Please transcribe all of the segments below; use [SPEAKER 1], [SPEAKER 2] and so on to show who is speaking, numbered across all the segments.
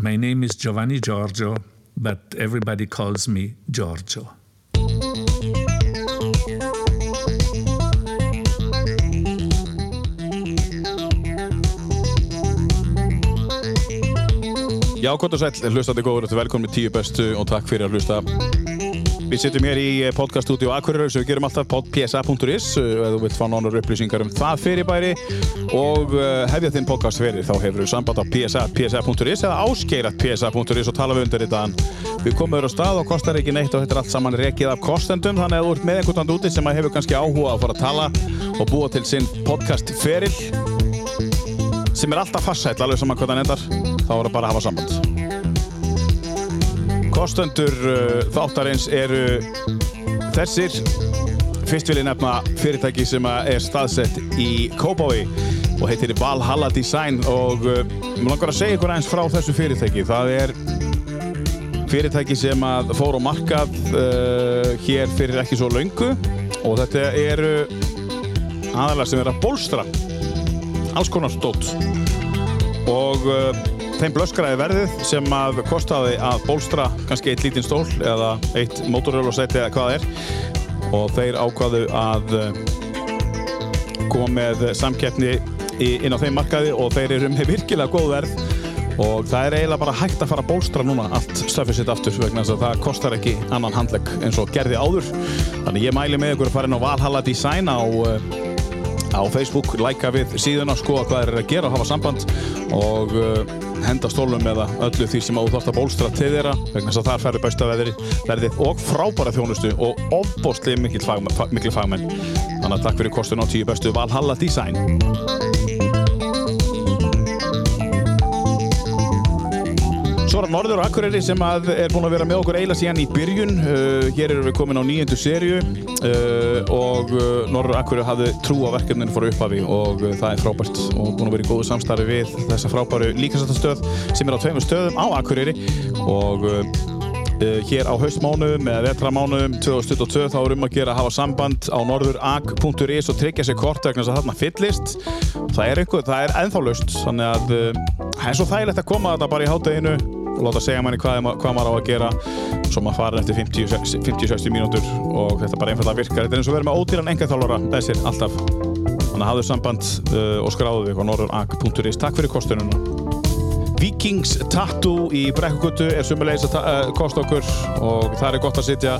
[SPEAKER 1] My name is Giovanni Giorgio, but everybody calls me Giorgio.
[SPEAKER 2] Já, gott og sæl, hlustandi góður, þetta er velkomin með tíu bestu og takk fyrir að hlusta. Við sittum hér í podcaststúdíu Akureyri sem við gerum alltaf podpsa.is eða eh, þú vilt fá nánar upplýsingar um það fyrirbæri og eh, hefja þinn podcast fyrir þá hefur við samband á psa.psa.is eða áskeirat.psa.is og tala við undir þetta Við komum þér á stað og kostar ekki neitt og þetta er allt saman rekið af kostendum þannig að þú ert með einhvern veginn úti sem að hefur kannski áhuga að fara að tala og búa til sinn podcast sem er alltaf farsæll alveg saman hvað hann endar þá er það bara að hafa samband Kostendur uh, þáttarins eru þessir Fyrst vil ég nefna fyrirtæki sem að er staðsett í Kópái og heitir Valhalla Design og uh, mér langar að segja ykkur aðeins frá þessu fyrirtæki það er fyrirtæki sem að fór á markað uh, hér fyrir ekki svo löngu og þetta eru aðalega sem er að bólstra alls konar stótt og uh, þeim blöskraði verðið sem að kostaði að bólstra kannski eitt lítinn stól eða eitt mótorhjólasæti eða hvað það er og þeir ákvaðu að uh, koma með samkeppni í, inn á þeim markaði og þeir eru með virkilega góð verð og það er eiginlega bara hægt að fara að bólstra núna allt stöfið sitt aftur vegna þess að það kostar ekki annan handlegg eins og gerði áður þannig ég mæli með ykkur að fara inn á Valhalla Design á uh, á Facebook, læka við síðuna, skoða hvað þeir eru að gera og hafa samband og uh, henda stólum eða öllu því sem að þú þarft að bólstra til þeirra vegna þess að þar færðu bæsta veðri, verðið og frábæra þjónustu og ofbóstli mikil, fagmenn- fa- mikil fagmenn þannig að takk fyrir kostun á tíu bestu Valhalla Design Svo er það Norður og Akureyri sem að er búin að vera með okkur eiginlega síðan í byrjun. Uh, hér erum við komin á nýjendu serju uh, og uh, Norður og Akureyri hafði trú á verkefninu frá upphafi og uh, það er frábært og búin að vera í góðu samstarfi við þessa frábæru líkansættastöð sem er á tveimur stöðum á Akureyri og uh, uh, hér á haustmánuðum eða vetramánuðum 2022 þá er um að gera að hafa samband á norðurag.is og tryggja sér kort vegna þess að þarna fyllist það er einhver, það er ennþá laust þannig að uh, það er svo þægilegt að koma þetta bara í hátteginu og láta segja manni hvað, er ma- hvað maður á að gera svo maður farin eftir 50 50-60 mínútur og þetta bara einfallega virkar þetta er eins og verið með ódýran engaþjálfara þessir alltaf þannig að hafðu samband uh, og skráðu þig á norðurag.is takk fyrir kostununa Vikings Tattoo í Brekkugutu er sumulegis að ta- eh, kosta okkur og það er gott að sitja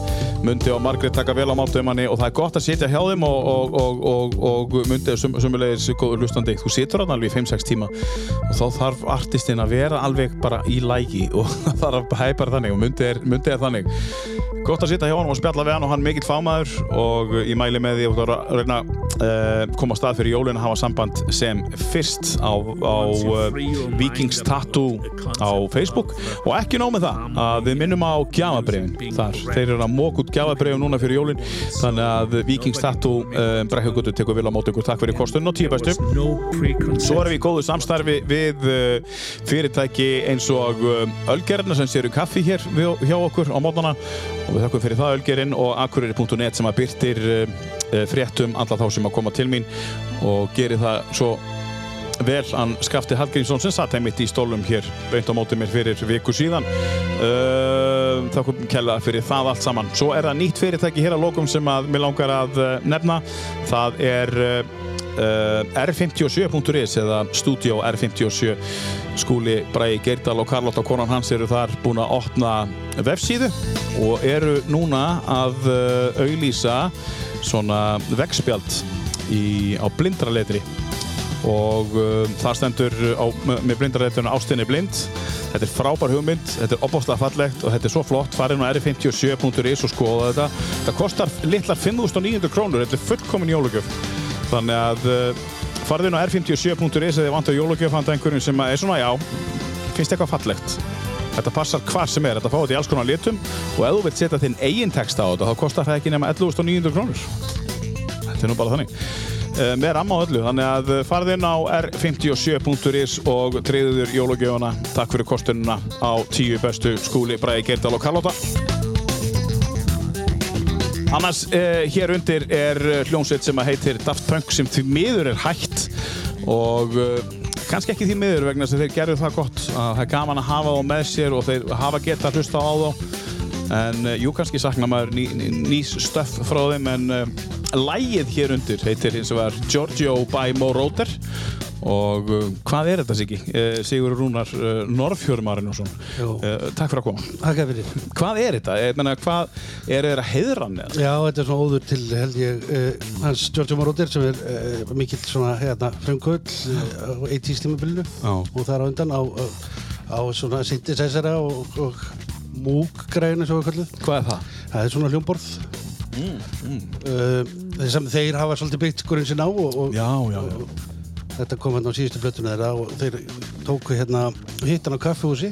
[SPEAKER 2] Mundi og Margrét taka vel á mátum manni og það er gott að sitja hjá þeim og, og, og, og, og Mundi er sum, sumulegis góður hlustandi þú situr hann alveg í 5-6 tíma og þá þarf artistinn að vera alveg bara í lægi og það þarf að hæpa þannig og Mundi er, Mundi er þannig Gott að sitja hjá hann og spjalla við hann og hann er mikill fámaður og ég mæli með því að þú að reyna að uh, koma að stað fyrir jólun að hafa samband sem fyrst á, á uh, Vikings Tattoo á Facebook og ekki nóg með það að við minnum á gjafabrefin þar þeir eru að mók út gjafabrefin núna fyrir jólun þannig að Vikings Tattoo uh, brekkugötu tekur vil á mót ykkur takk fyrir kostun og tíu bestu Svo erum við í góðu samstarfi við uh, fyrirtæki eins og um, Ölgerina sem séru kaffi hér við, hjá okkur á mótana og við þakkum fyrir það Ölgerin og akureyri.net sem að byrtir uh, fréttum alla þá sem að koma til mín og gerir það svo vel hann Skafti Hallgrímsson sem satt heimitt í stólum hér beint á móti mér fyrir viku síðan uh, þá kom kella fyrir það allt saman svo er það nýtt fyrirtæki hér að lokum sem að mér langar að uh, nefna það er uh, uh, r57.is eða Studio R57 skúli Bræi Geirdal og Karlotta konan hans eru þar búin að opna vefsíðu og eru núna að uh, auglýsa svona vegspjald í, á blindraletri og uh, það stendur á, með blindarreitunum Ástinni Blind þetta er frábær hugmynd, þetta er opbáslega fallegt og þetta er svo flott, farin á r57.is og skoða þetta þetta kostar litlar 5.900 krónur, þetta er fullkomin jólugjöf þannig að uh, farðin á r57.is eða vantar jólugjöf handa einhverjum sem er svona já finnst eitthvað fallegt Þetta passar hvar sem er, þetta fá þetta í alls konar litum og ef þú vilt setja þinn eigin texta á þetta þá kostar það ekki nema 11.900 krónur þetta er nú bara þannig Eh, með ramma á öllu, þannig að eh, farðu inn á r57.is og treyðu þér jólugjöfuna, takk fyrir kostununa á tíu bestu skúli Bræði Geirdal og Karlóta Annars eh, hér undir er eh, hljómsveit sem að heitir Daft Punk sem því miður er hægt og eh, kannski ekki því miður vegna þess að þeir gerðu það gott að það er gaman að hafa þá með sér og þeir hafa geta að hlusta á þá en eh, jú kannski sakna maður ný, ný, nýs stöff frá þeim en uh, lægið hér undir heitir eins og var Giorgio by Mo Roder og uh, hvað er þetta Siggi? Uh, Sigur Rúnar uh, Norrfjörn Marinússon
[SPEAKER 3] Jú.
[SPEAKER 2] uh, Takk fyrir að koma
[SPEAKER 3] Takk fyrir.
[SPEAKER 2] Hvað er þetta? Eh, Ég meina, hvað er þeir að heiðra hann eða?
[SPEAKER 3] Já, þetta er svona óður til, held ég, uh, hans Giorgio Moroder sem er uh, mikill svona, hérna, frumkull uh, á 80s tímabilinu
[SPEAKER 2] Já.
[SPEAKER 3] og þar á undan á, á, á svona synthesizera og, og múkgræðinu, svo við kallum.
[SPEAKER 2] Hvað er það?
[SPEAKER 3] Það er svona hljómborð. Mm, mm. Uh, sem þeir hafa svolítið byggt skurinn sinna á og, og
[SPEAKER 2] Já, já, já.
[SPEAKER 3] þetta kom hérna á síðustu blöttunni þeirra og þeir tóku hérna hittan á kaffihúsi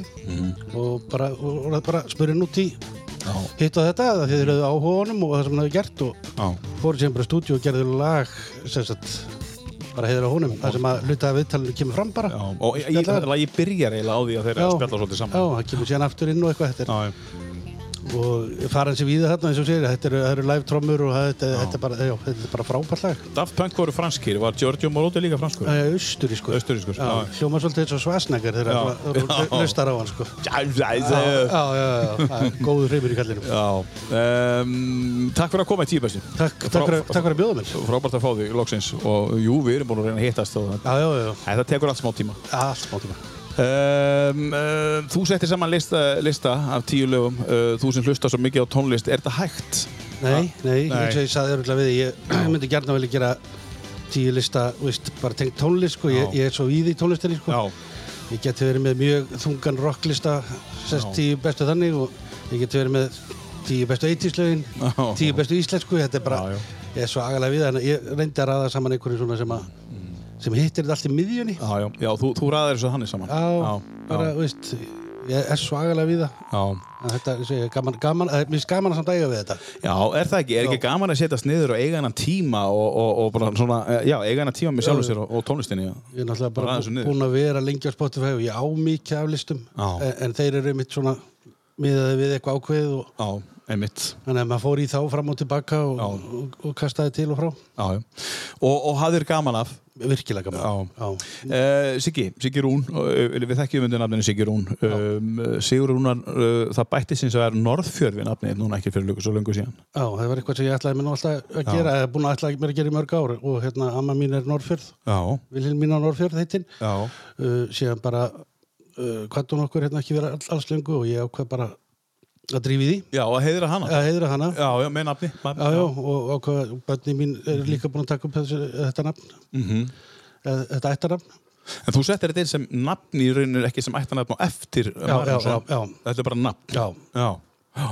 [SPEAKER 3] og bara, og, og bara spurinn út í
[SPEAKER 2] Já.
[SPEAKER 3] hitt á þetta að þeir höfðu áhuga á honum og það sem hann hefði gert og
[SPEAKER 2] Já.
[SPEAKER 3] fóru sem bara í stúdíu og gerðu lag sem sagt bara heiður á honum það sem að hluta af viðtalinu kemur fram bara
[SPEAKER 2] Já, og ég, ég,
[SPEAKER 3] Spjalla.
[SPEAKER 2] ég byrjar eiginlega á því að þeir eru að spjalla svolítið saman.
[SPEAKER 3] já, það kemur síðan aftur inn og eitthvað þetta er
[SPEAKER 2] Já, já.
[SPEAKER 3] og faran sem víða þarna eins og segir þetta eru, það eru live trommur og það- þetta, þetta, er bara, já, þetta er bara frábært lag
[SPEAKER 2] Daft Punk voru franskir, var Giorgio Moroder líka franskur?
[SPEAKER 3] Það er austurískur
[SPEAKER 2] Austurrískur,
[SPEAKER 3] Já,
[SPEAKER 2] já.
[SPEAKER 3] Hljómar svolítið eins og svasnækjar
[SPEAKER 2] Já.
[SPEAKER 3] þegar
[SPEAKER 2] Já.
[SPEAKER 3] það lustar á hann sko
[SPEAKER 2] Já, já,
[SPEAKER 3] Já, já, já, já, það er góður hreymur í kallinum.
[SPEAKER 2] já. Um, takk fyrir að koma í tíu bæsir.
[SPEAKER 3] Takk, takk, fyrir, takk fyrir að bjóða mér.
[SPEAKER 2] Frábært að fá þig loksins og jú, við erum búin að reyna að hittast og
[SPEAKER 3] Já, já, já,
[SPEAKER 2] Æ, það tekur allt smá tíma.
[SPEAKER 3] allt má tíma.
[SPEAKER 2] Um, um, þú settir saman lista, lista af tíu lögum, uh, þú sem hlustar svo mikið á tónlist, er þetta hægt?
[SPEAKER 3] Nei, nei,
[SPEAKER 2] Nei.
[SPEAKER 3] eins og ég sagði örgulega við, þig, ég, ég myndi gjarna velja gera tíu lista, þú veist, bara tengt tónlist sko, ég,
[SPEAKER 2] Já.
[SPEAKER 3] ég er svo í því tónlistinni sko. Ég geti verið með mjög þungan rocklista, sérst
[SPEAKER 2] Já.
[SPEAKER 3] tíu bestu þannig og ég geti verið með tíu bestu 80s lögin,
[SPEAKER 2] Já.
[SPEAKER 3] tíu bestu íslensku, sko. þetta er bara,
[SPEAKER 2] Já, já.
[SPEAKER 3] ég er svo agalega við það, en ég reyndi að raða saman einhverjum svona sem að, sem hittir þetta allt í miðjunni.
[SPEAKER 2] Mm. Já, já, já, þú, þú ræðir þessu þannig saman.
[SPEAKER 3] Já, bara, þú veist, ég er svo agalega við það.
[SPEAKER 2] já.
[SPEAKER 3] En Þetta, ég segi, gaman, gaman, eh, mér finnst gaman að samt eiga við þetta.
[SPEAKER 2] Já, er það ekki? Er ekki gaman að setjast niður og eiga hennan tíma og, og, og bara svona, eh, já, eiga hennan tíma með sjálfur sér og, og tónlistinni, já.
[SPEAKER 3] Ég er
[SPEAKER 2] Bara
[SPEAKER 3] náttúrulega bara
[SPEAKER 2] aðeins og niður.
[SPEAKER 3] búinn að vera lengi á Spotify og ég á mikið af listum.
[SPEAKER 2] Já.
[SPEAKER 3] En, en þeir eru mitt svona, miðaði við eitthvað ákveðið og
[SPEAKER 2] Já, einmitt.
[SPEAKER 3] þannig að maður fór í þá fram og tilbaka og,
[SPEAKER 2] Já.
[SPEAKER 3] og, og, kastaði til og frá.
[SPEAKER 2] Já, já. Og, og hafðir gaman af.
[SPEAKER 3] Virkilega gaman.
[SPEAKER 2] Já. Uh, Siggi, Siggi Rún, uh, við þekkjum undir nafninu Siggi Rún. Um, eh, Sigur Rúnar, uh, það bætti sinns að vera Norðfjörð við nafnið hérna núna ekki fyrir löngu, svo löngu síðan.
[SPEAKER 3] Já, það var eitthvað sem ég ætlaði mér nú alltaf að
[SPEAKER 2] Já.
[SPEAKER 3] gera, eða búin að ætlaði mér að gera í mörg ár og hérna, amma mín er Norrfjörð,
[SPEAKER 2] Já,
[SPEAKER 3] Vilhelmín á Norrfjörð heitinn,
[SPEAKER 2] já,
[SPEAKER 3] uh, síðan bara uh, hvað hún okkur hérna ekki vera all, alls lengu og ég ákvað bara að drífi því,
[SPEAKER 2] já, að heiðra hana.
[SPEAKER 3] að heiðra hana.
[SPEAKER 2] Já, já, með nafni.
[SPEAKER 3] Já, já, og ákvað, bönni mín
[SPEAKER 2] Mhm.
[SPEAKER 3] er líka búin að taka upp þessu, þetta nafn,
[SPEAKER 2] Mm
[SPEAKER 3] eða þetta ættarnafn.
[SPEAKER 2] En þú settir þetta inn sem nafni í rauninu ekki sem ættanafn á eftir.
[SPEAKER 3] Já, já, já,
[SPEAKER 2] Marinósson.
[SPEAKER 3] já,
[SPEAKER 2] Þetta er bara nafn.
[SPEAKER 3] já,
[SPEAKER 2] Já, já.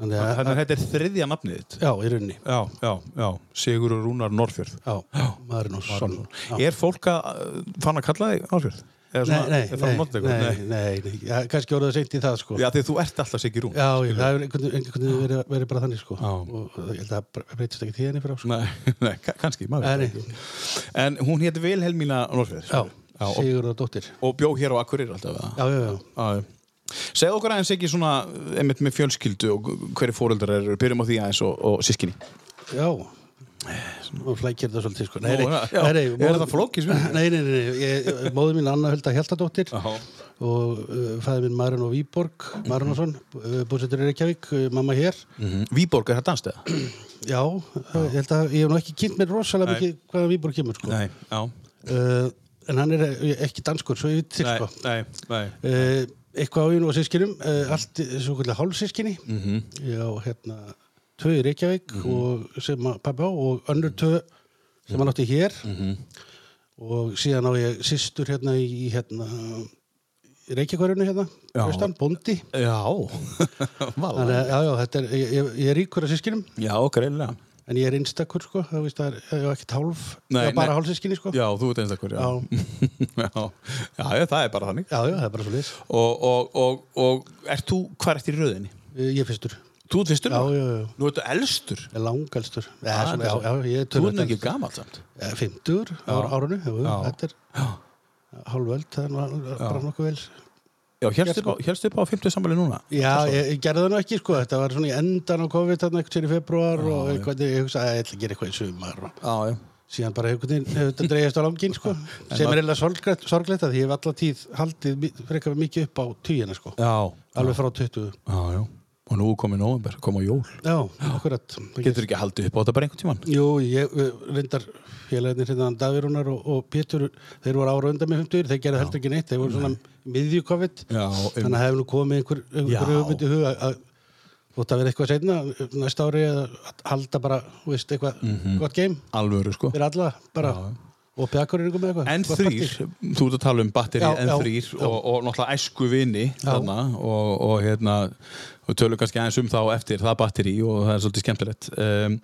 [SPEAKER 3] þannig að,
[SPEAKER 2] Þannig að þetta er þriðja nafnið þitt.
[SPEAKER 3] já, í rauninni,
[SPEAKER 2] Já, já, já. Sigur og Rúnar Norrfjörð.
[SPEAKER 3] já, maðurinn og sonn. Já.
[SPEAKER 2] Er fólk að uh, fann að kalla þig Norrfjörð? Eða
[SPEAKER 3] Nei, nei,
[SPEAKER 2] er það
[SPEAKER 3] nei,
[SPEAKER 2] að nota
[SPEAKER 3] nei,
[SPEAKER 2] ykkur?
[SPEAKER 3] nei, nei, já, kannski orðið seint í það, sko.
[SPEAKER 2] Já, því þú ert alltaf Sigur Rún.
[SPEAKER 3] Já, ég, það hefur einhvern einhvern veginn verið, verið bara þannig, sko.
[SPEAKER 2] Já.
[SPEAKER 3] Og ég held að það breytist ekki tíðinni fyrir á, sko.
[SPEAKER 2] Nei, nei, ka- kannski, maður.
[SPEAKER 3] Nei,
[SPEAKER 2] veit
[SPEAKER 3] nei,
[SPEAKER 2] það ekki. En hún hétt Vilhelmína Norrfjörð.
[SPEAKER 3] já,
[SPEAKER 2] og,
[SPEAKER 3] Sigurður dóttir.
[SPEAKER 2] og bjó hér á Akureyri alltaf. eða?
[SPEAKER 3] Já, já, já.
[SPEAKER 2] Já. Segð okkur aðeins ekki svona, einmitt með fjölskyldu og hverju fóreldrar eru, byrjum á því aðeins og, og sískinni.
[SPEAKER 3] Já og flækir það svolítið sko nei,
[SPEAKER 2] Nú,
[SPEAKER 3] nei,
[SPEAKER 2] já,
[SPEAKER 3] nei, nei,
[SPEAKER 2] er
[SPEAKER 3] móðir-
[SPEAKER 2] það flókið, sko?
[SPEAKER 3] Nei, nei, nei, nei ég- móðir mín Anna Hulda Hjaltadóttir og uh, fæði mín Marun og Víborg Marunason, uh, búsettur í Reykjavík uh, mamma hér,
[SPEAKER 2] Víborg, er það danstæða?
[SPEAKER 3] já uh, ég held að ég hef nú ekki kynnt mér rosalega
[SPEAKER 2] Nei.
[SPEAKER 3] mikið hvaðan Víborg kemur sko uh,
[SPEAKER 2] Nei, já.
[SPEAKER 3] en hann er eh, ekki danskur, svo ég veit til sko
[SPEAKER 2] nei, nei.
[SPEAKER 3] uh, eitthvað á einu og sískinum uh, allt svo kvöldilega hálfsískinni mm
[SPEAKER 2] Mhm.
[SPEAKER 3] -hmm. já, hérna tvö í Reykjavík og sem að pappa á og önnur tvö sem hann átti hér
[SPEAKER 2] Mhm.
[SPEAKER 3] og síðan á ég sýstur hérna í hérna í Reykjavíkvarinu hérna
[SPEAKER 2] Já.
[SPEAKER 3] austan, bóndi
[SPEAKER 2] Já,
[SPEAKER 3] þannig
[SPEAKER 2] vala.
[SPEAKER 3] að já, já, þetta er, ég, ég, ég er ríkur af sískinum
[SPEAKER 2] Já, greinilega.
[SPEAKER 3] en ég er einstakur sko, það veist það er, ég er ekkert hálf
[SPEAKER 2] Nei,
[SPEAKER 3] ég er bara
[SPEAKER 2] nei.
[SPEAKER 3] hálfsískinni sko
[SPEAKER 2] Já, þú ert einstakur, já.
[SPEAKER 3] Já.
[SPEAKER 2] já. Já, já, það er bara þannig.
[SPEAKER 3] já, já, það er bara svo liðs
[SPEAKER 2] Og, og, og, og ert þú, hvað ert í röðinni?
[SPEAKER 3] ég er fyrstur,
[SPEAKER 2] Þú ert fyrstur?
[SPEAKER 3] já,
[SPEAKER 2] nú?
[SPEAKER 3] já, já
[SPEAKER 2] Nú ertu elstur.
[SPEAKER 3] Ég er langalstur já,
[SPEAKER 2] Ah,
[SPEAKER 3] svona, já,
[SPEAKER 2] þetta-
[SPEAKER 3] já,
[SPEAKER 2] Þú
[SPEAKER 3] ég er
[SPEAKER 2] ert
[SPEAKER 3] töluvert
[SPEAKER 2] nú ekki gamall samt.
[SPEAKER 3] Eh, 50 ára árunu jú,
[SPEAKER 2] Já.
[SPEAKER 3] þetta er hálföld það er nú bara nokkuð vel
[SPEAKER 2] Já, helst upp, á- hélstu upp á 50 samfæli núna?
[SPEAKER 3] sko- já, ég, ég gerði það nú ekki sko þetta var svona í endan á COVID þarna eitthvað sér í februar og eitthvað, ég hugsaði að ég ætla að gera eitthvað í sumar og
[SPEAKER 2] Já, já.
[SPEAKER 3] síðan bara einhvern veginn hefur þetta dreigist á langinn sko, sem er eiginlega sorglegt, sorglegt að því ég hef alla tíð haldið mi- frekar mikið upp á tíina sko,
[SPEAKER 2] Já,
[SPEAKER 3] alveg frá 20
[SPEAKER 2] já, já. Og nú komið nóvember, komið jól.
[SPEAKER 3] Já, akkurat
[SPEAKER 2] Getur ekki haldið upp á þetta bara einhvern tíman?
[SPEAKER 3] Jú, ég eh, reyndar félagarnir hérna Davírunar og, og Pétur þeir voru ára undan með 50, þeir gerðu heldur ekki neitt þeir voru svona miðju COVID
[SPEAKER 2] Já,
[SPEAKER 3] þannig að hefur nú komið einhver,
[SPEAKER 2] Já.
[SPEAKER 3] einhver hugmynd í huga að þótt að vera eitthvað seinna næsta ári eða að halda bara þú veist, eitthvað
[SPEAKER 2] Mhm.
[SPEAKER 3] gott game
[SPEAKER 2] Alvöru, sko.
[SPEAKER 3] fyrir alla bara og pjakkur ykkur með eitthvað
[SPEAKER 2] En
[SPEAKER 3] Gott
[SPEAKER 2] þrýr,
[SPEAKER 3] partí.
[SPEAKER 2] þú ert að tala um batteri
[SPEAKER 3] Já,
[SPEAKER 2] en
[SPEAKER 3] já,
[SPEAKER 2] þrýr og, og náttúrulega æsku vini þarna og, og hérna og tölum kannski aðeins um þá eftir það batteri og það er svolítið skemmtilegt um,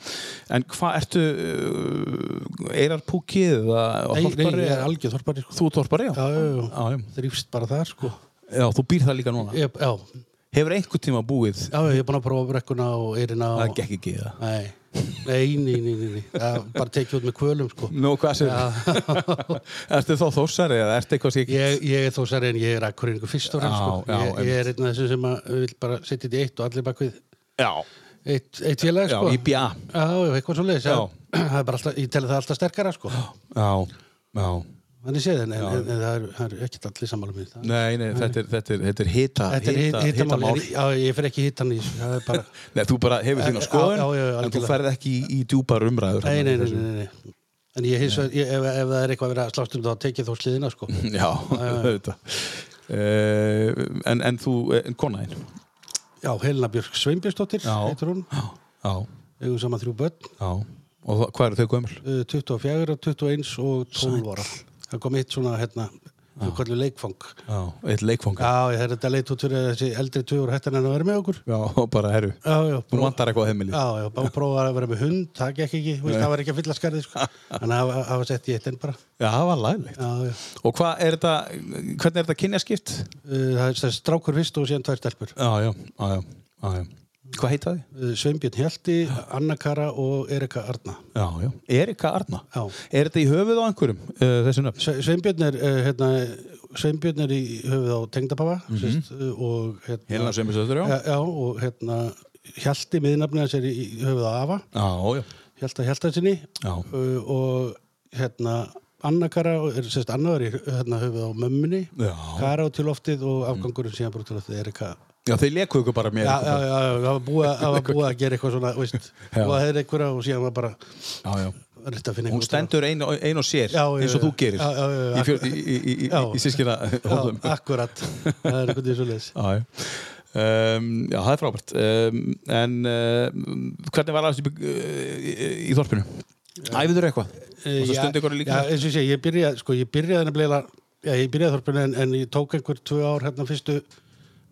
[SPEAKER 2] En hvað ertu uh, eirar púkið eða
[SPEAKER 3] Nei, nei,
[SPEAKER 2] þorpari?
[SPEAKER 3] ég er algjör þorpari sko.
[SPEAKER 2] Þú þorpari, já.
[SPEAKER 3] Já, já, já.
[SPEAKER 2] Já, já.
[SPEAKER 3] þrýfst bara þar sko
[SPEAKER 2] Já, þú býr það líka núna
[SPEAKER 3] ég, Já,
[SPEAKER 2] Hefur einhvern tíma búið?
[SPEAKER 3] já, ég er búin að prófa brekkuna og erina
[SPEAKER 2] Það
[SPEAKER 3] og...
[SPEAKER 2] gekk ekki það
[SPEAKER 3] Nei, nei, nei, nei, nei, nei. Það var bara tekið út með kvölum sko
[SPEAKER 2] Nú, hvað sér? ertu þá þósari eða ertu eitthvað sér?
[SPEAKER 3] Ég, ég er þó sær en ég er akkuringu fyrst og fremst sko.
[SPEAKER 2] Já, já,
[SPEAKER 3] ég, ég er einn af þessum sem að vil bara setja þetta í eitt og allir bak við
[SPEAKER 2] Já,
[SPEAKER 3] eitt, eitt félag
[SPEAKER 2] já,
[SPEAKER 3] sko.
[SPEAKER 2] IBA
[SPEAKER 3] Já, já, eitthvað svo leiðis
[SPEAKER 2] Já.
[SPEAKER 3] Ég teli það alltaf sterkara sko.
[SPEAKER 2] Já, já
[SPEAKER 3] Þannig séð en, en, en, en það er, það er ekkert allir sammála með það
[SPEAKER 2] Nei, nei, þetta er, þetta er, þetta er hita,
[SPEAKER 3] Þetta er
[SPEAKER 2] hita,
[SPEAKER 3] hit- hitamál,
[SPEAKER 2] hitamál.
[SPEAKER 3] hitamál. Já, ég fer ekki hitan í þessu Það er bara,
[SPEAKER 2] Nei, þú bara hefur þín á
[SPEAKER 3] Já,
[SPEAKER 2] skoðun,
[SPEAKER 3] já, já,
[SPEAKER 2] en þú
[SPEAKER 3] algjörlega.
[SPEAKER 2] ferð ekki í, í djúpar umræður. hérna
[SPEAKER 3] nei, nei, nei, nei, nei, nei. En ég hins vegar, ég- ef, ef það er eitthvað að vera að slást um þá tekið þó sliðina sko.
[SPEAKER 2] Já, auðvitað. Uh, en, en þú, en kona þín?
[SPEAKER 3] Já, Helena Björk Sveinbjörnsdóttir
[SPEAKER 2] Já.
[SPEAKER 3] heitir hún,
[SPEAKER 2] Já, já,
[SPEAKER 3] eigum saman þrjú börn
[SPEAKER 2] já. Og það- hvað eru þau gömul?
[SPEAKER 3] eh, 24 og 21 og 12 ára það kom eitt svona hérna þú kallu leikfang
[SPEAKER 2] Já, eitt leikfanga.
[SPEAKER 3] já ég þegar þetta leit út fyrir að þessi eldri tvöur hættan en að vera með okkur
[SPEAKER 2] Já, og bara, herru,
[SPEAKER 3] já já
[SPEAKER 2] þú
[SPEAKER 3] prófa-
[SPEAKER 2] vantar eitthvað á heimili.
[SPEAKER 3] já já bara prófa að vera með hund það gekk ekki þú veist, það var ekki að fylla skarði sko. þannig að hafa- hafa sett í eitt enn bara
[SPEAKER 2] Já, það var laglegt.
[SPEAKER 3] já já
[SPEAKER 2] Og hvað er þetta, hvernig er þetta kynjaskipt?
[SPEAKER 3] Eh, það er þess strákur fyrst og síðan tvær stelpur
[SPEAKER 2] Já, já, já, já, já, já. Hvað heita þið?
[SPEAKER 3] Eh, Sveinbjörn Hjalti Anna Kara og Erika Arna
[SPEAKER 2] Já, já. Erika Arna.
[SPEAKER 3] Já.
[SPEAKER 2] Er þetta í höfuð á einhverjum, uh, þessi nöfn?
[SPEAKER 3] Sve- Sveinbjörn er eh, hérna Sveinbjörn er í höfuð á tengdapapa mm og hérna
[SPEAKER 2] Mhm. Helena Sveinbjörnsdóttir, já.
[SPEAKER 3] já, já, og hérna Hjalti miðnafnið hans er í í höfuð á Afa
[SPEAKER 2] Eh, Já, já.
[SPEAKER 3] Hjalta Hjaltasinni
[SPEAKER 2] Já.
[SPEAKER 3] uh, og hérna Anna Kara og- er sérst annaður í hérna, höfuð á mömmunni
[SPEAKER 2] Já.
[SPEAKER 3] Kara á til loftið og afgangurinn síðan bara til loftið er eitthvað
[SPEAKER 2] Já, þeir lekuðu ykkur bara mér.
[SPEAKER 3] Já, já, já, já, það var búið að- það var búið að gera eitthvað svona, veist,
[SPEAKER 2] Já.
[SPEAKER 3] og það er einhverja og síðan var bara
[SPEAKER 2] já, já.
[SPEAKER 3] rétt að finna
[SPEAKER 2] Hún
[SPEAKER 3] eitthvað
[SPEAKER 2] stendur ein, ein og sér,
[SPEAKER 3] Já, já,
[SPEAKER 2] eins og
[SPEAKER 3] já.
[SPEAKER 2] þú gerir,
[SPEAKER 3] Já, já, já, já.
[SPEAKER 2] í, fjör, í, í, í, í,
[SPEAKER 3] Já.
[SPEAKER 2] í sískina hóðum.
[SPEAKER 3] Já, akkurat, það er einhvern veginn svo leis
[SPEAKER 2] Já, já. Um, já, það er frábært. Um, en uh, hvernig var aðeins í, bygg- uh, í, í þorpinu? Æfiður eitthvað?
[SPEAKER 3] Eh,
[SPEAKER 2] Og það
[SPEAKER 3] já,
[SPEAKER 2] stundi ykkur líka?
[SPEAKER 3] Já, eins og ég segi, ég byrjaði, sko, ég byrjaði nefnilega, já, ég byrjaði þorpinu en, en ég tók einhver tvö ár hérna fyrstu,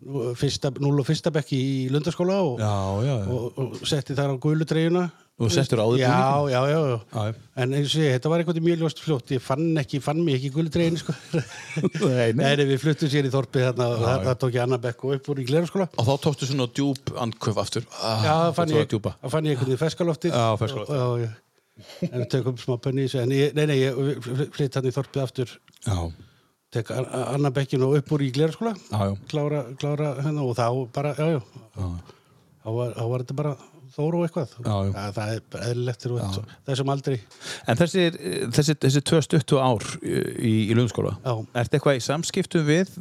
[SPEAKER 3] nú- fyrsta, núl og fyrsta bekki í lundaskóla og,
[SPEAKER 2] já, já. já.
[SPEAKER 3] og, og setti þar á gulu treyjuna.
[SPEAKER 2] Og settur á þig
[SPEAKER 3] Já,
[SPEAKER 2] búninginn?
[SPEAKER 3] já, já,
[SPEAKER 2] Já, já.
[SPEAKER 3] já. En eins og ég, segi, þetta var eitthvað mjög ljóst fljótt, ég fann ekki, fann mig ekki í gulu treyjunni, sko.
[SPEAKER 2] Nei, nei.
[SPEAKER 3] nei, við fluttum sér í þorpið þarna og það, það tók ég annan bekk og upp úr í gleraskóla.
[SPEAKER 2] og þá tókstu svona djúb andköf aftur. Ah,
[SPEAKER 3] Já, það fann
[SPEAKER 2] þetta var
[SPEAKER 3] ég,
[SPEAKER 2] Djúpa.
[SPEAKER 3] það fann ég einhvern veginn ferskaloftið.
[SPEAKER 2] Já, ferskaloftið.
[SPEAKER 3] Já, já. En við tökum smá penni í þessu. En ég, nei, nei, ég flytt hann í þorpið aftur,
[SPEAKER 2] Já,
[SPEAKER 3] tek a- a- annan bekkin og upp úr í gleraskóla,
[SPEAKER 2] já, já.
[SPEAKER 3] klára, klára hennar og þá bara, já, já. Þá var, þá var þetta bara þóru og eitthvað.
[SPEAKER 2] Já, já.
[SPEAKER 3] Það, það er bara eðlilegt til þess- þessum aldri.
[SPEAKER 2] En þessi, þessi, þessi tvö stuttu ár eh, í, í lundskóla,
[SPEAKER 3] Já.
[SPEAKER 2] ertu eitthvað í samskiptum við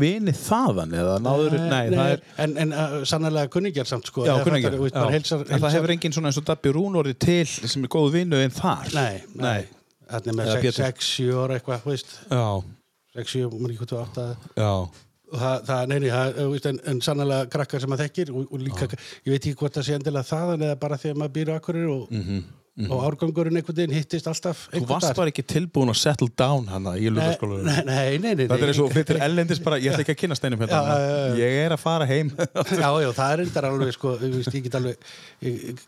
[SPEAKER 2] vini þaðan eða náður, nei, það er
[SPEAKER 3] Eh, En, en uh, sannlega kunningjar samt, sko.
[SPEAKER 2] Já,
[SPEAKER 3] Eða
[SPEAKER 2] kunningi
[SPEAKER 3] fattar, þú veist, maður
[SPEAKER 2] En
[SPEAKER 3] heilsar-
[SPEAKER 2] það
[SPEAKER 3] heilsar-
[SPEAKER 2] hefur enginn svona eins og Dabbi Rún orðið til sem er góð vinnu en þar
[SPEAKER 3] Nei, nei. Þannig með
[SPEAKER 2] Eða
[SPEAKER 3] 6,
[SPEAKER 2] Pétur.
[SPEAKER 3] 7 ára eitthvað, þú veist,
[SPEAKER 2] Já,
[SPEAKER 3] 6, 7, maður ekki hvað þú átt að
[SPEAKER 2] já,
[SPEAKER 3] Og það, það, neini, það, þú veist, en, en sannlega krakkar sem að þekkir og, og líka, ég veit ekki hvort það sé endilega þaðan eða bara þegar maður býr á akkurir og, og árgangurinn einhvern veginn hittist alltaf
[SPEAKER 2] Mhm, þú varst bara ekki tilbúin að settle down hana í
[SPEAKER 3] nei,
[SPEAKER 2] lundaskóla
[SPEAKER 3] nei, nei, nei, nei
[SPEAKER 2] Þetta er eins og flyttir ellendis bara, ég ætla ekki að kynna steinum hérna
[SPEAKER 3] Já, já, já, já.
[SPEAKER 2] Ég er að fara heim
[SPEAKER 3] Já, já, það er endar alveg, sko, þú veist, ég get alveg ég, ég-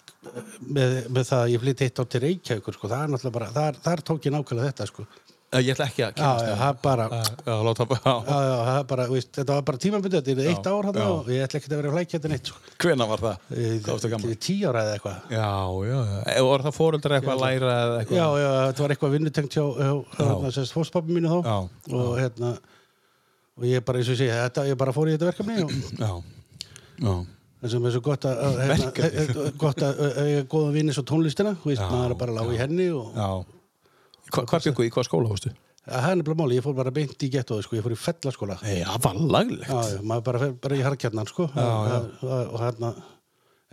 [SPEAKER 3] með, með það að ég flytti hitt á til Reykjavíkur, sko, það er náttúrulega bara þar, þar tók ég nákvæmlega þetta, sko
[SPEAKER 2] Ég ætla ekki að
[SPEAKER 3] Já,
[SPEAKER 2] kynna
[SPEAKER 3] já,
[SPEAKER 2] steinum
[SPEAKER 3] það bara,
[SPEAKER 2] Já, láta bara,
[SPEAKER 3] já, já, það bara, þú veist, þetta var bara tímabundið, þetta er eitt
[SPEAKER 2] Já,
[SPEAKER 3] ár hann
[SPEAKER 2] já.
[SPEAKER 3] og ég ætla ekki að vera flækjandi neitt, sko
[SPEAKER 2] hvena var það? Hvað varstu gammal?
[SPEAKER 3] Ég- Tíu ára eða eitthvað
[SPEAKER 2] Já, já, já, voru það fóreldrar eitthvað að læra eða eitthvað?
[SPEAKER 3] Já, já, þetta var eitthvað vinnutengt hjá, hjá hérna, sérst, fórspappi mínu þá
[SPEAKER 2] Já,
[SPEAKER 3] og hérna og ég bara, eins og ég segi, þetta, ég bara fór í þetta verkefni og
[SPEAKER 2] Já, já,
[SPEAKER 3] það sem er svo gott að, að hérna,
[SPEAKER 2] Verkefni.
[SPEAKER 3] eh, eh, gott að eh, eiga góða vinni svo tónlistina, þú veist,
[SPEAKER 2] Já,
[SPEAKER 3] maður er bara lág í henni og,
[SPEAKER 2] já, Hva, hvað byggu í hvað skóla hóstu?
[SPEAKER 3] Það er nefnilega máli, ég fór bara beint í gettóði sko, ég fór í fellaskóla. Já,
[SPEAKER 2] Já, vallaglegt.
[SPEAKER 3] já, maður bara fer bara í harkjarnan sko. Já, já. Og hérna,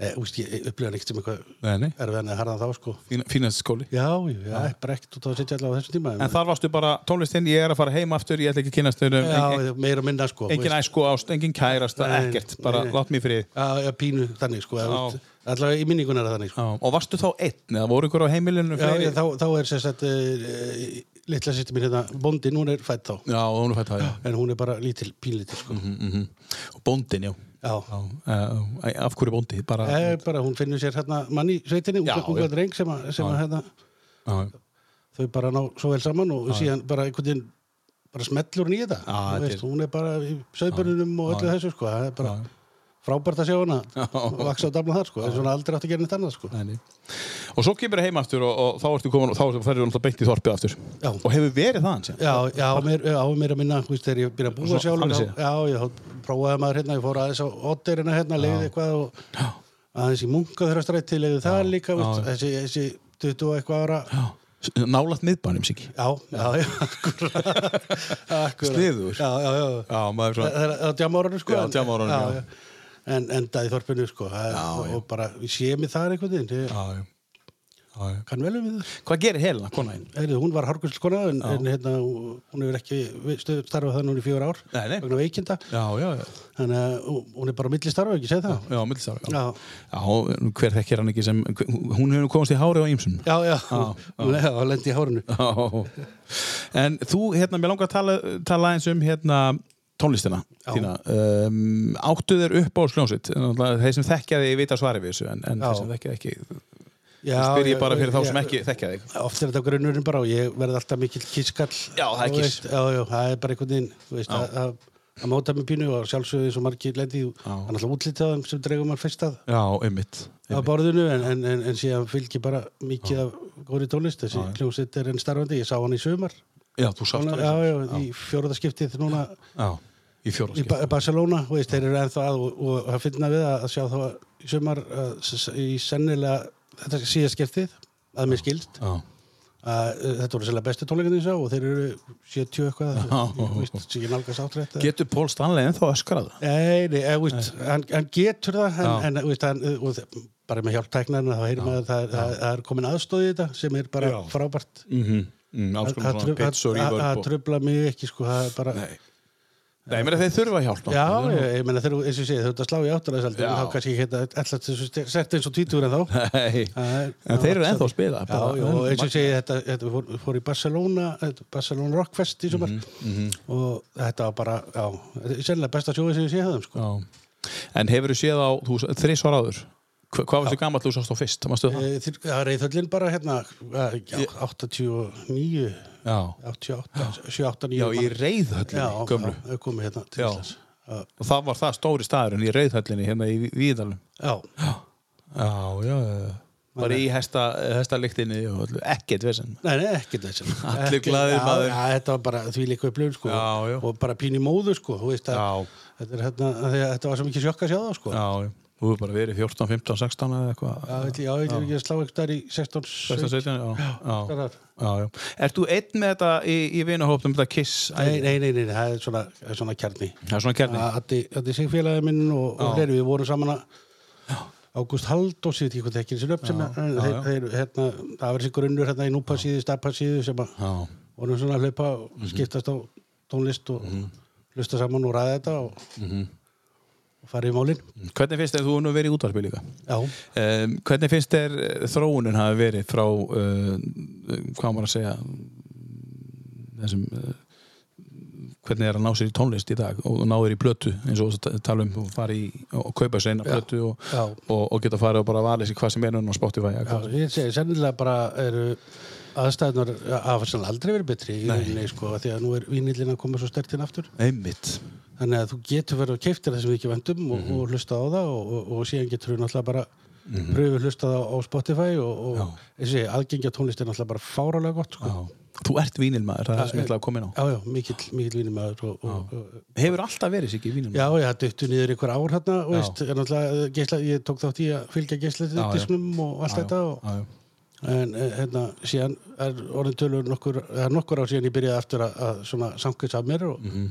[SPEAKER 3] e, úst, ég upplifa neitt sem eitthvað
[SPEAKER 2] Nei, nei.
[SPEAKER 3] erfiðan eða harðan þá sko.
[SPEAKER 2] Fín- Fínast skóli.
[SPEAKER 3] Já, já, já, bara ekkert út á að sitja allavega á þessum tíma.
[SPEAKER 2] En þar varstu bara tónlistinn, ég er að fara heim aftur, ég ætla ekki að kynast þér um
[SPEAKER 3] Já, meira og minna sko. þú
[SPEAKER 2] engin
[SPEAKER 3] veist.
[SPEAKER 2] æsku ást, engin kærasta,
[SPEAKER 3] Nei,
[SPEAKER 2] ekkert, bara
[SPEAKER 3] nei, nei.
[SPEAKER 2] lát mér fyrir.
[SPEAKER 3] Já, já, pínu þannig sko. eða,
[SPEAKER 2] Já.
[SPEAKER 3] þú veist, Allavega í minningun er það þannig sko.
[SPEAKER 2] Já. Og varstu þá einn, eða voru ykkur á heimilinu
[SPEAKER 3] Já,
[SPEAKER 2] fleiri?
[SPEAKER 3] já, þá, þá er sem sagt uh, litla sýstir mín hérna, bóndin, hún er fætt þá.
[SPEAKER 2] Já, hún er fætt það, já.
[SPEAKER 3] En hún er bara lítil, pínlítil sko.
[SPEAKER 2] Mm Og bóndin, já.
[SPEAKER 3] Já.
[SPEAKER 2] já. eh, af hverju bóndi? Bara,
[SPEAKER 3] Það er bara, hún finnur sér hérna mann í sveitinni,
[SPEAKER 2] Já,
[SPEAKER 3] unga, unga
[SPEAKER 2] já.
[SPEAKER 3] dreng sem að, sem að hérna,
[SPEAKER 2] já,
[SPEAKER 3] þau bara ná svo vel saman og síðan bara einhvern veginn bara smellur hún í
[SPEAKER 2] Já,
[SPEAKER 3] þetta. Þú
[SPEAKER 2] þetta
[SPEAKER 3] veist,
[SPEAKER 2] er-
[SPEAKER 3] hún er bara í söðbörnunum og öllu þessu sko. Það er bara frábært að sjá hana vaksa á damla þar sko. Það er svona aldrei átt að gera neitt annað sko.
[SPEAKER 2] Nei, nei. Og svo kemur heim aftur og, og þá ertu komin og þá ertu ferður náttúrulega beint í þorpið aftur.
[SPEAKER 3] Já.
[SPEAKER 2] Og hefur verið það hans?
[SPEAKER 3] Já, já, mér, já, mér að minna, þú veist, þegar ég byrja að búa
[SPEAKER 2] Svona,
[SPEAKER 3] sjálfur,
[SPEAKER 2] þannig
[SPEAKER 3] þá- já, ég þá prófaði maður hérna, ég fór aðeins á Otterina hérna, leiði eitthvað og aðeins í munkaþurastrætti, leiði það líka, þú veist, þessi, þessi 20 og eitthvað ára,
[SPEAKER 2] Já. Nálat miðbænum siki.
[SPEAKER 3] já, já, já, akkurat, akkurat.
[SPEAKER 2] Sniðugur.
[SPEAKER 3] Já, já, já,
[SPEAKER 2] Já, maður
[SPEAKER 3] það
[SPEAKER 2] svona.
[SPEAKER 3] það er á djamárunum, sko.
[SPEAKER 2] Já,
[SPEAKER 3] en-
[SPEAKER 2] djamárunum, já.
[SPEAKER 3] En endaði í þorpinu, sko, já, og, og bara, ég sé mig þar einhvern veginn, ég
[SPEAKER 2] Já, já. Já, já.
[SPEAKER 3] kann vel um við það.
[SPEAKER 2] Hvað gerir helna, konaðinn?
[SPEAKER 3] Heyrðu, hún var harkurslkona, en, en hérna, hún hefur ekki við- stöðu- starfað það núna í fjögur ár,
[SPEAKER 2] Nei, nei.
[SPEAKER 3] vegna veikinda.
[SPEAKER 2] Já, já, já.
[SPEAKER 3] Þannig að hún- hún er bara á milli starfa, ekki segð það?
[SPEAKER 2] Já, millistar.
[SPEAKER 3] Já,
[SPEAKER 2] Já, hver þekkir hann ekki sem, hún hefur nú komast í hári á ýmsum.
[SPEAKER 3] já, já, hún er að lendi í hárinu.
[SPEAKER 2] Já. En þú, hérna, mér langar að tala, tala eins um hérna tónlistina
[SPEAKER 3] Já.
[SPEAKER 2] þína. Um, áttu þér upp á sljónsveit? Þeir sem þekkja þig vita svarið við þessu, en, en
[SPEAKER 3] Já.
[SPEAKER 2] þeir sem þekkja þig ekki.
[SPEAKER 3] Já,
[SPEAKER 2] Já, spyr ég bara
[SPEAKER 3] já,
[SPEAKER 2] fyrir þá sem
[SPEAKER 3] já,
[SPEAKER 2] ekki þekkja þig.
[SPEAKER 3] Oft er þetta grunnurinn bara og ég verði alltaf mikill kískall.
[SPEAKER 2] Já, það er
[SPEAKER 3] þú
[SPEAKER 2] kiss.
[SPEAKER 3] veist, Já, já, það er bara einhvern veginn, þú veist, að, að, að móta með pínu og sjálfsögðu eins og margir lendi, hann alltaf útlítið á þeim sem dreigum maður fyrst að,
[SPEAKER 2] Já, einmitt.
[SPEAKER 3] að borðinu en, en, en, en síðan fylgir bara mikið af góðri tónlist, þessi hljómsveit er enn starfandi, ég sá hann í sömar,
[SPEAKER 2] Já, þú sátt
[SPEAKER 3] já, já, í fjóruðaskiptið núna
[SPEAKER 2] Já, í fjóra
[SPEAKER 3] í ba Barcelona þú veist, þeir eru ennþá að og, og það finna við að að sjá þá í sumar að, s- s- í sennilega þetta er síðast skiptið að mér skilst
[SPEAKER 2] Já,
[SPEAKER 3] að uh, þetta voru sérlega bestu tónleikarnir sá og þeir eru 70 eitthvað
[SPEAKER 2] Já.
[SPEAKER 3] þú veist, sem ég nálgast áttrætt
[SPEAKER 2] Getur Pól Stanley ennþá öskrað?
[SPEAKER 3] Nei, nei, eða, veist, hann, hann getur það en, en veist, hann, eh, og, þe- bara með hjálptæknarna þá heyrir maður að það, það, það er komin aðstóð í þetta sem er bara
[SPEAKER 2] Já.
[SPEAKER 3] frábært
[SPEAKER 2] Mm -hmm. mm, alls konar
[SPEAKER 3] Það-
[SPEAKER 2] svona
[SPEAKER 3] það-
[SPEAKER 2] pits og
[SPEAKER 3] það- það
[SPEAKER 2] rývörp og...
[SPEAKER 3] tröfla mig ekki sko, það er bara,
[SPEAKER 2] Nei, Nei, mér að þeir þurfa hjálp
[SPEAKER 3] Já, ég, ég meina þeir eru, eins og ég segi, þau ert að slá í áttalæðisaldur
[SPEAKER 2] Já.
[SPEAKER 3] og þá kannski geta alltaf þessu sett eins og tvítur en þá.
[SPEAKER 2] Nei,
[SPEAKER 3] Það er-
[SPEAKER 2] en þeir eru ennþá að spila
[SPEAKER 3] Já, já, og eins og ég segi, þetta, þetta við fór, fór í Barcelona, þetta- Barcelona Rockfest í
[SPEAKER 2] Mhm,
[SPEAKER 3] sumar og þetta var bara, já, þetta er sennilega besta sjóið sem ég sé það, sko.
[SPEAKER 2] Já. En hefur þú séð á þú, þrís var áður? Hva, hvað varstu gamall þú sást á fyrst? Manstu það?
[SPEAKER 3] Eh, þeir- Það er reyðhöllin bara hérna, eh, já, 89,
[SPEAKER 2] Já.
[SPEAKER 3] 88, 78, 9.
[SPEAKER 2] Já, í reyðhöllinni,
[SPEAKER 3] já,
[SPEAKER 2] gömlu.
[SPEAKER 3] Já, þau komið hérna til
[SPEAKER 2] Já.
[SPEAKER 3] Íslands. Já,
[SPEAKER 2] Og það var það stóri staðurinn í reyðhöllinni hérna í Ví- Víðalum.
[SPEAKER 3] já,
[SPEAKER 2] Já, já, já. Bara í hesta, hesta lyktinni og öllu. ekkert vesinn.
[SPEAKER 3] Nei, nei, ekkert þessi.
[SPEAKER 2] Allir
[SPEAKER 3] Ekki-
[SPEAKER 2] glaðir,
[SPEAKER 3] já,
[SPEAKER 2] maður.
[SPEAKER 3] Já, þetta var bara því líka upplifun, sko.
[SPEAKER 2] Já, já.
[SPEAKER 3] Og bara pín í móðu, sko. Þú veist að
[SPEAKER 2] Já.
[SPEAKER 3] þetta, er, hérna, að því að þetta var svo mikið sjokk að sjá það, sko.
[SPEAKER 2] Já, já. Þú hefur bara verið 14, 15, 16 eða eitthvað.
[SPEAKER 3] Já, ætli- já, ég vil ekki að slá eitthvað þar í 16,
[SPEAKER 2] 16, 17, já. Já,
[SPEAKER 3] þar.
[SPEAKER 2] já. já. Ert þú einn með þetta í, í vinahóptum, þetta kiss?
[SPEAKER 3] Nei, nei, nei, nei, nei, það er svona, það er svona kjarni.
[SPEAKER 2] Það er svona kjarni.
[SPEAKER 3] Að- Addi, Addi Sigfélagi minn og, og fleiri, við vorum saman að Ágúst Halldórs, ég veit ekki hvað þekkir þessi nöfn sem en
[SPEAKER 2] já,
[SPEAKER 3] þeir,
[SPEAKER 2] já.
[SPEAKER 3] þeir, hérna, það verður sér grunnur hérna í núpassíðu, stapassíðu sem að
[SPEAKER 2] Já.
[SPEAKER 3] vorum svona að hlaupa og
[SPEAKER 2] Mhm.
[SPEAKER 3] skiptast á tónlist og hlusta saman og ræða þetta og,
[SPEAKER 2] Mhm.
[SPEAKER 3] og fara í málin
[SPEAKER 2] Hvernig finnst þér þú nú verið í útvarpi líka?
[SPEAKER 3] já,
[SPEAKER 2] Um, hvernig finnst þér eh, þróunin hafi verið frá uh, hvað á maður að segja þessum uh, hvernig er að ná sér í tónlist í dag og ná þér í plötu eins og þú tala um og fara í og kaupa sér eina plötu og,
[SPEAKER 3] já.
[SPEAKER 2] og, og geta farið og bara valið sér hvað sem er núna á Spotify eða
[SPEAKER 3] já
[SPEAKER 2] hvað.
[SPEAKER 3] ég segi, sennilega bara eru aðstæðunar hafa sem aldrei verið betri í rauninni sko, af því að nú er vínillin að koma svo stert inn aftur
[SPEAKER 2] einmitt
[SPEAKER 3] þannig að þú getur verið að keifta það sem við ekki vendum
[SPEAKER 2] Mhm.
[SPEAKER 3] og, og hlusta á það og, og, og síðan getur við náttúrulega bara mm
[SPEAKER 2] Mhm.
[SPEAKER 3] -hmm. pröfið hlusta það á Spotify og, og eins og ég segi, aðgengja tónlist er náttúrulega bara fáralega gott sko.
[SPEAKER 2] já. þú ert vínilmaður, það er það sem ég ætlaði að koma inn á
[SPEAKER 3] já, já, mikill, mikill vínumæður og, og, og
[SPEAKER 2] hefur alltaf verið sér ekki vínilmaður
[SPEAKER 3] Já, ég hafði duttu niður ykkur ár hérna, veist, en alltaf geisla, eh, ég tók þátt í að fylgja
[SPEAKER 2] Já, já.
[SPEAKER 3] geisladisknum og allt þetta og,
[SPEAKER 2] já, já.
[SPEAKER 3] en eh, hérna, síðan er orðin tölur nokkur, er nokkur ár síðan ég byrjaði aftur að, að svona samkvæmst af mér og,
[SPEAKER 2] Mhm.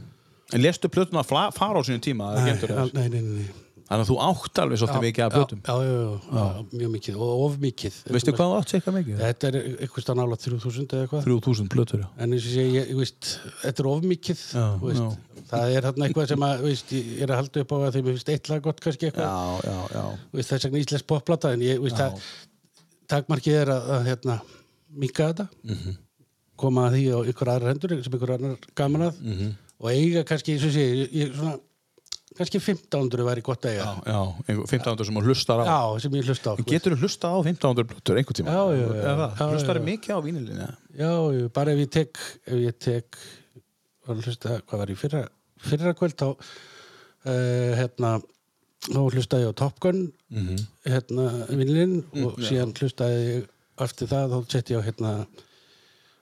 [SPEAKER 2] En lestu plötuna að fla- fara á sínum tíma? eða
[SPEAKER 3] nei,
[SPEAKER 2] geymdirðu þær?
[SPEAKER 3] al- nei, nei, nei, nei.
[SPEAKER 2] Þannig að þú átt alveg svolítið mikið af plötum.
[SPEAKER 3] já, já, já, já, já, mjög mikið og of mikið
[SPEAKER 2] Veistu hvað þú átt sér eitthvað mikið?
[SPEAKER 3] Þetta er eitthvað stað nála 3000 eða eitthvað
[SPEAKER 2] 3000 plötur, já.
[SPEAKER 3] en eins og sé, ég, ég veist, þetta er of mikið
[SPEAKER 2] Já,
[SPEAKER 3] þú veist, það er þarna eitthvað sem að, þú veist, ég er að halda upp á að þeim finnst eitt lag gott kannski eitthvað
[SPEAKER 2] Já, já, já.
[SPEAKER 3] Þú veist, þess vegna íslensk popplata en ég, þú veist, það takmarkið er að, að hérna, minka þetta koma að því á ykkur aðra hendur sem ykkur annar gaman að og eiga kannski, eins og sé, ég, ég svona kannski 1500 væri gott að eiga já,
[SPEAKER 2] Já, einhver- 1500 sem þú hlustar á.
[SPEAKER 3] sem ég hlusta á sko. þú veist.
[SPEAKER 2] Getur þú hlusta á 1500 plötur einhver tíma?
[SPEAKER 3] Já, já, já. Já, já,
[SPEAKER 2] Hlustar
[SPEAKER 3] já.
[SPEAKER 2] mikið á vínilinni?
[SPEAKER 3] Já, ég- bara ef ég tek ef ég tek var að hlusta, hvað var ég fyrra fyrra kvöld þá uh, hérna, þá hlustaði ég á Top Gun
[SPEAKER 2] Mhm.
[SPEAKER 3] hérna, vinnlinn
[SPEAKER 2] Mm,
[SPEAKER 3] og síðan hlustaði ég eftir það, þá setti ég á hérna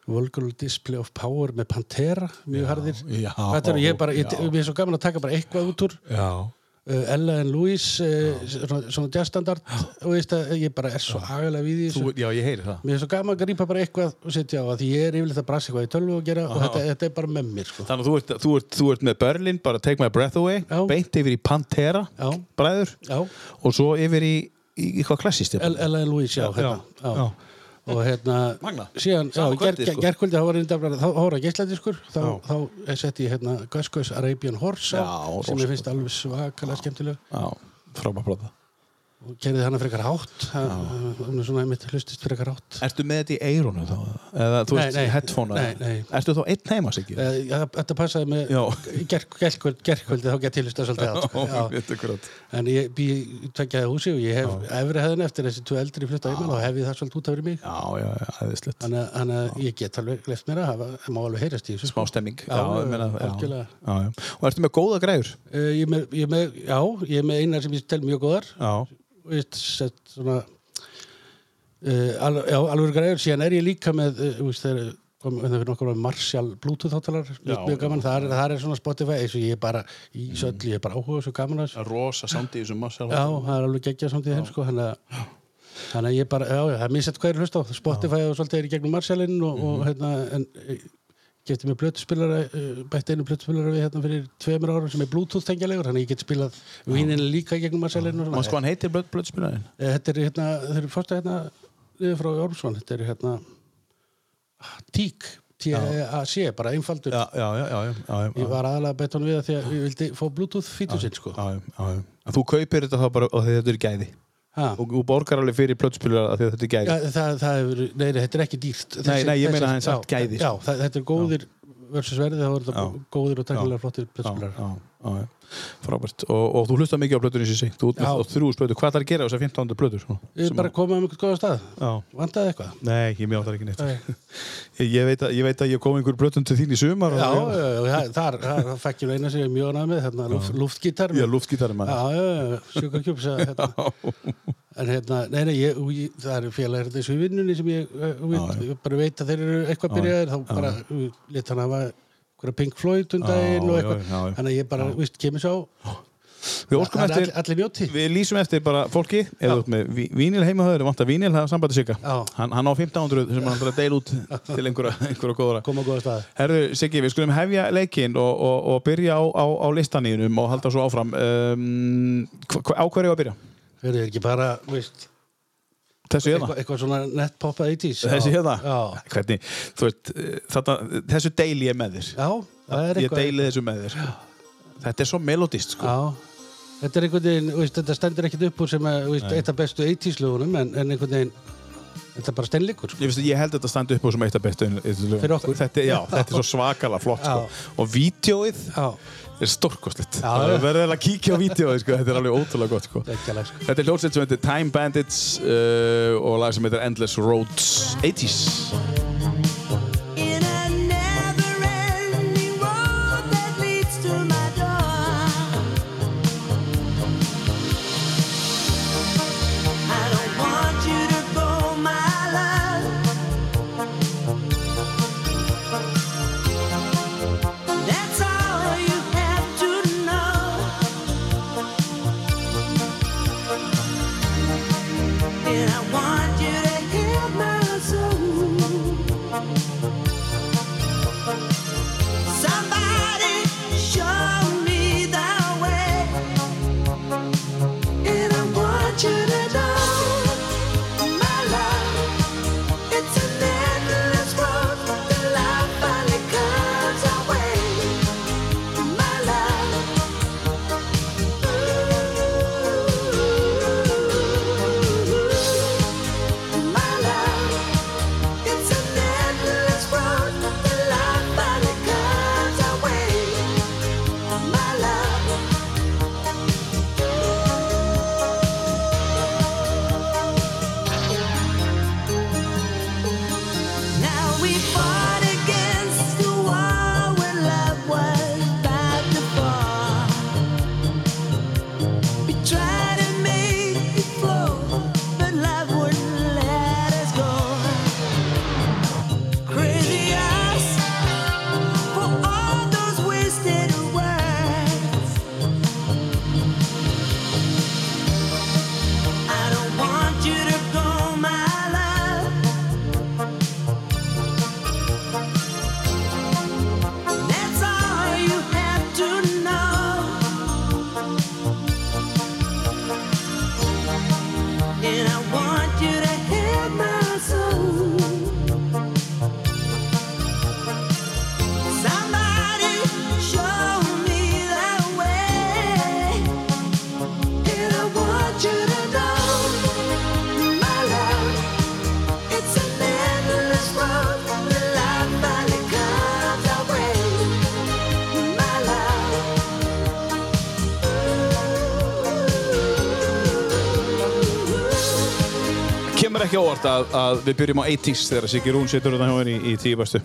[SPEAKER 3] Vulgar Display of Power með Pantera, mjög harðir
[SPEAKER 2] já,
[SPEAKER 3] þetta er ég bara, ég,
[SPEAKER 2] já.
[SPEAKER 3] mér er svo gaman að taka bara eitthvað út úr
[SPEAKER 2] Já.
[SPEAKER 3] uh, Ella and Louise uh, svona, svona jazzstandard og veist að ég bara er svo agalega við því
[SPEAKER 2] Þú, já, ég heyri það.
[SPEAKER 3] Mér er svo gaman að grípa bara eitthvað og setja á að því ég er yfirleitt að brasa eitthvað í tölvu og gera og þetta, þetta er bara með mér sko.
[SPEAKER 2] Þannig að þú ert, þú, ert, þú ert með Berlin, bara Take My Breath Away,
[SPEAKER 3] Já.
[SPEAKER 2] beint yfir í Pantera,
[SPEAKER 3] Já.
[SPEAKER 2] bræður,
[SPEAKER 3] Já,
[SPEAKER 2] og svo yfir í, í eitthvað klassist.
[SPEAKER 3] El- Ella and Louise, já, hérna,
[SPEAKER 2] já,
[SPEAKER 3] já. Og hérna,
[SPEAKER 2] Magnað.
[SPEAKER 3] síðan, já,
[SPEAKER 2] Sama
[SPEAKER 3] ger,
[SPEAKER 2] kvöldið,
[SPEAKER 3] ger,
[SPEAKER 2] sko.
[SPEAKER 3] gerkvöldi, þá var reynda bara, þá þá var að geisladiskur, þá, þá setti ég hérna Gus Gus Arabian Horse á,
[SPEAKER 2] Já,
[SPEAKER 3] sem
[SPEAKER 2] rosa
[SPEAKER 3] ég finnst alveg svakalega skemmtileg
[SPEAKER 2] Já, frábæð plata.
[SPEAKER 3] og kerði hana frekar hátt, það- hún er svona einmitt hlustist frekar hátt.
[SPEAKER 2] Ertu með þetta í eirunu þá? Eða þú
[SPEAKER 3] Nei,
[SPEAKER 2] ert
[SPEAKER 3] nei,
[SPEAKER 2] í headphone?
[SPEAKER 3] nei, nei.
[SPEAKER 2] Ertu þá einn heima, Siggi?
[SPEAKER 3] Eh, já, Þetta passaði með
[SPEAKER 2] Já.
[SPEAKER 3] gerk- gerkvöld, gerkvöldi, þá get ég hlusta svolítið átt. sko. Já.
[SPEAKER 2] veitu grátt.
[SPEAKER 3] En ég bý í tveggjaði húsi og ég hef efri hefðin eftir þessi tvö eldri flutta í mér og hef ég það svolítið út af fyrir mig.
[SPEAKER 2] Já, já, já, æðislegt.
[SPEAKER 3] Þannig að- þannig að ég get alveg left mér að hafa, það má alveg heyrast í þessu.
[SPEAKER 2] Smá stemming.
[SPEAKER 3] Já,
[SPEAKER 2] ég meina, já,
[SPEAKER 3] algjörlega.
[SPEAKER 2] já, já. Og ertu með góða græður?
[SPEAKER 3] Uh, ég er með, ég er með, já, ég er með einar sem ég tel mjög góðar.
[SPEAKER 2] Já.
[SPEAKER 3] Þú Veist, sett svona, uh, al, já, alveg greiður. Síðan er ég líka með, uh, þú veist, þegar kom hérna fyrir nokkur með Marshall Bluetooth hátalar, mjög mjög gaman. Það er, það er svona Spotify, eins og ég er bara í söllu, ég er bara áhuga svo gaman að þessu.
[SPEAKER 2] Rosa samt í þessum massa.
[SPEAKER 3] Já, það er alveg geggjað samt í þeim sko, þannig að þannig að ég bara, já, já, það er misett hvað er hlust á Spotify og svolítið er í gegnum Marshallinn og, og
[SPEAKER 2] Mhm.
[SPEAKER 3] hérna, en getið mér blötuspilara, eh, bætti einu blötuspilara við hérna fyrir tveimur árum sem er Bluetooth tengjalegur, þannig að ég get spilað víninni líka í gegnum Marshallinn og
[SPEAKER 2] Man
[SPEAKER 3] svona.
[SPEAKER 2] sko hann heitir blöð, blöðspilaðin.
[SPEAKER 3] Eh, Þetta er hérna, þeir eru fórstu hérna niður frá Jórsson, þetta er hérna ah, Tík, T-A-C, bara einfaldur.
[SPEAKER 2] Já, já, já, já, já, já, já.
[SPEAKER 3] Ég var aðalega að betta hann við það því að ég vildi fá Bluetooth fítusinn sko.
[SPEAKER 2] já, já, já. En Þú kaupir þetta þá bara og þetta er gæði
[SPEAKER 3] Ha.
[SPEAKER 2] og þú borgar alveg fyrir plötspilar að þetta er gæði
[SPEAKER 3] Já, það, það hefur, nei, nei, þetta er ekki dýrt
[SPEAKER 2] nei, ég meina
[SPEAKER 3] þessi-
[SPEAKER 2] hann samt
[SPEAKER 3] já,
[SPEAKER 2] gæði, sko.
[SPEAKER 3] Já, það, þetta er góðir versus verðið, það voru þetta
[SPEAKER 2] Já.
[SPEAKER 3] góðir og takkilega
[SPEAKER 2] Já.
[SPEAKER 3] flottir
[SPEAKER 2] já,
[SPEAKER 3] plötspilar
[SPEAKER 2] já, já, já. frábært og, og þú hlustar mikið á plötunni sísi þú út
[SPEAKER 3] Já.
[SPEAKER 2] með þrjú plötur, hvað þarf að gera á þessar 15. plötur? svona?
[SPEAKER 3] Ég
[SPEAKER 2] Sem
[SPEAKER 3] bara
[SPEAKER 2] að-
[SPEAKER 3] koma um einhvern góða stað
[SPEAKER 2] Já.
[SPEAKER 3] Vandaði eitthvað
[SPEAKER 2] Nei, ég mjög áttar ekki neitt
[SPEAKER 3] Nei.
[SPEAKER 2] ég, ég, veit að, ég veit að ég kom einhver plötun til þín í sumar
[SPEAKER 3] Já,
[SPEAKER 2] og,
[SPEAKER 3] já, já, það- þar, þar fekk ég nú eina sem ég er mjög ánað með, hérna, luft, luftgítar
[SPEAKER 2] ég
[SPEAKER 3] með-
[SPEAKER 2] er luftgítarinn
[SPEAKER 3] Já,
[SPEAKER 2] maður
[SPEAKER 3] já, já, sjúkakjúps hérna. En hérna, nei, nei, ég, ég, það eru félagar þessu í vinnunni sem ég, ég, veit, ég bara veit að þeir eru eitthvað byrjaðir, þá bara ég lét hann hafa einhverja Pink Floyd um daginn og
[SPEAKER 2] já,
[SPEAKER 3] eitthvað,
[SPEAKER 2] já, já.
[SPEAKER 3] þannig að ég bara, víst, kemur sá,
[SPEAKER 2] Við
[SPEAKER 3] það
[SPEAKER 2] óskum
[SPEAKER 3] er
[SPEAKER 2] eftir
[SPEAKER 3] all- allir njóti.
[SPEAKER 2] Við lýsum eftir bara fólki eða þú ert með ví- vínil heima höfður, vantar vínil það er sambandi sigga,
[SPEAKER 3] Já.
[SPEAKER 2] hann, hann á 1500 sem hann ætlar að deila út til einhverja, einhverja góðra
[SPEAKER 3] koma á góða stað.
[SPEAKER 2] Herðu, Siggi, við skulum hefja leikinn og, og, og byrja á, á, á listaníunum og halda svo áfram. Um, hva, hva- á hverju að byrja?
[SPEAKER 3] Verður ekki bara, veist,
[SPEAKER 2] Þessu
[SPEAKER 3] eitthvað,
[SPEAKER 2] hérna?
[SPEAKER 3] eitthvað svona netpoppa 80s. já.
[SPEAKER 2] Þessu hérna?
[SPEAKER 3] Já,
[SPEAKER 2] Hvernig, þú veist, þetta, þessu deili ég með þér.
[SPEAKER 3] já, það er
[SPEAKER 2] Ég
[SPEAKER 3] eitthvað.
[SPEAKER 2] deili þessu með þér. Þetta er svo melodist, sko.
[SPEAKER 3] Já, þetta er einhvern veginn, veist, þetta stendur ekkert upp úr sem að, veist, eitt af bestu 80s lögunum, en, en einhvern veginn, þetta er bara steinleikur, sko.
[SPEAKER 2] Ég, veist, ég held að þetta standi upp úr sem eitt af bestu inn- inn-
[SPEAKER 3] Fyrir okkur.
[SPEAKER 2] þetta, já, þetta er svo svakalega flott sko. og vídeoið
[SPEAKER 3] Já,
[SPEAKER 2] er stórkostlegt
[SPEAKER 3] Já,
[SPEAKER 2] það
[SPEAKER 3] já.
[SPEAKER 2] verður eiginlega að kíkja á vídeoið sko. þetta er alveg ótrúlega gott sko.
[SPEAKER 3] ekki alveg, sko.
[SPEAKER 2] Þetta er hljóðsett sem heitir Time Bandits uh, og lag sem heitir Endless Roads 80s
[SPEAKER 4] In a never-ending road that leads to my door, I don't want you to go, my love. That's all you have to know. And I want you to hear my
[SPEAKER 5] want you to know, my love, it's an endless road. The life finally comes our way, my love. my love, it's an endless road. The life finally comes our way, my love. Now we fought against the wall when love was about to fall. We tried to make it flow, but love wouldn't let us go. Crazy us for all those wasted words. I don't want you to go, my love. That's all you have to know. And I want you to hear my soul. Somebody show me the way. And I want you to know, my love. It's an endless road. The life finally comes our way, my love.
[SPEAKER 2] Kemur ekki óvart að, að við byrjum á 80s þegar Siggi Rún setur þetta hjá henni í, í tíu bestu.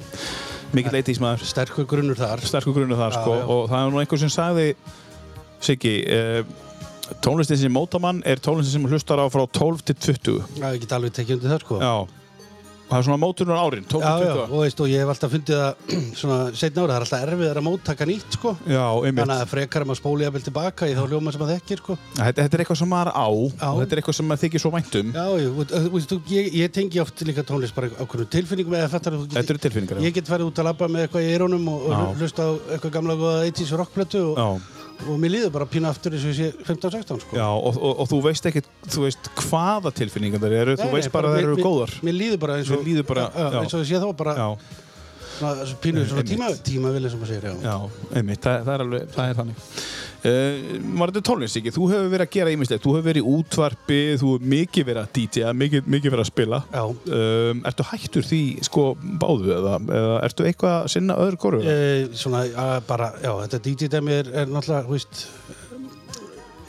[SPEAKER 2] Mikill 80s maður.
[SPEAKER 3] Sterkur grunnur þar.
[SPEAKER 2] sterkur grunnu þar sko
[SPEAKER 3] já.
[SPEAKER 2] og það er nú einhver sem sagði Siggi uh, tónlistin sem móta mann er tónlistin sem þú hlustar á frá 12 til 20
[SPEAKER 3] Það er ekki alveg tekið undir það, sko.
[SPEAKER 2] já og það er svona mótunar árin 12
[SPEAKER 3] já,
[SPEAKER 2] til
[SPEAKER 3] já,
[SPEAKER 2] 20
[SPEAKER 3] og, veist, og ég hef alltaf fundið að svona setna ára, það er alltaf erfiðar að móttaka nýtt sko.
[SPEAKER 2] já, einmitt
[SPEAKER 3] þannig að frekar maður spóli jafnvel tilbaka í þá hljóma sem maður þekkir sko.
[SPEAKER 2] þetta, þetta er eitthvað sem maður á
[SPEAKER 3] Já.
[SPEAKER 2] og þetta er eitthvað sem maður þykir svo um. væntum
[SPEAKER 3] já, ég, og- og- veist, þú- ég, ég tengi oft líka tónlist bara ákveðnum tilfinningum eða fattar þú
[SPEAKER 2] Þetta eru tilfinningar, já.
[SPEAKER 3] ég get farið út að labba með eitthvað í eirónum og, og
[SPEAKER 2] Já.
[SPEAKER 3] hlusta á eitthvað gamla góða 80s rockplötu og,
[SPEAKER 2] Já.
[SPEAKER 3] og mér líður bara pínu aftur eins og ég sé 15-16 sko.
[SPEAKER 2] Já, og, og, og þú veist ekkert, þú veist hvaða tilfinningar það eru, þú
[SPEAKER 3] Nei,
[SPEAKER 2] veist
[SPEAKER 3] nei,
[SPEAKER 2] bara að það
[SPEAKER 3] mér-
[SPEAKER 2] eru
[SPEAKER 3] mér-
[SPEAKER 2] góðar.
[SPEAKER 3] Mér líður bara eins og,
[SPEAKER 2] Mér líður bara-
[SPEAKER 3] já, já,
[SPEAKER 2] já.
[SPEAKER 3] eins og ég sé þá bara
[SPEAKER 2] Já,
[SPEAKER 3] svona, svona pínu svona
[SPEAKER 2] Einmitt.
[SPEAKER 3] tíma, tímavili sem maður segir já.
[SPEAKER 2] já, einmitt, það, það er alveg, það er þannig. Uh, var þetta tónlist ekki? Þú hefur verið að gera ýmislegt, þú hefur verið í útvarpi, þú hefur mikið verið að DJ-a, mikið, mikið verið að spila.
[SPEAKER 3] Já.
[SPEAKER 2] um, Ertu hættur því sko báðu eða, eða ertu eitthvað að sinna öðru koru?
[SPEAKER 3] Eh, svona, að bara, já, þetta DJ-dæmi er, er náttúrulega, þú veist,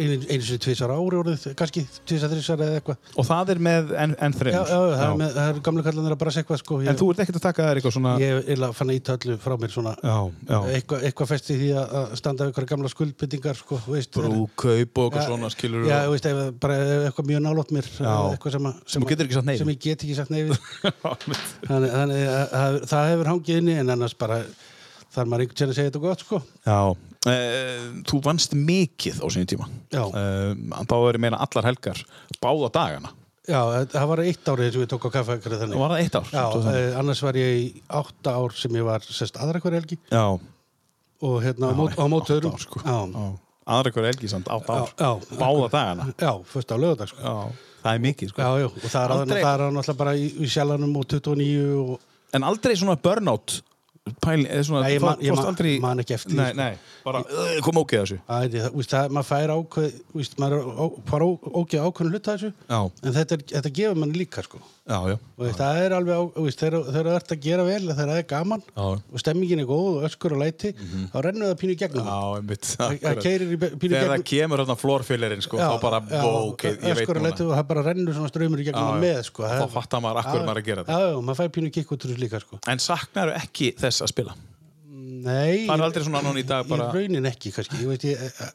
[SPEAKER 3] einu, einu sinni tvisar ári orðið, kannski tvisar, þrisar eða eitthvað.
[SPEAKER 2] og það er með enn en
[SPEAKER 3] Já, já,
[SPEAKER 2] þreymur?
[SPEAKER 3] það er, með, það er gamla kallanir að bara segja eitthvað, sko. Ég,
[SPEAKER 2] En þú ert ekkert að taka þér eitthvað svona...
[SPEAKER 3] Ég er að fann að íta öllu frá mér svona,
[SPEAKER 2] Já, já.
[SPEAKER 3] eitthvað, eitthvað festi því að að standa við eitthvað gamla skuldbyndingar, sko, þú veist.
[SPEAKER 2] Brúkaup og eitthvað
[SPEAKER 3] Já,
[SPEAKER 2] svona skilur
[SPEAKER 3] Já, þú veist, ef, það- bara ef eitthvað mjög nálótt mér,
[SPEAKER 2] Já.
[SPEAKER 3] eitthvað sem, að-
[SPEAKER 2] Sem þú getur ekki sagt nei við.
[SPEAKER 3] Sem ég get ekki sagt nei við.
[SPEAKER 2] og...
[SPEAKER 3] þannig, þannig að, að, það hefur hangið inni, en annars bara þarf maður einhvern veginn að segja þetta gott, sko.
[SPEAKER 2] Já, uh, þú vannst mikið á sinni tíma
[SPEAKER 3] Já.
[SPEAKER 2] Eh, Þá er ég meina allar helgar Báða dagana
[SPEAKER 3] Já, það var eitt árið sem ég tók á kaffekrið
[SPEAKER 2] Það
[SPEAKER 3] þannig.
[SPEAKER 2] var það eitt ár
[SPEAKER 3] Já,
[SPEAKER 2] þú-
[SPEAKER 3] eh, annars var ég í átta ár sem ég var sest aðra hver helgi
[SPEAKER 2] já.
[SPEAKER 3] og hérna á, mót, á
[SPEAKER 2] átta
[SPEAKER 3] mótöðurum.
[SPEAKER 2] ár, sko.
[SPEAKER 3] Já,
[SPEAKER 2] Aðra hver helgi samt átt ár
[SPEAKER 3] Já, já.
[SPEAKER 2] Báða dagana
[SPEAKER 3] já, fyrst á lögadag, sko.
[SPEAKER 2] já. Það er mikið
[SPEAKER 3] Já,
[SPEAKER 2] sko.
[SPEAKER 3] já, og það er að-
[SPEAKER 2] Aldrei-
[SPEAKER 3] það er að náttúrulega bara í, í sjælanum og 29 og...
[SPEAKER 2] En aldrei svona burnout pæling, eða svona,
[SPEAKER 3] Nei, ég man- ég
[SPEAKER 2] fórst
[SPEAKER 3] man-
[SPEAKER 2] aldrei...
[SPEAKER 3] man ekki eftir því,
[SPEAKER 2] Nei,
[SPEAKER 3] sko.
[SPEAKER 2] nei, bara ég... kom ógeð þessu
[SPEAKER 3] Æ, það, víst, það, maður fær ákveð, víst, maður er á- fara ógeð ákveðin hluta þessu,
[SPEAKER 2] Já.
[SPEAKER 3] en þetta, er, þetta gefur manni líka, sko.
[SPEAKER 2] Já, já
[SPEAKER 3] Og veist, það er alveg, á, víst, þegar, þegar það ert að gera vel, þegar það er gaman
[SPEAKER 2] Já. Mhm.
[SPEAKER 3] og stemmingin er góð og öskur og læti, þá rennur það pínu í gegnum.
[SPEAKER 2] Já, einmitt
[SPEAKER 3] Það
[SPEAKER 2] akkurat.
[SPEAKER 3] keirir í be- pínu
[SPEAKER 2] Þegar það
[SPEAKER 3] gegn-
[SPEAKER 2] kemur hérna flórfélirinn sko, þá bara,
[SPEAKER 3] e-
[SPEAKER 2] ógeð, ég veit
[SPEAKER 3] öskur að
[SPEAKER 2] núna
[SPEAKER 3] leita og það bara rennur svona ströymur í gegnum
[SPEAKER 2] Já,
[SPEAKER 3] já,
[SPEAKER 2] já.
[SPEAKER 3] með sko.
[SPEAKER 2] Þá fattar maður af hverju
[SPEAKER 3] Já,
[SPEAKER 2] maður er að gera þetta.
[SPEAKER 3] já, já, maður fær pínu kikk út úr þessu líka sko.
[SPEAKER 2] En saknaru ekki þess að spila?
[SPEAKER 3] nei,
[SPEAKER 2] Það er aldrei svona annan í dag bara-
[SPEAKER 3] ég raunin ekki kannski, ég veit ég eh, eh,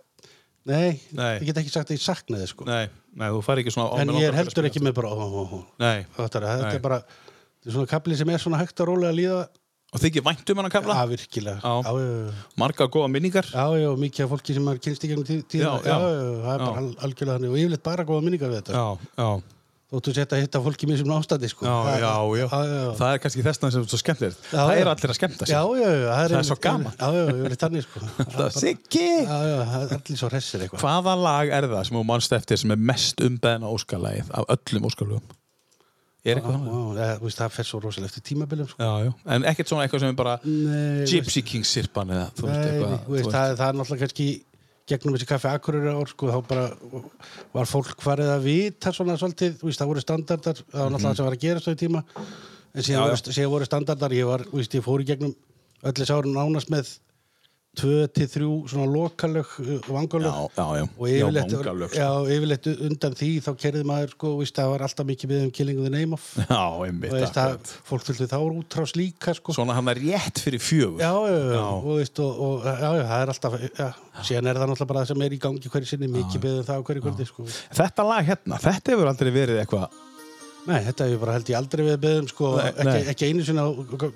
[SPEAKER 3] nei,
[SPEAKER 2] Nei.
[SPEAKER 3] ég get ekki sagt að ég sakna þið sko.
[SPEAKER 2] Nei, nei, þú fær ekki svona "Ó,
[SPEAKER 3] en
[SPEAKER 2] mig
[SPEAKER 3] ég
[SPEAKER 2] langar
[SPEAKER 3] er
[SPEAKER 2] að
[SPEAKER 3] heldur
[SPEAKER 2] spila
[SPEAKER 3] ekki með bara ó, ó, ó, ó.
[SPEAKER 2] Nei.
[SPEAKER 3] Fattar, þetta
[SPEAKER 2] Nei.
[SPEAKER 3] er bara þetta er svona kapli sem er svona hægt að rólega að líða
[SPEAKER 2] þetta." Og þykir vænt um hann að kafla
[SPEAKER 3] að virkilega
[SPEAKER 2] Já.
[SPEAKER 3] já, já, já.
[SPEAKER 2] Marga góða minningar
[SPEAKER 3] já, já, mikið af fólki sem maður kynst í gegnum tíð, tíð
[SPEAKER 2] Já, já.
[SPEAKER 3] það er bara
[SPEAKER 2] Já.
[SPEAKER 3] al- algjörlega þannig og yfirleitt bara góða minningar við þetta
[SPEAKER 2] já
[SPEAKER 3] Þóttu sett að hitta fólki mér sem ástandi sko.
[SPEAKER 2] Já,
[SPEAKER 3] Það-
[SPEAKER 2] já, já.
[SPEAKER 3] Já, já.
[SPEAKER 2] Það er kannski þessna sem er svo skemmtilegt.
[SPEAKER 3] Já,
[SPEAKER 2] það
[SPEAKER 3] já.
[SPEAKER 2] er allir að skemmta sig.
[SPEAKER 3] Já, já, já, það er,
[SPEAKER 2] Það er
[SPEAKER 3] einmitt-
[SPEAKER 2] svo gaman.
[SPEAKER 3] Já, já, já, ég þannig sko. Það
[SPEAKER 2] Það
[SPEAKER 3] er
[SPEAKER 2] er
[SPEAKER 3] bara-
[SPEAKER 2] Siggi!
[SPEAKER 3] Já, já, það er allir svo hressir eitthvað.
[SPEAKER 2] Hvaða lag er það sem þú manst eftir sem er mest umbeðna óskalagið af öllum óskalugum? Er eitthvað þannig?
[SPEAKER 3] Já, já, þú veist, það fer svo rosalega eftir tímabilum sko.
[SPEAKER 2] Já, já. En ekkert svona eitthvað sem er bara
[SPEAKER 3] Nei,
[SPEAKER 2] Gypsy King sirpan eða þú veist
[SPEAKER 3] Nei,
[SPEAKER 2] eitthvað.
[SPEAKER 3] þú veist, það, það er náttúrulega kannski gegnum þessi kaffi Akureyri ár sko, þá bara var fólk farið að vita svona svolítið, þú veist, það voru standardar það var náttúrulega það sem var að gera stöðu tíma en
[SPEAKER 2] Mhm. Já,
[SPEAKER 3] síðan
[SPEAKER 2] já.
[SPEAKER 3] voru, síðan voru standardar ég var, þú veist, ég fór í gegnum öll þessi árun nánast með 2-3 svona lokalög vangalög
[SPEAKER 2] Já, já, já.
[SPEAKER 3] og
[SPEAKER 2] Já,
[SPEAKER 3] yfirleitt,
[SPEAKER 2] vangalög, sko.
[SPEAKER 3] já, yfirleitt undan því þá kerði maður sko, þú veist, það var alltaf mikið við um killingu the name of
[SPEAKER 2] Já, einmitt.
[SPEAKER 3] og veist,
[SPEAKER 2] akkurat.
[SPEAKER 3] það, fólk fylgdi þá útrás líka sko.
[SPEAKER 2] Svona hann er rétt fyrir fjögur.
[SPEAKER 3] Já, já, já,
[SPEAKER 2] Já.
[SPEAKER 3] og, veist, og, og já, já, það er alltaf já. síðan er það náttúrulega bara það sem er í gangi hverju sinni mikið beðið það á hverju kvöldi sko.
[SPEAKER 2] Þetta lag hérna, þetta hefur aldrei verið eitthvað.
[SPEAKER 3] Nei, þetta hefur bara held ég aldrei við beðum sko,
[SPEAKER 2] Nei,
[SPEAKER 3] ekki,
[SPEAKER 2] nei.
[SPEAKER 3] ekki einu sinna á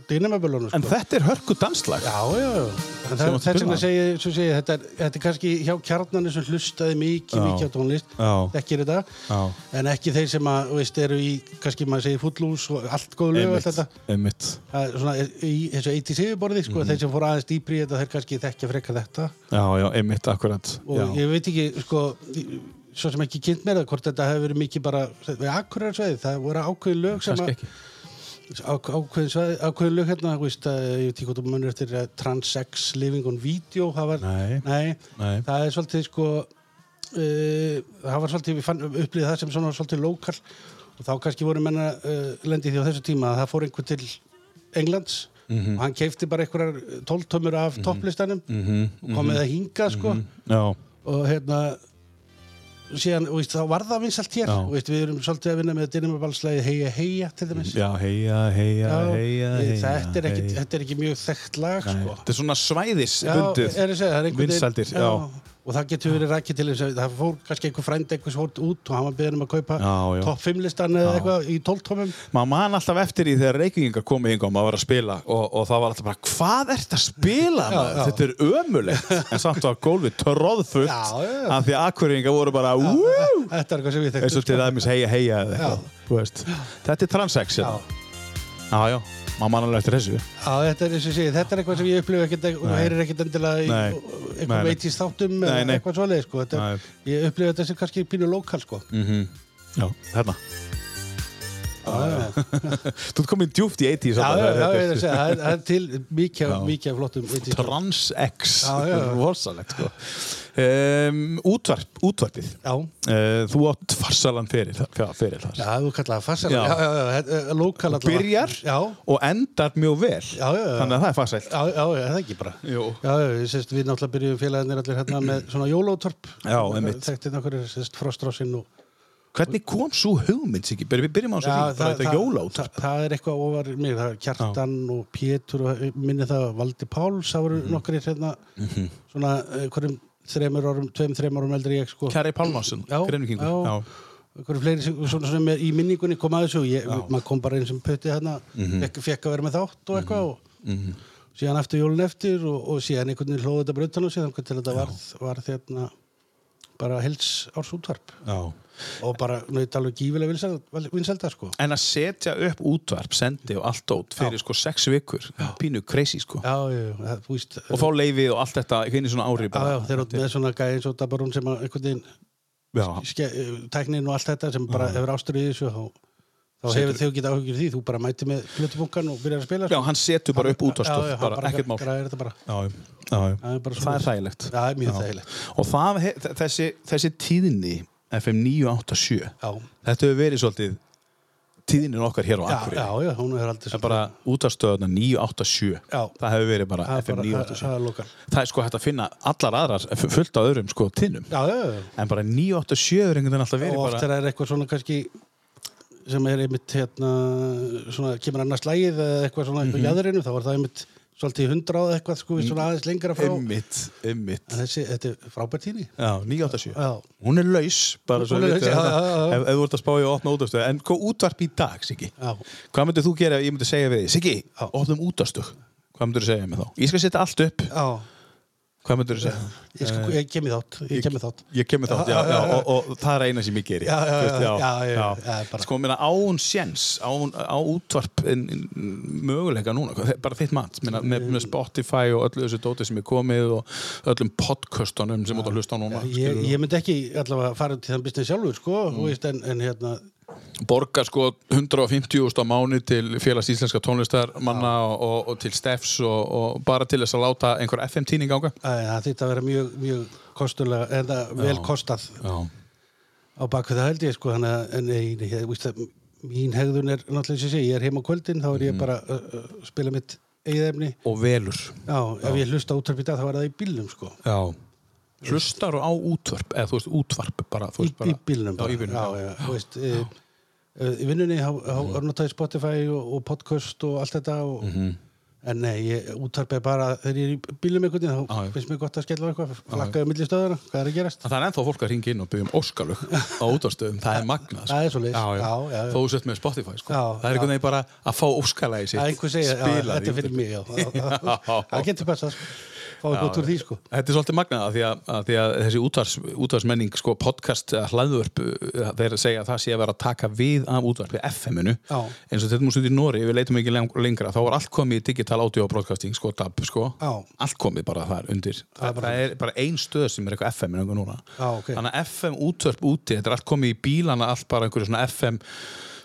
[SPEAKER 3] dynamabölunum
[SPEAKER 2] En
[SPEAKER 3] sko.
[SPEAKER 2] þetta er hörku danslag.
[SPEAKER 3] Já, já, já En
[SPEAKER 2] Sem
[SPEAKER 3] það,
[SPEAKER 2] átti
[SPEAKER 3] þess
[SPEAKER 2] spilað.
[SPEAKER 3] vegna segi, ég- svo segi ég, þetta, er- þetta er kannski hjá kjarnanir sem hlustaði mikið,
[SPEAKER 2] Já.
[SPEAKER 3] mikið á tónlist
[SPEAKER 2] Já.
[SPEAKER 3] þekkir þetta,
[SPEAKER 2] Já.
[SPEAKER 3] en ekki þeir sem að, veist, eru í, kannski maður segir fullús og allt góð lög og allt þetta
[SPEAKER 2] Einmitt, einmitt.
[SPEAKER 3] Það er svona í þessu 80 yfirborði
[SPEAKER 2] Mhm.
[SPEAKER 3] sko, þeir sem fór aðeins dýpri í þetta, þeir kannski þekkja frekar þetta
[SPEAKER 2] Já, já, einmitt, akkurat.
[SPEAKER 3] og
[SPEAKER 2] Já.
[SPEAKER 3] ég veit ekki sko, ég- svo sem ekki kynnt mér það hvort þetta hefur verið mikið bara við akkurarsveið, það voru ákveðin lög sem
[SPEAKER 2] Kannski
[SPEAKER 3] að
[SPEAKER 2] ekki.
[SPEAKER 3] ák- ákveðin, sveið, ákveðin lög hérna þú veist, að, ég veit ekki hvort þú munir eftir að Transex Living on Video það var,
[SPEAKER 2] Nei. Nei.
[SPEAKER 3] það er svolítið sko uh, það var svolítið, við fann upplýðið það sem svona svolítið lokal og þá kannski voru menna uh, lendið því á þessu tíma að það fór einhver til Englands
[SPEAKER 2] Mhm.
[SPEAKER 3] og hann keifti bara einhverjar tóltömmur af topplistanum
[SPEAKER 2] Mhm.
[SPEAKER 3] og komið það hingað sko
[SPEAKER 2] Já,
[SPEAKER 3] og hérna síðan, og veist, þá var það vinsalt hér
[SPEAKER 2] Já.
[SPEAKER 3] og veist, við erum svolítið að vinna með dynamobalslæði heia heia til dæmis
[SPEAKER 2] já, heia, heia,
[SPEAKER 3] Já,
[SPEAKER 2] heia, heia.
[SPEAKER 3] þetta, er ekki,
[SPEAKER 2] heia.
[SPEAKER 3] þetta er ekki mjög þekkt lag
[SPEAKER 2] Nei,
[SPEAKER 3] sko.
[SPEAKER 2] Þetta er svona
[SPEAKER 3] Já,
[SPEAKER 2] svæðisbundið
[SPEAKER 3] er að segja, það er einhvern veginn-
[SPEAKER 2] Vinsældir, já.
[SPEAKER 3] og það getur verið rækið til þess að það fór kannski einhver frænd einhvers hórt út og hann var beðin um að kaupa
[SPEAKER 2] Já, já.
[SPEAKER 3] topp 5 listan eða eitthvað í 12 tómum
[SPEAKER 2] Maður man alltaf eftir í þegar reykingar komið hingað og maður var að spila og, og það var alltaf bara hvað ert að spila maður?
[SPEAKER 3] já.
[SPEAKER 2] Þetta er ömulegt en samt var gólfið tróðfullt
[SPEAKER 3] Já, já.
[SPEAKER 2] af því að akkurringar voru bara "Woo!"
[SPEAKER 3] þetta er eitthvað sem sko. við
[SPEAKER 2] eins og
[SPEAKER 3] þekktum
[SPEAKER 2] til aðeins heia heia eða eitthvað, þú veist. Þetta er transex
[SPEAKER 3] Já.
[SPEAKER 2] hérna. Já, já, maður man alveg eftir þessu
[SPEAKER 3] Já, þetta er, eins og ég segi, þetta er eitthvað sem ég upplifa ekkert og heyrir ekkert endilega í
[SPEAKER 2] Nei. Nei,
[SPEAKER 3] eitthvað
[SPEAKER 2] nei.
[SPEAKER 3] veitist þáttum
[SPEAKER 2] Nei,
[SPEAKER 3] eða
[SPEAKER 2] nei.
[SPEAKER 3] eitthvað svoleið sko. Þetta-
[SPEAKER 2] Nei. Mm.
[SPEAKER 3] ég upplifa þetta sem kannski pínu lokal sko.
[SPEAKER 2] Já, hérna
[SPEAKER 3] já, já.
[SPEAKER 2] Þú ert komin djúft í 80s
[SPEAKER 3] Já,
[SPEAKER 2] þarna,
[SPEAKER 3] já, já,
[SPEAKER 2] þetta
[SPEAKER 3] ég er
[SPEAKER 2] er-
[SPEAKER 3] að segja, það er- það er til mikið, af- mikið af flottum veitir.
[SPEAKER 2] Trans-X
[SPEAKER 3] Já, já, já.
[SPEAKER 2] Rosalegt sko um, útvarp, Útvarpið
[SPEAKER 3] Já,
[SPEAKER 2] Uh, þú átt farsalan fyrir, fyrir þar
[SPEAKER 3] já, þú kallar það farsæl
[SPEAKER 2] Já.
[SPEAKER 3] Já, já, já, þetta er lokal allavega
[SPEAKER 2] byrjar
[SPEAKER 3] Já,
[SPEAKER 2] og endar mjög vel
[SPEAKER 3] já, já, já.
[SPEAKER 2] þannig að það er farsælt
[SPEAKER 3] já, já, já, það er ekki bara
[SPEAKER 2] Jú.
[SPEAKER 3] Já, já, ég sést, við náttúrulega byrjum félagarnir allir hérna með svona jólótorp
[SPEAKER 2] Já, einmitt.
[SPEAKER 3] Þekktinn okkur, sést, frostrósinn og
[SPEAKER 2] Hvernig kom svo hugmynd Siggi? Byrjum við byrjum á þessu hugmynd, bara þetta jólátt
[SPEAKER 3] það, það er eitthvað ofar mér, það er Kjartan og Pétur og eh, minni það Valdi Páls, það voru
[SPEAKER 2] Mhm.
[SPEAKER 3] nokkri hérna, svona eh, hverjum þremur árum, tveim, þreim árum eldri en ég sko.
[SPEAKER 2] Kæri Pálmarsson,
[SPEAKER 3] Já,
[SPEAKER 2] greinvikingur
[SPEAKER 3] já.
[SPEAKER 2] Já.
[SPEAKER 3] Einhverju fleiri sem, svona, svona með, í minningunni kom að þessu og ég, maður kom bara eins sem puttið hérna
[SPEAKER 2] Mhm.
[SPEAKER 3] fekk, fekk að vera með þátt og eitthvað og síðan aftur jólun eftir og, og síðan einhvern veginn hlóðu þetta bara utan og síðan til þetta varð, varð hérna bara hels árs útvarp
[SPEAKER 2] Já.
[SPEAKER 3] og bara nöyt alveg gífilega vinsælda, vinsælda sko
[SPEAKER 2] En að setja upp útvarp, sendi og allt át fyrir sko sex vikur, það er pínu crazy sko
[SPEAKER 3] Já, já, já, það, þú veist
[SPEAKER 2] og fá leifið og allt þetta hinn í svona ári
[SPEAKER 3] Já, já,
[SPEAKER 2] bara
[SPEAKER 3] þeir eru með svona gæði eins og dabarún sem að einhvern veginn
[SPEAKER 2] Já,
[SPEAKER 3] ske, eh, tæknin og allt þetta sem bara hefur ástur í þessu þá, þá
[SPEAKER 2] Setur-
[SPEAKER 3] hefur þau getað áhyggjur af því, þú bara mæti með plötubunkan og byrjar að spila sko.
[SPEAKER 2] já hann setur bara upp
[SPEAKER 3] Já, já,
[SPEAKER 2] útvarpstöð
[SPEAKER 3] hann
[SPEAKER 2] bara ekkert mál
[SPEAKER 3] græðir þetta bara.
[SPEAKER 2] Já, já, já,
[SPEAKER 3] Það
[SPEAKER 2] já.
[SPEAKER 3] er
[SPEAKER 2] Það
[SPEAKER 3] bara
[SPEAKER 2] er
[SPEAKER 3] svoleiðis.
[SPEAKER 2] þægilegt
[SPEAKER 3] Já, það er mjög
[SPEAKER 2] Já.
[SPEAKER 3] þægilegt.
[SPEAKER 2] Og það, he- þ- þessi, þessi tíðni FM 987
[SPEAKER 3] Já.
[SPEAKER 2] Þetta hefur verið svolítið tíðnin okkar hér á
[SPEAKER 3] Já,
[SPEAKER 2] Akureyri
[SPEAKER 3] já, já, hún er aldrei
[SPEAKER 2] Það er bara útastöðuna 987
[SPEAKER 3] Já.
[SPEAKER 2] Það hefur verið bara
[SPEAKER 3] Það er
[SPEAKER 2] FM
[SPEAKER 3] bara- það-
[SPEAKER 2] 987
[SPEAKER 3] það er lokal.
[SPEAKER 2] Það er sko hægt að finna allar aðrar f- fullt á öðrum sko tíðnum
[SPEAKER 3] Já, já, já.
[SPEAKER 2] En bara 987 er einhvern veginn alltaf verið
[SPEAKER 3] Og oft
[SPEAKER 2] bara
[SPEAKER 3] er það eitthvað svona kannski sem er einmitt hérna svona kemur annars lægið eða eitthvað svona
[SPEAKER 2] Mhm.
[SPEAKER 3] mm -hmm. jæðrinu, þá var það einmitt svolítið hundrað eða eitthvað sko, svona aðeins lengra frá en
[SPEAKER 2] Ymmit, ymmit
[SPEAKER 3] þessi, þetta er frábært tíni
[SPEAKER 2] Já, 987
[SPEAKER 3] Já.
[SPEAKER 2] Hún er laus, bara svo
[SPEAKER 3] Hún er
[SPEAKER 2] vitið
[SPEAKER 3] laus, já,
[SPEAKER 2] þetta.
[SPEAKER 3] já, já.
[SPEAKER 2] Ef, ef þú ert að spá í að opna útastöð En hvað útvarp í dag, Siggi?
[SPEAKER 3] Já.
[SPEAKER 2] Hvað myndir þú gera ef ég myndi segja við þig Siggi,
[SPEAKER 3] Já.
[SPEAKER 2] opnum útastöð Hvað myndir þú segja mér þá? Ég skal setja allt upp
[SPEAKER 3] Já,
[SPEAKER 2] Hvað myndur þú segja?
[SPEAKER 3] Ég, skal, ég kem í þátt, Eh, ég kem í þátt.
[SPEAKER 2] Ég kemur þátt, já, já, og, og það er eina sem ég geri
[SPEAKER 3] Já, já,
[SPEAKER 2] Þú veist,
[SPEAKER 3] já, já, já, já, bara.
[SPEAKER 2] Sko, minna, án séns án, á útvarp en, en, möguleika núna, hvað- bara þitt mat minna, með, með Spotify og öllu þessu dóti sem er komið og öllum podcastunum sem út að hlusta á núna
[SPEAKER 3] Ég,
[SPEAKER 2] skilurðu.
[SPEAKER 3] ég myndi ekki allavega fara til þann business sjálfur, sko, þú veist, en, en hérna,
[SPEAKER 2] borga sko 150.000 á mánu til félags íslenska tónlistarmanna og, og, og til Steffs og, og bara til þess að láta einhver FM-tíning ánga
[SPEAKER 3] æ, það þýtti að vera mjög, mjög kostulega, eða vel kostað
[SPEAKER 2] Já,
[SPEAKER 3] á bakvið það held ég, sko, þannig að, en nei, ég, veist, að mín hegðun er náttúrulega sem sé, ég er heima á kvöldin, þá er ég bara að uh, uh, spila mitt eigið efni.
[SPEAKER 2] og velur
[SPEAKER 3] Já, ef ég hlusta útvarp í dag, þá er það í bílnum, sko.
[SPEAKER 2] Já Hlustar á útvarp, eða þú veist útvarp bara, þú
[SPEAKER 3] Í,
[SPEAKER 2] veist, bara,
[SPEAKER 3] í bílnum
[SPEAKER 2] Já, Mhm.
[SPEAKER 3] bara.
[SPEAKER 2] í bílnum,
[SPEAKER 3] já, já, þú veist, já. Í vinnunni þá þá notaði ég Spotify og, og podcast og allt þetta og,
[SPEAKER 2] Mhm.
[SPEAKER 3] en nei, ég útvarpið bara þegar ég er í bílum einhvern veginn þá
[SPEAKER 2] Já, já.
[SPEAKER 3] finnst mér gott að skella á eitthvað, flakkaði milli stöðuna, hvað er að gerast?
[SPEAKER 2] En Það er ennþá fólk að ringa inn og byggja um óskalug á útastöðum, það er magnað. sko.
[SPEAKER 3] Það er svoleiðis.
[SPEAKER 2] Já, já.
[SPEAKER 3] Já, já, já.
[SPEAKER 2] Þó sett með Spotify, sko. það er
[SPEAKER 3] Já,
[SPEAKER 2] einhvern
[SPEAKER 3] já.
[SPEAKER 2] veginn bara að fá óskalægi sitt.
[SPEAKER 3] Að einhver segja, já,
[SPEAKER 2] spilað í
[SPEAKER 3] þetta er fyrir mig, já.
[SPEAKER 2] Já.
[SPEAKER 3] Það getur passað, sko. Fáið
[SPEAKER 2] Já,
[SPEAKER 3] gott úr því, sko.
[SPEAKER 2] Þetta er svolítið magnað af því að, að, því að þessi útvars, útvarsmenning, sko, podcast, eða hlaðvörp, eh, þeir segja að það sé að vera að taka við af útvarpi FM-inu.
[SPEAKER 3] Já.
[SPEAKER 2] Eins og þetta múst út í Nóri, ef við leitum ekki leng- lengra, þá var allt komið í digital audio broadcasting, sko, DAB, sko.
[SPEAKER 3] Já.
[SPEAKER 2] Allt komið bara þar undir.
[SPEAKER 3] Það er
[SPEAKER 2] Það,
[SPEAKER 3] bara
[SPEAKER 2] það er bara ein stöð sem er eitthvað FM-inu núna.
[SPEAKER 3] Já, ok.
[SPEAKER 2] Þannig að FM útvörp úti, þetta er allt komið í bílana, allt bara einhverju svona FM,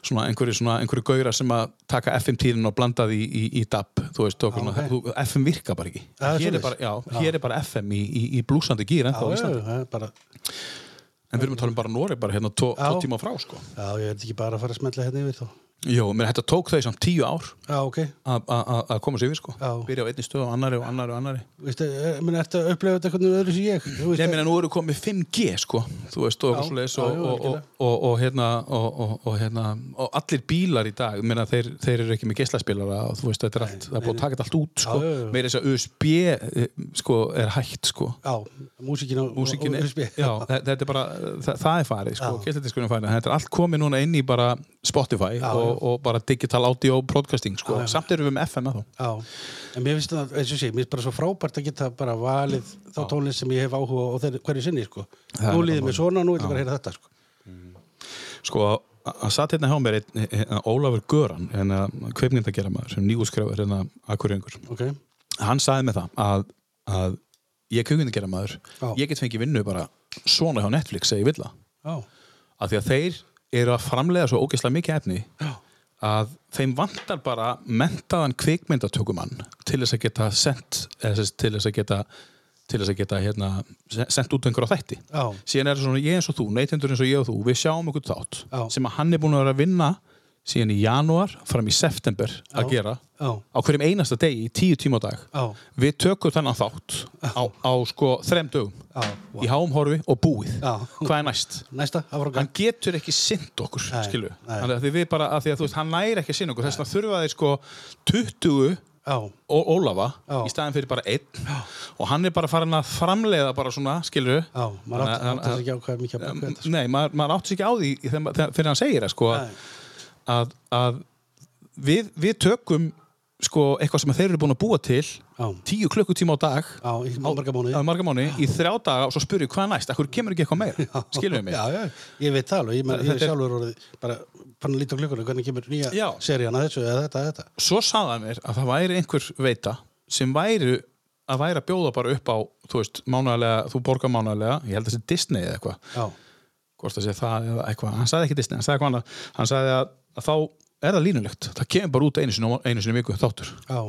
[SPEAKER 2] svona einhverju, svona einhverju gauðra sem að taka FM-tíðin og blanda því í, í, í DAB, þú veist, og svona,
[SPEAKER 3] ok.
[SPEAKER 2] þú- FM virka bara ekki.
[SPEAKER 3] Já, það
[SPEAKER 2] Hér
[SPEAKER 3] er
[SPEAKER 2] er,
[SPEAKER 3] svoleiðis.
[SPEAKER 2] bara, já, hér er bara FM í, í, í blúsandi gýr
[SPEAKER 3] Já,
[SPEAKER 2] ennþá á
[SPEAKER 3] já,
[SPEAKER 2] Íslandi.
[SPEAKER 3] það er bara,
[SPEAKER 2] En við erum að tala um bara Nóri, bara hérna tvo,
[SPEAKER 3] Já.
[SPEAKER 2] tvo tíma frá, sko.
[SPEAKER 3] já, ég veit ekki bara að fara að smetla hérna yfir þá.
[SPEAKER 2] Jó, menn þetta tók þau samt tíu ár
[SPEAKER 3] Já, ok.
[SPEAKER 2] að- að að- að koma sér yfir, sko.
[SPEAKER 3] Já.
[SPEAKER 2] Byrja á einni stöð og annari og annari og annari.
[SPEAKER 3] Veistu, er, menn, ertu að upplifa þetta einhvern veginn öðru sem ég? Þú veist,
[SPEAKER 2] Nei, menn, nú eru komið 5G, sko, þú veist, og
[SPEAKER 3] Já.
[SPEAKER 2] svo leis
[SPEAKER 3] Já,
[SPEAKER 2] og,
[SPEAKER 3] jú,
[SPEAKER 2] og, og,
[SPEAKER 3] algjörlega.
[SPEAKER 2] og, og, hérna, og, og, og, hérna, og allir bílar í dag, menna, þeir, þeir eru ekki með geislaspilara og þú veist, þetta er allt, það er búið að taka þetta allt út, sko.
[SPEAKER 3] Já, já, já.
[SPEAKER 2] Meira þess að USB, eh, sko, er hægt, sko.
[SPEAKER 3] Já, músíkin og
[SPEAKER 2] músikin
[SPEAKER 3] og-
[SPEAKER 2] er,
[SPEAKER 3] USB.
[SPEAKER 2] já, þe- þetta er bara það, það er farið, sko,
[SPEAKER 3] Já.
[SPEAKER 2] gæstlættiskunum farið þetta er allt komið núna inn í bara Spotify
[SPEAKER 3] Já,
[SPEAKER 2] og, og bara digital audio broadcasting, sko, samt erum við með FM að þá
[SPEAKER 3] Já, en mér finnst það, eins og sé, mér finnst bara svo frábært að geta bara valið þá tónlist sem ég hef áhuga á þeir, hverju sinni, sko.
[SPEAKER 2] Það er
[SPEAKER 3] Nú
[SPEAKER 2] nefnilega
[SPEAKER 3] líðið mér
[SPEAKER 2] málið.
[SPEAKER 3] svona, nú ætlum ég bara að heyra þetta, sko.
[SPEAKER 2] sko, að satt hérna hjá mér einn, einn, Ólafur Göran, hérna kveipnindagera maður sem nýgúskrefur hérna akkurjöngur,
[SPEAKER 3] Ok,
[SPEAKER 2] hann sagði með það að, að ég er kveipnindagera maður
[SPEAKER 3] Já.
[SPEAKER 2] ég get fengið vinnu bara svona hjá Netflix eða ég vil það,
[SPEAKER 3] já,
[SPEAKER 2] af því að þeir eru að framlega svo ógeðslega mikið efni
[SPEAKER 3] já,
[SPEAKER 2] að þeim vantar bara mentaðan kvikmyndatökumann til þess að geta sendt eða sem sagt til þess að geta til þess að geta hérna, se- sendt út einhverja þætti
[SPEAKER 3] Já.
[SPEAKER 2] síðan er það svona ég eins og þú, neytendur eins og ég og þú við sjáum einhvern þátt
[SPEAKER 3] Já.
[SPEAKER 2] sem að hann er búin að vera að vinna síðan í janúar fram í september að gera
[SPEAKER 3] Já.
[SPEAKER 2] á hverjum einasta degi í tíu tíma á dag
[SPEAKER 3] Já.
[SPEAKER 2] við tökum þennan þátt á, á sko þrem dögum
[SPEAKER 3] Já.
[SPEAKER 2] í háumhorfi og búið
[SPEAKER 3] Já.
[SPEAKER 2] hvað er næst?
[SPEAKER 3] næsta, áfranga.
[SPEAKER 2] hann getur ekki sinnt okkur
[SPEAKER 3] Nei,
[SPEAKER 2] skilu,
[SPEAKER 3] nei.
[SPEAKER 2] þannig að því við bara að því að þú veist, hann næri ekki að sinna okkur, þess vegna þurfa þeir sko 20
[SPEAKER 3] Já,
[SPEAKER 2] Ó- Ólafa
[SPEAKER 3] Já.
[SPEAKER 2] í staðin fyrir bara einn og hann er bara farin að framleiða bara svona, skilur
[SPEAKER 3] já, maður átt átt þess ekki á hvað er mikið að baka þetta, sko.
[SPEAKER 2] Nei, maður, maður átti sig ekki á því í þeim, þegar, fyrir hann segir það sko
[SPEAKER 3] Nei.
[SPEAKER 2] að, að við, við tökum sko eitthvað sem þeir eru búin að búa til
[SPEAKER 3] Já.
[SPEAKER 2] tíu klukkutíma á dag
[SPEAKER 3] Já, í marga mánuði.
[SPEAKER 2] á marga mánuði í þrjá daga og svo spurðu hvað er næst, akkur kemur ekki eitthvað meira skilur mig
[SPEAKER 3] Já, já, ég veit það alveg, ég, menn, ég
[SPEAKER 2] Þetta er-
[SPEAKER 3] sjálfur orðið, bara fann að líta á klukkuna, hvernig kemur nýja
[SPEAKER 2] Já.
[SPEAKER 3] serían að þessu eða þetta, eða þetta.
[SPEAKER 2] svo sagði hann mér að það væri einhver veita sem væri að væri að bjóða bara upp á þú veist, mánuðarlega, þú borgar mánuðarlega ég held að það sé Disney eða eitthvað
[SPEAKER 3] Já,
[SPEAKER 2] hvort það sé það eða eitthvað, hann sagði ekki Disney hann sagði, eitthvað annað. hann sagði að, að þá er það línulegt það kemur bara út einu sinni, á- einu sinni í viku þáttur
[SPEAKER 3] já.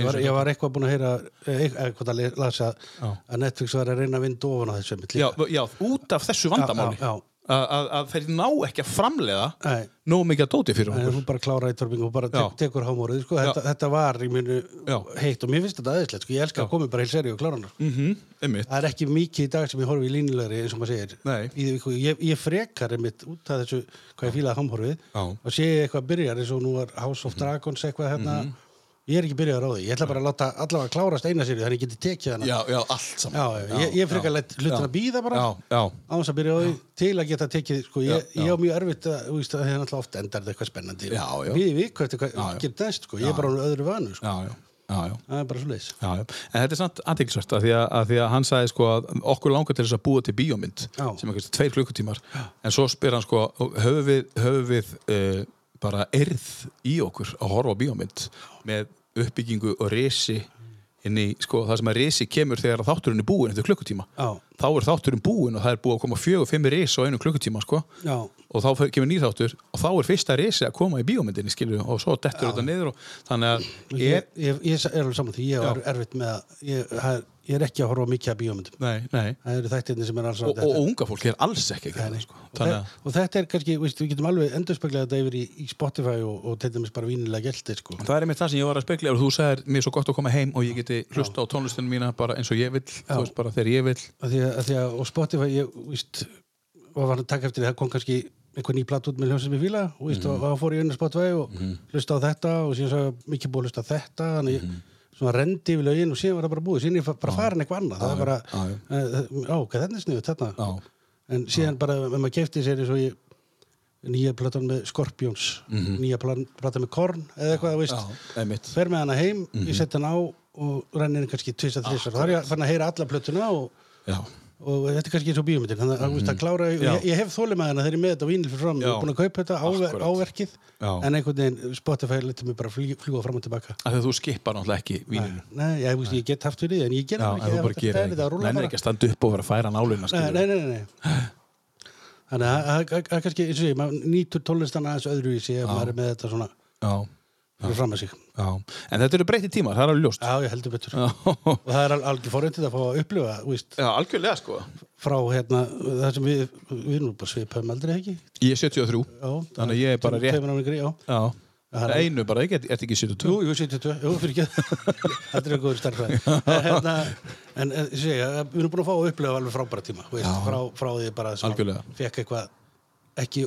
[SPEAKER 3] Ég var, ég var eitthvað búin að heyra, eh, eitthvað að lasa
[SPEAKER 2] Já.
[SPEAKER 3] að Netflix var að reyna að vinda ofan á þessu. einmitt
[SPEAKER 2] já,
[SPEAKER 3] líka.
[SPEAKER 2] já, út af þessu vandamáli
[SPEAKER 3] Já, já, já.
[SPEAKER 2] Að, að, að þeir ná ekki að framlega
[SPEAKER 3] Nei.
[SPEAKER 2] nógu mikið að dóti fyrir
[SPEAKER 3] Nei,
[SPEAKER 2] okkur
[SPEAKER 3] þú bara klárar í törpingu og bara
[SPEAKER 2] Já.
[SPEAKER 3] tek, tekur hámórið, sko, þetta, þetta var í minu
[SPEAKER 2] Já.
[SPEAKER 3] heitt og mér finnst þetta aðeinslegt, sko, ég elska að komi bara heil seri og klára hana. sko.
[SPEAKER 2] mm einmitt,
[SPEAKER 3] Það er ekki mikið í dag sem ég horfi í línulegri, eins og maður segir.
[SPEAKER 2] Nei.
[SPEAKER 3] Í, því- ég, ég frekar einmitt út af þessu, hvað ég fílaði hámórið,
[SPEAKER 2] Já. Mm.
[SPEAKER 3] og sé ég eitthvað byrjar, eins og nú var House of Dragons eitthvað hérna,
[SPEAKER 2] Mm-hmm.
[SPEAKER 3] ég er ekki byrjaður á því, ég ætla bara að láta allavega klárast eina seri, þannig ég geti tekið hana.
[SPEAKER 2] já, já, allt saman
[SPEAKER 3] Já, já, ég, ég frekar lett hlutin að býða bara
[SPEAKER 2] já, já,
[SPEAKER 3] á þess að byrja á því til að geta tekið sko, ég,
[SPEAKER 2] Já, já.
[SPEAKER 3] ég á mjög erfitt að, þú veist, að það er náttúrulega oft endar þetta eitthvað spennandi
[SPEAKER 2] Já, já.
[SPEAKER 3] við viku eftir hvað
[SPEAKER 2] Já, já.
[SPEAKER 3] gerð næst sko, ég er bara á öðru vanu sko.
[SPEAKER 2] já, já. já, já.
[SPEAKER 3] það er bara svo leis
[SPEAKER 2] Já, já. en þetta er samt aðeinsvært að, því að, að því að hann sagði sko að okkur langar til þess að búa til bíómynd
[SPEAKER 3] Já.
[SPEAKER 2] sem er kannski tveir klukkutímar en svo spyr hann sko, höfum við, höfum við uh, bara erð í okkur að horfa á bíómynd með uppbyggingu og resi inn í sko það sem að resi kemur þegar að þátturinn er búin eftir klukkutíma
[SPEAKER 3] Já.
[SPEAKER 2] þá er þátturinn búin og það er búið að koma fjög og fimm resi á einu klukkutíma sko
[SPEAKER 3] já,
[SPEAKER 2] og þá fer- kemur nýr þáttur og þá er fyrsta resi að koma í bíómyndinni skilur og svo dettur þetta niður og þannig að
[SPEAKER 3] ég, ég, ég er alveg saman því ég er erfitt með að ég, það er- ég er ekki að horfa á mikið að bíómyndum
[SPEAKER 2] nei, nei
[SPEAKER 3] það eru þættirni sem er alls
[SPEAKER 2] og, og, og unga fólk er alls ekki að gera það sko.
[SPEAKER 3] og,
[SPEAKER 2] þannig
[SPEAKER 3] þe-
[SPEAKER 2] að
[SPEAKER 3] og þetta er kannski, veist, við getum alveg endurspeglega þetta yfir í, í Spotify og, og til dæmis bara vínilega gælti sko.
[SPEAKER 2] það er einmitt það sem ég var að spekla og þú sagðir mér er svo gott að koma heim og ég geti hlusta á tónlistinu mína bara eins og ég vill þú veist bara þegar ég vill
[SPEAKER 3] að því að, að því að, og Spotify ég, víst, var að taka eftir því, það kom kannski einhver ný platt út með hljómsið með fíla og,
[SPEAKER 2] Mhm.
[SPEAKER 3] víst, og, og fór ég inn á Spotify og hlusta á þetta og síðan svo er mikið búið að hlusta á þetta þannig ég
[SPEAKER 2] Mhm.
[SPEAKER 3] svona rendi yfir lögin og síðan var það bara búið síðan er ég fa- bara farin eitthvað annað það er bara,
[SPEAKER 2] já,
[SPEAKER 3] eh, á, hvað þetta er sniðut þarna
[SPEAKER 2] Já.
[SPEAKER 3] en síðan bara, ef maður kefti sér eins og ég nýja platan með Scorpions
[SPEAKER 2] Mhm.
[SPEAKER 3] nýja plan- platan með Korn eða eitthvað, þú veist
[SPEAKER 2] einmitt
[SPEAKER 3] fer með hana heim,
[SPEAKER 2] Mhm.
[SPEAKER 3] ég sett hana á og rennir kannski tvist að
[SPEAKER 2] Ah,
[SPEAKER 3] þrýsar þá er ég fann að heyra alla plötuna og,
[SPEAKER 2] já,
[SPEAKER 3] og þetta er kannski eins og bíómyndir þannig að mm -hmm. klára, og
[SPEAKER 2] Mhm. Já.
[SPEAKER 3] ég, ég hef þólið með hana þegar ég er með þetta á vínil fyrir fram, ég
[SPEAKER 2] Já.
[SPEAKER 3] er búin að kaupa þetta áver,
[SPEAKER 2] Akkúrat.
[SPEAKER 3] áverkið,
[SPEAKER 2] Já.
[SPEAKER 3] en einhvern veginn Spotify letur mig bara flý, fljúa fram og tilbaka
[SPEAKER 2] af því að þú skipar náttúrulega ekki víninu
[SPEAKER 3] Nei, ég, ég, ég get haft fyrir því, en ég ger
[SPEAKER 2] já,
[SPEAKER 3] það
[SPEAKER 2] en þú bara gerir
[SPEAKER 3] það
[SPEAKER 2] ekki
[SPEAKER 3] rúla
[SPEAKER 2] nennir
[SPEAKER 3] bara
[SPEAKER 2] ekki að standa upp og vera að færa nálina
[SPEAKER 3] Nei, nei, nei, nei Þannig að- að að- að kannski, eins og ég, maður nýtur tónlistan aðeins öðruvísi ef maður er með þetta svona
[SPEAKER 2] já,
[SPEAKER 3] fyrir fram að sig
[SPEAKER 2] já en þetta eru breytti tímar, það er alveg ljóst
[SPEAKER 3] Já, ég heldur betur
[SPEAKER 2] já,
[SPEAKER 3] Og það er al- algjör forreyndið að fá að upplifa, þú veist,
[SPEAKER 2] já algjörlega sko
[SPEAKER 3] frá hérna, það sem við, við erum nú bara svipaðum aldrei ekki.
[SPEAKER 2] ég er 73
[SPEAKER 3] Já,
[SPEAKER 2] þannig að ég er bara rétt
[SPEAKER 3] Tveimur ára yngri, já.
[SPEAKER 2] já,
[SPEAKER 3] Það er-
[SPEAKER 2] einu bara, ég get ekki 72
[SPEAKER 3] Jú, jú, 72, jú, fyrir ekki. Þetta er einhverjum starfræði. En, hérna, en en, ég segja, við erum búin að fá að upplifa alveg frábæra tíma, þú veist, frá, frá því bara sem
[SPEAKER 2] Algjörlega.
[SPEAKER 3] fekk eitthvað, ekki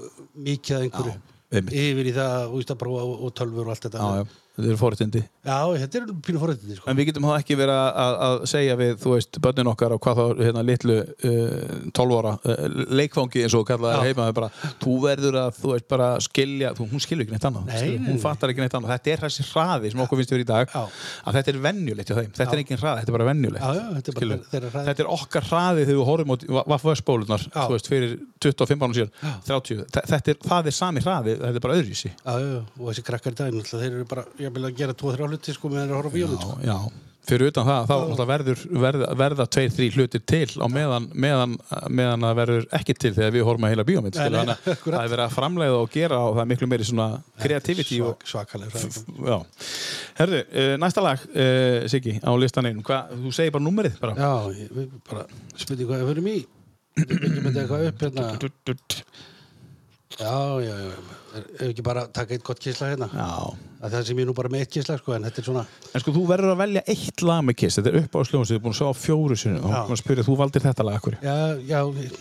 [SPEAKER 3] mikið að einhverju,
[SPEAKER 2] Já, einmitt.
[SPEAKER 3] yfir í það, þú veist, að prófa og, og tölfur og allt þetta.
[SPEAKER 2] já, já, þetta eru fórutindi
[SPEAKER 3] já. þetta er pínu forreyndið, sko.
[SPEAKER 2] En við getum það ekki verið að, að, að segja við, þú veist, börnin okkar og hvað þá hérna litlu uh, 12 ára uh, leikfangi eins og kallaði það heima það er bara, þú verður að, þú veist, bara skilja, þú, hún skilur ekki neitt annað,
[SPEAKER 3] Nei,
[SPEAKER 2] skilur,
[SPEAKER 3] nei,
[SPEAKER 2] hún
[SPEAKER 3] nei.
[SPEAKER 2] fattar ekki neitt annað, þetta er þessi hraði sem okkur finnst við í dag,
[SPEAKER 3] Já.
[SPEAKER 2] að þetta er venjulegt hjá þeim, þetta er engin hraði, þetta er bara venjulegt.
[SPEAKER 3] Já, já, þetta er bara
[SPEAKER 2] skilurðu.
[SPEAKER 3] þeirra hraði.
[SPEAKER 2] Þetta er okkar hraði þegar við horfum á vaffvössbólunar,
[SPEAKER 3] Já.
[SPEAKER 2] þú veist, fyrir 25 ánum síðan, 30, Þa- þetta er, það er sami hraði, þetta er bara öðrísi.
[SPEAKER 3] Já, já, já, og þessi krakkar í dag, náttúrulega, þeir eru bara, ég vil að gera tvo, þrjá hluti, sko, meðan þeir eru að horfa á bíómynd, sko.
[SPEAKER 2] já, já. fyrir utan það þá náttúrulega verður, verða, verða tveir, þrý hlutir til á meðan, meðan, meðan það verður ekki til þegar við horfum að heila bíómynd
[SPEAKER 3] Nei,
[SPEAKER 2] skilur,
[SPEAKER 3] nei,
[SPEAKER 2] þannig að
[SPEAKER 3] akkurat.
[SPEAKER 2] það er verið að framleiða og gera og það er miklu meiri svona kreativiti og
[SPEAKER 3] Svak, svakalega fræðing.
[SPEAKER 2] Já. Herðu, eh, næsta lag uh, Siggi, á listan einum, hvað, þú segir bara númerið bara.
[SPEAKER 3] Já, ég- við bara spytum hvað við förum í Við byggjum þetta eitthvað upp hérna Já, já, já Er ef ekki bara að taka eitt gott kísla hérna
[SPEAKER 2] Já.
[SPEAKER 3] að Það sem ég er nú bara með eitt kísla sko En þetta er svona
[SPEAKER 2] En sko, þú verður að velja eitt lag með kiss Þetta er upp á sljóðum sem þú er búin að sjá á fjóru sinni og
[SPEAKER 3] Já.
[SPEAKER 2] hún spyrir, þú valdir þetta lag, akkur
[SPEAKER 3] Já, já Ég,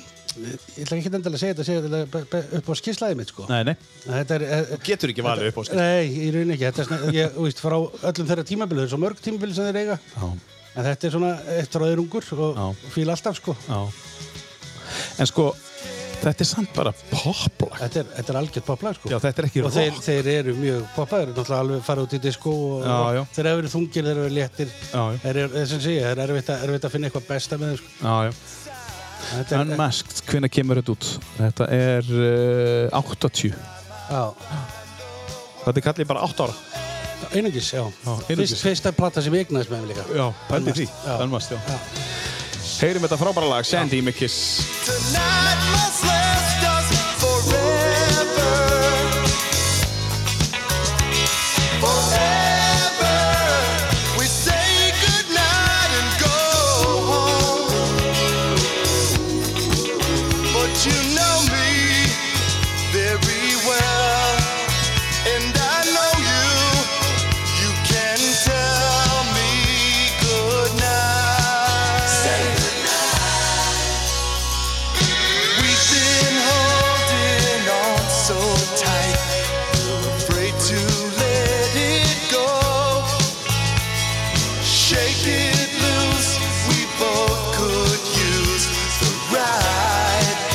[SPEAKER 3] ég ætla ekki endilega að segja þetta segja þetta be- be- upp á skíslaði mitt sko
[SPEAKER 2] Nei, nei,
[SPEAKER 3] Þetta er eh, eh,
[SPEAKER 2] getur ekki valið upp á skil
[SPEAKER 3] Nei, í raun ekki Þetta er svona Ég, þú veist, frá öllum þeirra tímabili Það er svo mörg tímabili sem þeir eiga
[SPEAKER 2] Já.
[SPEAKER 3] En þetta er svona eitt ráðurungur og
[SPEAKER 2] Já.
[SPEAKER 3] fíla alltaf sko
[SPEAKER 2] Já. En sko, þetta er samt bara poplag.
[SPEAKER 3] Þetta er, þetta er algjört poplag sko
[SPEAKER 2] Já, þetta er ekki
[SPEAKER 3] og
[SPEAKER 2] rock.
[SPEAKER 3] þeir, þeir eru mjög poppaður náttúrulega alveg fara út í disco og
[SPEAKER 2] Já, já.
[SPEAKER 3] þeir eru verið þungir, þeir eru verið léttir
[SPEAKER 2] Já, já.
[SPEAKER 3] þeir eru, þess að segja, þeir eru erfitt að, erfitt að finna eitthvað besta með þeim sko.
[SPEAKER 2] Já, já.
[SPEAKER 3] þetta er,
[SPEAKER 2] Unmasked, hvenær kemur þetta út? Þetta er uh, 80.
[SPEAKER 3] já,
[SPEAKER 2] Þetta er kallið bara 8 ára.
[SPEAKER 3] einungis, já,
[SPEAKER 2] Já, einungis.
[SPEAKER 3] Fyrst, fyrsta plata sem ég egnaðist með þeim líka
[SPEAKER 2] Já, pældi
[SPEAKER 3] Unmasked,
[SPEAKER 2] því.
[SPEAKER 3] já.
[SPEAKER 2] Unmasked, já. Heyrim þetta frábæra lag, Sandy með Kiss.
[SPEAKER 6] Tonight must last us forever. Forever. We say goodnight and go home. But you know me very well. And I know you. You can tell me goodnight. Say We've been holding on so tight, afraid to let it go. Shake it loose, we both could use the ride.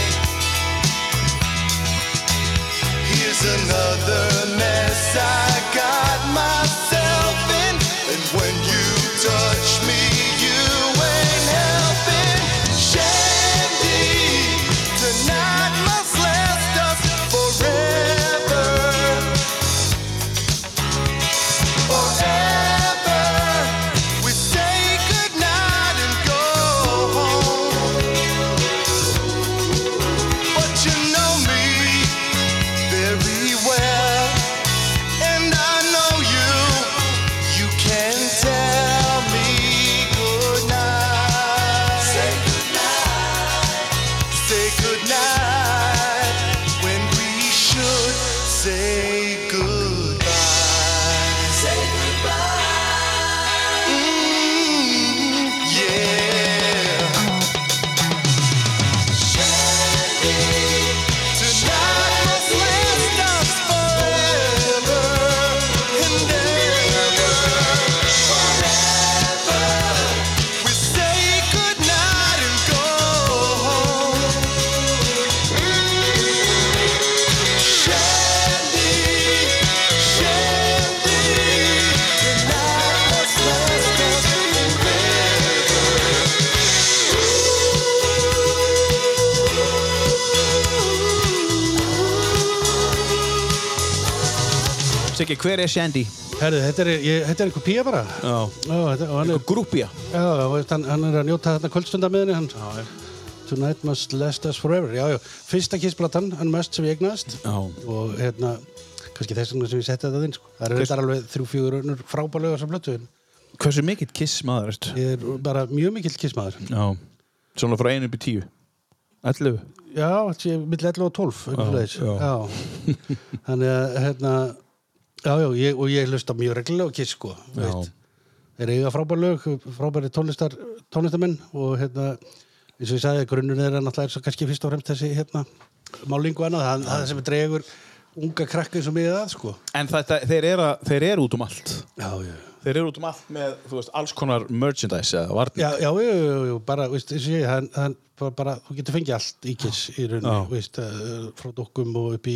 [SPEAKER 6] Here's another mess I got myself in, and when goodnight when we should say goodbye. Say goodbye. Mm, yeah. Tonight must last us forever and ever. We say goodnight and go home. Shandy, Shandy, tonight must last us
[SPEAKER 2] Siggi, hver er Shandy?
[SPEAKER 3] Herðu, þetta er, ég, þetta er einhver pía bara.
[SPEAKER 2] Já.
[SPEAKER 3] Já, þetta, og hann er,
[SPEAKER 2] Grúpja.
[SPEAKER 3] já, já, veist, hann, hann er að njóta þarna kvöldstundamiðinni. Hann,
[SPEAKER 2] já.
[SPEAKER 3] Tonight must last us forever. Já, já, fyrsta kissplatan, hann mest sem ég egnaðist.
[SPEAKER 2] Já.
[SPEAKER 3] Og hérna, kannski þess vegna sem ég setti þetta þinn, sko. Það eru
[SPEAKER 2] Hvers-
[SPEAKER 3] þetta alveg þrjú, fjögur önnur frábælega sem blötu. en
[SPEAKER 2] Hversu mikill kiss maður ert?
[SPEAKER 3] Ég er bara mjög mikill kissmaður.
[SPEAKER 2] Já. Svona frá einu upp í tíu. Ætlu.
[SPEAKER 3] Já, þetta er mill 11 og 12, einhvern
[SPEAKER 2] já.
[SPEAKER 3] veginn. Já. Þannig að, hérna, já, já, ég, og ég hlusta mjög reglulega á Kiss, sko. þú
[SPEAKER 2] Já.
[SPEAKER 3] veist. Þeir eiga frábær lög, frábæri tónlistar, tónlistamenn og, hérna, eins og ég sagði, grunnun er náttúrulega eins og kannski fyrst og fremst þessi, hérna, máling og annað, það, það sem dregur unga krakka eins og mig að, sko.
[SPEAKER 2] En þetta, þeir eru er út um allt.
[SPEAKER 3] Já, já.
[SPEAKER 2] Þeir eru út um allt með, þú veist, alls konar merchandise eða varnir.
[SPEAKER 3] Já, já, já, já, já, bara, veist, eins og ég, hann, hann, bara, bara, þú getur fengið allt í kiss í
[SPEAKER 2] Já.
[SPEAKER 3] rauninni, veist, eh, frá dokkum og upp í,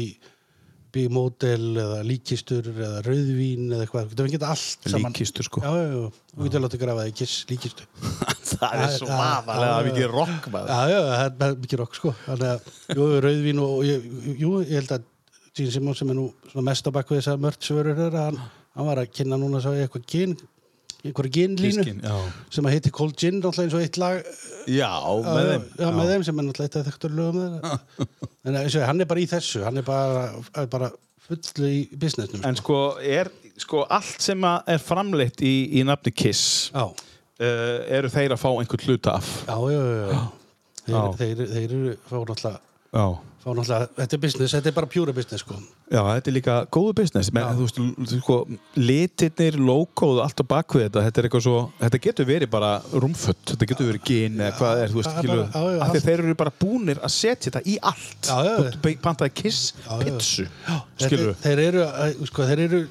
[SPEAKER 3] upp í mótel eða líkistur eða rauðvín eða eitthvað, þú getur fengið þetta allt saman.
[SPEAKER 2] Líkkistur, sko.
[SPEAKER 3] Já, já, já, þú getur látið grafa í kiss líkistu.
[SPEAKER 2] það er
[SPEAKER 3] Já,
[SPEAKER 2] svo
[SPEAKER 3] já,
[SPEAKER 2] vafalega
[SPEAKER 3] já, já.
[SPEAKER 2] mikið rock maður.
[SPEAKER 3] Já, já, það er bara mikið rokk, sko, þannig að, jú, rauðvín og, og ég, jú, ég held að Gene Simmons sem er nú svona mest á bakku þess að mörtsvörur þeirra, hann, hann var að kynna núna, sá ég, eitthvað gin, einhverja ginlínu
[SPEAKER 2] Gin, já.
[SPEAKER 3] sem að heiti Cold Gin, náttúrulega eins og eitt lag
[SPEAKER 2] Já, með
[SPEAKER 3] já,
[SPEAKER 2] þeim.
[SPEAKER 3] já, með þeim sem er náttúrulega eitt af þekktur lögum þeirra en eh, eins og hann er bara í þessu hann er bara, er bara fullu í businessnum
[SPEAKER 2] En sko, er, sko, allt sem að er framleitt í, í nafni Kiss
[SPEAKER 3] já,
[SPEAKER 2] uh, eru þeir að fá einhvern hluta af.
[SPEAKER 3] já, já, já, já. Þeir,
[SPEAKER 2] Já.
[SPEAKER 3] þeir, þeir eru fá náttúrulega,
[SPEAKER 2] Já.
[SPEAKER 3] fá náttúrulega þetta er business, þetta er bara pjúra business sko.
[SPEAKER 2] Já, þetta er líka góðu business. Men, þú veist, l- þú- sko, litirnir, logoð, allt á bakvið þetta, þetta er eitthvað svo, þetta getur verið bara rúmfött, þetta getur verið gin eða hvað er, þú veist,
[SPEAKER 3] Já,
[SPEAKER 2] skilur.
[SPEAKER 3] bara- já, já,
[SPEAKER 2] Af því
[SPEAKER 3] allt.
[SPEAKER 2] þeir eru bara búnir að setja þetta í allt.
[SPEAKER 3] Já, já, já.
[SPEAKER 2] Þú be- pantaði Kiss,
[SPEAKER 3] Já, já.
[SPEAKER 2] pitsu,
[SPEAKER 3] þeir,
[SPEAKER 2] skilur.
[SPEAKER 3] þeir eru, eh, sko, þeir eru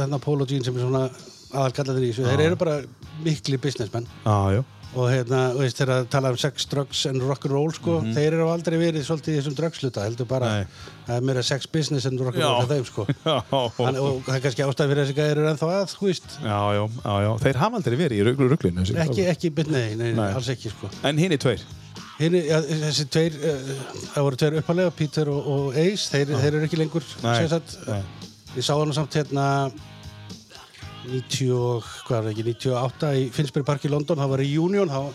[SPEAKER 3] hann að Polo Jean sem er svona aðalkallaður í þessu, þeir eru bara mikli businessmenn
[SPEAKER 2] Já, já.
[SPEAKER 3] og hérna, þú veist, þegar að tala um sex, drugs and rock'n'roll, sko, þeir eru aldrei verið svolítið í þessum drugsluta, heldur bara
[SPEAKER 2] Mhm. Nei.
[SPEAKER 3] það er meira sex business and
[SPEAKER 2] Já.
[SPEAKER 3] rock'n'roll hjá þeim, sko
[SPEAKER 2] Já,
[SPEAKER 3] Þannig, og það er kannski ástæð fyrir þessi gæðir er ennþá að, þú veist
[SPEAKER 2] já, já, já, já. Þeir hafa aldrei verið í ruglu, ruglinu. þessi-
[SPEAKER 3] ekki, ekki, nei, nei, nei,
[SPEAKER 2] Nei.
[SPEAKER 3] alls ekki sko.
[SPEAKER 2] En hinn tveir.
[SPEAKER 3] Hini, ja, þessi tveir uh, það voru tveir uppalega, Peter og, og Ace þeir, þeir eru ekki lengur
[SPEAKER 2] Nei,
[SPEAKER 3] sem sagt,
[SPEAKER 2] nei.
[SPEAKER 3] ég sá hann samt hérna 90, og- hvað er það ekki, 98 í Finnsbury Park í London, það var í Union það var-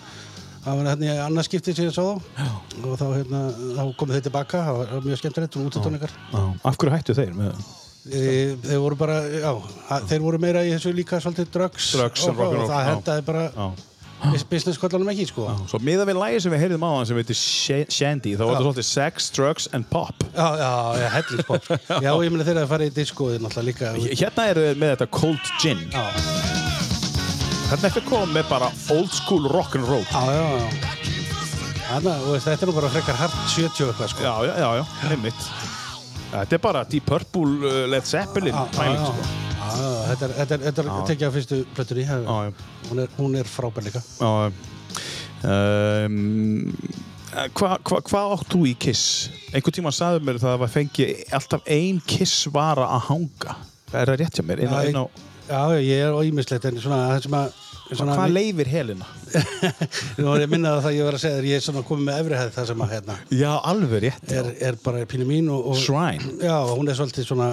[SPEAKER 3] það var hérna í annarskipti sem ég sá þá og þá, hérna, þá komið þeir tilbaka, það var- það var mjög skemmtilegt og útutónleikar
[SPEAKER 2] Já. Af hverju hættu þeir? Með...
[SPEAKER 3] Þeir, þeir voru bara, já, að- þeir voru meira í þessu líka svolítið drugs,
[SPEAKER 2] Drugs and
[SPEAKER 3] og, og,
[SPEAKER 2] rock'n'roll, já.
[SPEAKER 3] það hendaði bara
[SPEAKER 2] Já.
[SPEAKER 3] businesskvöldanum ekki, sko.
[SPEAKER 2] Svo miða við lagi sem við heyrðum á hann sem heitir Sh- Shandy þá var þetta svolítið sex, drugs and pop
[SPEAKER 3] Já, já, já, hellinspop. sko. já, ég meina þeir að fara í diskoðið náttúrulega líka.
[SPEAKER 2] H- Hérna eru þeir með þetta cold gin
[SPEAKER 3] Já,
[SPEAKER 2] Hérna ertu komið með bara old school rock'n'roll
[SPEAKER 3] já, já, já. Þannig að þú veist, þetta er nú bara frekar hart 70 eitthvað, sko.
[SPEAKER 2] Já, já, já, já, heimitt Þetta er bara Deep Purple, uh, Led Zeppelin
[SPEAKER 3] Já, já,
[SPEAKER 2] pæling,
[SPEAKER 3] já.
[SPEAKER 2] sko.
[SPEAKER 3] Já, já, þetta er, þetta er, þetta er tekið á fyrstu plötunni.
[SPEAKER 2] Já, já.
[SPEAKER 3] Hún er, hún er frábær líka.
[SPEAKER 2] Já, um, Hvað hva, hva átt þú í Kiss? Einhvern tíma sagði mér það að fengi alltaf ein Kiss vara að hanga Er það rétt hjá mér? Inn, á-
[SPEAKER 3] Já,
[SPEAKER 2] inn á,
[SPEAKER 3] Já, já, ég er óýmislegt, en svona, það sem að... Svona,
[SPEAKER 2] hvað leifir helina?
[SPEAKER 3] Nú var ég minnað að það ég var að segja þér, ég er svona komið með efrihæð það sem að hérna
[SPEAKER 2] Já, alveg rétt
[SPEAKER 3] er, er bara pínu mín og, og
[SPEAKER 2] Shrine.
[SPEAKER 3] Já, hún er svolítið svona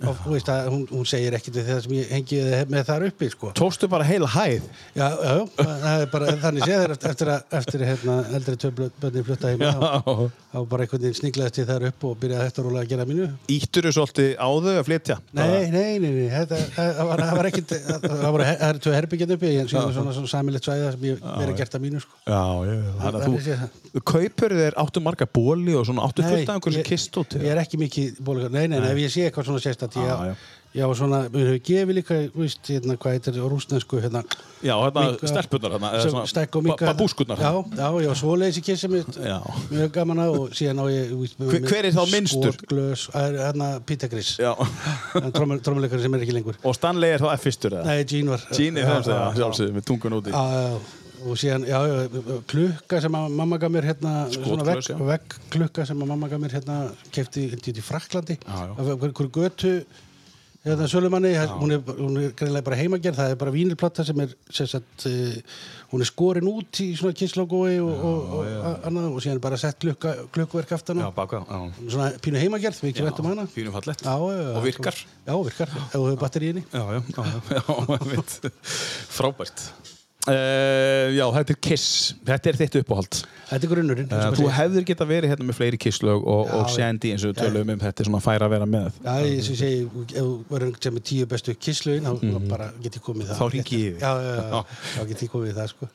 [SPEAKER 3] og þú veist að hún, hún segir ekkit við það sem ég hengi með þar uppi sko.
[SPEAKER 2] Tókstu bara heila hæð
[SPEAKER 3] já, já, já, það er bara þannig séð þér eftir- eftir að eftir að hérna, eldri töfbönni flutta heima þá- þá bara einhvern veginn sniglaðist ég þar upp og byrjaði hægt að róla að gera mínu
[SPEAKER 2] Íttur þú svolítið á þau að flytja?
[SPEAKER 3] Nei, nei, nei, nei, þetta, það var, það var ekkit, það voru, her- það eru tvö herbyggjarn uppi, en síðan er svona, svona samilegt svæði þar sem ég verið gert að mínu, sko.
[SPEAKER 2] Já, já, já. Þannig að
[SPEAKER 3] Þannig sé það.
[SPEAKER 2] þú, þú kaupur þér áttu marga bóli og svona áttu fullt af einhversu
[SPEAKER 3] ég-
[SPEAKER 2] kist út
[SPEAKER 3] Ég er ekki mikið bólugar, nei, nei, nei, ef ég sé eitthvað svona sérstætt, ég,
[SPEAKER 2] Ah, Já, já.
[SPEAKER 3] á- ég á svona, við höfum gefið líka, þú veist, hérna, hvað heitir, á rúsnesku, hérna,
[SPEAKER 2] Já, hérna
[SPEAKER 3] minka-
[SPEAKER 2] stelpunar hérna, eða
[SPEAKER 3] sem
[SPEAKER 2] svona
[SPEAKER 3] stækk og minka,
[SPEAKER 2] ba- babúskurnar. hérna.
[SPEAKER 3] Já, já, já, svoleiðis í kissi mitt,
[SPEAKER 2] Já.
[SPEAKER 3] mjög gaman að, og síðan á ég, þú veist,
[SPEAKER 2] Hver- hver er þá minnstur?
[SPEAKER 3] Skorglös, hérna, Pítagris,
[SPEAKER 2] Já.
[SPEAKER 3] trommuleikari sem er ekki lengur.
[SPEAKER 2] Og Stanley er þá F-fyrstur eða?
[SPEAKER 3] Nei, Gene var.
[SPEAKER 2] Gini
[SPEAKER 3] Já,
[SPEAKER 2] þeim
[SPEAKER 3] já,
[SPEAKER 2] segja,
[SPEAKER 3] já.
[SPEAKER 2] sjálfsögðu, með tungun úti.
[SPEAKER 3] Já, já, og síðan, já, já, klukka sem að mamma gaf mér hérna, svona
[SPEAKER 2] Skotklaus,
[SPEAKER 3] vegg,
[SPEAKER 2] já.
[SPEAKER 3] vegg klukka sem að mamma gaf mér hérna, kefti í Fraklandi,
[SPEAKER 2] Já, já.
[SPEAKER 3] af einhverju götu, hérna, sölumanni, hún er, hún er greinlega bara heimagerð, það er bara vínilplata sem er, sem sagt, eh, hún er skorin út í svona kisslogói og, og, og a- annað, og síðan bara sett klukka, klukkverk aftan á,
[SPEAKER 2] baka, já.
[SPEAKER 3] svona pínu heimagerð, við ekki vettum hana.
[SPEAKER 2] Fínum fallett.
[SPEAKER 3] Já, já, já.
[SPEAKER 2] Og virkar.
[SPEAKER 3] Já, virkar, ef þú hefur batterið í henni.
[SPEAKER 2] Já, já, já, já, einmitt. Frábært. Uh, já, þetta er Kiss. Þetta er þitt uppáhald.
[SPEAKER 3] Þetta er
[SPEAKER 2] Eh,
[SPEAKER 3] grunnurinn. eins og
[SPEAKER 2] Þú
[SPEAKER 3] maður segir.
[SPEAKER 2] hefðir geta verið hérna með fleiri kisslög og, og
[SPEAKER 3] Já,
[SPEAKER 2] Sandy eins og við töluðum um þetta er svona færa að vera með
[SPEAKER 3] Já, ég sem segi, ef þú verður sem er tíu bestu kisslögin, þá bara get ég komið í
[SPEAKER 2] Mhm.
[SPEAKER 3] það.
[SPEAKER 2] Þá hringi ég í þig.
[SPEAKER 3] Já, já, já, já, þá get ég komið í það, sko.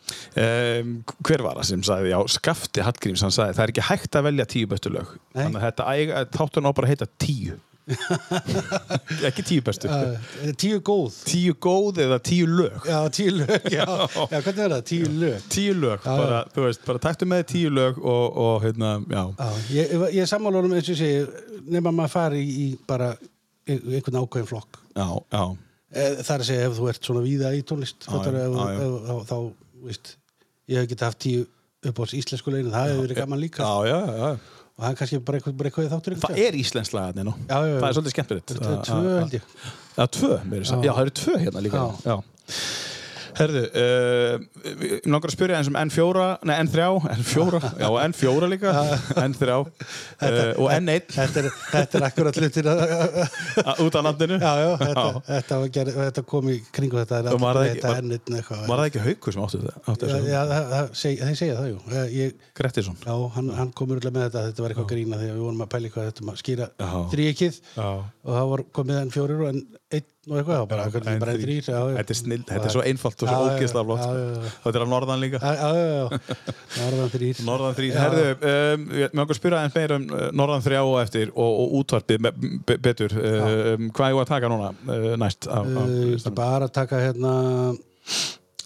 [SPEAKER 2] um, Hver var það sem sagði, já, Skafti Hallgríms hann sagði, það er ekki hægt að velja tíu bestu lög
[SPEAKER 3] Nei.
[SPEAKER 2] þannig að þetta æg- að þátturinn á bara að heita tíu ekki tíu bestu
[SPEAKER 3] Uh, tíu góð.
[SPEAKER 2] tíu góð eða tíu lög
[SPEAKER 3] Já, tíu lög, já, já, hvernig er það? Tíu lög.
[SPEAKER 2] tíu lög,
[SPEAKER 3] Já,
[SPEAKER 2] bara, þú veist, bara taktu með þér tíu lög og, og hérna, já
[SPEAKER 3] Já, ég, ég, ég er sammála honum eins og ég segi, nema maður fari í, í bara ein- einhvern ákveðin flokk.
[SPEAKER 2] já, já,
[SPEAKER 3] Eh, Það er að segja ef þú ert svona víða í tónlist,
[SPEAKER 2] Já,
[SPEAKER 3] fattar,
[SPEAKER 2] já,
[SPEAKER 3] ef,
[SPEAKER 2] já, já.
[SPEAKER 3] ef, þá, þá, veist, ég hef getið haft tíu upp á íslensku lögin, það hefur verið gaman líka.
[SPEAKER 2] já, já, já.
[SPEAKER 3] Og það er kannski bara eitthvað, bara eitthvað í þáttur.
[SPEAKER 2] það er íslensk lagarni nú
[SPEAKER 3] Já, já, já.
[SPEAKER 2] það er svolítið skemmtilegt
[SPEAKER 3] Það er tvö, held ég.
[SPEAKER 2] Já, tvö, mér er sagt. Já, það eru tvö hérna líka. Já. Herðu, uh, ég langar að spyrja eins um N4, nei N3, N4, já og N4 líka, N3 uh, og N1
[SPEAKER 3] Þetta er, þetta er akkurat hlutin að
[SPEAKER 2] a- út af landinu.
[SPEAKER 3] Já, já, þetta, þetta, var gerð, þetta kom í kringu þetta er
[SPEAKER 2] Og var það
[SPEAKER 3] allir-
[SPEAKER 2] ekki-
[SPEAKER 3] þetta
[SPEAKER 2] var-
[SPEAKER 3] ennitn eitthvað
[SPEAKER 2] Var það ekki haukur sem áttu þetta? Áttu
[SPEAKER 3] Já,
[SPEAKER 2] þessu?
[SPEAKER 3] já, það, það, seg, þeir segja það, jú Eh, ég,
[SPEAKER 2] Grettisson.
[SPEAKER 3] Já, hann, hann komur alltaf með þetta þetta var eitthvað grína þegar við vorum að pæla eitthvað þetta um að skýra
[SPEAKER 2] Já.
[SPEAKER 3] þríkið
[SPEAKER 2] Já.
[SPEAKER 3] og það var komið enn fjórir og enn einn og eitthvað, þá bara, já,
[SPEAKER 2] En
[SPEAKER 3] bara enn
[SPEAKER 2] þrír.
[SPEAKER 3] þrýr já, já.
[SPEAKER 2] Þetta er snill, þetta er svo einfalt og
[SPEAKER 3] Já,
[SPEAKER 2] svo
[SPEAKER 3] já,
[SPEAKER 2] ógeðslega flott.
[SPEAKER 3] já,
[SPEAKER 2] sko.
[SPEAKER 3] já, já.
[SPEAKER 2] Þetta er á norðan líka.
[SPEAKER 3] Já, já, já, já, það var enn þrýr
[SPEAKER 2] Norðan 3, herðu, um, ég mér okkur spyrja eins meira um uh, Norðan 3 og eftir og, og útvarpið me- be- betur um, hvað ég var að taka núna uh, næst af, af,
[SPEAKER 3] uh, bara að taka hérna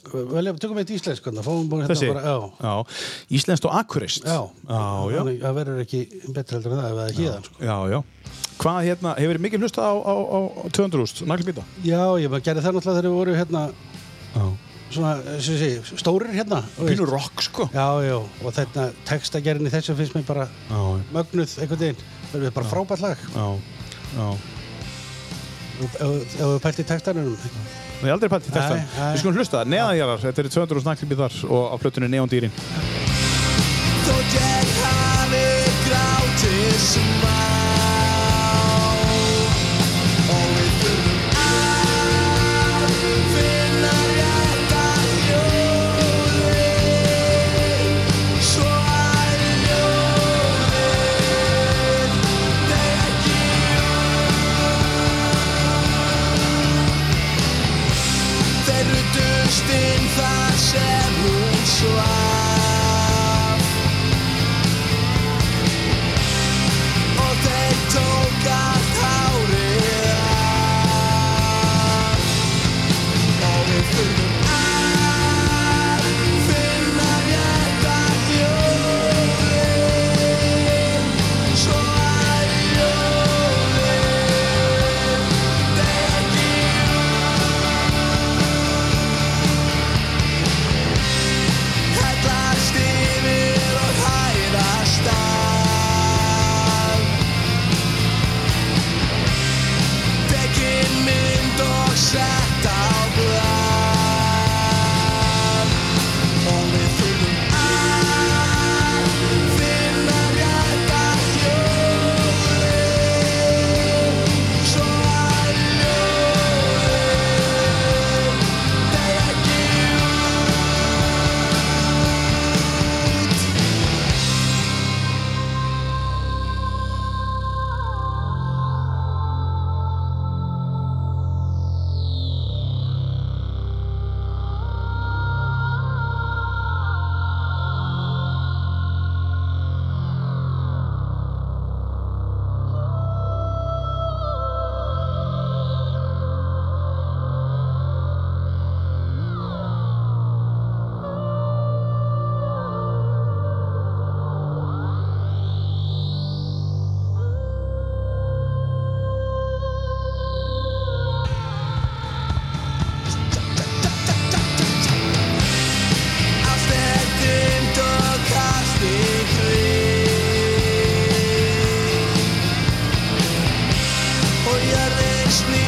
[SPEAKER 3] velja, tökum eitt íslensk hérna, fáum bara hérna
[SPEAKER 2] Þessi?
[SPEAKER 3] bara, já,
[SPEAKER 2] Já. Íslenskt og akurist
[SPEAKER 3] Já,
[SPEAKER 2] Já, já,
[SPEAKER 3] Þannig, það verður ekki betra heldur en það ef það er híðan sko.
[SPEAKER 2] já, já. Hvað hérna, hefur þið mikið hlustað á, á, á 200 úst, naglbýta?
[SPEAKER 3] Já, ég bara gerði það náttúrulega þegar við voru hérna
[SPEAKER 2] Já.
[SPEAKER 3] svona, sem ég segi, stórir hérna þú veist.
[SPEAKER 2] Pínur rock, sko
[SPEAKER 3] Já, já, og þetta textagerðin í þessu finnst mér bara
[SPEAKER 2] Já,
[SPEAKER 3] mögnuð einhvern veginn það er bara frábært lag
[SPEAKER 2] já, já
[SPEAKER 3] ef ef þú pælt í textanunum
[SPEAKER 2] Ég hef aldrei pælt í textan
[SPEAKER 3] Nei, nei.
[SPEAKER 2] Við skulum hlusta, neðanjarar, þetta er 200 úst naglbýtar og á plötunni Neondýrin
[SPEAKER 6] Þótt ég hafi grátið smá Og við þurfum að finna rétta hljóðið Svo að hljóðið Þeir ekki um Þeir ruttust inn þar sem hún svaf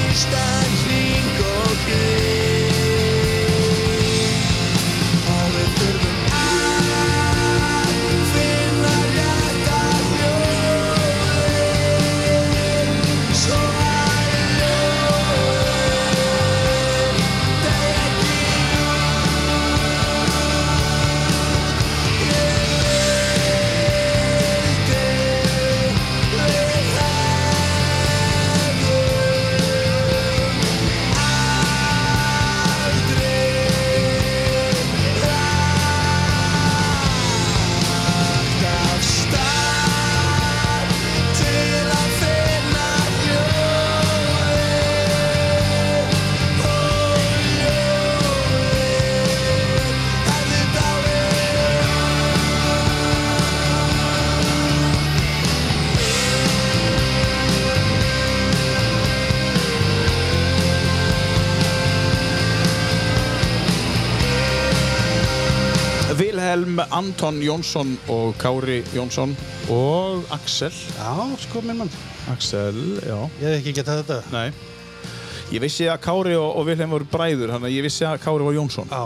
[SPEAKER 6] standing okay. Alle þurfum að finna rétta hljóðin, svo að ljóðin deyja ekki út. Ég vildi við hefðum aldrei Af stað til að finna ljóðið og ljóðið hefði dáið.
[SPEAKER 2] Vilhelm Anton Jónsson og Kári Jónsson og Axel
[SPEAKER 3] Já, sko minn mann.
[SPEAKER 2] Axel, já
[SPEAKER 3] Ég hef ekki getað þetta.
[SPEAKER 2] Nei Ég vissi að Kári og, og Vilhelm voru bræður þannig að ég vissi að Kári var Jónsson
[SPEAKER 3] Á,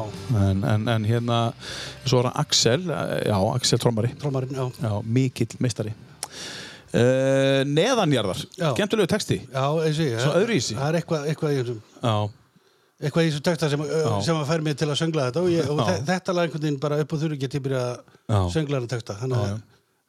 [SPEAKER 2] en, en, en hérna svo var hann Axel, eh, já, Axel Trommari
[SPEAKER 3] trómarinn, já.
[SPEAKER 2] já, mikill meistari uh, Neðanjarðar
[SPEAKER 3] Já.
[SPEAKER 2] skemmtilegu texti
[SPEAKER 3] Já, eins og ég.
[SPEAKER 2] Svo öðruvísi.
[SPEAKER 3] Það er eitthvað, eitthvað í þessum.
[SPEAKER 2] já,
[SPEAKER 3] Eitthvað í þessum texta sem, ö,
[SPEAKER 2] Já.
[SPEAKER 3] sem að fær mig til að söngla þetta og, ég, og
[SPEAKER 2] Já.
[SPEAKER 3] þe- þetta lag einhvern veginn bara upp og þurru get ég byrja að
[SPEAKER 2] Já.
[SPEAKER 3] söngla þetta texta. Þannig að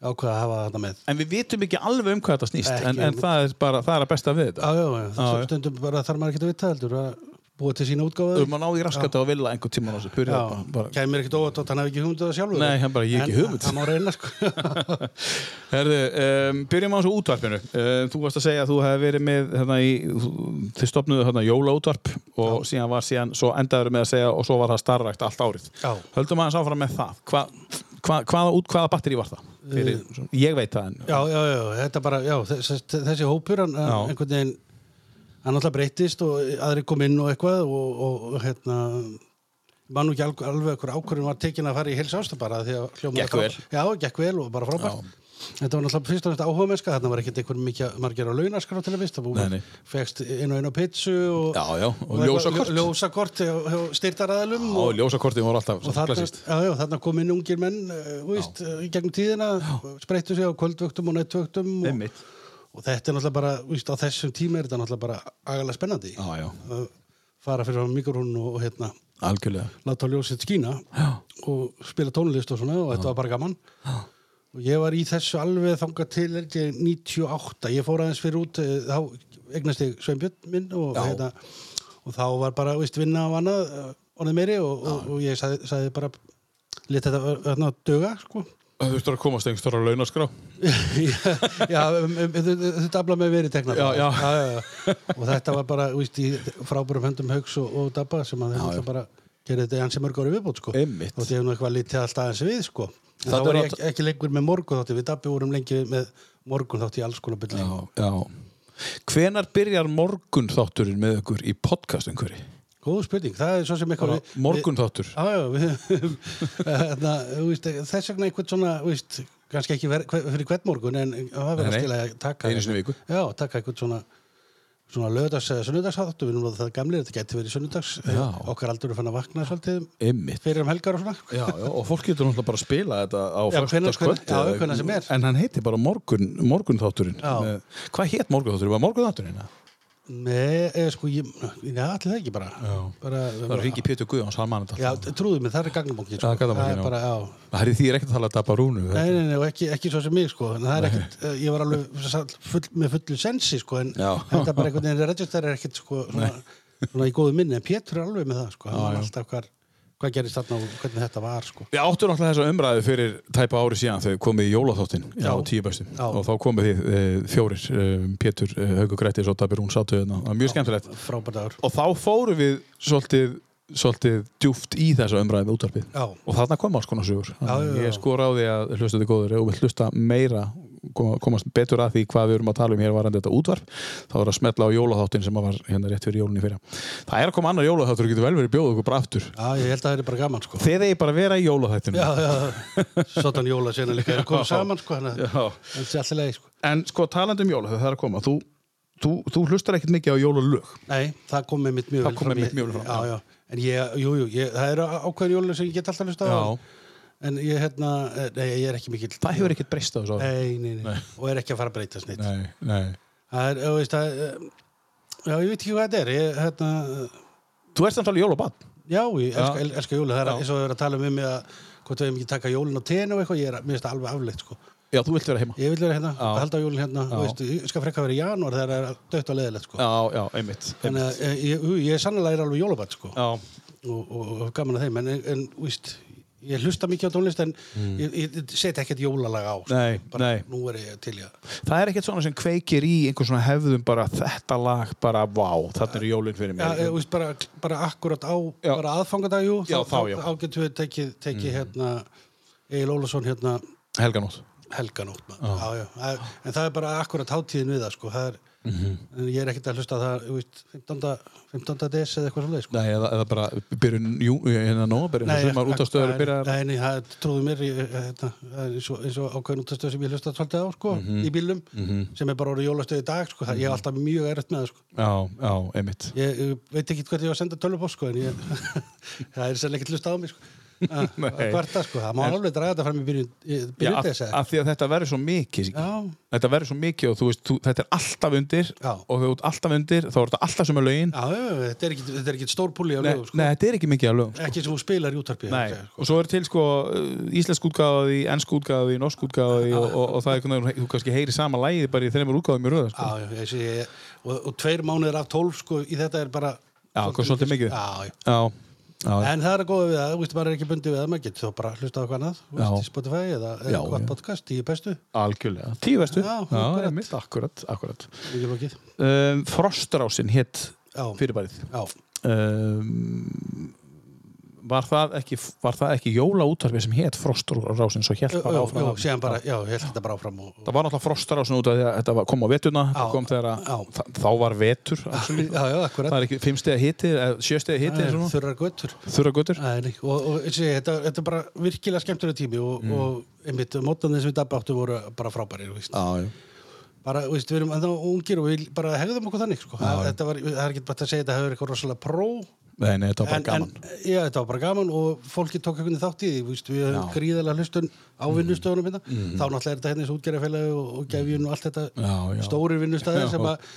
[SPEAKER 3] ákveða að hafa þetta með.
[SPEAKER 2] en við vitum ekki alveg um Ah. hvað þetta snýst
[SPEAKER 3] Ekki
[SPEAKER 2] en, en
[SPEAKER 3] einmitt.
[SPEAKER 2] það er bara, það er að besta við
[SPEAKER 3] Já,
[SPEAKER 2] þetta
[SPEAKER 3] já, já.
[SPEAKER 2] já.
[SPEAKER 3] já. Stundum bara þarf maður ekki að vita heldur að búa til sína útgáðu.
[SPEAKER 2] um að ná í raskata og vilja einhvern tímann á þessu purið
[SPEAKER 3] Já,
[SPEAKER 2] þetta bara,
[SPEAKER 3] kæmir ekkert óvart þótt hann hafi ekki hugmynd að það sjálfur
[SPEAKER 2] Nei, hann bara, ég hef ekki
[SPEAKER 3] En
[SPEAKER 2] hugmynd.
[SPEAKER 3] Hann má reyna sko
[SPEAKER 2] Herðu, um, byrjum á þessu útvarpinu um, Þú varst að segja að þú hefði verið með hérna, í, þú- þið stopnuðu hérna, jólaútvarp og síðan var síðan, svo endaður með að segja og svo var það starrækt allt árið
[SPEAKER 3] Já.
[SPEAKER 2] Höldum aðeins áfram með það hva, hva, hvaða, út, hvaða batteri var það? Fyrir, ég veit það en
[SPEAKER 3] Já, já, já, þetta bara, já, þessi, þessi hópur hann
[SPEAKER 2] Já.
[SPEAKER 3] einhvern veginn hann alltaf breytist og aðri kom inn og eitthvað og, og, og hérna mann og ekki alg- alveg hver ákvörðin var tekin að fara í helsa ásta bara því að hljóma
[SPEAKER 2] Gekk vel.
[SPEAKER 3] Já, gekk vel og bara frábært Þetta var náttúrulega fyrst og næst áhuga mennska, þarna var ekkert einhver mikið margir á launaskrá til að vista, þú
[SPEAKER 2] Nei, nei.
[SPEAKER 3] fegst inn og inn á pizzu og,
[SPEAKER 2] Já, já, og
[SPEAKER 3] eitthvað-
[SPEAKER 2] ljósakort.
[SPEAKER 3] ljósakort hjá- hjá styrtaraðalum
[SPEAKER 2] Á, ljósakortin voru alltaf
[SPEAKER 3] og
[SPEAKER 2] svona
[SPEAKER 3] þarna,
[SPEAKER 2] klassískt.
[SPEAKER 3] já, já, þarna kom inn ungir menn eh, þú veist, eh, í gegnum tíðina spreyttu sig á kvöldvöktum og nættvöktum og,
[SPEAKER 2] Einmitt.
[SPEAKER 3] og þetta er náttúrulega bara þú veist, á þessum tíma er þetta náttúrulega bara agalega spennandi
[SPEAKER 2] Já, já,
[SPEAKER 3] að fara fyrir á mikrofón og hérna
[SPEAKER 2] algjörlega
[SPEAKER 3] láta ljósið skína
[SPEAKER 2] Já.
[SPEAKER 3] og spila tónlist og svona og þetta var bara gaman já. og ég var í þessu alveg þangað til held ég, 98, ég fór aðeins fyrir út eh, þá eignast ég Sveinbjörn minn og,
[SPEAKER 2] Já.
[SPEAKER 3] hérna, og þá var bara veist, vinna á annað eh, orðið meiri og, og, og ég sagði, sagði bara lit þetta öðna döga sko
[SPEAKER 2] Þú þurftur að komast einhvers stóra launaskrá
[SPEAKER 3] já, um, um, þetta afla með verið teknar
[SPEAKER 2] Já, já.
[SPEAKER 3] já, já. og þetta var bara víst, í frábærum höndum haugs og, og dabba sem að þetta bara gerði þetta í hansi mörg ári viðbútt sko.
[SPEAKER 2] Einmitt.
[SPEAKER 3] og þetta hefur nú eitthvað litið alltaf aðeins við sko. en
[SPEAKER 2] Þetta
[SPEAKER 3] þá var
[SPEAKER 2] er
[SPEAKER 3] ég ekki, ekki lengur með morgun þátti við dabbi vorum lengi með morgun þátti í alls konar byrni
[SPEAKER 2] Já, já Hvenar byrjar morgun þátturinn með ykkur í podcast einhverju?
[SPEAKER 3] góð spurning, það er svo sem eitthvað við-
[SPEAKER 2] Morgun þáttur
[SPEAKER 3] Já, já, við höfum, þarna, þú veist, þess vegna einhvern svona, þú veist, kannski ekki ver, hver, fyrir hvern morgun, en það
[SPEAKER 2] Nei,
[SPEAKER 3] verður að
[SPEAKER 2] nei.
[SPEAKER 3] skila að taka.
[SPEAKER 2] Einu sinni í viku.
[SPEAKER 3] Já, taka einhvern svona, svona lögdags eða sunnudags við erum að það gamlir, þetta gæti verið sunnudags,
[SPEAKER 2] Já.
[SPEAKER 3] okkar aldur er fann að vakna svolítið
[SPEAKER 2] Einmitt
[SPEAKER 3] fyrir um helgar og svona.
[SPEAKER 2] Já, já, og fólk getur náttúrulega bara að spila þetta á
[SPEAKER 3] Já,
[SPEAKER 2] föstudagskvöld
[SPEAKER 3] hvenær- hvenær- já,
[SPEAKER 2] eða-
[SPEAKER 3] hvenær sem er.
[SPEAKER 2] En hann heitir bara morgun, morgunþátturinn
[SPEAKER 3] Já.
[SPEAKER 2] Með- Hvað hétt morgunþátturinn? Var morgunþátturinn? hérna? eða?
[SPEAKER 3] Nei, eða sko, ég, já, allir það ekki bara.
[SPEAKER 2] Já.
[SPEAKER 3] bara
[SPEAKER 2] Það er hringi Pétur Guðjóns, hann mann
[SPEAKER 3] Já,
[SPEAKER 2] þetta
[SPEAKER 3] trúðu mig, það er gangamókin,
[SPEAKER 2] Það er gangamókin,
[SPEAKER 3] það
[SPEAKER 2] já.
[SPEAKER 3] er bara, já,
[SPEAKER 2] Það er því ekkert að tala að dapa rúnu
[SPEAKER 3] Nei, nei, nei, og ekki, ekki svo sem mig, sko. En það er ekkert, eh, ég var alveg sall- full, með fullu sensi, sko, en
[SPEAKER 2] Já.
[SPEAKER 3] þetta er bara einhvern veginn, register er ekkert, sko, svona, svona í góðu minni, en Pétur er alveg með það, sko, hann var alltaf hvar, hvað gerist þarna og hvernig þetta var, sko.
[SPEAKER 2] Við áttum náttúrulega þessa umræðu fyrir tæpa ári síðan þegar komið í jólaþáttin
[SPEAKER 3] Já.
[SPEAKER 2] á tíu bestum
[SPEAKER 3] Já.
[SPEAKER 2] og þá komið þið e, fjórir e, Pétur, e, Haugur Grættis og Dabir Rún sátu þarna, það var mjög skemmtilegt
[SPEAKER 3] Frábært ár.
[SPEAKER 2] og þá fórum við svolítið, svolítið djúft í þessa umræðu með útarpið
[SPEAKER 3] Já.
[SPEAKER 2] og þarna kom alls konar sögur
[SPEAKER 3] já, já.
[SPEAKER 2] ég skora á því að hlusta þið góður og vil hlusta meira koma- komast betur að því hvað við erum að tala um hér varandi þetta útvarp þá er að smetla á jólaþáttin sem að var hérna rétt fyrir jólinni fyrra það er að koma annar jólaþáttur og getur vel verið bjóð okkur bara aftur
[SPEAKER 3] Já, ég held að það er bara gaman, sko.
[SPEAKER 2] þeir eigi bara að vera í jólaþættinu
[SPEAKER 3] Já, já, sotan jóla sena líka, það er komið saman, sko, hann
[SPEAKER 2] Já.
[SPEAKER 3] er alltaf leið, sko.
[SPEAKER 2] en sko talandi um jólaþætt það er að koma þú þú, þú hlustar ekkert mikið á jólalög
[SPEAKER 3] Nei, það kom með mitt mjög
[SPEAKER 2] Það kom
[SPEAKER 3] fram.
[SPEAKER 2] einmitt mjög vel fram,
[SPEAKER 3] Já, já. En ég, jú, jú, ég, það eru ákveðin jólun sem ég get alltaf hlusta á.
[SPEAKER 2] Já.
[SPEAKER 3] En ég, hérna, eh, nei, ég er ekki mikill.
[SPEAKER 2] það hefur ekkert breyst á þessu ári.
[SPEAKER 3] Nei, nei, nei, Og er ekki að fara að breytast neitt.
[SPEAKER 2] nei, nei.
[SPEAKER 3] Það er, þú veist, það, eh, já, ég veit ekki hvað þetta er. Ég, hérna, eh,
[SPEAKER 2] þú ert náttúrulega jólabann
[SPEAKER 3] já, ég elska,
[SPEAKER 2] Já.
[SPEAKER 3] el, elska jólun. Það er
[SPEAKER 2] Já.
[SPEAKER 3] eins og við erum að tala um um mig að hvort við hefum ekki taka jólun á tenu og eitthvað. Ég er, mér finnst það alveg afleitt, sko.
[SPEAKER 2] já, þú vilt vera heima
[SPEAKER 3] Ég vil vera hérna,
[SPEAKER 2] Já.
[SPEAKER 3] halda á jólun hérna.
[SPEAKER 2] Já.
[SPEAKER 3] Þú veist, ég skal frekka vera í janúar þegar það er dött og leðilegt, sko.
[SPEAKER 2] já, já, einmitt,
[SPEAKER 3] Þannig
[SPEAKER 2] einmitt.
[SPEAKER 3] að eh, ég, jú, ég er sannlega alveg jólabat, sko.
[SPEAKER 2] já,
[SPEAKER 3] og, og, og gaman að þeim en, en víst, ég hlusta mikið á tónlist en ég, ég set ekkert jólalag á sko.
[SPEAKER 2] Mm. Nei,
[SPEAKER 3] bara
[SPEAKER 2] nei.
[SPEAKER 3] nú er ég til í að
[SPEAKER 2] það er ekkert svona sem kveikir í einhver svona hefðum bara þetta lag bara vá, þarna eru jólinn fyrir
[SPEAKER 3] Já, eh,
[SPEAKER 2] mér
[SPEAKER 3] ég, víst, bara, bara akkurat á
[SPEAKER 2] Já.
[SPEAKER 3] bara aðfangadag, jú,
[SPEAKER 2] Já, þá, já. Mhm.
[SPEAKER 3] þá getum við tekið, tekið hérna Egil Ólafsson hérna
[SPEAKER 2] helganótt
[SPEAKER 3] helganótt maður. já. Já, Það- en það er bara akkurat hátíðin við það sko. það er,
[SPEAKER 2] Mhm.
[SPEAKER 3] en ég er ekkert að hlusta á það þú veist, 15. 15. des eða eitthvað svolítið sko.
[SPEAKER 2] Nei, eða, eða bara byrjun, jú, hérna nóvabir
[SPEAKER 3] Nei,
[SPEAKER 2] sem var út á stöður að byrja
[SPEAKER 3] Nei, nei, það trúðu mér ég, þetta, það er eins og, eins og ákveðin út á stöður sem ég hlusta svolítið á, sko,
[SPEAKER 2] Mhm.
[SPEAKER 3] í bílum sem er bara orðið jólastöð í dag, sko, það, ég er alltaf mjög erfitt með það, sko,
[SPEAKER 2] Já, já, einmitt
[SPEAKER 3] ég, ég veit ekki hvernig ég var að senda tölvupóst, sko, en ég það er sennilega ekkert hlusta á mig, sko að
[SPEAKER 2] Nei.
[SPEAKER 3] að kvarta, sko, það má alveg draga þetta fram í byrjun í-
[SPEAKER 2] Já,
[SPEAKER 3] byrjun
[SPEAKER 2] af,
[SPEAKER 3] þess að
[SPEAKER 2] af því að þetta verður svo mikið Siggi.
[SPEAKER 3] Já.
[SPEAKER 2] Þetta verður svo mikið og þú veist, þú, þetta er alltaf undir
[SPEAKER 3] Já.
[SPEAKER 2] og þegar þú ert alltaf undir, þá er þetta alltaf sem er lögin
[SPEAKER 3] Já, já, já, þetta er ekki, þetta er ekki stór púli á
[SPEAKER 2] nei,
[SPEAKER 3] lögum, sko,
[SPEAKER 2] nei, þetta er ekki mikið af lögum
[SPEAKER 3] ekki sem þú spilar í útarpið
[SPEAKER 2] Nei, og svo er til sko uh, íslensk útgáði, ennsk útgáði, norsk útgáði og, og, og það er einhvern veginn, þú kannski heyri sama lægið bara í þreymur útgáðum í röða sko.
[SPEAKER 3] Já, já, ég sé, ég, og, og tveir mánuðir af tólf, sko, í þetta er bara
[SPEAKER 2] Já, hvað svolítið mikið.
[SPEAKER 3] Já, já
[SPEAKER 2] Já, já,
[SPEAKER 3] En það er að góða við það, þú veist, maður er ekki bundið við það, maður getur þá bara að hlusta á hvað annað, þú
[SPEAKER 2] Já.
[SPEAKER 3] veist, í Spotify eða
[SPEAKER 2] Já,
[SPEAKER 3] eitthvað
[SPEAKER 2] já.
[SPEAKER 3] podcast, tíu bestu,
[SPEAKER 2] algjörlega Tíu verstu,
[SPEAKER 3] Já,
[SPEAKER 2] já
[SPEAKER 3] akkurat.
[SPEAKER 2] einmitt, akkurat, akkurat
[SPEAKER 3] mikið lókið.
[SPEAKER 2] um, Frostrásin hétt
[SPEAKER 3] Já.
[SPEAKER 2] fyrirbærið
[SPEAKER 3] Já,
[SPEAKER 2] um, var það ekki var það ekki jólaútarfi sem hétt Frostrásin svo hétt
[SPEAKER 3] Jú,
[SPEAKER 2] bara
[SPEAKER 3] jú,
[SPEAKER 2] áfram
[SPEAKER 3] jú, síðan bara, já, ég held þetta bara áfram og...
[SPEAKER 2] það var náttúrulega Frostrásin út af því að þetta var, kom á vetuna
[SPEAKER 3] Já,
[SPEAKER 2] það kom þegar
[SPEAKER 3] já.
[SPEAKER 2] að þa- þá var vetur actually.
[SPEAKER 3] Já, já, akkurat.
[SPEAKER 2] það er ekki fimm stega hiti, sjö stega hiti
[SPEAKER 3] Það er
[SPEAKER 2] svona.
[SPEAKER 3] Þurrar göttur.
[SPEAKER 2] þurra götur
[SPEAKER 3] Nei, nei, og, og ég segi, þetta, þetta er bara virkilega skemmtilega tími og,
[SPEAKER 2] Mm.
[SPEAKER 3] og einmitt, mótandi sem við dabba áttu voru bara frábærir, þú veist.
[SPEAKER 2] já,
[SPEAKER 3] Bara, þú veist, við erum ennþá ungir og við bara hegðum okkur þannig, sko. Þetta var, það er ekki bara að segja þetta hefur eitthvað rosalega pró,
[SPEAKER 2] nei, nei, þetta var bara gaman
[SPEAKER 3] En, eh, já, þetta var bara gaman og fólki tók einhvern veginn þátt í því, víst, við höfum
[SPEAKER 2] Já. Mm.
[SPEAKER 3] gríðalega hlustun á vinnustöðunum hérna, þá náttúrulega er þetta hérna eins og útgerðarfélagi og, og gefjun og allt þetta
[SPEAKER 2] Já, já.
[SPEAKER 3] stórir vinnustæðir
[SPEAKER 2] Já.
[SPEAKER 3] sem að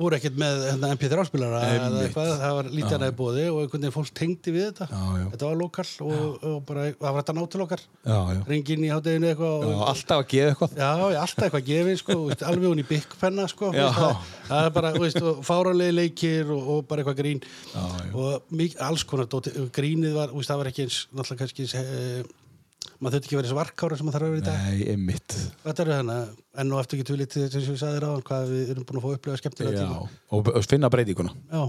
[SPEAKER 3] voru ekkert með hérna, MP3-spilara eða
[SPEAKER 2] Einmitt.
[SPEAKER 3] eitthvað, það var lítið hana í bóði og einhvern veginn fólk tengdi við þetta,
[SPEAKER 2] Já, já.
[SPEAKER 3] þetta var lokal og, og bara, það var þetta ná til okkar,
[SPEAKER 2] já, já.
[SPEAKER 3] ringin í hátteginu eitthvað
[SPEAKER 2] Já,
[SPEAKER 3] og,
[SPEAKER 2] alltaf að gefa eitthvað
[SPEAKER 3] Já, ég alltaf eitthvað gefið, sko, þú veist, alveg hún í byggpenna, sko, þú
[SPEAKER 2] Já.
[SPEAKER 3] veist, það, það er bara, þú veist, og fáralegi leikir og, og bara eitthvað grín
[SPEAKER 2] Já, já.
[SPEAKER 3] og mik, alls konar dóti, grínið var, þú veist, það var ekki eins, náttúrulega kannski eins, e, maður þurfti ekki að vera eins varkára sem maður þarf að vera í dag.
[SPEAKER 2] nei, einmitt
[SPEAKER 3] Þetta eru hana, enn og eftir ekki tulið til þess að við sagðir á hann, hvað við erum búin að fá upplega skemmtilega
[SPEAKER 2] já.
[SPEAKER 3] tíma.
[SPEAKER 2] og og finna breytinguna
[SPEAKER 3] Já,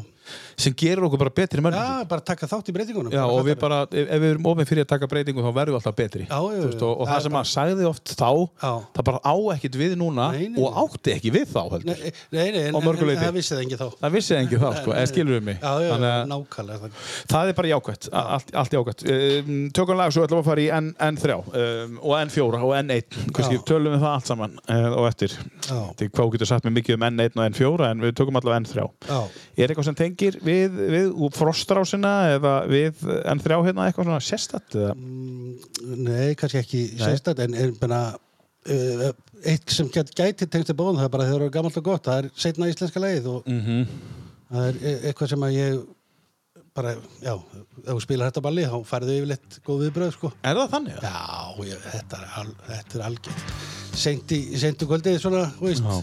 [SPEAKER 2] sem gerir okkur bara betri
[SPEAKER 3] já,
[SPEAKER 2] mörgum
[SPEAKER 3] bara taka þátt í breytingunum.
[SPEAKER 2] Já,
[SPEAKER 3] bara
[SPEAKER 2] og við
[SPEAKER 3] fattari.
[SPEAKER 2] bara, ef, ef við erum ofin fyrir að taka breytingu þá verðum við alltaf betri
[SPEAKER 3] Já, já,
[SPEAKER 2] Þú veist, og, og
[SPEAKER 3] já,
[SPEAKER 2] það
[SPEAKER 3] já,
[SPEAKER 2] sem maður sagði oft þá
[SPEAKER 3] Já.
[SPEAKER 2] það bara á ekkit við núna
[SPEAKER 3] Nei, nei,
[SPEAKER 2] og
[SPEAKER 3] nei.
[SPEAKER 2] átti ekki við þá heldur.
[SPEAKER 3] Nei, nei, nei, en,
[SPEAKER 2] Á mörgu
[SPEAKER 3] en, en
[SPEAKER 2] leyti.
[SPEAKER 3] það vissi það engi þá.
[SPEAKER 2] það vissi engi þá, sko, eða skilur við mig
[SPEAKER 3] Já, já,
[SPEAKER 2] Þannig að
[SPEAKER 3] nákvæmlega. þannig.
[SPEAKER 2] það er bara jákvætt, a- allt, allt jákvætt um, tökum lag svo ætlum við að fara í N- N3 um, og N4 og N1 kannski
[SPEAKER 3] Já.
[SPEAKER 2] tölum við það allt saman uh, og eftir
[SPEAKER 3] Já.
[SPEAKER 2] til hvað þú getur sagt með mikið um N1 og N4 en við tökum allavega N3
[SPEAKER 3] Já.
[SPEAKER 2] er eitthvað sem tengir við, við frostrásina eða við N3 hérna eitthvað svona sérstætt eða?
[SPEAKER 3] Nei, kannski ekki sérstætt en er bara uh, eitt sem gæti, gæti tengst til bóðum það er bara þegar það eru gammalt og gott það er setna íslenska leið og
[SPEAKER 2] Mhm.
[SPEAKER 3] það er e- eitthvað sem að ég bara, já, ef þú spilar þetta balli þá færðu yfirleitt góð viðbröð sko.
[SPEAKER 2] Er það þannig? eða?
[SPEAKER 3] Já, ég, þetta er, al, þetta er algjör Seint í, seintu kvöldið svona, þú veist
[SPEAKER 2] Já.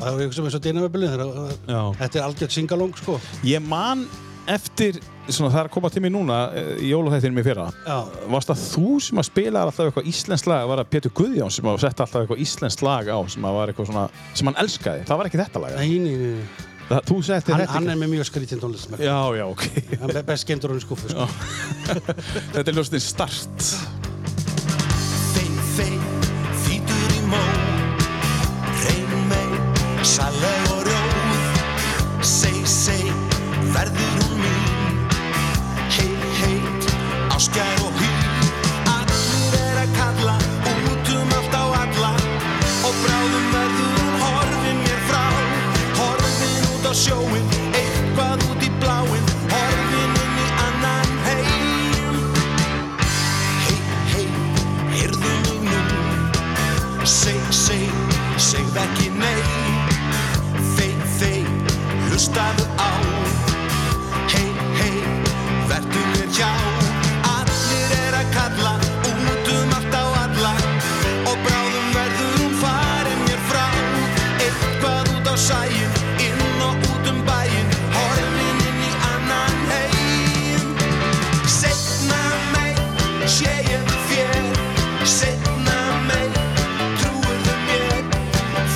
[SPEAKER 3] það er eitthvað sem er svo dynamöbulin
[SPEAKER 2] Já.
[SPEAKER 3] þetta er algjört singalong sko.
[SPEAKER 2] Ég man eftir, svona, það er að koma til mér núna eh, í jólaþættinum í fyrra.
[SPEAKER 3] Já.
[SPEAKER 2] Varst það þú sem að spilaði alltaf eitthvað íslensk lag? Var það Pétur Guðjón sem að setja alltaf eitthvað íslensk lag á sem að var eitthvað svona, sem hann elskaði? Það var ekki þetta lag?
[SPEAKER 3] Nei, nei, nei, nei.
[SPEAKER 2] Það, þú settir
[SPEAKER 3] Hann,
[SPEAKER 2] þetta
[SPEAKER 3] hann
[SPEAKER 2] ekki?
[SPEAKER 3] er með mjög skrítin tónlist
[SPEAKER 2] Já, já, ok.
[SPEAKER 3] hann er best gendur hann í skúfu sko.
[SPEAKER 2] þetta er ljóstin start.
[SPEAKER 6] Fei, fei, þýtur í mó Reyn mei, saleg og róð Sei, sei, verður hún mín Hei, heit, áskjær og hý Allir er að kalla, út um allt á alla Og bráðum verður hún horfin mér frá Horfin showing, April die blauwen Heulen in die anderen heim. Hey, hey, heyrðu mig nú Seg, seg, segð ekki nei Þey, þey, hlustaðu á Hey, hey, verðu mér hjá Allir er að kalla út um allt á alla Og bráðum verður hún farin mér frá Eitthvað út á sæin, inn og út um bæin Horfin inn í annan heim Setna meir sé ég þér Setna meir trúirðu mér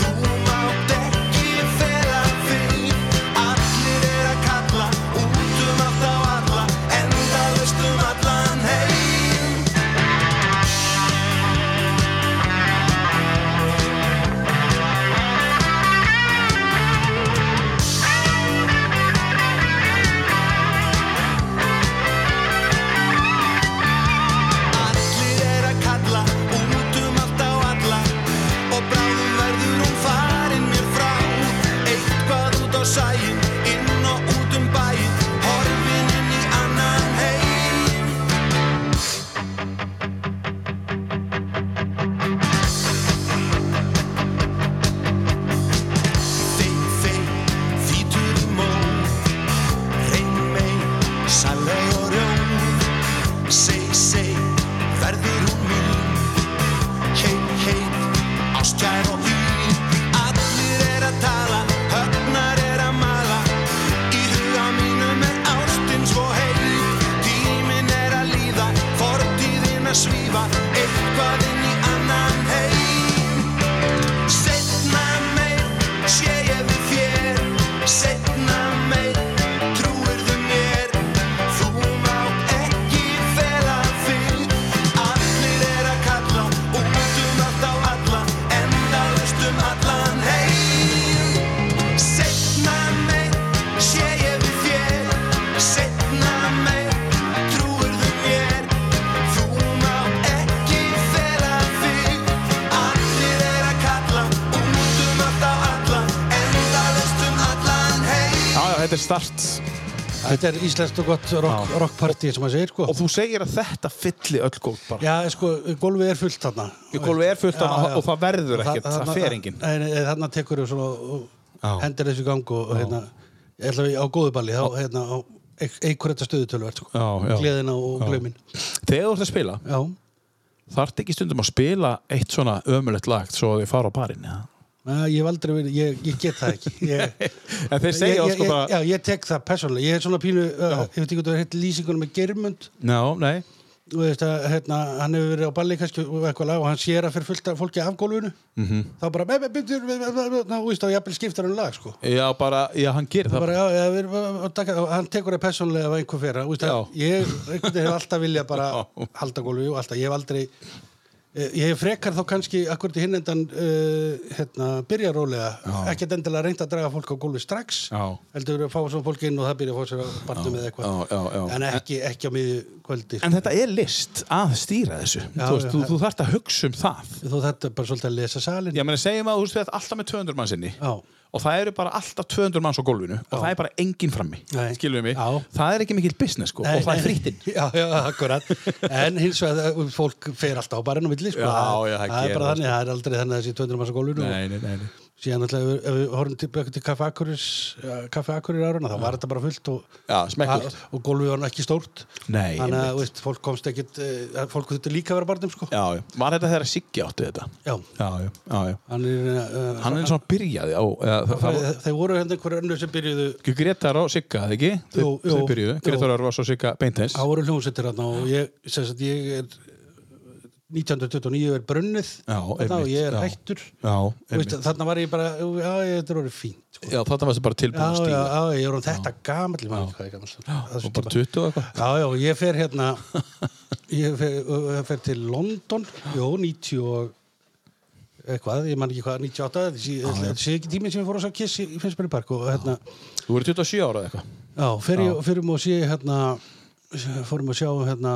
[SPEAKER 6] Þú mátt ekki fela því Allir er að kalla út um allt á alla Endalaust um allan heim Allir er að kalla út um allt á alla Og bráðum verður hún farin mér frá Eitthvað út á sæin, inn og út um bæin Horfin inn í annan heim Þeim, þeim, þýtur í mó Reyn, mein, saleg og rjóð Seg, seg, verður hún mín Heit, heit, ástjær og hý Allir er að tala, höfnar er að mala Í huga mínum er ástin svo heit Tíminn er að líða, fortíðin að svífa Eitthvað inn í annan heim Setna meir, sé ég við þér Setna meir, trúirðu mér Þú mátt ekki fela þig Allir er að kalla Út um allt á alla Endalaust um allan heim Setna meir, sé ég við þér Setna meir, trúirðu mér Þú mátt ekki fela þig Allir er að kalla Út um allt á alla Endalaust um allan heim
[SPEAKER 2] Já, já, þetta er start
[SPEAKER 3] Þetta er íslenskt og gott rock,
[SPEAKER 2] Já.
[SPEAKER 3] rockpartí sem maður segir, sko.
[SPEAKER 2] Og þú segir að þetta fylli öll gólf bara
[SPEAKER 3] Já, sko, gólfið er fullt þarna.
[SPEAKER 2] Í gólfið er fullt
[SPEAKER 3] Já,
[SPEAKER 2] þarna
[SPEAKER 3] já.
[SPEAKER 2] og það verður ekkert, það
[SPEAKER 3] þarna-
[SPEAKER 2] fer enginn.
[SPEAKER 3] Nei, nei, þarna tekur þú svona
[SPEAKER 2] Já.
[SPEAKER 3] og hendur þessu í gang og, og hérna, ég ætla að við á góðu balli, þá hérna, á eik- eikur þetta stöðutöluvert, sko.
[SPEAKER 2] Já, já.
[SPEAKER 3] Gleðina og glömin.
[SPEAKER 2] Þegar þú ert að spila,
[SPEAKER 3] Já,
[SPEAKER 2] þarf ekki stundum að spila eitt svona ömulegt lagt svo að þið fara á parinn ja.
[SPEAKER 3] Næ, ég hef aldrei verið, ég, ég get það ekki. Ég,
[SPEAKER 2] En þeir segja
[SPEAKER 3] ég,
[SPEAKER 2] oft
[SPEAKER 3] ég,
[SPEAKER 2] sko
[SPEAKER 3] ég,
[SPEAKER 2] bara
[SPEAKER 3] já, ég tek það persónulega. Ég er svona pínu, uh, ég veit ekki hvað það er hitt lýsingunum með Geirmund.
[SPEAKER 2] Já, nei
[SPEAKER 3] þú veist að hérna, hann hefur verið á balli kannski og eitthvað lag og hann sér að fyrir fullt af fólki af gólfinu
[SPEAKER 2] Mhm.
[SPEAKER 3] -hmm. þá bara "Nei, nei, bíddu, við- við- við- við- ná, þú veist að jafnvel skiptar hann lag sko
[SPEAKER 2] Já, bara, já, hann gerir það
[SPEAKER 3] bara, já, já, við, við, taka, hann tekur það persónlega af einhver fyrir veist, að,
[SPEAKER 2] Já.
[SPEAKER 3] ég einhvern veginn hef alltaf viljað bara
[SPEAKER 2] Já.
[SPEAKER 3] halda gólfi og alltaf ég hef aldrei eh, ég hef frekar þá kannski akkurat í hinnendan uh, hérna, byrja rólega ekkert endilega reynd að draga fólk á gólfi strax
[SPEAKER 2] Já.
[SPEAKER 3] heldur að fá svona fólk inn og það byrja að fá sér að barnum með eitthvað
[SPEAKER 2] já, já, já.
[SPEAKER 3] en ekki, ekki á sko. miðju kvöldi
[SPEAKER 2] En þetta er list að stýra þessu Þú, veist,
[SPEAKER 3] já,
[SPEAKER 2] þú,
[SPEAKER 3] það-
[SPEAKER 2] þú þarft að hugsa um það
[SPEAKER 3] þú þetta bara svolítið að lesa salin
[SPEAKER 2] Já, meni, segjum að þú veist við alltaf með 200 manns inni
[SPEAKER 3] Já.
[SPEAKER 2] og það eru bara alltaf 200 manns á gólfinu og það er bara enginn frammi,
[SPEAKER 3] Nei.
[SPEAKER 2] skilum við mig
[SPEAKER 3] Já.
[SPEAKER 2] það er ekki mikill business sko,
[SPEAKER 3] Nei,
[SPEAKER 2] og það
[SPEAKER 3] nei.
[SPEAKER 2] er frittinn
[SPEAKER 3] Já, já, akkurat En hins vegar, uh, fólk fer alltaf á barinn á milli sko.
[SPEAKER 2] Já,
[SPEAKER 3] Það-
[SPEAKER 2] já, það
[SPEAKER 3] Það er
[SPEAKER 2] gerir
[SPEAKER 3] bara
[SPEAKER 2] það, sko.
[SPEAKER 3] þannig, það er aldrei þannig að þessi 200 massa gólfinu og
[SPEAKER 2] nei, nei, nei.
[SPEAKER 3] síðan alltaf ef, við- ef við horfum tilbaka til eh, Kaffi Akureyris ja, Kaffi Akureyri árana, þá var þetta bara fullt og,
[SPEAKER 2] Já, smekkfullt.
[SPEAKER 3] að- og gólfið var nú ekki stórt
[SPEAKER 2] Nei,
[SPEAKER 3] Þannig að
[SPEAKER 2] einmitt.
[SPEAKER 3] veist, fólk komst ekkit eh, að fólk þetta líka að vera á barnum sko.
[SPEAKER 2] Já, já. var þetta þegar Siggi átti þetta?
[SPEAKER 3] Já.
[SPEAKER 2] já, já, já.
[SPEAKER 3] Hann er, uh,
[SPEAKER 2] Hann er eins og hann byrjaði á, eða, það, það,
[SPEAKER 3] Þeir, þeir voru hérna einhverju önnu sem byrjuðu
[SPEAKER 2] það, Gretar og Sigga, eða ekki? Þau-
[SPEAKER 3] Jú, jú,
[SPEAKER 2] Þau byrjuðu,
[SPEAKER 3] jú.
[SPEAKER 2] Gretar Örvas og Sigga Beintens
[SPEAKER 3] Það voru hljómsettir hérna og ég, sem sagt, ég er 1929 er brunnið
[SPEAKER 2] Já,
[SPEAKER 3] þarna og
[SPEAKER 2] einmitt,
[SPEAKER 3] ég er
[SPEAKER 2] já.
[SPEAKER 3] hættur
[SPEAKER 2] Já,
[SPEAKER 3] Þú veist,
[SPEAKER 2] einmitt.
[SPEAKER 3] þarna var ég bara, já, ég, þetta er orðið fínt sko.
[SPEAKER 2] Já, þetta varstu bara
[SPEAKER 3] já,
[SPEAKER 2] tilbúin að
[SPEAKER 3] já,
[SPEAKER 2] stíga
[SPEAKER 3] já, ég er orðin þetta gamall ég man ekki hvað ég er gamall Það
[SPEAKER 2] og
[SPEAKER 3] er
[SPEAKER 2] bara
[SPEAKER 3] bara-
[SPEAKER 2] 20 og eitthvað
[SPEAKER 3] Já, já, og ég fer hérna ég fer, ö, ö, fer til London jó, 90 og eitthvað, ég man ekki hvað, 98 þetta sé- þetta sé ekki tíminn sem ég fór að sá kiss í Finnsberg Park og hérna,
[SPEAKER 2] Þú voru 27 ára eða eitthvað
[SPEAKER 3] já, fer ég, ferum og sé hérna fórum að sjá hérna,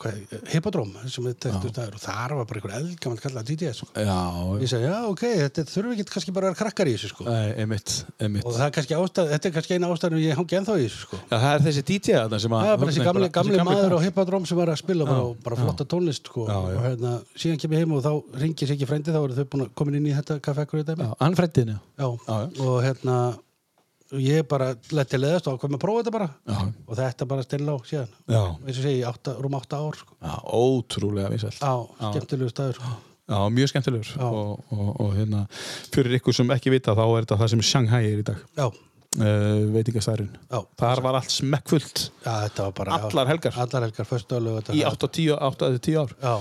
[SPEAKER 3] hvað, hippodróm sem er tektur staður og þar var bara einhver eldgamal kallað DDS sko.
[SPEAKER 2] Já,
[SPEAKER 3] ég sagði, já, ok, þetta þurfi ekki kannski bara að vera krakkar í þessu sko.
[SPEAKER 2] Nei, einmitt, einmitt
[SPEAKER 3] og það er kannski ástæð, þetta er kannski eina ástæðan ég hangi ennþá í þessu sko.
[SPEAKER 2] Já, það er þessi DJ þarna sem að
[SPEAKER 3] það er bara þessi gamli, gamli maður á hippodróm sem var að spila bara,
[SPEAKER 2] Já,
[SPEAKER 3] og bara
[SPEAKER 2] já.
[SPEAKER 3] flotta tónlist sko.
[SPEAKER 2] Já, já.
[SPEAKER 3] og hérna, síðan kem ég heim og þá ringir sér ekki frændi þá eru þau búin að komin inn í þetta kaffekur í dæmi
[SPEAKER 2] Já, hann frættinu
[SPEAKER 3] Já,
[SPEAKER 2] Já,
[SPEAKER 3] og hérna og ég bara leti leðast og ákveð með að prófa þetta bara
[SPEAKER 2] Já.
[SPEAKER 3] og þetta bara stilla á síðan
[SPEAKER 2] Já.
[SPEAKER 3] Og eins og segi, átta, rúm átta ár sko.
[SPEAKER 2] Já, ótrúlega vinsælt
[SPEAKER 3] á, skemmtilegu staður sko.
[SPEAKER 2] Já, mjög skemmtilegur og, og, og hérna, fyrir ykkur sem ekki vita þá er þetta það sem Shanghai er í dag
[SPEAKER 3] já,
[SPEAKER 2] uh, veitingastærin
[SPEAKER 3] Já.
[SPEAKER 2] Þar var allt smekkfullt
[SPEAKER 3] já, þetta var bara
[SPEAKER 2] Allar helgar.
[SPEAKER 3] allar helgar, föstu alveg
[SPEAKER 2] í 8-10 8-10 ár
[SPEAKER 3] já,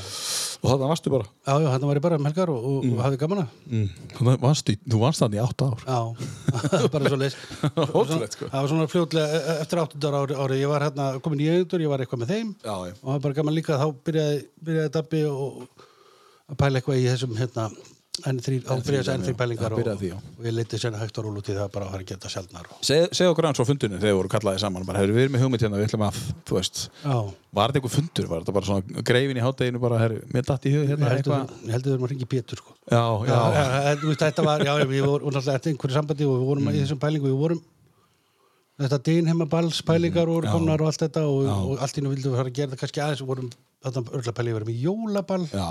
[SPEAKER 2] og þarna varstu bara
[SPEAKER 3] já, já, hérna var ég bara um helgar og, og, og hafði gaman að
[SPEAKER 2] mm. þarna varstu, í- þú varst þarna í 8 ár
[SPEAKER 3] já, bara svo leys
[SPEAKER 2] Ótrúlegt, sko.
[SPEAKER 3] það var svona fljótlega e- e- eftir áttundar ári, ári ég var hérna, komin í eigendur, ég var eitthvað með þeim
[SPEAKER 2] Já, já.
[SPEAKER 3] og það var bara gaman líka, þá byrjaði, byrjaði Dabbi og að pæla eitthvað í þessum hérna N3, þá byrjaði þessi N3 pælingar
[SPEAKER 2] Já,
[SPEAKER 3] og,
[SPEAKER 2] byrjaði því, já.
[SPEAKER 3] og ég leiti sérna hægt og rúlu til það bara að fara að geta sjaldnar og,
[SPEAKER 2] Segð seg okkur aðeins á fundinu þegar voru kallaði saman bara hefur við erum með hugmynd hérna, við ætlum að, þú veist
[SPEAKER 3] já,
[SPEAKER 2] Var þetta eitthvað fundur, var þetta bara svona greifin í hátteginu bara, herru, mér datt í hug
[SPEAKER 3] ég
[SPEAKER 2] hérna
[SPEAKER 3] heldur
[SPEAKER 2] eitthvað
[SPEAKER 3] við erum að ringi Pétur sko
[SPEAKER 2] Já, já,
[SPEAKER 3] Já, en þú veist, þetta var, já, við vorum og náttúrulega eftir einhverju sambandi og við vorum
[SPEAKER 2] Mm.
[SPEAKER 3] í þessum pælingu, við vorum þetta dýn heima bals, pælingar
[SPEAKER 2] Mm,
[SPEAKER 3] og komnar og allt þetta og, og allt í nú vildum við fara að gera það kannski aðeins og vorum, þetta örgulega pælingu, við vorum í jólaball
[SPEAKER 2] já,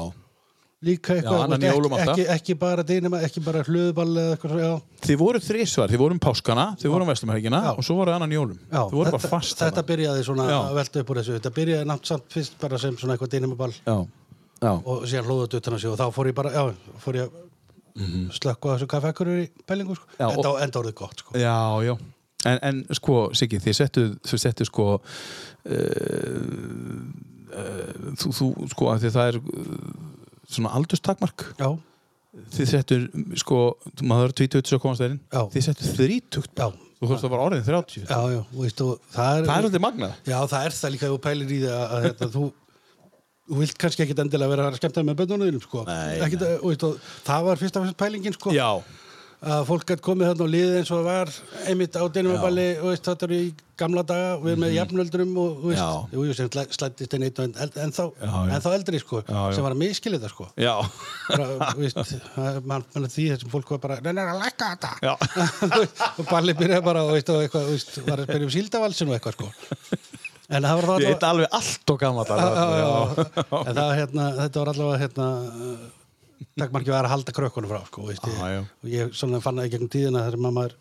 [SPEAKER 3] líka eitthvað,
[SPEAKER 2] Já, annan
[SPEAKER 3] þú veist,
[SPEAKER 2] jólum átta.
[SPEAKER 3] ekki, ekki, ekki bara dýn heima, ekki bara hlöðball eða eitthvað, svo, já,
[SPEAKER 2] Þið voru þrísvar, þið voru um páskana, þið voru um vestumhelgina
[SPEAKER 3] Já.
[SPEAKER 2] og svo voru annan jólum.
[SPEAKER 3] já
[SPEAKER 2] þið voru bara fast
[SPEAKER 3] þetta, þetta
[SPEAKER 2] þarna.
[SPEAKER 3] byrjaði svona
[SPEAKER 2] Já.
[SPEAKER 3] að velta upp úr þessu, þetta byrjaði nátt samt fyrst bara sem svona eitthvað dýn heima ball
[SPEAKER 2] Já, já,
[SPEAKER 3] og síðan hlóðaðu utan að sig og þá fór ég bara, já, fór ég að slökkva á þessu kaffekkurur í pælingu, sko,
[SPEAKER 2] Mhm. Já,
[SPEAKER 3] enda,
[SPEAKER 2] og-
[SPEAKER 3] enda orðið gott, sko.
[SPEAKER 2] já, já. En, en sko, Siggi, þið settu, þið settu sko, uh, uh, þú, þú, sko, að því það er uh, svona aldurstakmark.
[SPEAKER 3] Já,
[SPEAKER 2] Þið settu, sko, maður er 20 svo komast þeirinn.
[SPEAKER 3] Já. Eh,
[SPEAKER 2] Þið settu 30.
[SPEAKER 3] já,
[SPEAKER 2] Þú þurft að vera orðin 30.
[SPEAKER 3] Já, já, þú veist, og það er,
[SPEAKER 2] Það er alltaf magnað.
[SPEAKER 3] Já, það er það líka ef þú pælir í það að, að hérna, þú þú vilt kannski ekkit endilega vera að skemmta þér með bönnunum, sko.
[SPEAKER 2] Nei,
[SPEAKER 3] ekkit, nei. Veist, og, það var fyrst af þessu pælingin, sko,
[SPEAKER 2] Já,
[SPEAKER 3] að fólk gætt komið þarna og liðið eins og það var einmitt á dynumabali, og veist, þetta eru í gamla daga, við erum með jafnöldrum og, þú veist,
[SPEAKER 2] Mhm. Já.
[SPEAKER 3] jú, jú, sem slæ- slæddist einn eitt og en, en, þá,
[SPEAKER 2] Já, já.
[SPEAKER 3] en þá eldri, sko,
[SPEAKER 2] Já, já.
[SPEAKER 3] sem var að miskilið það, sko.
[SPEAKER 2] já,
[SPEAKER 3] Bara, þú veist, það- man, man, því þessum fólk var bara, neina, að lækka þetta
[SPEAKER 2] já.
[SPEAKER 3] og Balli byrjaði bara og, veist, og eitthvað, veist, var að spyrja um síldavalsinu og eitthvað sko. en það var þá
[SPEAKER 2] Ég
[SPEAKER 3] allavega-
[SPEAKER 2] veit alveg allt og gammal.
[SPEAKER 3] Já, já, já. en það, var hérna, þetta var allavega hérna, takkmarkið var að halda krökkunum frá sko, veist,
[SPEAKER 2] Ah, Já, já.
[SPEAKER 3] ég, og ég svona fann það í gegnum tíðina þegar mamma er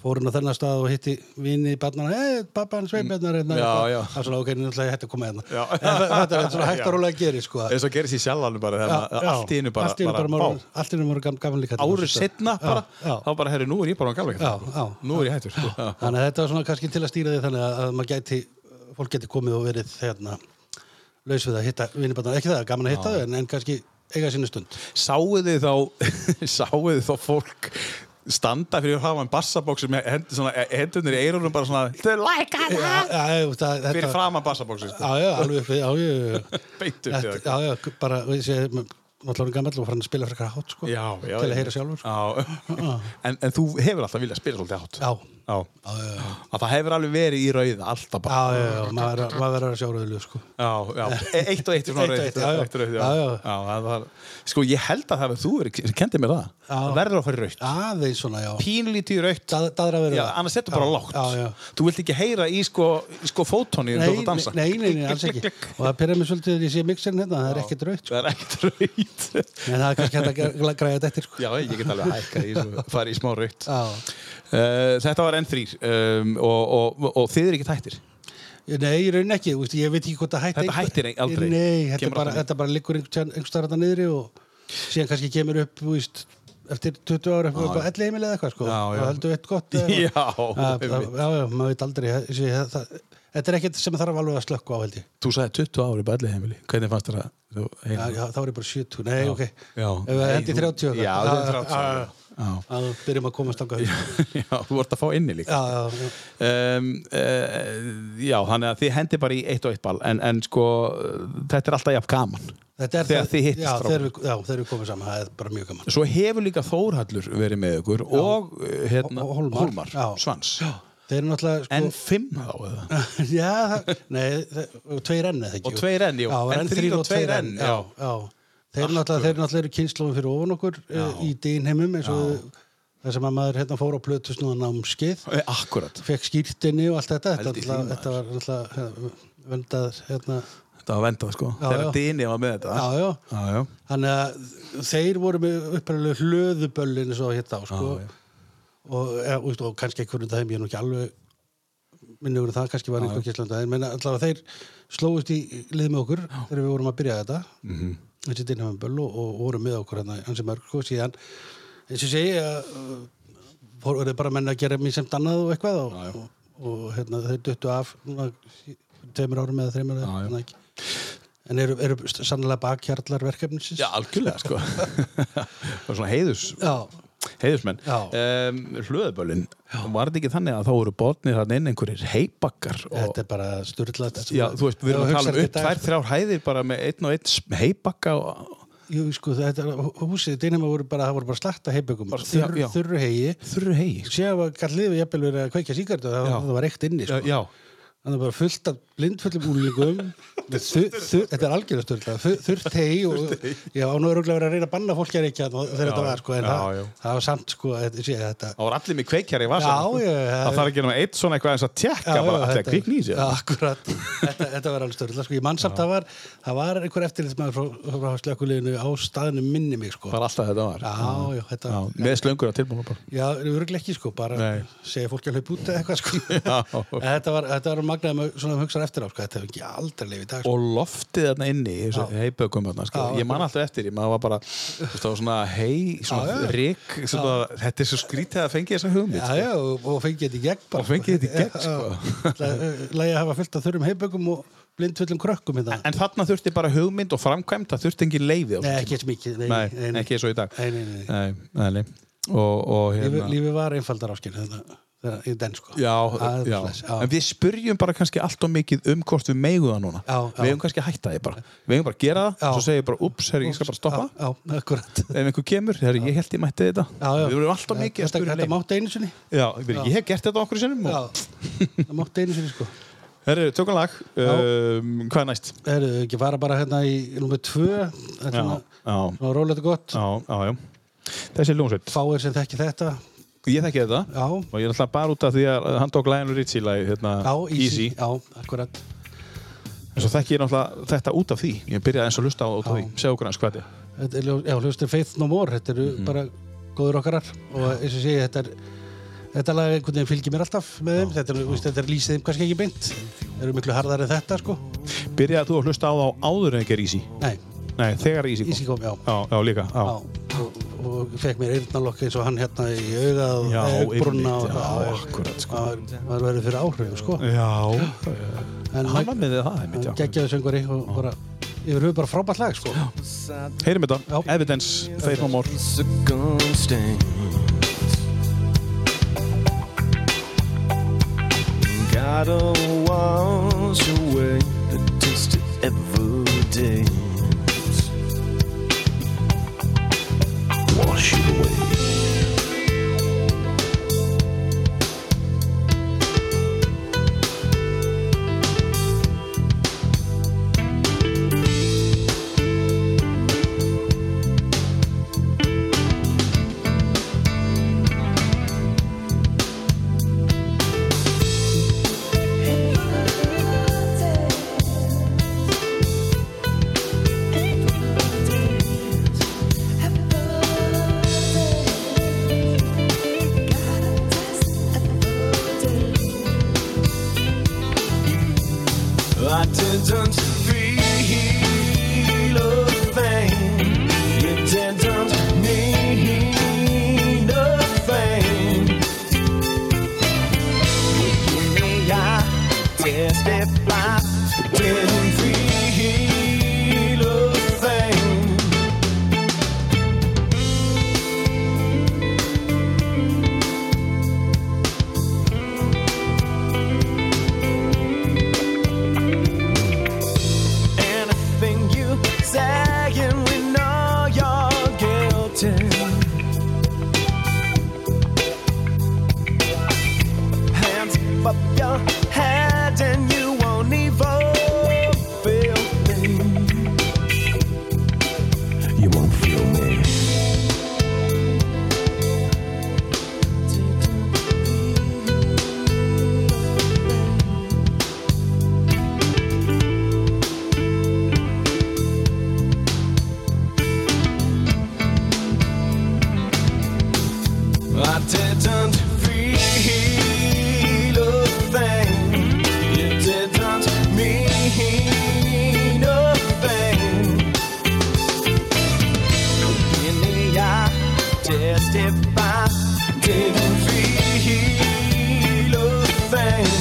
[SPEAKER 3] fórun á þennan stað og hitti vini í barnana, hei, pappa hann sveipjarnar hérna,
[SPEAKER 2] Já,
[SPEAKER 3] eitthvað.
[SPEAKER 2] já.
[SPEAKER 3] það er svona ok, náttúrulega ég hætti að koma hérna
[SPEAKER 2] Já.
[SPEAKER 3] En það- þetta er svona hægt og rólega að gera sko.
[SPEAKER 2] eins og gerist í sjálfanum bara þegar maður- allt í einu bara,
[SPEAKER 3] allt í einu bara,
[SPEAKER 2] bara,
[SPEAKER 3] bara, bara, allt í einu bara gam- gaman líka
[SPEAKER 2] bara árið setna bara,
[SPEAKER 3] já.
[SPEAKER 2] þá bara herri, nú er ég bara á gamla
[SPEAKER 3] Já,
[SPEAKER 2] ekki
[SPEAKER 3] já.
[SPEAKER 2] nú er ég hættur sko. já,
[SPEAKER 3] Þannig að þetta var svona kannski til að stýra því þannig að, að maður gæti, fólk geti komið og verið hérna, laus við að hitta vinnibarnar, ekki það, gaman að hitta þau en, en kannski eiga sinni stund.
[SPEAKER 2] sáuð þið þá sáuð þið þá fólk standa fyrir að hafa en bassabóksi með hend, svona, hendunir í eyrunum bara svona "Þau læka
[SPEAKER 3] Já,
[SPEAKER 2] það!"
[SPEAKER 3] Eh, já, jú, það, þetta,
[SPEAKER 2] fyrir framan sko. bassabóksi
[SPEAKER 3] Já, já, alveg upp við, já, já, já.
[SPEAKER 2] Beint upp við
[SPEAKER 3] Þetta- Já, já, bara, við séum, náttúrulega orðinn gamall og farin að spila fyrir hvað hátt, sko,
[SPEAKER 2] já, já,
[SPEAKER 3] til að
[SPEAKER 2] já.
[SPEAKER 3] heyra sjálfur, sko.
[SPEAKER 2] já. En, en þú hefur alltaf viljað spila svolítið átt
[SPEAKER 3] Já,
[SPEAKER 2] já. að það hefur alveg verið í rauða alltaf
[SPEAKER 3] já,
[SPEAKER 2] bara
[SPEAKER 3] já, já, maður er- maður verður að sjá rauðlu, sko.
[SPEAKER 2] Já, já, E- eitt og eitt er svona
[SPEAKER 3] Eitt og eitt,
[SPEAKER 2] rautt,
[SPEAKER 3] já, já.
[SPEAKER 2] eitt og eitt, já.
[SPEAKER 3] Já, já.
[SPEAKER 2] það var, sko ég held að það var þú verið, sem kendi mér það,
[SPEAKER 3] Já.
[SPEAKER 2] það verður að fara í rautt,
[SPEAKER 3] Aðeins svona, já,
[SPEAKER 2] pínlítið í rautt,
[SPEAKER 3] Dað- daðra verður
[SPEAKER 2] já,
[SPEAKER 3] það.
[SPEAKER 2] annars settu bara
[SPEAKER 3] Já,
[SPEAKER 2] lágt,
[SPEAKER 3] já, já.
[SPEAKER 2] þú vilt ekki heyra í sko, í sko fótoni en þú ert
[SPEAKER 3] Nei,
[SPEAKER 2] að dansa,
[SPEAKER 3] nei, nei, nei, alls ekki og það pyrra mér svolítið þegar ég sé mixin hérna, það er ekkert raut
[SPEAKER 2] það er ekkert rautt,
[SPEAKER 3] en það er kannski hægt að gra- græja þetta eftir, sko.
[SPEAKER 2] já ég get alveg hækkað í svo, farið í smá rautt.
[SPEAKER 3] Já.
[SPEAKER 2] Uh, þetta var N3 um, og, og, og, og þið er ekki tættir,
[SPEAKER 3] Nei, í rauninni ekki, úst, ég veit ekki hvort það hætti
[SPEAKER 2] Þetta hættir ein- aldrei.
[SPEAKER 3] Nei, þetta
[SPEAKER 2] Kemur
[SPEAKER 3] bara,
[SPEAKER 2] aldrei.
[SPEAKER 3] þetta bara liggur einhverstaðar þetta niðri og síðan kannski kemur upp úst, eftir 20 ára upp á elli heimil eða eitthvað sko,
[SPEAKER 2] Já, já.
[SPEAKER 3] og heldur eitt gott eða-
[SPEAKER 2] Já,
[SPEAKER 3] Að- að-
[SPEAKER 2] einmitt.
[SPEAKER 3] Já, já, maður veit aldrei það- sé, það, það, Þetta er ekkert sem þarf alveg að slökku á held ég
[SPEAKER 2] þú sagði 20 ári bælið heimili, hvernig fannst þér það? Þú,
[SPEAKER 3] já, já, Þá er ég bara 70, nei, ok
[SPEAKER 2] já.
[SPEAKER 3] Ef við
[SPEAKER 2] Nei,
[SPEAKER 3] hendi
[SPEAKER 2] þú-
[SPEAKER 3] 30
[SPEAKER 2] Já,
[SPEAKER 3] það-
[SPEAKER 2] þetta er 30
[SPEAKER 3] að-
[SPEAKER 2] já.
[SPEAKER 3] að við byrjum að komast þangað já,
[SPEAKER 2] já, þú vart að fá inni líka
[SPEAKER 3] já, já,
[SPEAKER 2] um, uh, Já, þannig að þið hendi bara í eitt og eitt ball En, en sko, eh, þetta er alltaf jafn gaman
[SPEAKER 3] Þetta er
[SPEAKER 2] Þegar
[SPEAKER 3] það-
[SPEAKER 2] þið hittist
[SPEAKER 3] já,
[SPEAKER 2] strákar.
[SPEAKER 3] þegar við, já, þegar við komum saman, það er bara mjög gaman
[SPEAKER 2] Svo hefur líka Þórhallur verið með ykkur Og eh, hérna,
[SPEAKER 3] Og- og Hólmar.
[SPEAKER 2] Hólmar
[SPEAKER 3] Já.
[SPEAKER 2] Svans
[SPEAKER 3] Já. Þeir eru náttúrulega sko,
[SPEAKER 2] En fimm þá eða?
[SPEAKER 3] Já, það, nei, það, og tveir enn eða ekki
[SPEAKER 2] Og tveir enn, jú.
[SPEAKER 3] já,
[SPEAKER 2] En
[SPEAKER 3] en
[SPEAKER 2] þrír
[SPEAKER 3] þrír
[SPEAKER 2] og
[SPEAKER 3] og tveir
[SPEAKER 2] tveir
[SPEAKER 3] enn
[SPEAKER 2] enn,
[SPEAKER 3] já, já. Þeir, eru náttúrulega, þeir eru náttúrulega eru kynnslóðum fyrir ofan okkur já. í dýnheimum eins og það sem að maður hérna fór á plötu svona námskið
[SPEAKER 2] Eh, Akkurat
[SPEAKER 3] fekk skýrtinni og allt þetta þetta,
[SPEAKER 2] Held í
[SPEAKER 3] náttúrulega-
[SPEAKER 2] því,
[SPEAKER 3] þetta var náttúrulega vendað hérna
[SPEAKER 2] Þetta var vendað sko
[SPEAKER 3] Já,
[SPEAKER 2] Þegar
[SPEAKER 3] já.
[SPEAKER 2] Dini var með þetta
[SPEAKER 3] Já, já.
[SPEAKER 2] já, já.
[SPEAKER 3] Þannig að þeir voru með upprænlega hlöðuböllin eins og hétt á, sko.
[SPEAKER 2] Já, já.
[SPEAKER 3] og, e, og, og kannski einhvern dæmi, ég er nú ekki alveg minnur það kannski var einhvern kistlanda en menna allavega þeir slóðust í lið með okkur þegar við vorum að byrja þetta mm
[SPEAKER 2] Mhm.
[SPEAKER 3] -hmm. þessi dynamömböll og, og voru með okkur hérna hansi mörg sko, síðan eins og ég segi að voru bara menna að gera mér semt annað og eitthvað og, og, og hérna, þeir duttu af núna, sí- tveimur árum eða þreimur
[SPEAKER 2] Já, já.
[SPEAKER 3] eða, já, en eru, eru sannlega bakhjarlar verkefnisins
[SPEAKER 2] já, algjörlega sko Það var svona heiðus
[SPEAKER 3] Já,
[SPEAKER 2] heiðismenn
[SPEAKER 3] Já.
[SPEAKER 2] um, hlöðubölin, var þetta ekki þannig að þá voru botnir hann inn einhverjir heibakkar og,
[SPEAKER 3] þetta er bara styrlað
[SPEAKER 2] já, þú veist, við erum að tala um upp tvær, þrjár hæðir bara með einn og einn heibakka og
[SPEAKER 3] Jú, sko, þetta er húsið Dynama voru bara, það voru bara slakta heibökum
[SPEAKER 2] Bara-
[SPEAKER 3] Þurr,
[SPEAKER 2] já, já.
[SPEAKER 3] Þurru hegi sko.
[SPEAKER 2] þurru hei
[SPEAKER 3] Sér var galt liðið jafnvel verið að kveikja síkartu það,
[SPEAKER 2] Já.
[SPEAKER 3] það var reykt inni, sko
[SPEAKER 2] já, já,
[SPEAKER 3] Þannig að bara fullt af blindfullum úlingum með þur- þur- Þetta er algjörlega styrlað Þurrt hegi og Já, og nú er örugglega verið að reyna að banna fólki að reykja þarna þegar þetta var, sko En
[SPEAKER 2] já,
[SPEAKER 3] það-
[SPEAKER 2] já.
[SPEAKER 3] það var samt, sko, þetta, sé, þetta
[SPEAKER 2] það voru allir með kveikjar í vasa
[SPEAKER 3] Já, já, já.
[SPEAKER 2] það þarf ekki nema einn svona eitthvað eins að tjekka bara allir að
[SPEAKER 3] þetta-
[SPEAKER 2] kvikni í sig
[SPEAKER 3] Já, akkurat, þetta, þetta var alveg störla sko, ég mann samt að var, það var einhver eftirlitsmaður frá, frá slökuleginu á staðinu minni mig sko.
[SPEAKER 2] bara alltaf þetta var
[SPEAKER 3] Já, já, þetta,
[SPEAKER 2] Já, með slöngur að tilbúna bara
[SPEAKER 3] já, öruglega ekki sko, bara
[SPEAKER 2] Nei.
[SPEAKER 3] segja fólki að hlaupa út eða eitthvað sko.
[SPEAKER 2] Já.
[SPEAKER 3] En þetta var, þetta var magnaðum svona um hugsan eftir á, sko, þetta hefur ekki aldrei leifið í dag sko.
[SPEAKER 2] og loftið þarna inni í þessu heibökum þarna, sko.
[SPEAKER 3] Já,
[SPEAKER 2] ég man alltaf eftir því, maður var bara þú veist, það var svona hei, svona
[SPEAKER 3] Já, já.
[SPEAKER 2] rik svona, þetta er svo skrítið að fengi þessa hugmynd
[SPEAKER 3] Já,
[SPEAKER 2] sko.
[SPEAKER 3] já, og, og fengið þetta í gegn bara
[SPEAKER 2] Og fengið þetta í gegn,
[SPEAKER 3] sko. Lægið að hafa fullt af þurrum heibökum og blindfullum krökkum hérna
[SPEAKER 2] en þarna þurfti bara hugmynd og framkvæmt það þurfti engin leiði á
[SPEAKER 3] Nei,
[SPEAKER 2] þessum
[SPEAKER 3] ekki eins mikið nei,
[SPEAKER 2] tíma. nei, ekki svo í dag
[SPEAKER 3] Nei, nei, nei.
[SPEAKER 2] nei, nei. Og, og
[SPEAKER 3] Lífi,
[SPEAKER 2] hérna
[SPEAKER 3] lífi var einfaldar áskil þegar í den sko
[SPEAKER 2] Já,
[SPEAKER 3] Það er
[SPEAKER 2] já.
[SPEAKER 3] svoleiðis,
[SPEAKER 2] en við spurjum bara kannski allt og mikið um hvort við megum það núna
[SPEAKER 3] Já, já.
[SPEAKER 2] við hefum kannski að hætta því bara við hefum bara að gera það,
[SPEAKER 3] Já.
[SPEAKER 2] svo segir ég bara ups, herri, ég skal bara stoppa
[SPEAKER 3] Já, já, akkurat
[SPEAKER 2] ef einhver kemur, herri, ég held ég mætti þetta
[SPEAKER 3] já, já.
[SPEAKER 2] við vorum alltaf mikið að
[SPEAKER 3] Þetta,
[SPEAKER 2] spurja um
[SPEAKER 3] þetta mátti einu sinni
[SPEAKER 2] Já, ég, veit ekki, ég hef gert þetta okkur sinnum
[SPEAKER 3] Já,
[SPEAKER 2] og...
[SPEAKER 3] það mátti einu sinni sko
[SPEAKER 2] Herru, tökum lag um, Hvað er næst?
[SPEAKER 3] Það eru ekki fara bara hérna í nummer tvö Það er
[SPEAKER 2] Já,
[SPEAKER 3] svona,
[SPEAKER 2] já,
[SPEAKER 3] svona rólegt og gott
[SPEAKER 2] já, já, já Þessi er ljónsveit
[SPEAKER 3] Fáir sem þekki þetta
[SPEAKER 2] Ég þekki þetta
[SPEAKER 3] Já.
[SPEAKER 2] Og ég er alltaf bara út af því að hann tók Lionel Richie lagi hérna,
[SPEAKER 3] Já, easy Já, akkurat
[SPEAKER 2] En svo þekki ég náttúrulega þetta út af því Ég byrjaði eins og hlusta á út af því Segðu okkur hans hvað þetta er
[SPEAKER 3] Þetta er ljó- Já, hlustir Faith No More Þetta eru
[SPEAKER 2] Mhm.
[SPEAKER 3] bara góður okkarar og eins og sé þetta er Þetta lag einhvern veginn fylgir mér alltaf með þeim Þetta er, þú veist, þetta er lýsið þeim kannski ekki beint Þeir eru miklu harðar en þetta sko
[SPEAKER 2] Byrjaði þú að hlusta á þá áður en ekki er Easy
[SPEAKER 3] Nei,
[SPEAKER 2] Nei, þegar Easy kom
[SPEAKER 3] Easy kom, já.
[SPEAKER 2] Já, já líka já.
[SPEAKER 3] Já, og, og fekk mér eyrnalokk eins og hann hérna í augað
[SPEAKER 2] Já,
[SPEAKER 3] og brunna
[SPEAKER 2] einmitt,
[SPEAKER 3] og
[SPEAKER 2] já,
[SPEAKER 3] það er-
[SPEAKER 2] akkúrat, sko.
[SPEAKER 3] maður maður verður fyrir áhrifum sko
[SPEAKER 2] Já,
[SPEAKER 3] en
[SPEAKER 2] hann var með það einmitt, já.
[SPEAKER 3] geggjaði söngari og bara yfir höfu bara frábært lag sko
[SPEAKER 2] Heyrim þetta,
[SPEAKER 3] Já.
[SPEAKER 2] Evidence, Faith No More
[SPEAKER 6] circumstance. Gotta wash away the dust of every day. Wash it away. I tend to feel a thing. You tend to need a thing. Maybe I testify. Didn't feel a thing. I didn't feel a thing. You didn't mean a thing. Really, I testify. Didn't feel a thing.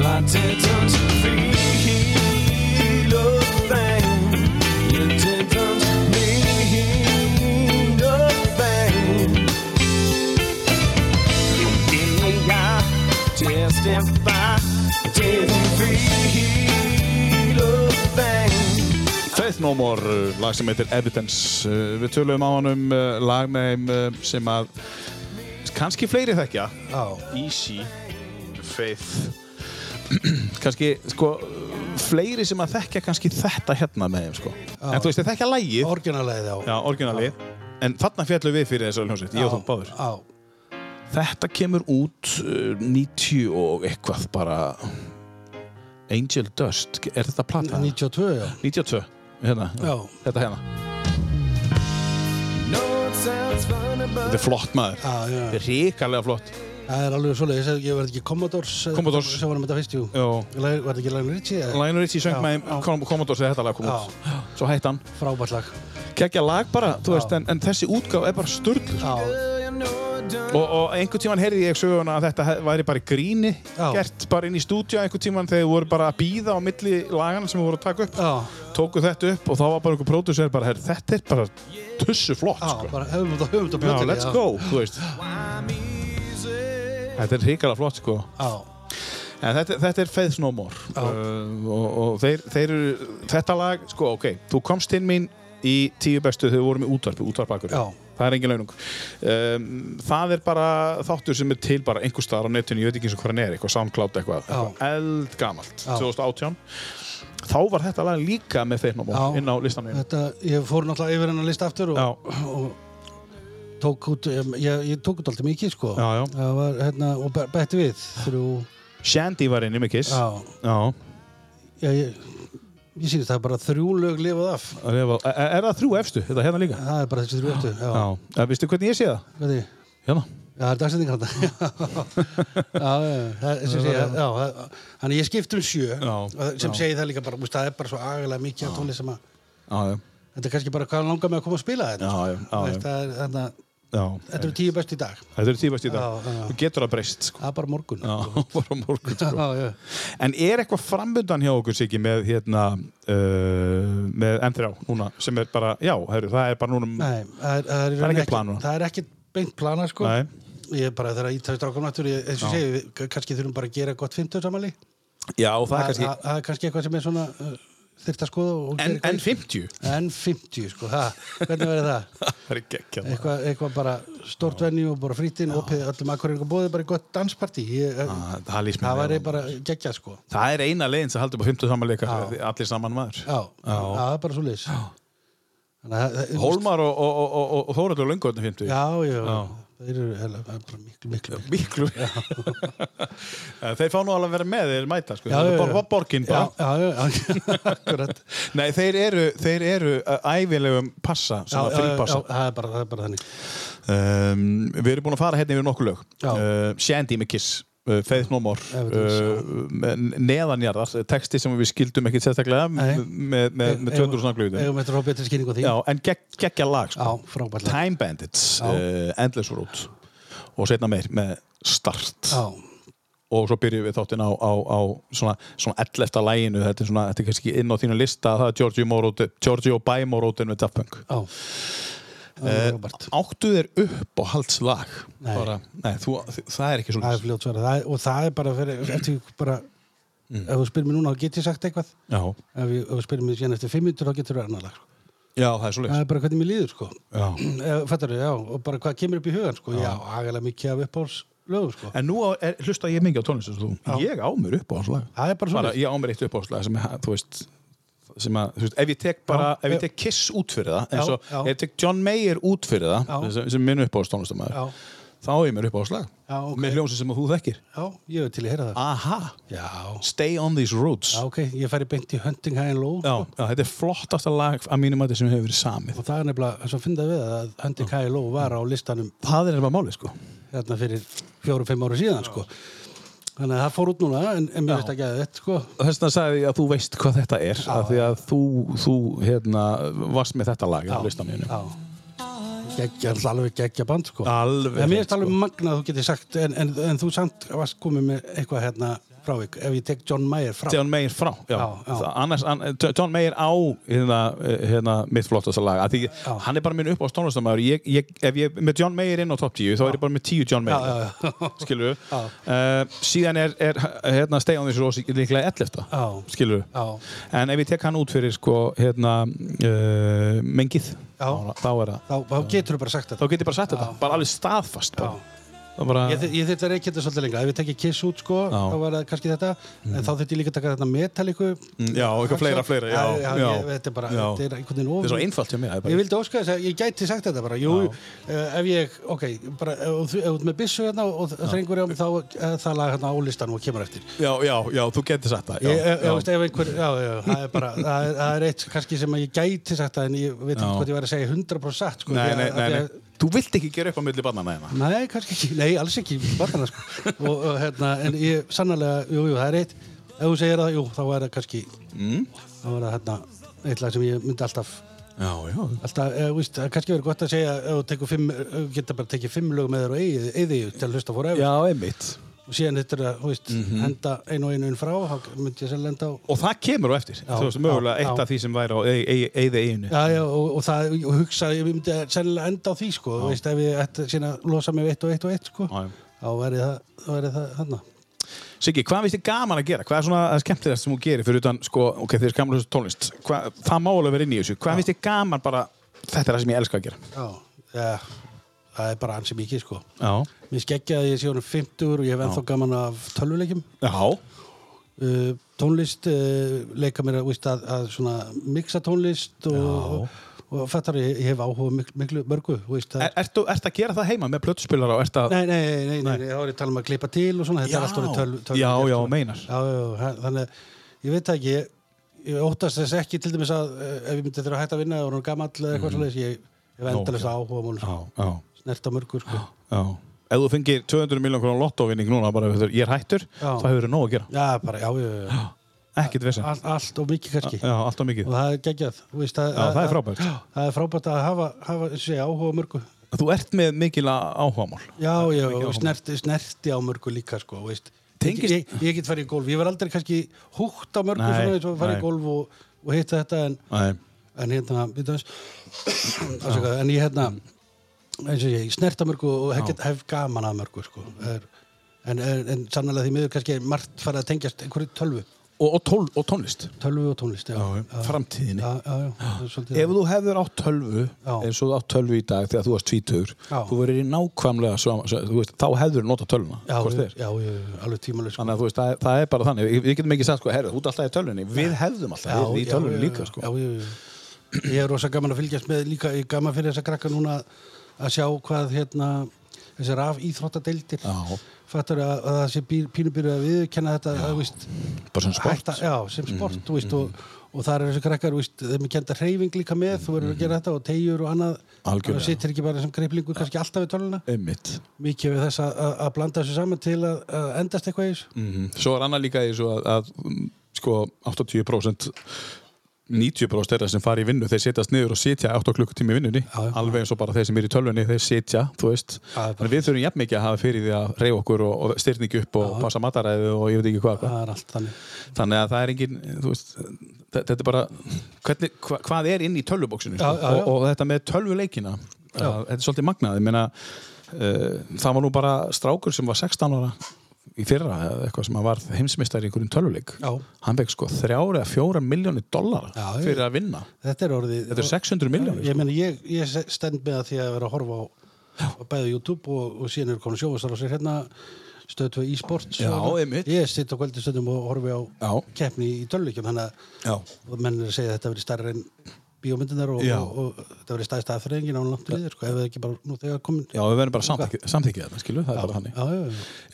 [SPEAKER 6] I didn't feel a thing. You didn't mean a thing. Didn't I testify? Didn't feel a thing.
[SPEAKER 2] Faith No More, uh, lag sem heitir Evidence. Uh, Við töluðum á honum uh, lag með þeim uh, sem að kannski fleiri þekkja.
[SPEAKER 3] Já.
[SPEAKER 2] Easy, Faith. kannski, sko, fleiri sem að þekkja kannski þetta hérna með þeim, sko. En þú veist, þeir þekkja lagið.
[SPEAKER 3] Orginalæði á.
[SPEAKER 2] Já, orginalið. En þarna fjallum við fyrir þessu hljómsveit, ég og þú báður.
[SPEAKER 3] Á.
[SPEAKER 2] Þetta kemur út uh, 90 og eitthvað bara Angel Dust, er þetta plata?
[SPEAKER 3] 92, já.
[SPEAKER 2] 92, hérna,
[SPEAKER 3] Já.
[SPEAKER 2] þetta hérna Þetta er flott maður
[SPEAKER 3] Já, já.
[SPEAKER 2] Þetta er ríkalega flott
[SPEAKER 3] Það er alveg svoleiðis að ég verði ekki Commodores. eh,
[SPEAKER 2] Commodores.
[SPEAKER 3] Sem var með þetta fyrst, jú.
[SPEAKER 2] Já.
[SPEAKER 3] Lag- Var þetta ekki Lionel Richie? eh, eða?
[SPEAKER 2] Lionel Richie söng
[SPEAKER 3] Já,
[SPEAKER 2] með
[SPEAKER 3] já.
[SPEAKER 2] Com- Commodores þegar þetta lag kom út Svo hætti hann
[SPEAKER 3] Frábært lag.
[SPEAKER 2] Kekja lag bara, þú veist, en, en þessi útgáf er bara sturgl
[SPEAKER 3] Já.
[SPEAKER 2] og, og einhvern tíman heyrði ég söguna að þetta he- væri bara í gríni
[SPEAKER 3] Já.
[SPEAKER 2] gert bara inn í stúdíu einhvern tíman þegar þau voru bara að býða á milli lagana sem þau voru að taka upp
[SPEAKER 3] Já.
[SPEAKER 2] tóku þetta upp og þá var bara einhver pródusser bara, "Herra, þetta er bara tussu flott
[SPEAKER 3] Já,
[SPEAKER 2] sko.
[SPEAKER 3] bara höfum þetta höfum þetta
[SPEAKER 2] já,
[SPEAKER 3] plötunni,
[SPEAKER 2] let's go, þú veist þetta er hrikalega flott sko
[SPEAKER 3] Já.
[SPEAKER 2] En þetta, þetta er Faith No More
[SPEAKER 3] Já.
[SPEAKER 2] uh, og, og þeir, þeir eru, þetta lag, sko, ok, þú komst inn mín í tíu bestu þegar við vorum í útvarpi, útvarpakur,
[SPEAKER 3] Já.
[SPEAKER 2] það er engin launung. Um, það er bara þáttur sem er til bara einhver staðar á netinu, ég veit ekki eins og hvað hann er, eitthvað SoundCloud eitthvað,
[SPEAKER 3] Já.
[SPEAKER 2] eitthvað eldgamalt,
[SPEAKER 3] Já.
[SPEAKER 2] 2018. Þá var þetta lag líka með Faith No More
[SPEAKER 3] Já.
[SPEAKER 2] inn á listanum.
[SPEAKER 3] Þetta, ég fór náttúrulega yfir hennar list aftur
[SPEAKER 2] Já.
[SPEAKER 3] og, og tók út, ég, ég, ég tók út alltaf mikið sko.
[SPEAKER 2] Já, já.
[SPEAKER 3] Það var hérna, og be- bætti við, þrjú,
[SPEAKER 2] Shandy var inn í Mikkis.
[SPEAKER 3] já,
[SPEAKER 2] Já.
[SPEAKER 3] já, ég, ég sýnist það er bara þrjú lög lifað af.
[SPEAKER 2] Er, er það þrjú efstu, þetta hérna líka?
[SPEAKER 3] Það er bara þessi þrjú eftir, já. já.
[SPEAKER 2] Já. Vistu hvernig ég sé það?
[SPEAKER 3] Hvernig,
[SPEAKER 2] Hérna.
[SPEAKER 3] já, það er dagsendingar þetta. já, já, já, það, sem sé, já, það, þannig ég skipt um sjö,
[SPEAKER 2] Já,
[SPEAKER 3] og sem segi það líka bara, úst, það er bara svo agalega mikið af tónlist sem að,
[SPEAKER 2] Já, já.
[SPEAKER 3] þetta er kannski bara hvað hann langar með að koma að spila þetta. sko.
[SPEAKER 2] Já, já, já,
[SPEAKER 3] Þú
[SPEAKER 2] já.
[SPEAKER 3] veist, Það er, þannig að,
[SPEAKER 2] Já.
[SPEAKER 3] þetta eru tíu best í dag.
[SPEAKER 2] Þetta er tífast í dag.
[SPEAKER 3] Já, já.
[SPEAKER 2] Þú getur það breyst, sko.
[SPEAKER 3] Það er bara morgun.
[SPEAKER 2] Já, bara á morgun, sko.
[SPEAKER 3] já, já.
[SPEAKER 2] En er eitthvað framöndan hjá okkur, Siggi, með, hérna, uh, með M3 núna, sem er bara, já, herru, það er bara núna...
[SPEAKER 3] Nei, það er, það er, í
[SPEAKER 2] Það er
[SPEAKER 3] rauninni
[SPEAKER 2] ekkert plan núna?
[SPEAKER 3] Það er ekkert beint plana sko
[SPEAKER 2] Nei.
[SPEAKER 3] Ég er bara þegar ég tæði strákum náttúr ég, eins og
[SPEAKER 2] Já.
[SPEAKER 3] segi, við k- kannski þurfum bara að gera gott 50 samanlí
[SPEAKER 2] Já, það er
[SPEAKER 3] Það
[SPEAKER 2] kannski...
[SPEAKER 3] það- það er kannski eitthvað sem er svona uh, þyrft að skoða og
[SPEAKER 2] En,
[SPEAKER 3] gera eitthvað
[SPEAKER 2] en
[SPEAKER 3] í.
[SPEAKER 2] 50?
[SPEAKER 3] En 50 sko, það, hvernig verður það?
[SPEAKER 2] Það er geggjað.
[SPEAKER 3] Eitthvað, eitthvað bara stort venju og bara frítinn opið öllum akkurinn og bóðið bara í gott danspartí ég,
[SPEAKER 2] Já, Ah, Það lýst mér
[SPEAKER 3] Það
[SPEAKER 2] vel.
[SPEAKER 3] væri bara geggjað sko
[SPEAKER 2] Það er eina leiðin sem haldur bara 50 samanleika, allir saman maður.
[SPEAKER 3] Já, það er bara svo leys
[SPEAKER 2] Hólmar og, og, og, og, og Þóraldur Löngotni 50.
[SPEAKER 3] Já, já,
[SPEAKER 2] Já.
[SPEAKER 3] þeir eru hella- það er bara miklu, miklu
[SPEAKER 2] Miklu. þeir fá nú alveg að vera með, þeir mæta, sko.
[SPEAKER 3] Já,
[SPEAKER 2] það
[SPEAKER 3] já,
[SPEAKER 2] er
[SPEAKER 3] já.
[SPEAKER 2] bara borgin bara.
[SPEAKER 3] Já, já, já, já, akkurat
[SPEAKER 2] Nei, þeir eru, þeir eru uh, æfilegum passa,
[SPEAKER 3] já,
[SPEAKER 2] svona
[SPEAKER 3] já, já,
[SPEAKER 2] frípassa.
[SPEAKER 3] já, það er bara, það er bara þannig
[SPEAKER 2] Um, við erum búin að fara hérna yfir nokkur lög.
[SPEAKER 3] Já.
[SPEAKER 2] Uh, Shandy með Kiss, uh, Faith No More,
[SPEAKER 3] Evidence,
[SPEAKER 2] uh, Neðanjarðar, texti sem við skildum ekkit sérstaklega
[SPEAKER 3] Nei.
[SPEAKER 2] með, með, með, með 200 svona glöðum.
[SPEAKER 3] Eigum eftir að fá betri skýringu á því
[SPEAKER 2] Já, en gegg, geggja lag,
[SPEAKER 3] Já,
[SPEAKER 2] sko.
[SPEAKER 3] frábært lag.
[SPEAKER 2] Time Bandits,
[SPEAKER 3] Já.
[SPEAKER 2] uh, Endless Road og setna meir með start
[SPEAKER 3] Já,
[SPEAKER 2] og svo byrjum við þáttinn á, á, á svona, svona 11. læginu þetta er, svona, þetta er kannski inn á þínu lista það er Giorgio, Morote, Giorgio by Moroten með Daft Punk
[SPEAKER 3] já Það
[SPEAKER 2] Eh,
[SPEAKER 3] er Robert.
[SPEAKER 2] Áttu þér upp á haldslag
[SPEAKER 3] Nei.
[SPEAKER 2] Bara, nei þú, það er ekki
[SPEAKER 3] Það er
[SPEAKER 2] svona
[SPEAKER 3] fljótt svara það er, og það er bara fyrir, eftir því bara
[SPEAKER 2] Mm.
[SPEAKER 3] ef þú spyrir mér núna þá get ég sagt eitthvað
[SPEAKER 2] Já,
[SPEAKER 3] ef, ég, ef þú spyrir mér síðan eftir 500 þá getur það annar lag
[SPEAKER 2] já, það er svo
[SPEAKER 3] það er bara hvernig mér líður sko
[SPEAKER 2] Já.
[SPEAKER 3] Fættar, já, og bara hvað kemur upp í hugan sko. já, agalega mikið af uppáhalds lögum sko.
[SPEAKER 2] En nú á- er, hlusta ég mikið á tónlist eins og þú. Ég á mér upp á hans lag
[SPEAKER 3] það er bara
[SPEAKER 2] bara,
[SPEAKER 3] svona
[SPEAKER 2] Ég á mér eitt upp á hans lag sem, er, þú veist, sem að, þú veist, ef ég tek bara
[SPEAKER 3] Já,
[SPEAKER 2] ef
[SPEAKER 3] já.
[SPEAKER 2] ég tek Kiss út fyrir það
[SPEAKER 3] Já,
[SPEAKER 2] eins og,
[SPEAKER 3] já.
[SPEAKER 2] ef ég tek John Mayer út fyrir það
[SPEAKER 3] Já.
[SPEAKER 2] sem, sem minn upp á hans tónlistamæður
[SPEAKER 3] Já.
[SPEAKER 2] þá á ég mér upp á hans lag
[SPEAKER 3] Já, ok.
[SPEAKER 2] með hljómsi sem að þú þekkir
[SPEAKER 3] já, ég er til að heyra það
[SPEAKER 2] Aha,
[SPEAKER 3] já,
[SPEAKER 2] Stay on these roads
[SPEAKER 3] já ok, ég færi beint í Hunting High and Low
[SPEAKER 2] Já, já, þetta er flottasta lag að mínum að þetta sem hefur verið samið
[SPEAKER 3] og það er nefnilega, svo fyndað við það að Hunting High and Low var á listanum
[SPEAKER 2] Það er nefnilega málið sko
[SPEAKER 3] hérna fyrir fjóru-fimm ára síðan sko. þannig að það fór út núna en, en mér veist ekki að þetta sko.
[SPEAKER 2] Þess vegna sagði ég að þú veist hvað þetta er af því að þú, þú hérna, varst með þetta lag á listanum mínum.
[SPEAKER 3] já geggja, alveg geggja band sko.
[SPEAKER 2] Alveg
[SPEAKER 3] en mér
[SPEAKER 2] hreint, sko.
[SPEAKER 3] finnst alveg magna að þú getur sagt en, en, en þú samt varst komið með eitthvað hérna frávik ef ég tek John Mayer frá
[SPEAKER 2] John Mayer frá já.
[SPEAKER 3] Já, já.
[SPEAKER 2] Það- Annars, an, John Mayer á hérna, hérna, mitt flottasta lag af því hann er bara minn upp á stónlistamæður ég, ég, ef ég er með John Mayer inn á top 10 þá er ég bara með 10 John Mayer
[SPEAKER 3] já, já.
[SPEAKER 2] skilur við síðan er, er hérna, Stay on this road líklega 11
[SPEAKER 3] Já.
[SPEAKER 2] skilur við
[SPEAKER 3] Já.
[SPEAKER 2] en ef ég tek hann út fyrir sko, hérna, uh, mengið
[SPEAKER 3] Já.
[SPEAKER 2] þá er það
[SPEAKER 3] þá, þá getur þú bara sagt
[SPEAKER 2] þá
[SPEAKER 3] þetta
[SPEAKER 2] get ég bara sett þetta, bara alveg staðfast bara. Það er bara,
[SPEAKER 3] ég, þy- ég þetta er ekki þetta svolítið lengra ef ég tekja Kiss út sko
[SPEAKER 2] Já. Mhm.
[SPEAKER 3] þá var það kannski þetta en þá þurfti ég líka að taka þetta Metallica
[SPEAKER 2] Mm, já, eitthvað fleira, fleira já,
[SPEAKER 3] já,
[SPEAKER 2] já.
[SPEAKER 3] Ég, þetta er bara
[SPEAKER 2] Já.
[SPEAKER 3] þetta er einhvern veginn
[SPEAKER 2] Þetta er
[SPEAKER 3] ofur
[SPEAKER 2] svo einfalt hjá mér það er bara-
[SPEAKER 3] Ég vildi óska þess að ég gæti sagt þetta bara Jú, uh, ef ég, ok bara, ef þú ef þú ert með byssu hérna og og þrengur hjá mig þá uh, það lag hérna á listanum og kemur eftir
[SPEAKER 2] já, já, já, þú getur sett það já,
[SPEAKER 3] Ég, ég,
[SPEAKER 2] já.
[SPEAKER 3] ég veist, ef einhver, já, já, það er bara það er, það er eitt kannski sem að ég gæti sagt það en ég veit ekki
[SPEAKER 2] Já.
[SPEAKER 3] hvað ég væri að segja 100% satt sko,
[SPEAKER 2] Nei,
[SPEAKER 3] því
[SPEAKER 2] nei,
[SPEAKER 3] að-
[SPEAKER 2] nei,
[SPEAKER 3] því
[SPEAKER 2] nei.
[SPEAKER 3] að-
[SPEAKER 2] Þú vilt ekki gera upp á milli barnana hérna.
[SPEAKER 3] Nei, kannski ekki, nei, alls ekki barnana, sko. og, og hérna, en ég sannlega, jú, jú, það er eitt ef þú segir það, jú, þá er það kannski mm. þá er það hérna eitt lag sem ég myndi alltaf
[SPEAKER 2] Já, já.
[SPEAKER 3] alltaf, eða, víst, það er kannski verið gott að segja ef þú tekur fimm, ef þú getur bara tekið fimm lög með þér og eigið, eigið þig til að hlusta fór
[SPEAKER 2] Já, Mhm. einmitt.
[SPEAKER 3] og síðan þetta er að, þú veist, henda einu og einu inn frá, þá myndi ég sér lenda á
[SPEAKER 2] Og það kemur á eftir.
[SPEAKER 3] Já,
[SPEAKER 2] þú veist,
[SPEAKER 3] já,
[SPEAKER 2] mögulega eitt
[SPEAKER 3] já.
[SPEAKER 2] af því sem væri á eigði eiginu.
[SPEAKER 3] Já, já, og, og það, og hugsa, ég myndi að sennilega enda á því, sko, þú veist, ef ég ætti síðan að losa mig við eitt og eitt og eitt, sko,
[SPEAKER 2] Já, já.
[SPEAKER 3] þá væri það, þá væri það, hann,
[SPEAKER 2] Siggi, hvað finnst þið gaman að gera? Hvað er svona það skemmtilegast sem þú gerir fyrir utan, sko, ok, þið er gaman að hlusta á tónlist. Hva, það má alveg vera inn í þessu. Hvað finnst þið gaman bara, þetta er það sem ég elska að gera.
[SPEAKER 3] já, já, það er bara ansi mikið, sko.
[SPEAKER 2] Já.
[SPEAKER 3] Mér skeggja að ég sé honum 50 og ég hef ennþá gaman af tölvuleikjum,
[SPEAKER 2] Já.
[SPEAKER 3] uh, tónlist, uh, leika mér að, víst, að, að svona mixa tónlist og, og, og fattar, ég, ég hef áhuga miklu, miklu mörgu, þú veist, það
[SPEAKER 2] Er, ertu, ertu að gera það heima með plötuspilara og ertu að...
[SPEAKER 3] Nei, nei, nei, nei, nei, þá er ég að tala um að klippa til og svona, þetta
[SPEAKER 2] Já.
[SPEAKER 3] er allt orðið tölv, tölv
[SPEAKER 2] Já,
[SPEAKER 3] gert
[SPEAKER 2] já,
[SPEAKER 3] svona.
[SPEAKER 2] meinar.
[SPEAKER 3] Já, já, já, hæ- þannig, að ég veit það ekki, ég, ég óttast þess ekki til dæmis að eh, ef ég myndi þurfa að hætta að vinna og hann gamall eða eitthvað svoleiðis, ég hef endalist áhuga mál,
[SPEAKER 2] Mhm. Já,
[SPEAKER 3] sko,
[SPEAKER 2] já,
[SPEAKER 3] snerta mörgur, sko.
[SPEAKER 2] já. Ef þú fengir 200 miljón krónar lottovinning núna, bara ef þú- ég er hættur,
[SPEAKER 3] Já.
[SPEAKER 2] þá hefur þú nóg að gera.
[SPEAKER 3] Já, bara, já, já, já,
[SPEAKER 2] Ekkert vesen.
[SPEAKER 3] all, allt og mikið kannski.
[SPEAKER 2] Já, allt og mikið.
[SPEAKER 3] Og það er geggjað, þú veist, það,
[SPEAKER 2] Já, það er frábært.
[SPEAKER 3] Já, Það er frábært að hafa, hafa eins og segja, áhuga á mörgu.
[SPEAKER 2] Þú ert með mikil áhugamál.
[SPEAKER 3] Já, já,
[SPEAKER 2] áhugamál.
[SPEAKER 3] og snerti, snerti á mörgu líka, sko, þú veist.
[SPEAKER 2] Tengist-
[SPEAKER 3] Ég, ég, ég get farið í golf, ég var aldrei kannski húgt á mörgu,
[SPEAKER 2] Nei,
[SPEAKER 3] svona, eins og farið
[SPEAKER 2] nei.
[SPEAKER 3] í golf og, og hitta þetta, en,
[SPEAKER 2] Nei.
[SPEAKER 3] en hérna við þess en ég hérna eins og ég, ég snerta mörgu og hef, get- hef gaman að mörgu sko er, en, en, en sannlega því miður kannski er margt farið að tengjast einhverju tölvu
[SPEAKER 2] Og, og, tól, og tónlist.
[SPEAKER 3] tölvu og tónlist, já, já,
[SPEAKER 2] Framtíðinni.
[SPEAKER 3] já, já, já, það er svolítið
[SPEAKER 2] Ef þú hefur átt tölvu,
[SPEAKER 3] Já.
[SPEAKER 2] eins og þú átt tölvu í dag þegar þú varst tvítur,
[SPEAKER 3] Já.
[SPEAKER 2] þú verður í nákvæmlega, sama- svo, þú veist, þá hefur þú notað tölvuna.
[SPEAKER 3] já,
[SPEAKER 2] hvort
[SPEAKER 3] já,
[SPEAKER 2] eð er.
[SPEAKER 3] já, já, alveg tímalega sko
[SPEAKER 2] Þannig að þú veist, það, er- það er bara þannig. Við, við getum ekki sagt, sko, herru, þú ert alltaf í tölvunni. Við hefðum alltaf verið í tölvunni líka, sko.
[SPEAKER 3] já, já, já. ég er rosa gaman að fylgjast með líka, ég er gaman fyrir þessa krakka núna að sjá hvað hérna þessi raf íþróttadeildir
[SPEAKER 2] Já.
[SPEAKER 3] fattur að, að það sé pínubýrið að viðkenna þetta, það veist
[SPEAKER 2] Bara svona sport. Mm.
[SPEAKER 3] hætta, já, sem sport þú veist, og, og þar eru þessu krakkar þú veist, þeim er kenda hreyfing líka með þú verður að gera þetta og tegjur og annað
[SPEAKER 2] Mm. Algjörlega.
[SPEAKER 3] það sittir ekki bara sem greiplingur kannski alltaf við töluna
[SPEAKER 2] Einmitt.
[SPEAKER 3] mikið við þess að- að að blanda þessu saman til að, að endast
[SPEAKER 2] Mhm.
[SPEAKER 3] eitthvað í þessu
[SPEAKER 2] Svo er annað líka í þessu að, að mm, sko, 80% 90% þeirra sem fara í vinnu, þeir setjast niður og sitja 8 klukkutími í vinnunni,
[SPEAKER 3] já.
[SPEAKER 2] alveg eins og bara þeir sem eru í tölvunni, þeir sitja, þú veist
[SPEAKER 3] Já, það er bara-
[SPEAKER 2] en við þurfum jafn mikið að hafa fyrir því að reyfa okkur og, og styrningu upp og passa mataræðu og ég veit ekki hvað, hvað.
[SPEAKER 3] það er allt þannig
[SPEAKER 2] þannig að það er engin, þú veist þe- þetta er bara, hvernig, hva, hvað er inn í tölvubóksinu
[SPEAKER 3] Já, já, já.
[SPEAKER 2] Og, og þetta með tölvuleikina að, þetta er svolítið magnað, ég meina uh, það var nú bara strákur sem var 16 ára í fyrra eða eitthvað sem að var heimsmeistar í einhverjum tölvuleik
[SPEAKER 3] Já.
[SPEAKER 2] hann fekk sko þrjára eða fjóra miljónir dollara
[SPEAKER 3] Já, já.
[SPEAKER 2] fyrir að vinna
[SPEAKER 3] þetta er orðið
[SPEAKER 2] Þetta er 600 milljónir, sko.
[SPEAKER 3] ég, meina, ég, ég stend með að því að vera að horfa á, á bæði YouTube og, og síðan eru komin sjóðastar á sér hérna stöð 2 e-sports
[SPEAKER 2] Já,
[SPEAKER 3] og- hérna.
[SPEAKER 2] einmitt.
[SPEAKER 3] ég sitt á kvöldi stundum og horfi á
[SPEAKER 2] Já.
[SPEAKER 3] keppni í tölvökjum þannig að
[SPEAKER 2] Já.
[SPEAKER 3] og menn er að segja að þetta verið starra en bíómyndunar og,
[SPEAKER 2] Já.
[SPEAKER 3] og, og þetta verið stæðst aðferðingin á langt riðir sko, ef það ekki bara nú þegar komin
[SPEAKER 2] Já, við verðum bara samþykja, samþykja þetta, skilu, það er bara þannig. Eh,
[SPEAKER 3] já, já,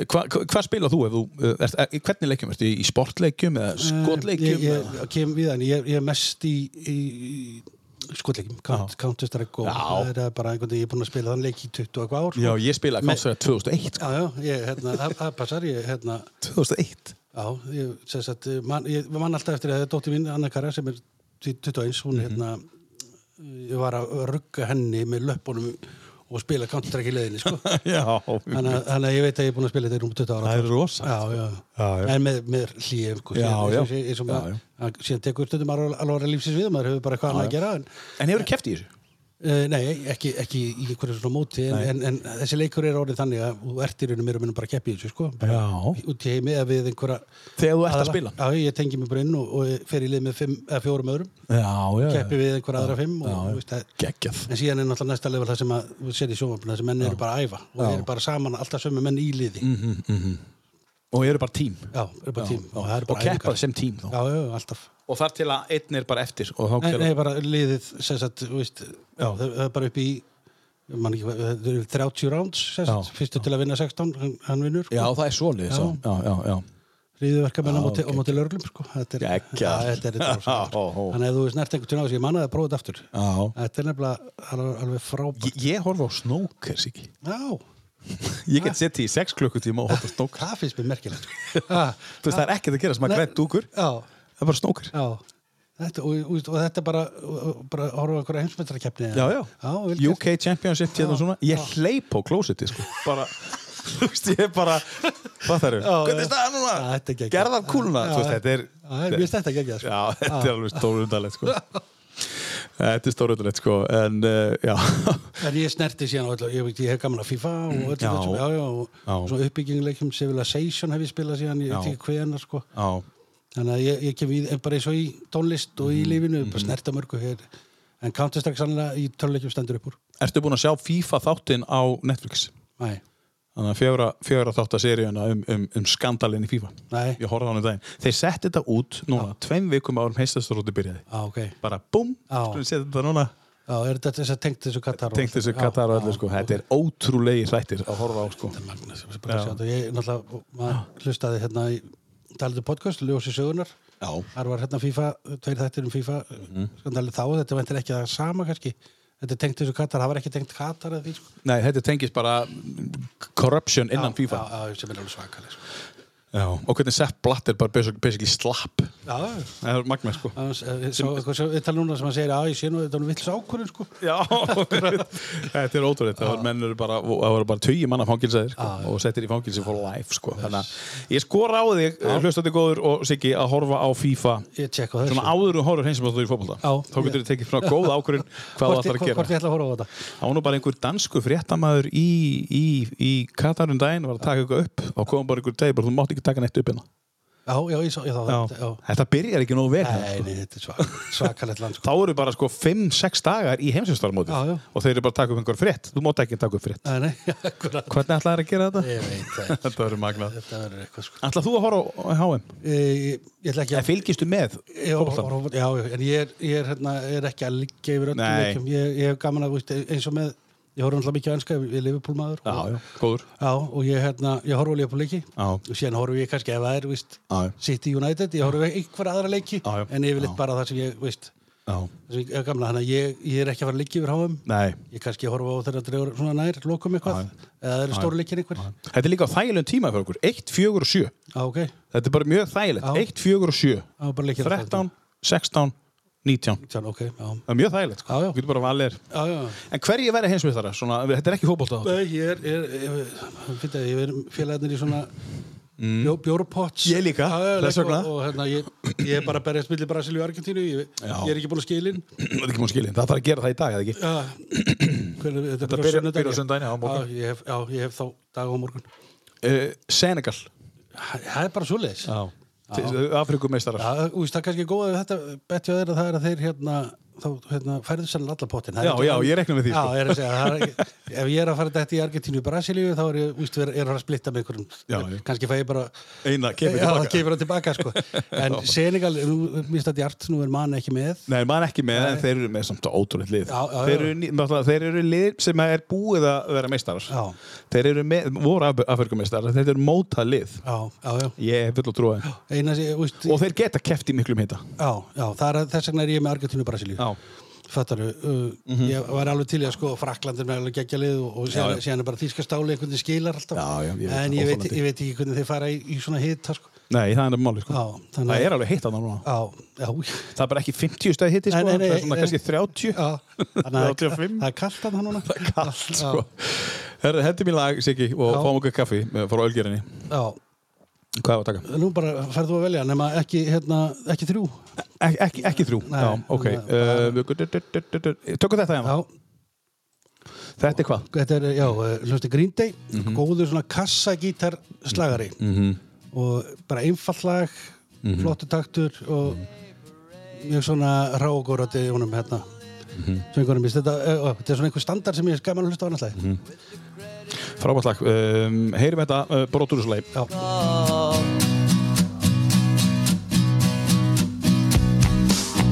[SPEAKER 3] já.
[SPEAKER 2] Hva, hva- hvað spila þú ef þú, eh, ert, er, hvernig leikjum, ertu í sportleikjum eða skotleikjum?
[SPEAKER 3] Eh, ég, ég,
[SPEAKER 2] eða-
[SPEAKER 3] ég kem við hann, ég, ég er mest í, í, í skotleikjum Count- Counter-Strike og
[SPEAKER 2] Já.
[SPEAKER 3] það er bara einhvern veginn ég er búin að spila þann leik í 20 og eitthvað ár sko.
[SPEAKER 2] Já, ég spila Counter-Strike 2001.
[SPEAKER 3] já, já, ég, hérna, það- það passar ég, hérna
[SPEAKER 2] 2001?
[SPEAKER 3] já, ég, sem sagt, man, ég man alltaf eftir að dóttir mín, Anna Kara, sem er 21, hún
[SPEAKER 2] Mhm.
[SPEAKER 3] hérna ég var að rugga henni með löpunum og spila Counter-Strike í leiðinni, sko
[SPEAKER 2] Já,
[SPEAKER 3] Þannig að- þannig að ég veit að ég er búin að spila þetta í rúm 20 ára
[SPEAKER 2] það er rosa.
[SPEAKER 3] já, já.
[SPEAKER 2] Já, já.
[SPEAKER 3] en með, með hlýjum sko,
[SPEAKER 2] Já,
[SPEAKER 3] síðan,
[SPEAKER 2] já.
[SPEAKER 3] eins og- eins og
[SPEAKER 2] Já,
[SPEAKER 3] maður-
[SPEAKER 2] já.
[SPEAKER 3] að- síðan tekur stundum alveg alveg lífsins við maður hefur bara hvað annað að gera en,
[SPEAKER 2] En hefur keft í þessu?
[SPEAKER 3] uh, nei, ekki, ekki í einhverju svona móti en, en, en þessi leikur er orðið þannig að þú ert í raunum mér og minnum bara að keppi í þessu sko, bara
[SPEAKER 2] Já.
[SPEAKER 3] út í heimi eða við einhverja
[SPEAKER 2] Þegar þú ert að
[SPEAKER 3] aðra.
[SPEAKER 2] spila?
[SPEAKER 3] já, ég tengi mig bara inn og, og fer í lið með fimm, eða fjórum öðrum
[SPEAKER 2] Já, já.
[SPEAKER 3] keppi við einhverja aðra fimm og, já, veist, að,
[SPEAKER 2] Geggjað.
[SPEAKER 3] en síðan er náttúrulega næsta level það sem að þú sér í sjónvarpinu, þessi menn eru bara að æfa og eru bara saman, alltaf sömu menn í liði
[SPEAKER 2] Mhm. Og eru bara tím.
[SPEAKER 3] já, eru bara tím og, það eru
[SPEAKER 2] Og
[SPEAKER 3] bara æfingar.
[SPEAKER 2] keppa sem tím þá.
[SPEAKER 3] já, já, já, alltaf
[SPEAKER 2] Og þar til að einn er bara eftir og þá
[SPEAKER 3] Nei,
[SPEAKER 2] kemur-
[SPEAKER 3] nei, bara liðið, sem sagt, þú veist, já, það það er bara upp í, ég man ekki, hvað, það eru 30 rounds, sem sagt,
[SPEAKER 2] Já,
[SPEAKER 3] fyrstu til að vinna 16, hann, hann vinnur,
[SPEAKER 2] Já,
[SPEAKER 3] sko,
[SPEAKER 2] það er svoleiðis. Já, já, já. já.
[SPEAKER 3] ríðuverkamenn á
[SPEAKER 2] Já,
[SPEAKER 3] móti,
[SPEAKER 2] ok.
[SPEAKER 3] okay. móti lörglum, sko, þetta er,
[SPEAKER 2] Geggjað.
[SPEAKER 3] Já, þetta er þetta
[SPEAKER 2] Ó, ó.
[SPEAKER 3] ásæður. Þannig að þú veist, nært einhvern tíma á þessu, ég manna það að prófa þetta aftur.
[SPEAKER 2] Já.
[SPEAKER 3] Þetta er nefnilega alveg, alveg frábært.
[SPEAKER 2] Ég, ég horfa á snóker, Siggi.
[SPEAKER 3] Já,
[SPEAKER 2] Ég get settið í 6 klukkutíma og horfa á snóker.
[SPEAKER 3] það finnst mér merkilegt, sko. Ah,
[SPEAKER 2] Þú veist, það er ekkert að gera sem að
[SPEAKER 3] Nei.
[SPEAKER 2] grætt dúkur.
[SPEAKER 3] já,
[SPEAKER 2] Það er bara snóker.
[SPEAKER 3] já. Þetta, og, og, og þetta bara, og- og bara horfa okkur að heimsmyndarakefni.
[SPEAKER 2] já, já.
[SPEAKER 3] vel gert.
[SPEAKER 2] UK Championship hérna og svona ég hleyp á klósiti sko bara þú veist ég er bara hvað það eru
[SPEAKER 3] Já,
[SPEAKER 2] hvernig
[SPEAKER 3] já.
[SPEAKER 2] er staðan
[SPEAKER 3] Já, þetta er
[SPEAKER 2] núna
[SPEAKER 3] geggjað.
[SPEAKER 2] gerðar kúluna
[SPEAKER 3] Já,
[SPEAKER 2] þú veist
[SPEAKER 3] já.
[SPEAKER 2] þetta er
[SPEAKER 3] Já, það er mjög stætt að gegja, sko.
[SPEAKER 2] já þetta er alveg stórundalegt sko þetta er stórundalegt sko en uh, já
[SPEAKER 3] En ég snerti síðan á öllu, ég, veit, ég hef gaman að FIFA og öllu
[SPEAKER 2] Mm, Já.
[SPEAKER 3] þessum, já, já, og
[SPEAKER 2] Já.
[SPEAKER 3] svo uppbygginguleikum Civilization hef ég spilað síðan, ég veit
[SPEAKER 2] Já.
[SPEAKER 3] ekki hvena, sko.
[SPEAKER 2] já
[SPEAKER 3] Þannig að ég, ég kem í, en bara eins og í tónlist og
[SPEAKER 2] Mhm,
[SPEAKER 3] í lífinu, bara snerta mörgu hér. En Counter-Strike sannlega í töluleikjum stendur upp úr.
[SPEAKER 2] ertu búin að sjá FIFA þáttinn á Netflix
[SPEAKER 3] Nei,
[SPEAKER 2] þannig að fjögra, fjögra þátt að seríuna um, um, um skandalinn í FIFA
[SPEAKER 3] Nei.
[SPEAKER 2] ég horfði á hann um daginn þeir setti þetta út núna tveim vikum árum heistastóróti byrjaði
[SPEAKER 3] á, ok.
[SPEAKER 2] bara búm
[SPEAKER 3] Já.
[SPEAKER 2] skulum setja þetta núna
[SPEAKER 3] Já, er þetta þess að tengt þessu Katar? og
[SPEAKER 2] tengt þessu
[SPEAKER 3] allt? Já,
[SPEAKER 2] Katar og öllu
[SPEAKER 3] já,
[SPEAKER 2] sko þetta er ótrúlegi hrættir að horfa á sko
[SPEAKER 3] Þetta er magnað sem sem bara að sjá þetta. Ég náttúrulega,
[SPEAKER 2] Ah.
[SPEAKER 3] maður hlustaði hérna í talandi podcast, Ljósi sögunar.
[SPEAKER 2] Já. Mhm.
[SPEAKER 3] Þar var hérna FIFA, tveir þættir um FIFA, skandalið þá, þetta ventir ekki það sama kannski. Þetta er tengt þessu Katar, það var ekki tengt Katar eða því, sko.
[SPEAKER 2] nei þetta tengist bara mm, corruption innan FIFA
[SPEAKER 3] Já, já, sem er alveg svakaleg, sko.
[SPEAKER 2] Já. og hvernig Sepp Blatt er bara basic- basically slapp
[SPEAKER 3] Já,
[SPEAKER 2] það er magna sko
[SPEAKER 3] já. Við tala núna sem hann segir, já, ég sé nú, þetta er nú vills ákvörðin, sko.
[SPEAKER 2] Já, þetta er ótrúleitt það voru menn eru bara, það voru bara tugi manna fangilsaðir sko, og settir í fangilsi for life sko. þannig að ég skora á þig hlustandi góður og Siggi að horfa á FIFA
[SPEAKER 3] Ég tjekka á þessu.
[SPEAKER 2] svona áður og horfur heinsmáttúr í fótbolta
[SPEAKER 3] Já.
[SPEAKER 2] þá getur þið tekið svona góð ákvörðin hvað það
[SPEAKER 3] Hvort ég-
[SPEAKER 2] þarf að gera
[SPEAKER 3] Hvort ég ætla að horfa á þetta.
[SPEAKER 2] Það var nú bara einhver dansku fréttamaður í, í, í Katarun daginn var að taka eitthvað upp og kom bara einhver degi bara þú mátt ekki taka neitt upp hérna
[SPEAKER 3] Já, já, ég sá, ég þá þetta, já.
[SPEAKER 2] Þetta byrjar ekki nógu vel
[SPEAKER 3] Nei, nei, þetta er svakalegt, svakalegt land, sko.
[SPEAKER 2] Þá eru bara sko 5-6 dagar í
[SPEAKER 3] Já,
[SPEAKER 2] heimsinstarmótið
[SPEAKER 3] já.
[SPEAKER 2] og þeir eru bara að taka upp einhver frétt þú mátt ekki taka upp frétt
[SPEAKER 3] Nei, nei, akkurat.
[SPEAKER 2] Hvernig ætlaði að gera þetta?
[SPEAKER 3] Ég veit það ekki.
[SPEAKER 2] Þetta verður magnað
[SPEAKER 3] Þetta verður eitthvað, sko.
[SPEAKER 2] Ætlað þú að horfa á HM?
[SPEAKER 3] Ég, ég ætla ekki
[SPEAKER 2] Eða
[SPEAKER 3] að...
[SPEAKER 2] fylgistu með?
[SPEAKER 3] Ég, or,
[SPEAKER 2] fótboltanum?
[SPEAKER 3] or, já, já, en ég er, ég er, hérna, er ekki að liggja yfir öllum
[SPEAKER 2] Nei.
[SPEAKER 3] leikum. Ég, ég hef gaman að, veist, eins og með, ég horf alltaf mikið á enska, ég er Liverpool maður.
[SPEAKER 2] Já,
[SPEAKER 3] og,
[SPEAKER 2] já, góður
[SPEAKER 3] Já, og ég, hérna, ég horf á Liverpool leiki.
[SPEAKER 2] Já.
[SPEAKER 3] Og síðan horf ég kannski ef það er, veist,
[SPEAKER 2] Já, já.
[SPEAKER 3] City United, ég horf á einhverja aðra leiki.
[SPEAKER 2] Já, já.
[SPEAKER 3] En yfirleitt
[SPEAKER 2] Já.
[SPEAKER 3] bara það sem ég, veist,
[SPEAKER 2] Já.
[SPEAKER 3] það sem ég hef gaman að, þannig að ég, ég er ekki að fara að liggja yfir háum.
[SPEAKER 2] Nei
[SPEAKER 3] Ég kannski horfa á þeirra dregur svona nær, lokum eitthvað. Eða það eru stóru leikir einhver.
[SPEAKER 2] Þetta er líka þægilegum tíma fyrir okkur 1, 4 og 7
[SPEAKER 3] Já, ok.
[SPEAKER 2] Þetta er bara mjög
[SPEAKER 3] Já.
[SPEAKER 2] þægilegt 1, 4 og 7
[SPEAKER 3] Já, bara leikir.
[SPEAKER 2] 13, 16, 19
[SPEAKER 3] Tján, ok, já.
[SPEAKER 2] Það er mjög þægilegt sko
[SPEAKER 3] Já, já.
[SPEAKER 2] Þú getur bara valið þér
[SPEAKER 3] Já, já.
[SPEAKER 2] En hverji verði heimsmeistara? Svona, þetta er ekki fótbolta þáttur.
[SPEAKER 3] Nei, ég er, ég er, ég er, fyrir að ég er félagarnir í svona mm. bjó, bjórpots.
[SPEAKER 2] Ég líka,
[SPEAKER 3] Já, já,
[SPEAKER 2] þess
[SPEAKER 3] leik
[SPEAKER 2] vegna.
[SPEAKER 3] Og, og hérna, ég, ég er bara að berjast milli Brasilíu og Argentínu, ég,
[SPEAKER 2] Já.
[SPEAKER 3] ég er ekki búin að skilin.
[SPEAKER 2] Það er ekki múin skilin Það þarf að gera það í dag, eða ekki?
[SPEAKER 3] Já, hvernig, þetta,
[SPEAKER 2] Þetta
[SPEAKER 3] byrjar á
[SPEAKER 2] byrjar- byrjar á sunnudaginn, já,
[SPEAKER 3] sunnudaginn.
[SPEAKER 2] á morgun.
[SPEAKER 3] Já, ég hef, já, ég hef þá dag á morgun.
[SPEAKER 2] Uh, Senegal
[SPEAKER 3] Það það er bara svoleiðis. Já.
[SPEAKER 2] Afrikumeistarar
[SPEAKER 3] þú veist, það er kannski góð að þetta betja þeir að það er að þeir hérna, þá hérna, færðu sennilega alla pottin.
[SPEAKER 2] Já, já, ég reikna með því,
[SPEAKER 3] Já,
[SPEAKER 2] sko.
[SPEAKER 3] ég er að segja, það er, ekki- ef ég er að fara þetta í Argentínu og Brasilíu, þá er ég, úst, er, er að splitta með einhverjum.
[SPEAKER 2] Já, já.
[SPEAKER 3] Kannski fæ ég bara
[SPEAKER 2] Eina, kemur
[SPEAKER 3] Já,
[SPEAKER 2] tilbaka
[SPEAKER 3] það kemur hann tilbaka sko. En Senegal, nú minnst að djart, nú er mann ekki með.
[SPEAKER 2] Nei, maður ekki með, en þeir eru með samt ótrúleitt lið.
[SPEAKER 3] Já, já, já.
[SPEAKER 2] Þeir, eru, ný- náttúrulega, þeir eru lið sem er búið að vera meistarar.
[SPEAKER 3] Já.
[SPEAKER 2] Þeir eru með, voru afverkumeistarar, þeir eru móta lið.
[SPEAKER 3] Já, já, já.
[SPEAKER 2] Ég hef full að trúa þeim.
[SPEAKER 3] Einas, ég, úst,
[SPEAKER 2] Og þeir geta keft í miklum hita.
[SPEAKER 3] já, já, það er að- þess vegna er ég með Argentínu og Brasilíu.
[SPEAKER 2] Já. Mhm.
[SPEAKER 3] Fattaru, uh, ég var alveg til í að sko Fraklandir með alveg geggjalið og, og
[SPEAKER 2] Já,
[SPEAKER 3] síðan,
[SPEAKER 2] já.
[SPEAKER 3] síðan er bara þýska stáli einhvern veginn skilar alltaf.
[SPEAKER 2] Já, já, ég veit
[SPEAKER 3] en
[SPEAKER 2] það,
[SPEAKER 3] ég veit,
[SPEAKER 2] óþolandi.
[SPEAKER 3] ég veit ekki hvernig þeir fara í, í svona hita sko.
[SPEAKER 2] Nei, það er nefnum máli, sko.
[SPEAKER 3] Já, þannig
[SPEAKER 2] Það
[SPEAKER 3] að-
[SPEAKER 2] er alveg hita núna.
[SPEAKER 3] Já, já,
[SPEAKER 2] Það er bara ekki 50 stæði hiti,
[SPEAKER 3] Nei,
[SPEAKER 2] sko.
[SPEAKER 3] nei, nei,
[SPEAKER 2] það er svona
[SPEAKER 3] nei.
[SPEAKER 2] kannski 30.
[SPEAKER 3] já. Þannig að það er-
[SPEAKER 2] 85.
[SPEAKER 3] það er kallt að það núna. Það er
[SPEAKER 2] Allt, sko. Herra, hendi mín lag, Siggi, og
[SPEAKER 3] Já.
[SPEAKER 2] fáum okkur kaffi eh, frá Ölgerinni.
[SPEAKER 3] Já,
[SPEAKER 2] Hvað var að taka?
[SPEAKER 3] nú bara ferðu að velja, nema ekki, hérna, ekki þrjú.
[SPEAKER 2] Ek, ekki, ekki þrjú.
[SPEAKER 3] Nei,
[SPEAKER 2] já, ok.
[SPEAKER 3] nei,
[SPEAKER 2] Eh, við- du- du- du- du- du- Tökum þetta hjá.
[SPEAKER 3] Já,
[SPEAKER 2] Þetta er hvað?
[SPEAKER 3] Þetta er, já, hljósti Green Day góður svona kassagítar slagari og bara einfall lag flottu taktur og mjög svona rágórati honum hérna söngunum, mér finnst þetta, ö, ö, þetta er svona einhver standard sem ég er gaman að hlusta á annars lagi
[SPEAKER 2] Frábært lag. Um, heyrim þetta uh, brotur þessu leið.
[SPEAKER 3] Já,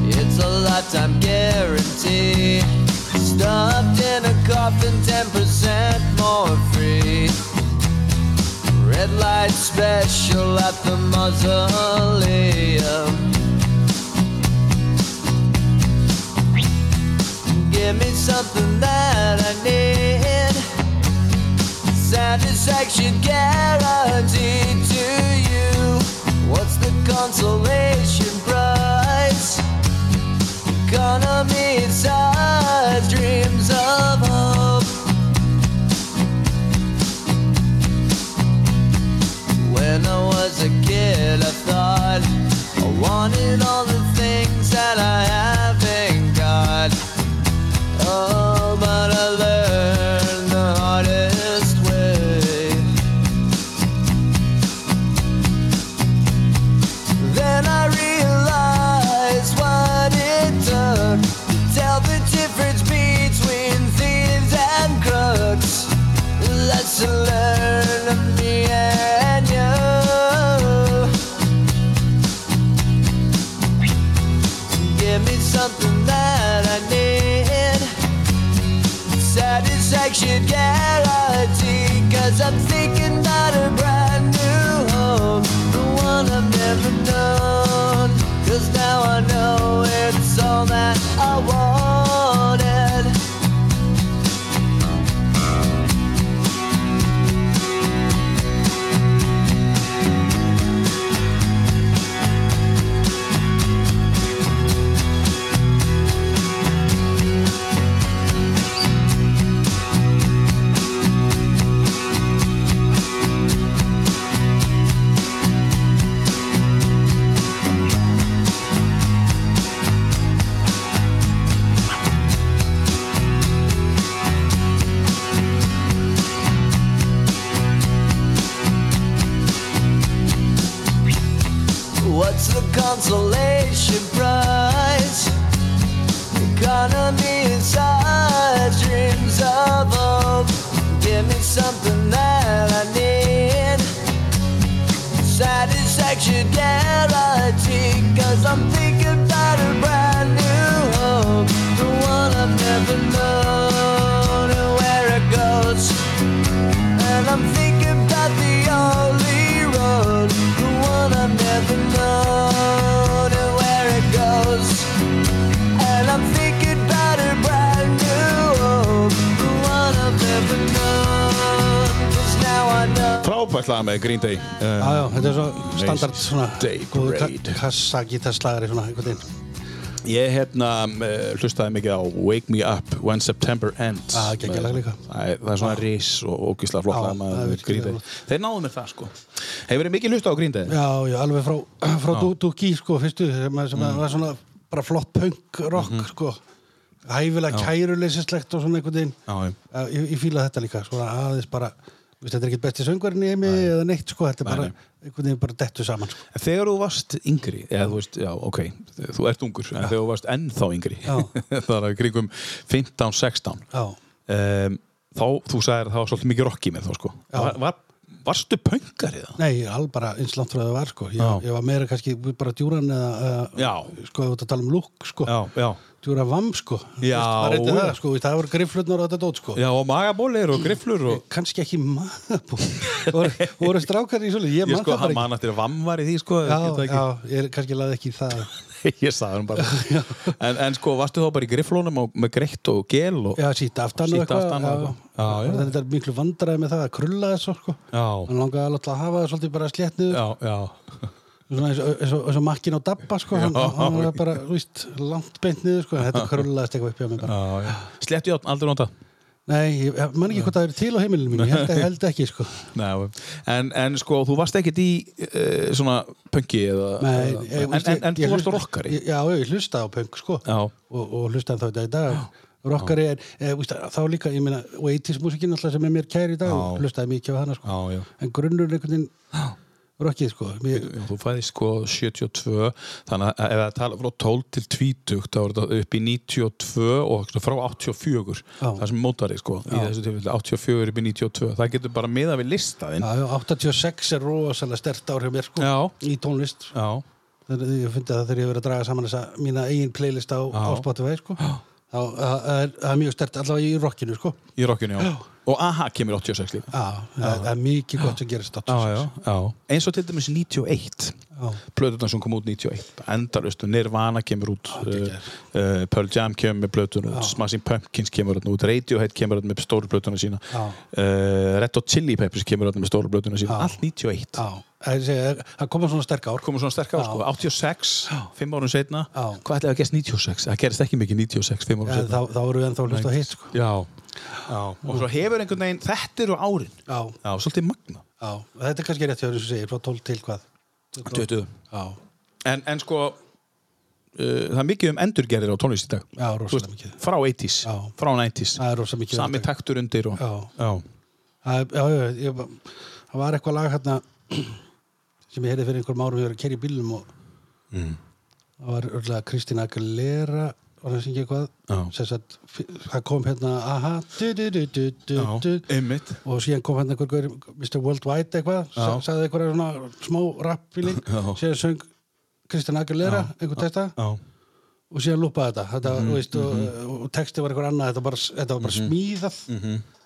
[SPEAKER 5] It's a lifetime guarantee. Stuffed in a coffin, 10% more free. Red light special at the mausoleum. Give me something that I need. Satisfaction guaranteed to you. What's the consolation price? Economy size dreams of hope. When I was a kid, I thought I wanted all the things that I haven't got. Oh, but I learned the hardest way. Then I realized what it took to tell the difference between thieves and crooks. Lesson learned of me and you. Give me something that I need. Satisfaction guarantee Cause I'm thinking about a brand new home The one I've never known Cause now I know it's all that I wanted What's the consolation prize? Economy inside dreams of hope. Oh, Give me something that I need. Satisfaction guarantee. Cause I'm thinking about a brand new home. The one I've never known. And where it goes. And I'm thinking about the only road, the one I've never known, and where it goes. And I'm thinking about a brand new home, the one I've never known. 'Cause now I know.
[SPEAKER 2] Frábært lag með Green Day.
[SPEAKER 3] já,
[SPEAKER 2] Uh,
[SPEAKER 3] já þetta er svo standard svona
[SPEAKER 2] Day
[SPEAKER 3] góður
[SPEAKER 2] Parade.
[SPEAKER 3] kassagítar slagari svona einhvern veginn
[SPEAKER 2] Ég hérna eh, hlustaði mikið á Wake Me Up When September Ends
[SPEAKER 3] Ah, geggjað lag líka. Ah.
[SPEAKER 2] Það er, það er svona ris og ógislega flott
[SPEAKER 3] Já,
[SPEAKER 2] lag
[SPEAKER 3] það er
[SPEAKER 2] með
[SPEAKER 3] virkilega
[SPEAKER 2] Green Day.
[SPEAKER 3] flott.
[SPEAKER 2] Þeir náðu mér það sko Hefur þið mikið hlusta á Green Day?
[SPEAKER 3] Já, já, alveg frá, frá Dúdúki, sko, fyrstu, sem, að-
[SPEAKER 2] Mm.
[SPEAKER 3] sem að var svona bara flott punk rock,
[SPEAKER 2] Mhm.
[SPEAKER 3] sko. Hæfilega kæruleysislegt og svona einhvern veginn.
[SPEAKER 2] Já, já.
[SPEAKER 3] Já, ég, ég fíla þetta líka, svona aðeins bara, þú veist, þetta er ekkert besti söngvarinn í heimi eða neitt, sko, þetta er
[SPEAKER 2] Nei,
[SPEAKER 3] bara,
[SPEAKER 2] nei.
[SPEAKER 3] einhvern veginn bara dettu saman, sko.
[SPEAKER 2] En Þegar þú varst yngri, eða þú veist, já, ok, þú ert ungur, en þegar þú varst ennþá yngri,
[SPEAKER 3] Já.
[SPEAKER 2] það er að kringum 15-16,
[SPEAKER 3] Já.
[SPEAKER 2] um, þá, þú sagðir að það var svolítið mikið rocki með þá, sko.
[SPEAKER 3] Já.
[SPEAKER 2] Var, var, varstu pöngar í það?
[SPEAKER 3] Nei, ég er alveg bara eins langt frá það var, sko.
[SPEAKER 2] Já.
[SPEAKER 3] Ég, ég var meira kannski bara djúran eða, eða
[SPEAKER 2] Já.
[SPEAKER 3] sko, þú ert að tala um lúk, sko.
[SPEAKER 2] já.
[SPEAKER 3] Djúran vamm, sko.
[SPEAKER 2] Já,
[SPEAKER 3] Það reyndi það,
[SPEAKER 2] já.
[SPEAKER 3] sko, það voru grifflutnar og þetta dót, sko.
[SPEAKER 2] Já, og magabólir og grifflur og...
[SPEAKER 3] kannski ekki maður voru, voru strákar í svolítið ég
[SPEAKER 2] Ég
[SPEAKER 3] man
[SPEAKER 2] sko,
[SPEAKER 3] það
[SPEAKER 2] hann
[SPEAKER 3] bara
[SPEAKER 2] man eftir að vamm var í því, sko.
[SPEAKER 3] ekki já,
[SPEAKER 2] ég,
[SPEAKER 3] já, ég er kannski laði ekki í það
[SPEAKER 2] ég sagði hann bara. en, en sko, varstu þá bara í grifflónum og, með greitt og gel og...
[SPEAKER 3] já, síta aftan
[SPEAKER 2] Sítt
[SPEAKER 3] og eitthvað
[SPEAKER 2] aftan og
[SPEAKER 3] já.
[SPEAKER 2] eitthvað. Já, já.
[SPEAKER 3] þannig að þetta er miklu vandræði með það að krulla þessu sko.
[SPEAKER 2] Já.
[SPEAKER 3] hann langaði alveg til að hafa það svolítið bara slétt niður
[SPEAKER 2] já. já.
[SPEAKER 3] svona eins og- eins og eins og makkin á dabba sko. hann,
[SPEAKER 2] Já.
[SPEAKER 3] hann var bara þú veist, langt beint niður sko. en þetta krullaðist eitthvað upp hjá mig bara.
[SPEAKER 2] já, já. Slettu játn, aldrei nota.
[SPEAKER 3] nei, ég ég man ekki hvort það er til á heimilinu mínu ég held, ég held ekki sko.
[SPEAKER 2] Nei, en, en sko, þú varst ekkert í uh, svona pönki eða,
[SPEAKER 3] Nei,
[SPEAKER 2] eða,
[SPEAKER 3] ég,
[SPEAKER 2] en, en, en þú varst rockari
[SPEAKER 3] Já, ég hlusta á punk sko
[SPEAKER 2] Já.
[SPEAKER 3] og, og hlusta þá í dag í dag rockari en e, víst, þá líka, ég meina og 80s músikinn alltaf sem er mér kæri í dag
[SPEAKER 2] Já.
[SPEAKER 3] hlustaði mikið á hana sko
[SPEAKER 2] Já, já.
[SPEAKER 3] en grunnur einhvern veginn rockið sko mér,
[SPEAKER 2] Já, Þú fæði sko 72 þannig að ef það tala frá 12 til 20 þá er þetta upp í 92 og svona frá 84
[SPEAKER 3] Já.
[SPEAKER 2] það sem mótari sko í þessu tilfelli 84 upp í 92 það getur bara miða við listaðinn
[SPEAKER 3] já, já, 86 er rosalega stert ár hjá mér sko
[SPEAKER 2] Já.
[SPEAKER 3] í tónlist
[SPEAKER 2] Já.
[SPEAKER 3] þegar ég fundi það þegar ég verið að draga saman þessa mína eigin playlist á, á Spotify sko þá það- það er það er mjög stert allavega í rockinu sko
[SPEAKER 2] í rockinu já. og aha kemur 86 líka
[SPEAKER 3] já, það það er mikið gott sem gerist á
[SPEAKER 2] já, já, já. eins og til dæmis 91
[SPEAKER 3] Já.
[SPEAKER 2] plöðurna sem kom út 91 endarlustu, Nirvana kemur út uh,
[SPEAKER 3] geggjað.
[SPEAKER 2] uh, Pearl Jam kemur með plöðurna út Smashing Pumpkins kemur þarna út Radiohead kemur þarna með stóru plöðurna sína
[SPEAKER 3] Já.
[SPEAKER 2] uh, Red Hot Chili Peppers kemur þarna með stóru plöðurna sína allt 91
[SPEAKER 3] Já, það er að segja, það koma svona sterk ár
[SPEAKER 2] komum svona sterk á, sko, 86 5 árum setna,
[SPEAKER 3] Já.
[SPEAKER 2] hvað ætlaði að gerst 96 það gerist ekki mikið 96, 5 árum
[SPEAKER 3] Eh,
[SPEAKER 2] setna
[SPEAKER 3] þá, þá eru við ennþá að hlusta á hitt sko.
[SPEAKER 2] já. já, og svo hefur einhvern veginn þetta eru árin,
[SPEAKER 3] Já,
[SPEAKER 2] já, svolítið magna
[SPEAKER 3] já, þetta er kannski rétt hjá þér eins og segir, frá 12 til hvað
[SPEAKER 2] 20
[SPEAKER 3] Já,
[SPEAKER 2] En, en sko uh, það er mikið um endurgerðir á tónlist í dag
[SPEAKER 3] Já, rosalega
[SPEAKER 2] Þú veist,
[SPEAKER 3] mikið.
[SPEAKER 2] frá 80s,
[SPEAKER 3] Já.
[SPEAKER 2] frá 90s
[SPEAKER 3] það er rosa mikið
[SPEAKER 2] sami
[SPEAKER 3] verið.
[SPEAKER 2] taktur undir og,
[SPEAKER 3] Já.
[SPEAKER 2] Já.
[SPEAKER 3] Það er- Já, já, ég, var- það var eitthvað lag hérna sem ég heyrði fyrir einhverjum árum ég var að kerja í bílum og Mm. það var örgulega Kristín Aguilera var það að syngja eitthvað
[SPEAKER 2] Já.
[SPEAKER 3] Sess að, það kom hérna aha du, du, du, du, du, du,
[SPEAKER 2] Já, einmitt
[SPEAKER 3] og síðan kom hann einhver gaur, Mr. Worldwide eitthvað, sa- sagði einhverja svona smá rappfíling, síðan söng Kristján Aguilera, einhver texta
[SPEAKER 2] Já. Mhm,
[SPEAKER 3] og síðan lúpaði þetta, þetta mm veist, og, og texti var einhver annað, þetta var bara, þetta var bara smíðað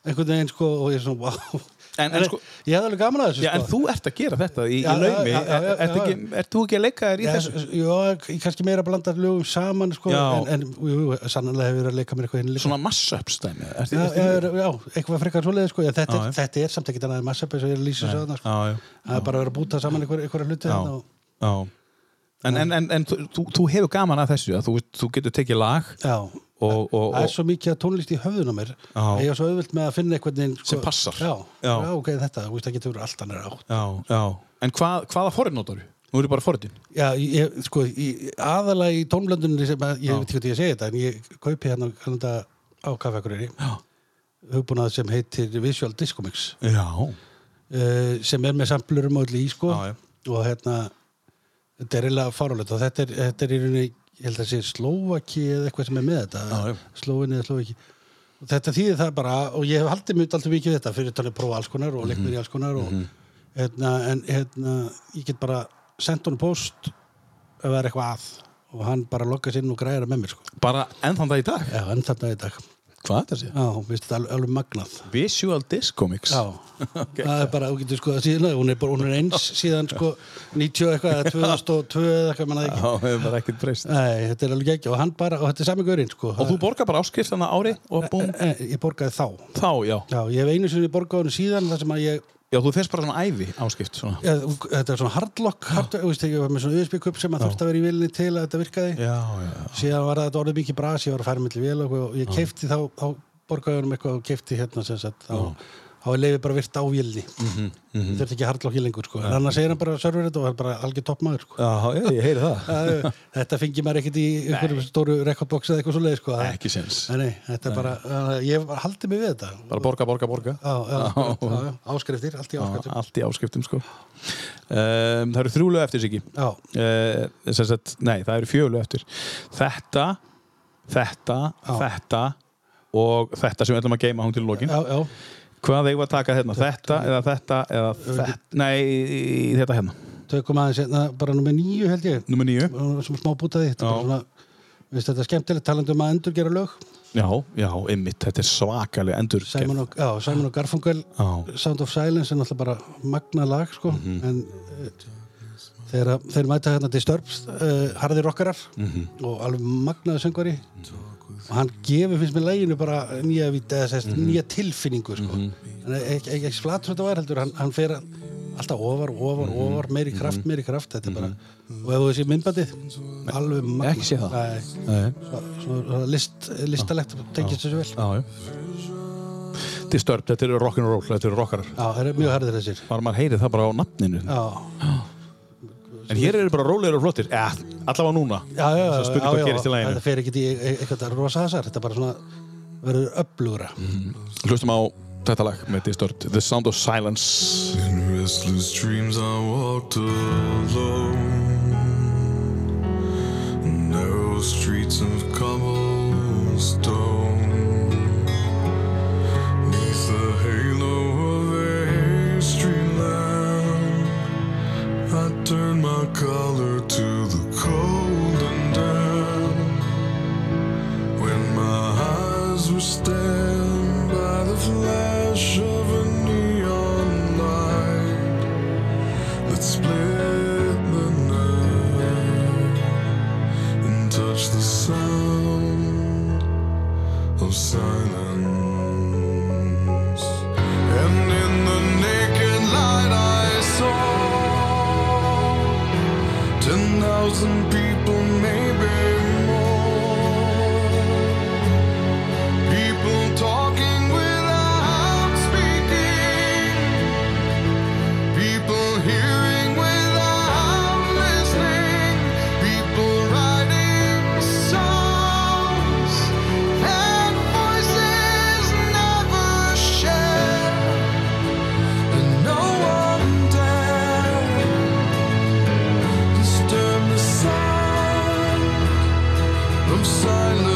[SPEAKER 3] einhvern veginn sko og ég svona, wow
[SPEAKER 2] Mhm. En- en sko-
[SPEAKER 3] ég hefði alveg gaman að þessu
[SPEAKER 2] Já, en
[SPEAKER 3] sko
[SPEAKER 2] þú ert að gera þetta í,
[SPEAKER 3] Já,
[SPEAKER 2] í laumi
[SPEAKER 3] já, já, já,
[SPEAKER 2] Er- ertu
[SPEAKER 3] já.
[SPEAKER 2] ekki, ert þú ekki að leika þér í
[SPEAKER 3] Já,
[SPEAKER 2] þessu?
[SPEAKER 3] jú, ég kannski meira að blanda lögum saman sko,
[SPEAKER 2] Já.
[SPEAKER 3] en, en jú, jú, sannlega hefur verið að leika mér eitthvað hinn líka
[SPEAKER 2] Svona massöpstæmi
[SPEAKER 3] já, já, já, eitthvað frekar svoleiðið sko. Já, þetta,
[SPEAKER 2] Já,
[SPEAKER 3] er,
[SPEAKER 2] já.
[SPEAKER 3] þetta er samt ekkert annað en massabæs og ég er að lýsa svo þarna sko.
[SPEAKER 2] Já, já.
[SPEAKER 3] það er bara að vera að búta saman einhver- einhverja hluti
[SPEAKER 2] Já.
[SPEAKER 3] þarna og-
[SPEAKER 2] Já. En, en, en, en þú, þú- þú hefur gaman að þessu að þú, þú getur tekið lag
[SPEAKER 3] Já,
[SPEAKER 2] og, og,
[SPEAKER 3] það er
[SPEAKER 2] og
[SPEAKER 3] svo mikið að tónlist í höfðun á mér
[SPEAKER 2] Já.
[SPEAKER 3] að ég er svo auðvöld með að finna eitthvað sko,
[SPEAKER 2] Sem passar.
[SPEAKER 3] Já,
[SPEAKER 2] Já.
[SPEAKER 3] já. ok, þetta, þú veist það getur verið allt annar átt
[SPEAKER 2] Já, já En hvað, hvaða forrið notar þú? Nú eru bara forriðin
[SPEAKER 3] Já, ég, sko, ég, aðalega í tónlöndunni sem að, ég veit ekki hvað ég segi þetta en ég kaupi hérna kannanda á kaffekurri hugbúnað sem heitir Visual Discomix
[SPEAKER 2] Já
[SPEAKER 3] uh, sem er með samplurum og öllu í sko
[SPEAKER 2] Já, já.
[SPEAKER 3] og hérna þetta er eiginlega fárálegt og þetta er, þetta er í rauninni ég held að sé Slovaki eða eitthvað sem er með þetta
[SPEAKER 2] Já, já.
[SPEAKER 3] Slóvinni eða Slovaki og þetta þýðir það bara og ég hef haldið mjög alltaf mikið við þetta fyrir þannig að prófa alls konar
[SPEAKER 2] Mhm.
[SPEAKER 3] og leikmur í alls konar og, hérna, en hérna ég get bara sendt honum post ef það er eitthvað að og hann bara loggast inn og græjar það með mér sko
[SPEAKER 2] Bara ennþann það í dag
[SPEAKER 3] já, enn þetta í dag
[SPEAKER 2] Hvað þetta sé?
[SPEAKER 3] já, veist þetta er alveg, alveg magnað
[SPEAKER 2] Visual Discomics
[SPEAKER 3] Já, það er bara, þú getur sko að síðan hún er bara, hún er eins síðan sko 90 eitthvað, eða 2002 eða eitthvað manna ekki.
[SPEAKER 2] það hefur bara ekkert breyst
[SPEAKER 3] Nei, þetta er alveg ekki og hann bara, og þetta er sami gaurinn sko.
[SPEAKER 2] Og þú borgar bara áskrift þannig ári og búm
[SPEAKER 3] Eh, Ég borgaði þá.
[SPEAKER 2] Þá, já
[SPEAKER 3] Já, ég hef einu sinni borgaði hún síðan þar sem að ég,
[SPEAKER 2] Já, Já, þú þess bara svona æfi áskipt svona.
[SPEAKER 3] Já, þetta er svona hardlock hard, þú veist, ég var með svona USB-kupp sem að þurfti að vera í vilni til að þetta virkaði
[SPEAKER 2] Já, já,
[SPEAKER 3] síðan var þetta orðið mikið bras, ég var að fara millir vél og eitthvað og ég keipti þá, þá borgaði honum eitthvað og keipti hérna sem sagt þá, þá er leifið bara virt á vélni mm
[SPEAKER 2] Mhm,
[SPEAKER 3] -hmm, þurfti ekki hardlocki lengur sko. en annars er hann bara server þetta og er bara algjör toppmaður sko.
[SPEAKER 2] já, ég heyri það
[SPEAKER 3] Það- þetta fengi maður ekkert í einhverjum stóru rekordbox eða eitthvað svo leið sko. Það-
[SPEAKER 2] Eh, Ekki sens.
[SPEAKER 3] Nei, nei, þetta er bara, uh, ég haldi mig við þetta
[SPEAKER 2] Bara borga, borga, borga
[SPEAKER 3] á, á, á,
[SPEAKER 2] Já.
[SPEAKER 3] á, áskriftir, allt í
[SPEAKER 2] Já,
[SPEAKER 3] áskriftir
[SPEAKER 2] Allt í áskriftum sko um, Það eru þrjúlu eftir sig ekki
[SPEAKER 3] Já.
[SPEAKER 2] sagt, Nei, það eru fjölu eftir Þetta, þetta, þetta og þetta sem við ætlum að geima hún til lokin
[SPEAKER 3] já, já,
[SPEAKER 2] Hvað eigum við að taka hérna? Þetta eða þetta eða þetta Nei, í- í þetta hérna
[SPEAKER 3] tökum aðeins hérna, bara nummer nýju held ég
[SPEAKER 2] Númer níu
[SPEAKER 3] sem smá bútaði þetta
[SPEAKER 2] Já.
[SPEAKER 3] er bara svona, viðst, þetta er skemmtilegt talandi um að endurgera lög
[SPEAKER 2] Já, já, ymmit, þetta er svakalega endur
[SPEAKER 3] Simon og, já, Simon og Garfunkel
[SPEAKER 2] Já. Mhm.
[SPEAKER 3] Sound of Silence er náttúrulega bara magna lag sko, en uh, þeir, þeir mæta hérna til Störbs uh, harði rockarar
[SPEAKER 2] Mhm.
[SPEAKER 3] og alveg magnaði söngvari og hann gefur finnst mér læginu bara nýja, vít- eða, sest,
[SPEAKER 2] Mhm.
[SPEAKER 3] nýja tilfinningu sko. en ekki, ekki, ekki flatur þetta var heldur hann, hann fer að- alltaf ofar, ofar,
[SPEAKER 2] Mhm.
[SPEAKER 3] ofar meiri kraft, meiri kraft þetta er bara, og ef þú þessi myndbandið alveg magna
[SPEAKER 2] ekki séð það.
[SPEAKER 3] Nei,
[SPEAKER 2] Já,
[SPEAKER 3] svo, svo, svo list, listalegt tengist þessu vel
[SPEAKER 2] já Disturbed, þetta eru rock'n'roll, þetta eru rockarar
[SPEAKER 3] Já, það er mjög harðir þessir
[SPEAKER 2] Bara maður heyri það bara á nafninu
[SPEAKER 3] Já,
[SPEAKER 2] En hér eru bara rólegir og flottir ja, Allavega núna
[SPEAKER 3] já, já,
[SPEAKER 2] Svo spurning
[SPEAKER 3] já,
[SPEAKER 2] hvað
[SPEAKER 3] já,
[SPEAKER 2] gerist í laginu.
[SPEAKER 3] Þetta fer ekki í e- e- eitthvað rosa hasar Þetta er bara svona verður upplugra
[SPEAKER 2] Mm. Hlustum á þetta lag með Distort The Sound of Silence
[SPEAKER 6] In restless dreams, I walked alone. Narrow streets of cobblestone. Neath the halo of a street lamp, I turned my collar to the cold and damp. When my eyes were stained by the flash of a neon light that split the night and touched the sound of silence. And in the naked light, I saw. Ten thousand people, maybe more. People talking without speaking. People hearing without listening. People writing songs that voices never share. And no one dares disturb the sound of silence.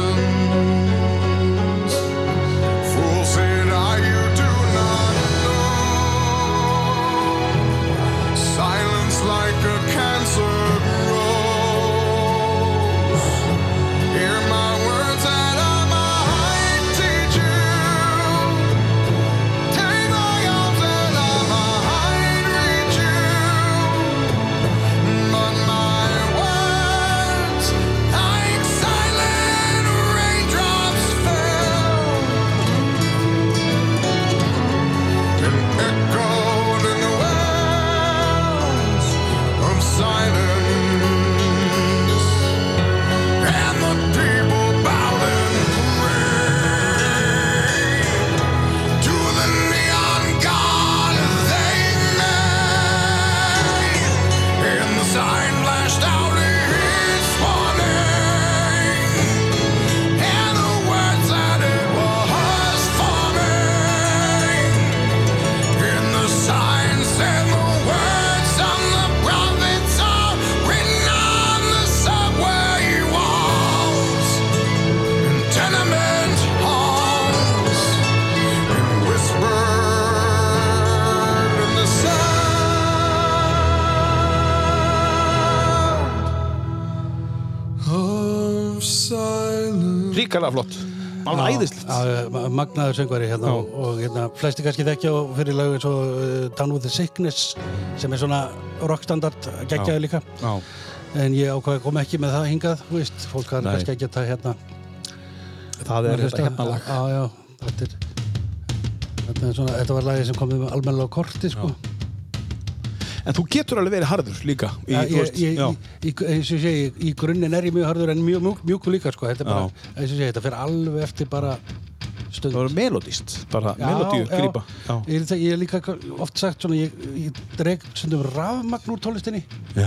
[SPEAKER 6] Fool said, I you do not know. Silence like a cancer grows. Hear my words and I might teach you. Take my arms and I might reach you. But my words, like silent raindrops, fell and echoed in the wells of silence, and the people bowed in prayer to the neon god they made. And the sign flashed out its warning And the words that it was forming And the signs and the words and the prophets are written on the subway walls And tenement halls And whispered in the sound of silence
[SPEAKER 2] Ríkalega flott Alveg æðislegt
[SPEAKER 3] Já, ma- Magnaður söngvari hérna og, og hérna, flesti kannski þekkja og fyrir lög eins og uh, Down with the Sickness sem er svona rockstandard geggjaði líka
[SPEAKER 2] Já.
[SPEAKER 3] en ég ákvað að koma ekki með það hingað þú veist, fólk hann
[SPEAKER 2] Nei.
[SPEAKER 3] kannski ekki að ta hérna
[SPEAKER 2] Það er
[SPEAKER 3] Hlusta-
[SPEAKER 2] þetta hérna lag
[SPEAKER 3] Já, já, þetta er þetta þetta, er svona, þetta var lagið sem komið með almennilega á korti sko.
[SPEAKER 7] En þú getur alveg verið harður líka í,
[SPEAKER 3] Já,
[SPEAKER 7] þú
[SPEAKER 3] ég,
[SPEAKER 7] veist,
[SPEAKER 3] ég,
[SPEAKER 7] já.
[SPEAKER 3] í, í, eins og ég segi, í grunninn er ég mjög harður en mjög mjúk, mjúkur líka sko. þetta, er bara,
[SPEAKER 7] Já.
[SPEAKER 3] eins og ég segi, þetta fer alveg eftir bara stund
[SPEAKER 7] Það var melodist, bara
[SPEAKER 3] Já,
[SPEAKER 7] melodíu
[SPEAKER 3] já.
[SPEAKER 7] grípa
[SPEAKER 3] Ég, er það- ég er líka oft sagt svona, ég, ég dreg stundum rafmagn úr tónlistinni
[SPEAKER 7] já.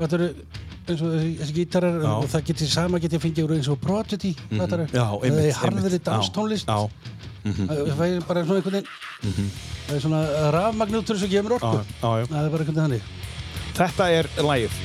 [SPEAKER 3] þetta eru eins og þessi, þessi gítarar
[SPEAKER 7] Já. Mhm.
[SPEAKER 3] og það geti sama geti að fengja úr eins og Prodigy þetta eru,
[SPEAKER 7] Já,
[SPEAKER 3] eða
[SPEAKER 7] einmitt,
[SPEAKER 3] í
[SPEAKER 7] einmitt.
[SPEAKER 3] harðri
[SPEAKER 7] Já,
[SPEAKER 3] danstónlist
[SPEAKER 7] já. Mhm.
[SPEAKER 3] það það er bara svona einhvern veginn það er svona rafmagn út úr þessu gefur orku
[SPEAKER 7] Já, já,
[SPEAKER 3] það er
[SPEAKER 7] já.
[SPEAKER 3] bara einhvern veginn þannig
[SPEAKER 7] Þetta er lagið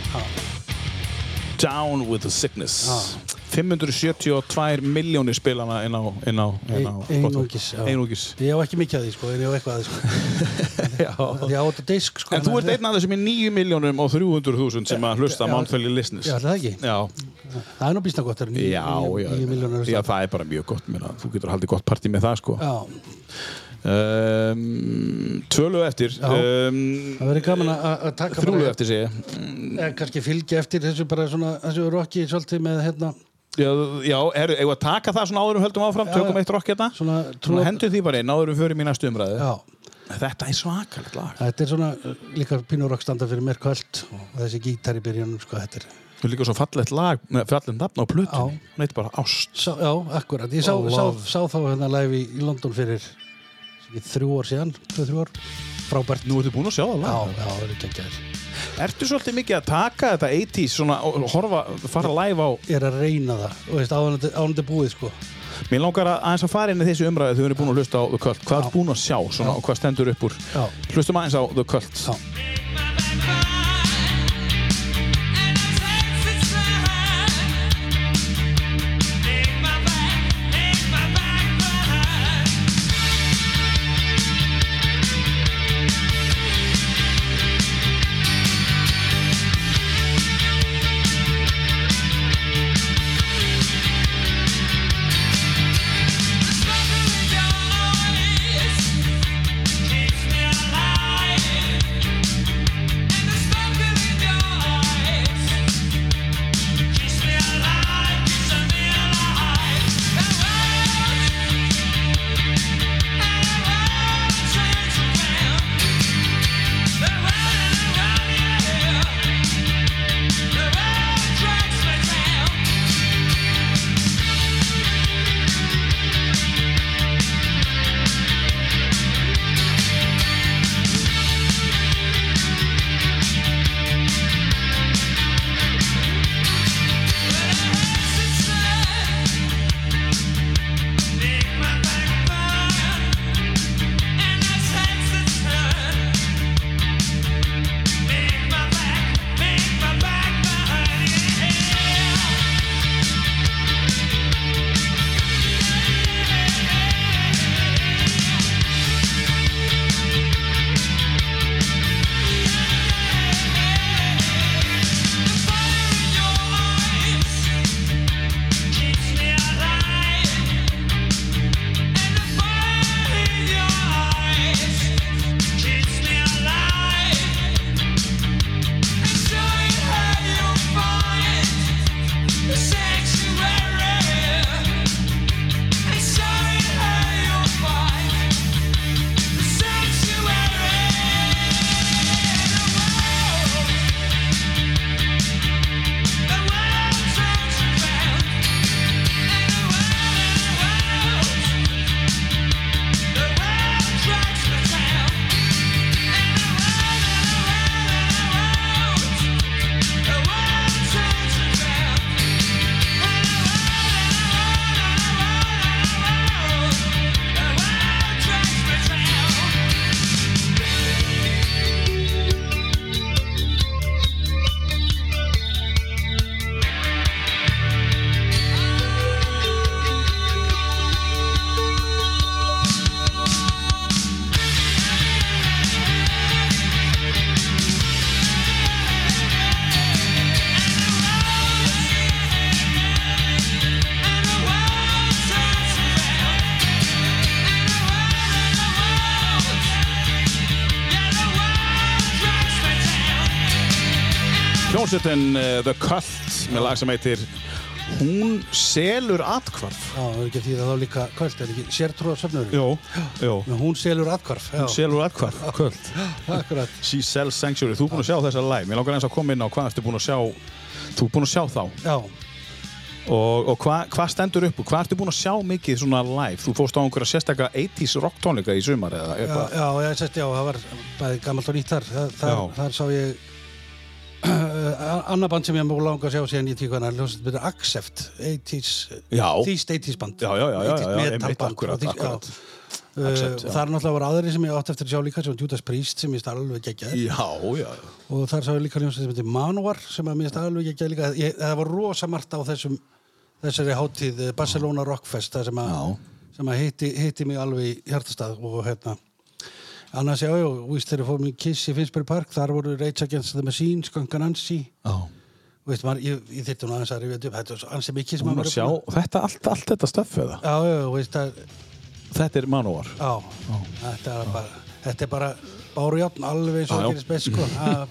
[SPEAKER 7] Down with the Sickness
[SPEAKER 3] Já.
[SPEAKER 7] 572 miljónir spilana inn á, inn á, inn á
[SPEAKER 3] Ein- einungis, já.
[SPEAKER 7] Einungis.
[SPEAKER 3] ég á ekki mikið að því sko, en ég á eitthvað að því sko.
[SPEAKER 7] Já.
[SPEAKER 3] Því ég á þetta disk sko,
[SPEAKER 7] En þú ert einn af þessum í 9 miljónum og 300.000 sem að hlusta
[SPEAKER 3] Já.
[SPEAKER 7] Mount Valley Listeners
[SPEAKER 3] Já, ætli það ekki.
[SPEAKER 7] Já,
[SPEAKER 3] það er nú býstna gott það eru níu-
[SPEAKER 7] já,
[SPEAKER 3] níu-
[SPEAKER 7] já,
[SPEAKER 3] níu milljónir
[SPEAKER 7] já, það er bara mjög gott minna. þú getur haldið gott partí með það sko
[SPEAKER 3] já,
[SPEAKER 7] um, Tvölu eftir
[SPEAKER 3] Já.
[SPEAKER 7] um,
[SPEAKER 3] það verður gaman að að taka
[SPEAKER 7] Þrjúlu
[SPEAKER 3] bara-
[SPEAKER 7] eftir sig
[SPEAKER 3] eða kannski fylgja eftir þessu bara svona þessu rocki svolítið með hérna
[SPEAKER 7] Já, já er, eigum við að taka það svona áðurum höldum áfram,
[SPEAKER 3] Já,
[SPEAKER 7] tökum
[SPEAKER 3] já.
[SPEAKER 7] eitt rokk hérna
[SPEAKER 3] Svona
[SPEAKER 7] Svona
[SPEAKER 3] trú-
[SPEAKER 7] hendum því bara inn áðurum fyrir mína stumræði
[SPEAKER 3] já,
[SPEAKER 7] Þetta er svakalegt lag.
[SPEAKER 3] Þetta er svona uh, líka pínurokk standa fyrir mér kvöld og þessi gítar í byrjunum sko þetta er
[SPEAKER 7] Þú er líka svo fallegt lag, með fallegt nafn á plötunni.
[SPEAKER 3] Já.
[SPEAKER 7] Hún heitir bara Ást.
[SPEAKER 3] sá, Já, akkurat, ég sá,
[SPEAKER 7] Oh,
[SPEAKER 3] sá,
[SPEAKER 7] love.
[SPEAKER 3] sá þá hérna live í, í London fyrir ekki, þrjú ár síðan, tvö, þrjú ár frábært
[SPEAKER 7] Nú ertu búin að sjá
[SPEAKER 3] Já,
[SPEAKER 7] það lag.
[SPEAKER 3] já, það eru geggjaðir
[SPEAKER 7] Ertu svolítið mikið að taka þetta 80s svona og horfa, fara live á
[SPEAKER 3] Ég er að reyna það, og veist, ánandi búið sko
[SPEAKER 7] Mér langar að aðeins að fara inn í þessi umræði þegar við erum búin að hlusta á The Cult. Hvað er búin að sjá svona og hvað stendur upp úr?
[SPEAKER 3] Já.
[SPEAKER 7] Hlustum aðeins á The Cult.
[SPEAKER 3] Já.
[SPEAKER 2] eh,
[SPEAKER 7] Hljómsveitin uh, The Cult með lag sem heitir
[SPEAKER 2] hún selur atkvarf
[SPEAKER 3] Já, það er ekki því að þá líka kvöld, er ekki sértrúa söfnurinn?
[SPEAKER 2] Jó, jó
[SPEAKER 3] Jú. Hún selur aðkvarf, já.
[SPEAKER 2] Selur atkvarf
[SPEAKER 3] Kvöld. Akkurat.
[SPEAKER 2] She Sells Sanctuary, þú er búin að sjá þessa live Mér langar eins að koma inn á hvað ertu búin að sjá Þú er búin að sjá þá
[SPEAKER 3] Já,
[SPEAKER 2] Og, og hvað hva stendur upp úr? Hvað ertu búin að sjá mikið svona live? Þú fórst á einhverja sérstakka 80s rock tónleika í sumar eða
[SPEAKER 3] já,
[SPEAKER 2] eitthvað
[SPEAKER 3] já, já, sest, já, það var bæði gammalt og nýtt þar. Þa- Þar,
[SPEAKER 2] Já.
[SPEAKER 3] þar sá ég uh, annað band sem ég mjög langa að sjá síðan í tíkvæðan, hljóðsett byrja Accept, 80s,
[SPEAKER 2] Já.
[SPEAKER 3] þýst 80s band.
[SPEAKER 2] Já, já, já, já, já,
[SPEAKER 3] 80s
[SPEAKER 2] já,
[SPEAKER 3] metal
[SPEAKER 2] einmitt,
[SPEAKER 3] band
[SPEAKER 2] akkurat,
[SPEAKER 3] og þýst-
[SPEAKER 2] akkurat.
[SPEAKER 3] já.
[SPEAKER 2] Accept,
[SPEAKER 3] Accept,
[SPEAKER 2] já.
[SPEAKER 3] uh, þar náttúrulega var aðri sem ég átti eftir að sjá líka sem var Judas Priest sem ég stað alveg geggjaði
[SPEAKER 2] Já, já,
[SPEAKER 3] og þar sá ég líka hljómsveit sem heitir Manowar sem að mér finnst alveg ekki að líka ég, það var rosa margt á þessum þessari hátíð eh, Barcelona Rockfest það sem að, sem að hitti, hitti mig alveg í hjartastað og hérna annars já, já, víst þegar fórum í Kiss í Finsbury Park, þar voru Rage Against the Machine Skunkan Ansi
[SPEAKER 2] já
[SPEAKER 3] veist maður, ég, ég þyrfti hún aðeins að rifja þetta upp þetta er svo ansi mikið sem
[SPEAKER 2] Búin að
[SPEAKER 3] maður
[SPEAKER 2] sjá þetta, allt, allt þetta stöff eða?
[SPEAKER 3] já, já, já, veist að
[SPEAKER 2] Þetta er Manowar
[SPEAKER 3] Já, þetta er bara, þetta er bara bárjátn alveg eins
[SPEAKER 2] Já,
[SPEAKER 3] og það
[SPEAKER 2] já.
[SPEAKER 3] gerist best sko. Það er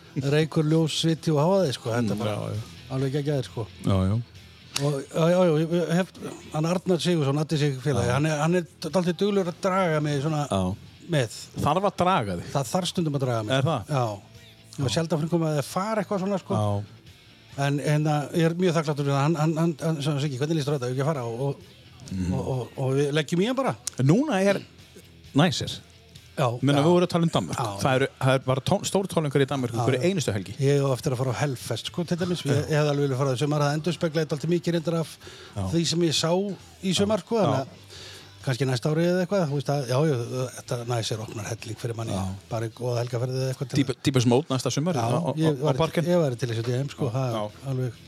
[SPEAKER 3] bara reykur ljós, sviti og háaði sko. Þetta er bara
[SPEAKER 2] já, já.
[SPEAKER 3] alveg ekki aðeins sko.
[SPEAKER 2] Já, já
[SPEAKER 3] Og já, já, já, ég hef, hann Arnar Sigursson, Addi Sigur félagi, hann er, hann er daltið duglur að draga mig svona
[SPEAKER 2] Já.
[SPEAKER 3] með.
[SPEAKER 2] Þarf að draga þig
[SPEAKER 3] Það þarf stundum að draga mig.
[SPEAKER 2] Er það?
[SPEAKER 3] Já. Ég var sjálf að fengum að það fara eitthvað svona sko.
[SPEAKER 2] Já,
[SPEAKER 3] En, en að, ég er mjög þakkláttur fyrir það. Hann, hann, hann, hann, hann, Siggi, hvernig lístur á þetta? Ég ekki að fara og, og, og, og, og við leggjum í hann bara.
[SPEAKER 2] Núna er næsir
[SPEAKER 3] Já.
[SPEAKER 2] Menna
[SPEAKER 3] já.
[SPEAKER 2] við vorum að tala um Danmark
[SPEAKER 3] Já.
[SPEAKER 2] Það eru, það eru bara tón, stóru tónleikar í Danmark Hverju einustu helgi
[SPEAKER 3] Ég hef eftir að fara á Hellfest, sko, til dæmis. Ég, ég hefði alveg vilja fara á sumar, það endur speklaði alltaf mikið reyndar af því sem ég sá í sumar, sko, þannig að kannski næsta árið eða eitthvað, þú veist að, já, já, þetta næsir opnar helling fyrir manni, bara í góða helgaferðið eða eitthvað til
[SPEAKER 2] Típa- Típus mót næsta sumar
[SPEAKER 3] Já,
[SPEAKER 2] á, á,
[SPEAKER 3] ég
[SPEAKER 2] á
[SPEAKER 3] var,
[SPEAKER 2] parkin
[SPEAKER 3] ég var til þessu DM, sko, það er alveg,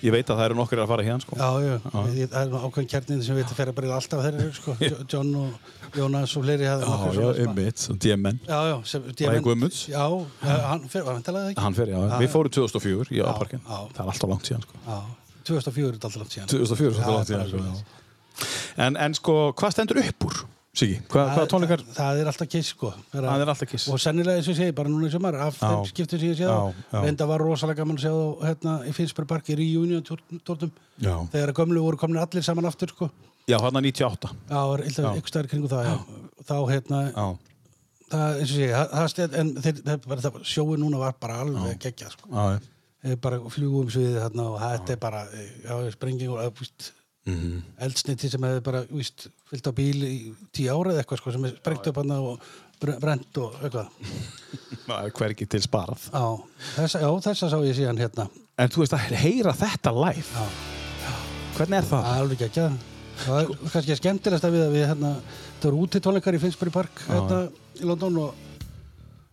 [SPEAKER 2] Ég veit að það eru nokkur að fara hérna sko.
[SPEAKER 3] já, já, ég, það er nú ákveðin kjarnin sem við þetta fer að bara í alltaf þeirri, sko, Jo- John og Jónas og fleiri hafði nokkrir svona, sko.
[SPEAKER 2] einmitt, DMN
[SPEAKER 3] Já, já, sem,
[SPEAKER 2] Bragi Guðmunds.
[SPEAKER 3] Já, eh, hann fyrir, var hann talaði ekki?
[SPEAKER 2] Hann fer, já, við fórum 2004 í áparkin
[SPEAKER 3] já.
[SPEAKER 2] Það er alltaf langt síðan sko.
[SPEAKER 3] Já, 2004 er þetta alltaf langt síðan.
[SPEAKER 2] 2004 er alltaf langt síðan sko. en, en sko, hvað stendur upp úr? Siggi, Hva, hvaða tónleikar?
[SPEAKER 3] það, það er alltaf kiss sko Vera-
[SPEAKER 2] Það er alltaf Kiss.
[SPEAKER 3] og sennilega eins og ég segi bara núna í sumar af þeim skiptum sem ég séð á
[SPEAKER 2] Já, já.
[SPEAKER 3] reynda var rosalega gaman að sjá þá hérna í Finsberg Park í reunion tórnum
[SPEAKER 2] Já.
[SPEAKER 3] þegar að gömlu voru komin allir saman aftur sko
[SPEAKER 2] Já, hann 98
[SPEAKER 3] já, var illa ykkur stær kringu það já. þá hérna
[SPEAKER 2] Já,
[SPEAKER 3] það eins og ég segi það, það stið, en þeir, þeir, bara, það, sjóin núna var bara alveg geggja sko
[SPEAKER 2] já, já.
[SPEAKER 3] Eh, bara flugum sviðið þarna og þetta er bara eh, já, sprenging og eh, víst, eldsneiti sem hefði bara víst, fyllt á bíl í tíu ára eða eitthvað sko, sem er sprengt upp hann og br- brennt og eitthvað
[SPEAKER 2] Það er hvergi til sparað
[SPEAKER 3] á, þessa, já, þessa sá ég síðan hérna
[SPEAKER 2] En þú veist að heyra þetta live Hvernig er það?
[SPEAKER 3] alveg ekki að það er kannski skemmtilegst að við að við hérna, það voru úti tónleikar í Finsbury Park hérna, í London og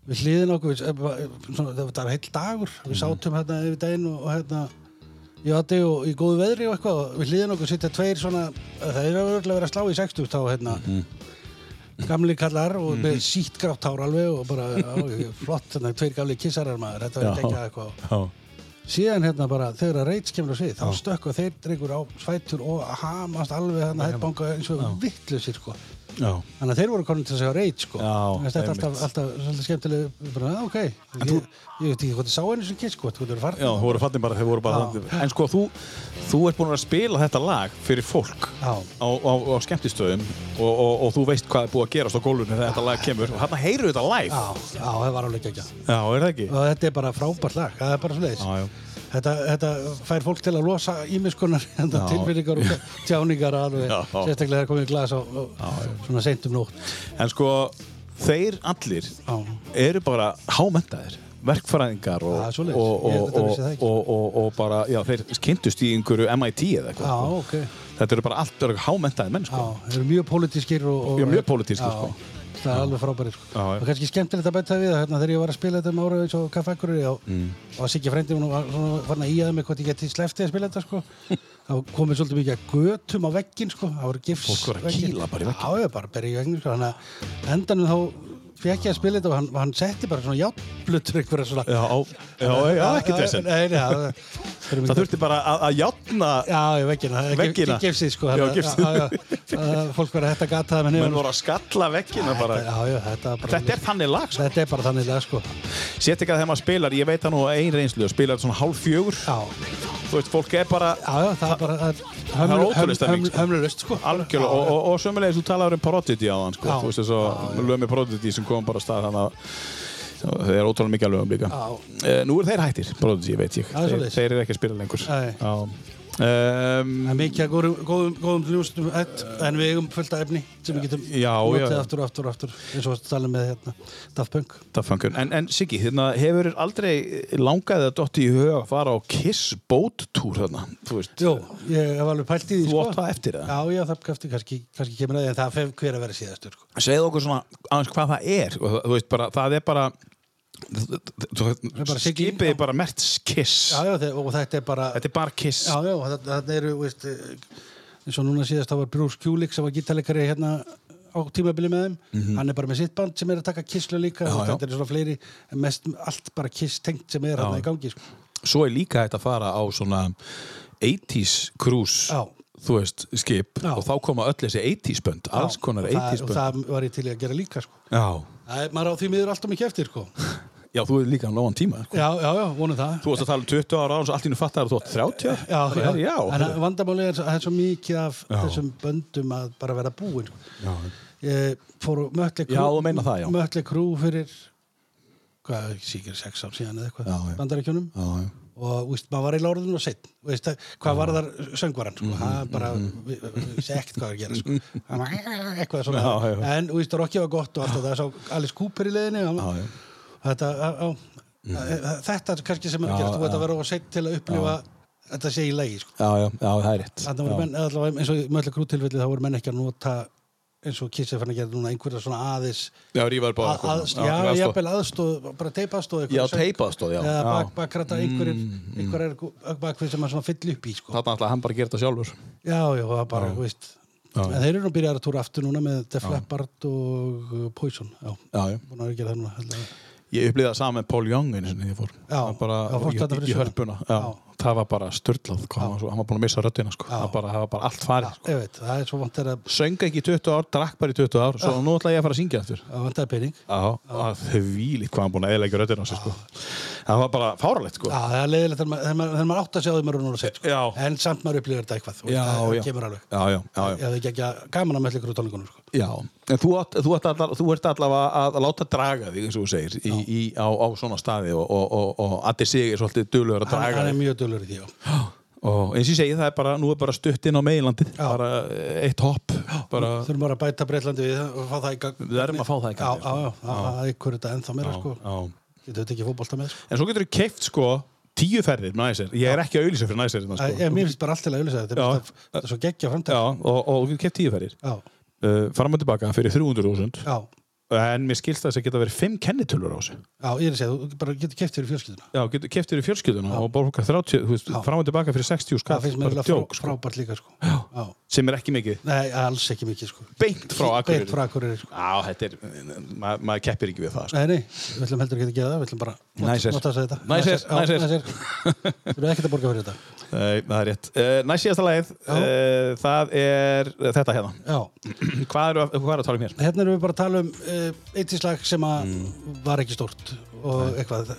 [SPEAKER 3] við hliðin okkur við, eh, svona, það var heil dagur við sátum hérna yfir daginn og, og hérna í átti og í góðu veðri og eitthvað og við hliðin okkur sitja tveir svona það er örugglega verið að slá í 60 þá hérna gamli kallar og
[SPEAKER 2] Mhm.
[SPEAKER 3] með sítt grátt hár alveg og bara á, flott, þannig, tveir gamli kissarar maður þetta verið ekki eitthvað
[SPEAKER 2] Já,
[SPEAKER 3] síðan hérna bara þegar að reits kemur á svið þá stökku þeir drengur á svætur og hamast alveg hann að headbanga eins og vittlusir sko
[SPEAKER 2] já
[SPEAKER 3] þannig að þeir voru konin til að segja reit sko
[SPEAKER 2] Já,
[SPEAKER 3] Mér finnst þetta er alltaf,
[SPEAKER 2] einmitt.
[SPEAKER 3] alltaf svolítið skemmtileg bara, "Ah, ok, ég,
[SPEAKER 2] þú-
[SPEAKER 3] ég veit ekki hvað þið sá einu sem kiss sko þú getur farið
[SPEAKER 2] Já, þú voru fallin bara, þau voru bara En sko, þú, þú ert búin að spila þetta lag fyrir fólk
[SPEAKER 3] Já.
[SPEAKER 2] á, á, á skemmtistöðum og, og, og þú veist hvað er búið að gerast á gólfinu þegar þetta lag kemur og hérna heyrðu þetta live
[SPEAKER 3] já, já, það var alveg ekki
[SPEAKER 2] Já, er það ekki?
[SPEAKER 3] og þetta er bara frábært lag, það er bara svoleiðis
[SPEAKER 2] Já, já.
[SPEAKER 3] Þetta, þetta fær fólk til að losa ímiskunar tilfinningar og tjáningar alveg,
[SPEAKER 2] Já.
[SPEAKER 3] sérstaklega þegar komið í glas og, og svona seint um nótt
[SPEAKER 2] En sko, þeir allir
[SPEAKER 3] Já.
[SPEAKER 2] eru bara hámentaðir verkfræðingar og,
[SPEAKER 3] Já,
[SPEAKER 2] og,
[SPEAKER 3] svoleiðis. Ég-
[SPEAKER 2] og,
[SPEAKER 3] þetta
[SPEAKER 2] og,
[SPEAKER 3] vissi það ekki.
[SPEAKER 2] og, og, og bara, já, þeir kynntust í einhverju MIT eða
[SPEAKER 3] Já,
[SPEAKER 2] eitthvað sko.
[SPEAKER 3] ok
[SPEAKER 2] Þetta eru bara allt eru hámentaðir menn,
[SPEAKER 3] Já,
[SPEAKER 2] sko
[SPEAKER 3] þeir eru mjög pólitískir og, og
[SPEAKER 2] Já, mjög pólitískir, sko.
[SPEAKER 3] Það er alveg frábæri sko.
[SPEAKER 2] Já, já.
[SPEAKER 3] Og kannski skemmtilegt að bæta við að hérna, þegar ég var að spila þetta um ára eins og kaffekurri og, mm. og Siggi frændi hún var svona farin að íjaða mig hvort ég geti sleftið að spila þetta sko. þá komið svolítið mikið að götum á veggin sko. það voru gifs
[SPEAKER 2] Fólk var að
[SPEAKER 3] veggir.
[SPEAKER 2] kýla bara í vegginn.
[SPEAKER 3] Já, ég bara berja í veggin sko. þannig að endanum þá fekk ég að spila þetta og hann, hann setti bara svona játblutur einhverja svona
[SPEAKER 2] Já, já, já, já ekkert þess
[SPEAKER 3] Nei, nei, já, það-
[SPEAKER 2] Það þurfti bara að, að játna
[SPEAKER 3] Já, já, veggina,
[SPEAKER 2] Veggina.
[SPEAKER 3] ekki gefsið sko
[SPEAKER 2] Já,
[SPEAKER 3] þarna.
[SPEAKER 2] gifsið.
[SPEAKER 3] já, já, að Fólk verið að hætta að gata það með
[SPEAKER 2] menn
[SPEAKER 3] nefnum
[SPEAKER 2] voru að skalla vekkina bara
[SPEAKER 3] Já, já, þetta er bara
[SPEAKER 2] Þetta er þannig lag sko.
[SPEAKER 3] Þetta er bara þannig lega sko
[SPEAKER 2] Sétt ekki að þegar maður spilar, ég veit að nú ein reynslu að spila svona hálf fjögur
[SPEAKER 3] Já,
[SPEAKER 2] þú veist, fólk er bara
[SPEAKER 3] Já, já, það er bara það er hömlu-
[SPEAKER 2] ótrúleg
[SPEAKER 3] hömlu-
[SPEAKER 2] stemning,
[SPEAKER 3] hömlu-
[SPEAKER 2] sko.
[SPEAKER 3] hömlulaust, sko.
[SPEAKER 2] algjörlega og, og, og sömulegis þú talaður um Prodigy á hann sko.
[SPEAKER 3] Já.
[SPEAKER 2] þú veist þess að lögum er Prodigy sem kom bara af stað þannig að það er ótrúlega mikið að lögum líka
[SPEAKER 3] Já.
[SPEAKER 2] Eh, nú eru þeir hættir, Prodigy veit ég
[SPEAKER 3] Já, það er
[SPEAKER 2] þeir,
[SPEAKER 3] svoleiðis.
[SPEAKER 2] þeir eru ekki að spila lengur
[SPEAKER 3] Nei.
[SPEAKER 2] Um,
[SPEAKER 3] Það er mikið að góðum, góðum, góðum ljóstum ett, en við eigum fullt af efni sem við getum
[SPEAKER 2] Já, já.
[SPEAKER 3] notið aftur og aftur og aftur eins og að tala með hérna Daft Punk
[SPEAKER 2] Daft Punk. En, en Siggi, hérna, hefur aldrei langaði að dotti í huga að fara á Kiss bóttúr þarna? Þú veist,
[SPEAKER 3] Jó, ég hef alveg pælt í því sko.
[SPEAKER 2] þú átt það eftir það?
[SPEAKER 3] Já, já, það kefti, kannski, kannski kemur að því en það fer hver að vera síðastur sko.
[SPEAKER 2] Segðu okkur svona aðeins hvað það er. Og, það- þú veist, bara, það er bara, þú- þú-
[SPEAKER 3] er bara Siggi-
[SPEAKER 2] skipið er bara mert Kiss.
[SPEAKER 3] Já, já, þe- og þetta er bara
[SPEAKER 2] Þetta er bara Kiss.
[SPEAKER 3] Já, já, þa- þarna eru, veist eh, eins og núna síðast, þá var Bruce Kulick sem var gítalegari hérna á tímabili með þeim hann er bara með sitt band sem er að taka kisslu líka
[SPEAKER 2] Mhm. Já,
[SPEAKER 3] og
[SPEAKER 2] já.
[SPEAKER 3] þetta er svona fleiri en mest allt bara kiss tengt sem er hérna í gangi sko.
[SPEAKER 2] Svo er líka hægt að fara á svona 80s cruise,
[SPEAKER 3] Já.
[SPEAKER 2] þú veist, skip.
[SPEAKER 3] Já.
[SPEAKER 2] Og þá koma öll þessi 80s bönd, alls
[SPEAKER 3] Já,
[SPEAKER 2] konar
[SPEAKER 3] og það-
[SPEAKER 2] 80s
[SPEAKER 3] og
[SPEAKER 2] bönd.
[SPEAKER 3] það var ég til í að gera líka sko.
[SPEAKER 2] Já.
[SPEAKER 3] Það er, maður á því miður alltaf mikið eftir sko.
[SPEAKER 2] Já, þú er líka á nógan tíma. sko.
[SPEAKER 3] já, já, já, vonum það
[SPEAKER 2] Þú varst að tala um 20 ára án og allt í hennu fattar þú átt 30? Bara,
[SPEAKER 3] já, já.
[SPEAKER 2] herri, já.
[SPEAKER 3] en að vandamáli er, svo- það er svo mikið af
[SPEAKER 2] Já.
[SPEAKER 3] þessum böndum að bara vera búin sko. ég fór og mötli
[SPEAKER 2] Já, þú meinar það, já.
[SPEAKER 3] mötli krú fyrir hvað, síkir sex ár síðan eða
[SPEAKER 2] Já, já.
[SPEAKER 3] eitthvað, bandaríkjunum
[SPEAKER 2] Já, já.
[SPEAKER 3] og víst, maður var í lórðun og seitt veist, það- hvað var þar söngvaran sko.
[SPEAKER 2] Mhm,
[SPEAKER 3] það er bara, við við vissi ekkert hvað er að gera sko. Hann var eitthvað svona
[SPEAKER 2] Já, já.
[SPEAKER 3] en víst, rokkið var gott og allt það sá Alice Cooper í leiðinni og hann-
[SPEAKER 2] Já, já.
[SPEAKER 3] þetta, á, á, þetta er kannski sem er að
[SPEAKER 2] Já,
[SPEAKER 3] gera þú veit
[SPEAKER 2] já.
[SPEAKER 3] að vera á seitt til að upplifa þetta sé í lagi sko.
[SPEAKER 2] Já, já, já, það er rétt
[SPEAKER 3] Þarna voru menn, eða allavega eins og í möllu grúttilfelli þá voru menn ekki að nota eins og kissið fann að gera núna einhverja svona aðis
[SPEAKER 2] Já, rífaður bara
[SPEAKER 3] að, að, já, jafnvel aðstóð, bara teipaðstóð
[SPEAKER 2] Já, teipaðstóð, já, Mm, já.
[SPEAKER 3] eða bak, bakrata einhverjir einhverjir er bakvið sem maður svona fyll upp í sko.
[SPEAKER 2] Þarna ætlaði hann bara að gera þetta sjálfur
[SPEAKER 3] já, já, það er bara, þú veist en þeir eru nú byrjar að túra aftur núna með Def Leppard og uh, Poison já,
[SPEAKER 2] Já, já.
[SPEAKER 3] búin að gera það núna heldur.
[SPEAKER 2] Ég upplýði það saman með Paul Young einu sinni þegar ég fór
[SPEAKER 3] Já,
[SPEAKER 2] Það bara,
[SPEAKER 3] já, fórstu þarna
[SPEAKER 2] í,
[SPEAKER 3] fyrir
[SPEAKER 2] í, í
[SPEAKER 3] sunnan.
[SPEAKER 2] hörpuna já.
[SPEAKER 3] Já.
[SPEAKER 2] Það var bara störtlað hann, var svo- hann var búin að missa röddina sko. það, bara, það var bara allt farið sko.
[SPEAKER 3] ég veit, það er svo vant að
[SPEAKER 2] Söng ekki í 20 ár, drakk bara í 20 ár Svo nú ætla ég að fara að syngja aftur
[SPEAKER 3] vantaði pening
[SPEAKER 2] Já, að þvílíkt hvað hann búin að eðlega röddina á sig, sko. Það var bara fáralegt sko.
[SPEAKER 3] Já, það er leiðilegt þegar maður- þegar maður þegar maður átt að sjá því maður er núna sett sko.
[SPEAKER 2] Já.
[SPEAKER 3] en samt maður upplýður þetta eitthvað þú veist, það það kemur alveg
[SPEAKER 2] já, já, já, já.
[SPEAKER 3] ég hefði ekki ekki að gaman að með ykkur úr tónleikunum sko.
[SPEAKER 2] Já, en þú, átt, þú, ert allar, þú ert allavega að, að láta draga þig, eins og þú segir, í, í, á, á svona staði og, og, og, og Addi Sig er svolítið duglegur að
[SPEAKER 3] hann,
[SPEAKER 2] draga
[SPEAKER 3] hann er
[SPEAKER 2] þig.
[SPEAKER 3] mjög dölur í því já.
[SPEAKER 2] Og eins og ég segi, það er bara, nú er bara stutt inn á meilandið,
[SPEAKER 3] Já.
[SPEAKER 2] bara eh, eitt hopp, bara,
[SPEAKER 3] þurfum bara að bæta Breitlandi við það og fá það í gang
[SPEAKER 2] Við verðum að fá það í gang,
[SPEAKER 3] já, já, já, það er ykkur þetta ennþá meira
[SPEAKER 2] Já,
[SPEAKER 3] sko.
[SPEAKER 2] já.
[SPEAKER 3] getur þetta ekki fótbolta með sko.
[SPEAKER 2] en svo getur þú keift sko tíu ferðir með næsir, ég er ekki að auðlýsa fyrir næsir,
[SPEAKER 3] Æ,
[SPEAKER 2] sko.
[SPEAKER 3] ég, mér finnst bara allt til að auðvitað þetta
[SPEAKER 2] Já.
[SPEAKER 3] er bara- þetta er svo geggja
[SPEAKER 2] já,
[SPEAKER 3] framtæk
[SPEAKER 2] og, og þú getur keift tíu ferðir,
[SPEAKER 3] já,
[SPEAKER 2] uh, fram og tilbaka fyrir 300.000,
[SPEAKER 3] já,
[SPEAKER 2] en mér skilst það þess að geta verið fimm kennitölur á þessu.
[SPEAKER 3] já, ég er að segja þú bara getur keft fyrir fjölskylduna
[SPEAKER 2] Já, getur keift fyrir fjölskylduna og borgar 30, þú veist, fram og tilbaka fyrir 60 skall,
[SPEAKER 3] það finnst mér
[SPEAKER 2] bara
[SPEAKER 3] eiginlega
[SPEAKER 2] djók,
[SPEAKER 3] frá,
[SPEAKER 2] sko,
[SPEAKER 3] frábært líka sko. já.
[SPEAKER 2] sem er ekki mikið.
[SPEAKER 3] nei, alls ekki mikið sko.
[SPEAKER 2] beint frá Akureyri
[SPEAKER 3] Beint frá Akureyri, sko.
[SPEAKER 2] Já, þetta er, eh, maður mað keppir ekki við það sko.
[SPEAKER 3] Nei, nei, við ætlum heldur ekki að gera það, við ætlum bara nota-
[SPEAKER 2] Næsir.
[SPEAKER 3] nota þess að þetta.
[SPEAKER 2] Næsir, næsir.
[SPEAKER 3] næsir. Þú eru ekkert að borga fyrir þetta.
[SPEAKER 2] Nei, það er rétt uh, Næst síðasta lagið, uh, það er uh, þetta hérna
[SPEAKER 3] Já,
[SPEAKER 2] Hvað eru að, hvað er að tala um hér?
[SPEAKER 3] hérna erum við bara að tala um uh, eitt í slag sem að
[SPEAKER 2] Mm.
[SPEAKER 3] var ekki stórt og eitthvað,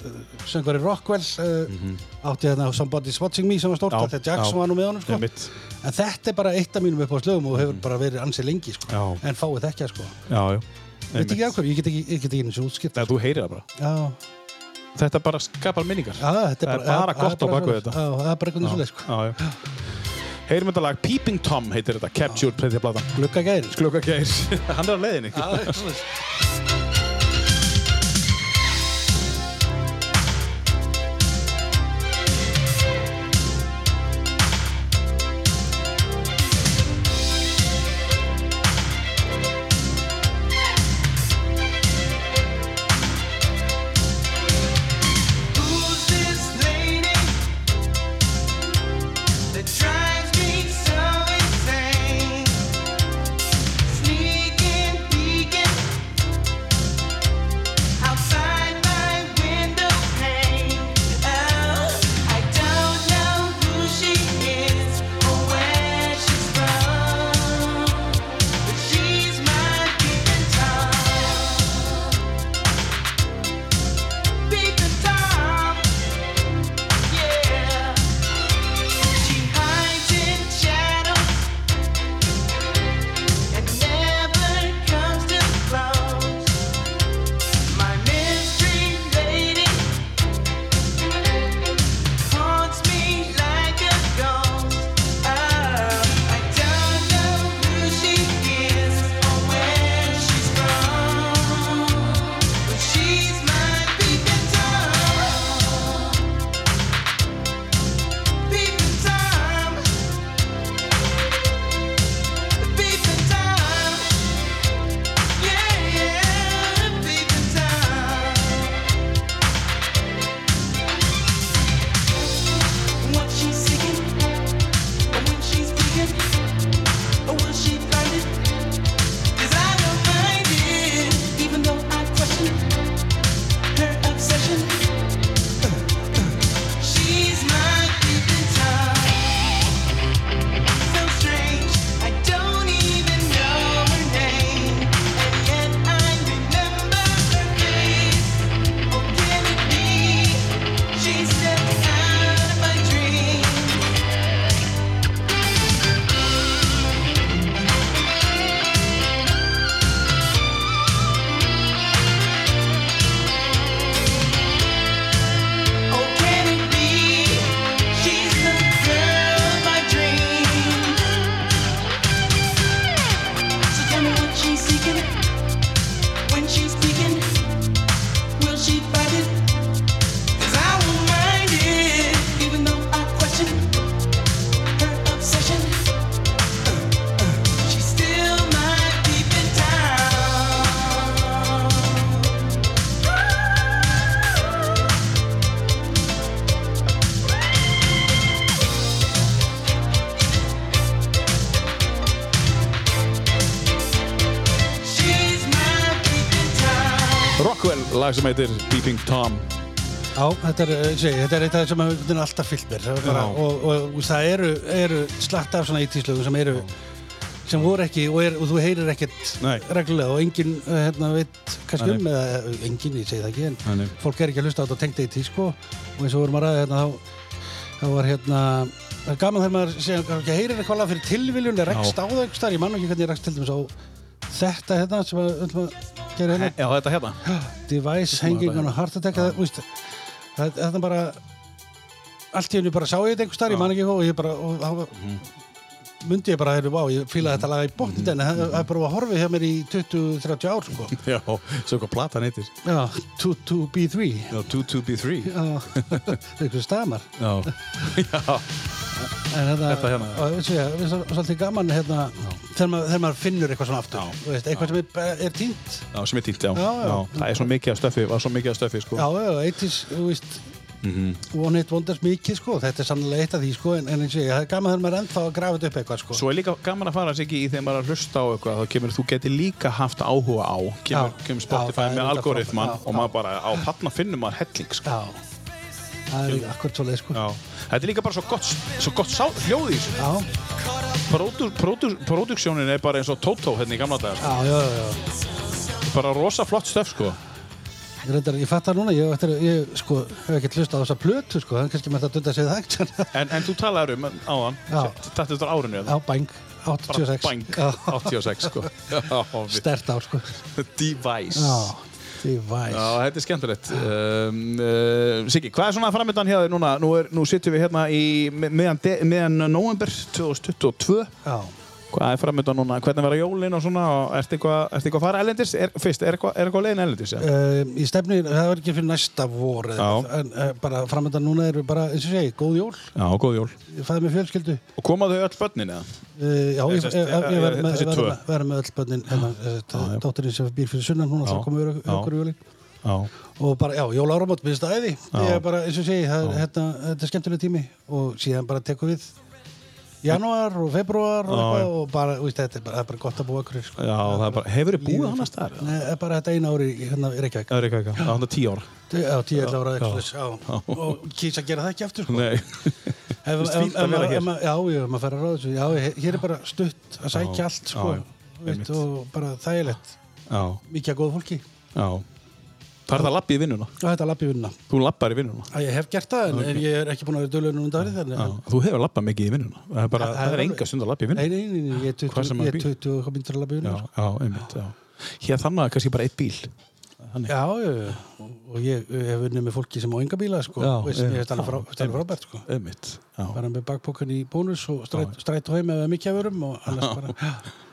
[SPEAKER 3] söngvari Rockwell uh, átti hérna Somebody's Watching Me sem var stórt,
[SPEAKER 2] Mhm. Já,
[SPEAKER 3] þetta Jackson
[SPEAKER 2] já.
[SPEAKER 3] var nú með honum sko.
[SPEAKER 2] Einmitt. Mhm.
[SPEAKER 3] En þetta er bara eitt af mínum upp á slögum og hefur bara verið ansið lengi sko.
[SPEAKER 2] Já.
[SPEAKER 3] En fáið þekkja sko.
[SPEAKER 2] Já, já
[SPEAKER 3] Veit ekki af hverju, ég get ekki, ég get ekki einu sem útskipt.
[SPEAKER 2] Nei, þú heyrir það bara
[SPEAKER 3] Já,
[SPEAKER 2] Þetta bara skapar minningar
[SPEAKER 3] já, þetta
[SPEAKER 2] Það
[SPEAKER 3] er
[SPEAKER 2] er bara gott á
[SPEAKER 3] bara
[SPEAKER 2] baku
[SPEAKER 3] svoleiðis.
[SPEAKER 2] þetta
[SPEAKER 3] Já, það er bara eitthvað svo leið sko.
[SPEAKER 2] Já, já Heyrum þetta lag Peeping Tom heitir þetta Captured Pretty Blata
[SPEAKER 3] Glugga gæri sko.
[SPEAKER 2] Glugga Geir Hann er á leiðinni
[SPEAKER 3] Já, það er svo leið.
[SPEAKER 4] Who's this lady that drives me so insane? Sneaking, peeking Oh,
[SPEAKER 2] lag sem heitir Beeping Tom
[SPEAKER 3] Já, þetta er, eh, ég segi, þetta er eitt af það sem hefur einhvern veginn alltaf fyllt mér. Það er Bara,
[SPEAKER 2] Já.
[SPEAKER 3] og, og, og það eru, eru slatt af svona 80s lögum sem eru sem voru ekki og, er, og þú heyrir ekkert
[SPEAKER 2] Nei.
[SPEAKER 3] reglulega og enginn eh, hérna, veit kannski
[SPEAKER 2] Nei,
[SPEAKER 3] um eða eh, enginn, ég segi það ekki en
[SPEAKER 2] Nei, nei.
[SPEAKER 3] fólk er ekki að hlusta á þetta og tengt eitt í sko og eins og vorum að ræða hérna þá, þá var hérna það er gaman þegar maður segja, kannski heyrir eitthvað lag fyrir tilviljun eða rekst á það einhvers staðar, ég man nú ekki hvernig ég rekst til dæmis á þetta hérna sem að, ætlum að gera hérna
[SPEAKER 2] Já, þetta hérna
[SPEAKER 3] device hanging on a heart attack það, veist, það, þetta er bara allt í henni bara sá ég þetta einhvers staðar, ég man ekki hvað og ég bara og, og, myndi ég bara, heyrðu, vá, ég fílaði þetta lag í bóttin mm en það það er bara að horfi hjá mér í 20-30 ár sko.
[SPEAKER 2] Já, svo hvað platan heitir
[SPEAKER 3] já, 22B3
[SPEAKER 2] Já, 22B3
[SPEAKER 3] já, einhver stamar
[SPEAKER 2] Já, já
[SPEAKER 3] en þetta,
[SPEAKER 2] Þetta hérna.
[SPEAKER 3] og, veist, ég, veist, það er svolítið gaman hérna, þegar, maður, þegar maður finnur eitthvað svona aftur þú veist, eitthvað sem er, er tínt
[SPEAKER 2] Já, sem er týnt, já.
[SPEAKER 3] Já, já.
[SPEAKER 2] Það er svo mikið af stöfi, var svo mikið af stöfi, sko.
[SPEAKER 3] Já, já, eittis, þú veist
[SPEAKER 2] Mhm.
[SPEAKER 3] One Hit Wonders mikið, sko Þetta er sannlega eitt af því, sko En, en eins og ég, það er gaman þegar maður er ennþá að grafa þetta upp eitthvað, sko
[SPEAKER 2] Svo er líka gaman að fara sig ekki í þegar maður er að hlusta á eitthvað, þá kemur þú geti líka haft áhuga á, kemur,
[SPEAKER 3] Já.
[SPEAKER 2] kemur
[SPEAKER 3] Já,
[SPEAKER 2] Spotify
[SPEAKER 3] það er
[SPEAKER 2] með
[SPEAKER 3] auðvitað
[SPEAKER 2] algoritman
[SPEAKER 3] frábært, já,
[SPEAKER 2] og maður bara á patna finnum maður helling, sko.
[SPEAKER 3] Já Það er akkurat svo leið, sko
[SPEAKER 2] Já. Þetta er líka bara svo gott, svo gott sá, hljóð í þessu.
[SPEAKER 3] Já,
[SPEAKER 2] Produ- produ- Produksjónin er bara eins og Toto hérna í gamla dagar,
[SPEAKER 3] já, já, já, já.
[SPEAKER 2] sko. Bara rosa flott stöf, sko.
[SPEAKER 3] Ég, reyndar, ég fattar núna, ég, eftir, ég sko, hef ekkert hlust á þessa plötu, sko En kannski með þetta dönda sig það ekkert
[SPEAKER 2] En, en þú talaður um áðan,
[SPEAKER 3] Já.
[SPEAKER 2] þetta er árinu,
[SPEAKER 3] Já,
[SPEAKER 2] eða?
[SPEAKER 3] bang, 86
[SPEAKER 2] Bang,
[SPEAKER 3] Já.
[SPEAKER 2] 86, sko. Já, við-
[SPEAKER 3] Stert ár, sko
[SPEAKER 2] Device.
[SPEAKER 3] Já, device
[SPEAKER 2] Já, þetta er skemmtilegt um, uh, Siggi, hvað er svona framöndan hjá þér núna? Nú, er, nú sittum við hérna í mi- miðjan, de- miðjan november 2022
[SPEAKER 3] Já,
[SPEAKER 2] Hvað er framöndan núna? Hvernig verða jólin og svona? Og Ertu eitthvað ertu eitthvað að fara erlendis? Er, fyrst, er eitthvað, er eitthvað leiðin erlendis? Ja?
[SPEAKER 3] um, ég stefni, það var ekki fyrir næsta vor eða
[SPEAKER 2] Já.
[SPEAKER 3] eitthvað, En uh, bara framöndan núna erum við bara, eins og ég segi, góð jól
[SPEAKER 2] Já, góð jól
[SPEAKER 3] Ég fæði með fjölskyldu
[SPEAKER 2] Og koma þau öll börnin eða?
[SPEAKER 3] Uh, já, ég,
[SPEAKER 2] Þessi-
[SPEAKER 3] ég, ég, ég verð með,
[SPEAKER 2] eh, þessi
[SPEAKER 3] verð
[SPEAKER 2] tvö.
[SPEAKER 3] með, verð með öll bönnin hérna, dótturinn sem býr fyrir sunnan hún
[SPEAKER 2] Já,
[SPEAKER 3] alltaf komið
[SPEAKER 2] já.
[SPEAKER 3] okkur í jólin
[SPEAKER 2] Já
[SPEAKER 3] og bara, já, jól áramót, minnst það æði ég er bara, eins og segi, það, er- hérna, þetta er skemmtileg tími og síðan bara tekum við janúar og februar og, eitthvað, og bara, víst, þetta er bara, það er bara gott að búa okkur sko.
[SPEAKER 2] Já, það er bara, hefur þið búið
[SPEAKER 3] Lífið-
[SPEAKER 2] annars þar?
[SPEAKER 3] Nei, það er bara þetta eina ári í- hérna, í Reykjavík
[SPEAKER 2] Það er eitthvað eitthvað, það er tíu ára
[SPEAKER 3] já, tíu elda ára,
[SPEAKER 2] já.
[SPEAKER 3] eitthvað svoleiðis, já. og kýsa að gera það ekki aftur sko.
[SPEAKER 2] Nei
[SPEAKER 3] Ef-
[SPEAKER 2] Finnst
[SPEAKER 3] ef-
[SPEAKER 2] fínt að
[SPEAKER 3] ef-
[SPEAKER 2] vera
[SPEAKER 3] ef-
[SPEAKER 2] hér.
[SPEAKER 3] ef- Já, já, maður fer að ráða þessu. Já, he- hér er bara stutt að sækja allt, sko.
[SPEAKER 2] já,
[SPEAKER 3] Þú Veit,
[SPEAKER 2] einmitt.
[SPEAKER 3] og bara þægilegt.
[SPEAKER 2] Já,
[SPEAKER 3] Mikið að góða fólki.
[SPEAKER 2] já Það er það lappið í vinnuna
[SPEAKER 3] Og þetta er lappi vinnuna.
[SPEAKER 2] Þú lappar í vinnuna
[SPEAKER 3] Að ég hef gert það, en en ég er ekki búin að vera dölun undan árið þannig.
[SPEAKER 2] Já,
[SPEAKER 3] að-
[SPEAKER 2] þú hefur lappað mikið í vinnuna Það er, bara,
[SPEAKER 3] Það- það
[SPEAKER 2] það
[SPEAKER 3] er
[SPEAKER 2] er
[SPEAKER 3] alveg-
[SPEAKER 2] enga stund að lappa í vinnuna
[SPEAKER 3] Nei, nei, nei, nei, ég er 20
[SPEAKER 2] Hvar sem maður
[SPEAKER 3] ég er
[SPEAKER 2] býr.
[SPEAKER 3] 20 og hvað myndir að lappi
[SPEAKER 2] Já,
[SPEAKER 3] vinnuna. sko.
[SPEAKER 2] já, einmitt, já. Hér þannig að kannski bara eitt bíl. Þannig.
[SPEAKER 3] Já, já, já. Og og ég ég hef unnið með fólki sem á enga bíla, sko.
[SPEAKER 2] Já,
[SPEAKER 3] Veist,
[SPEAKER 2] já.
[SPEAKER 3] ég hef alveg frá-
[SPEAKER 2] Já,
[SPEAKER 3] þetta er alveg frábært, sko.
[SPEAKER 2] Einmitt, já.
[SPEAKER 3] Bara með bakpokan í bónus og strætt stræt heim eða mikið að verum og annars bara.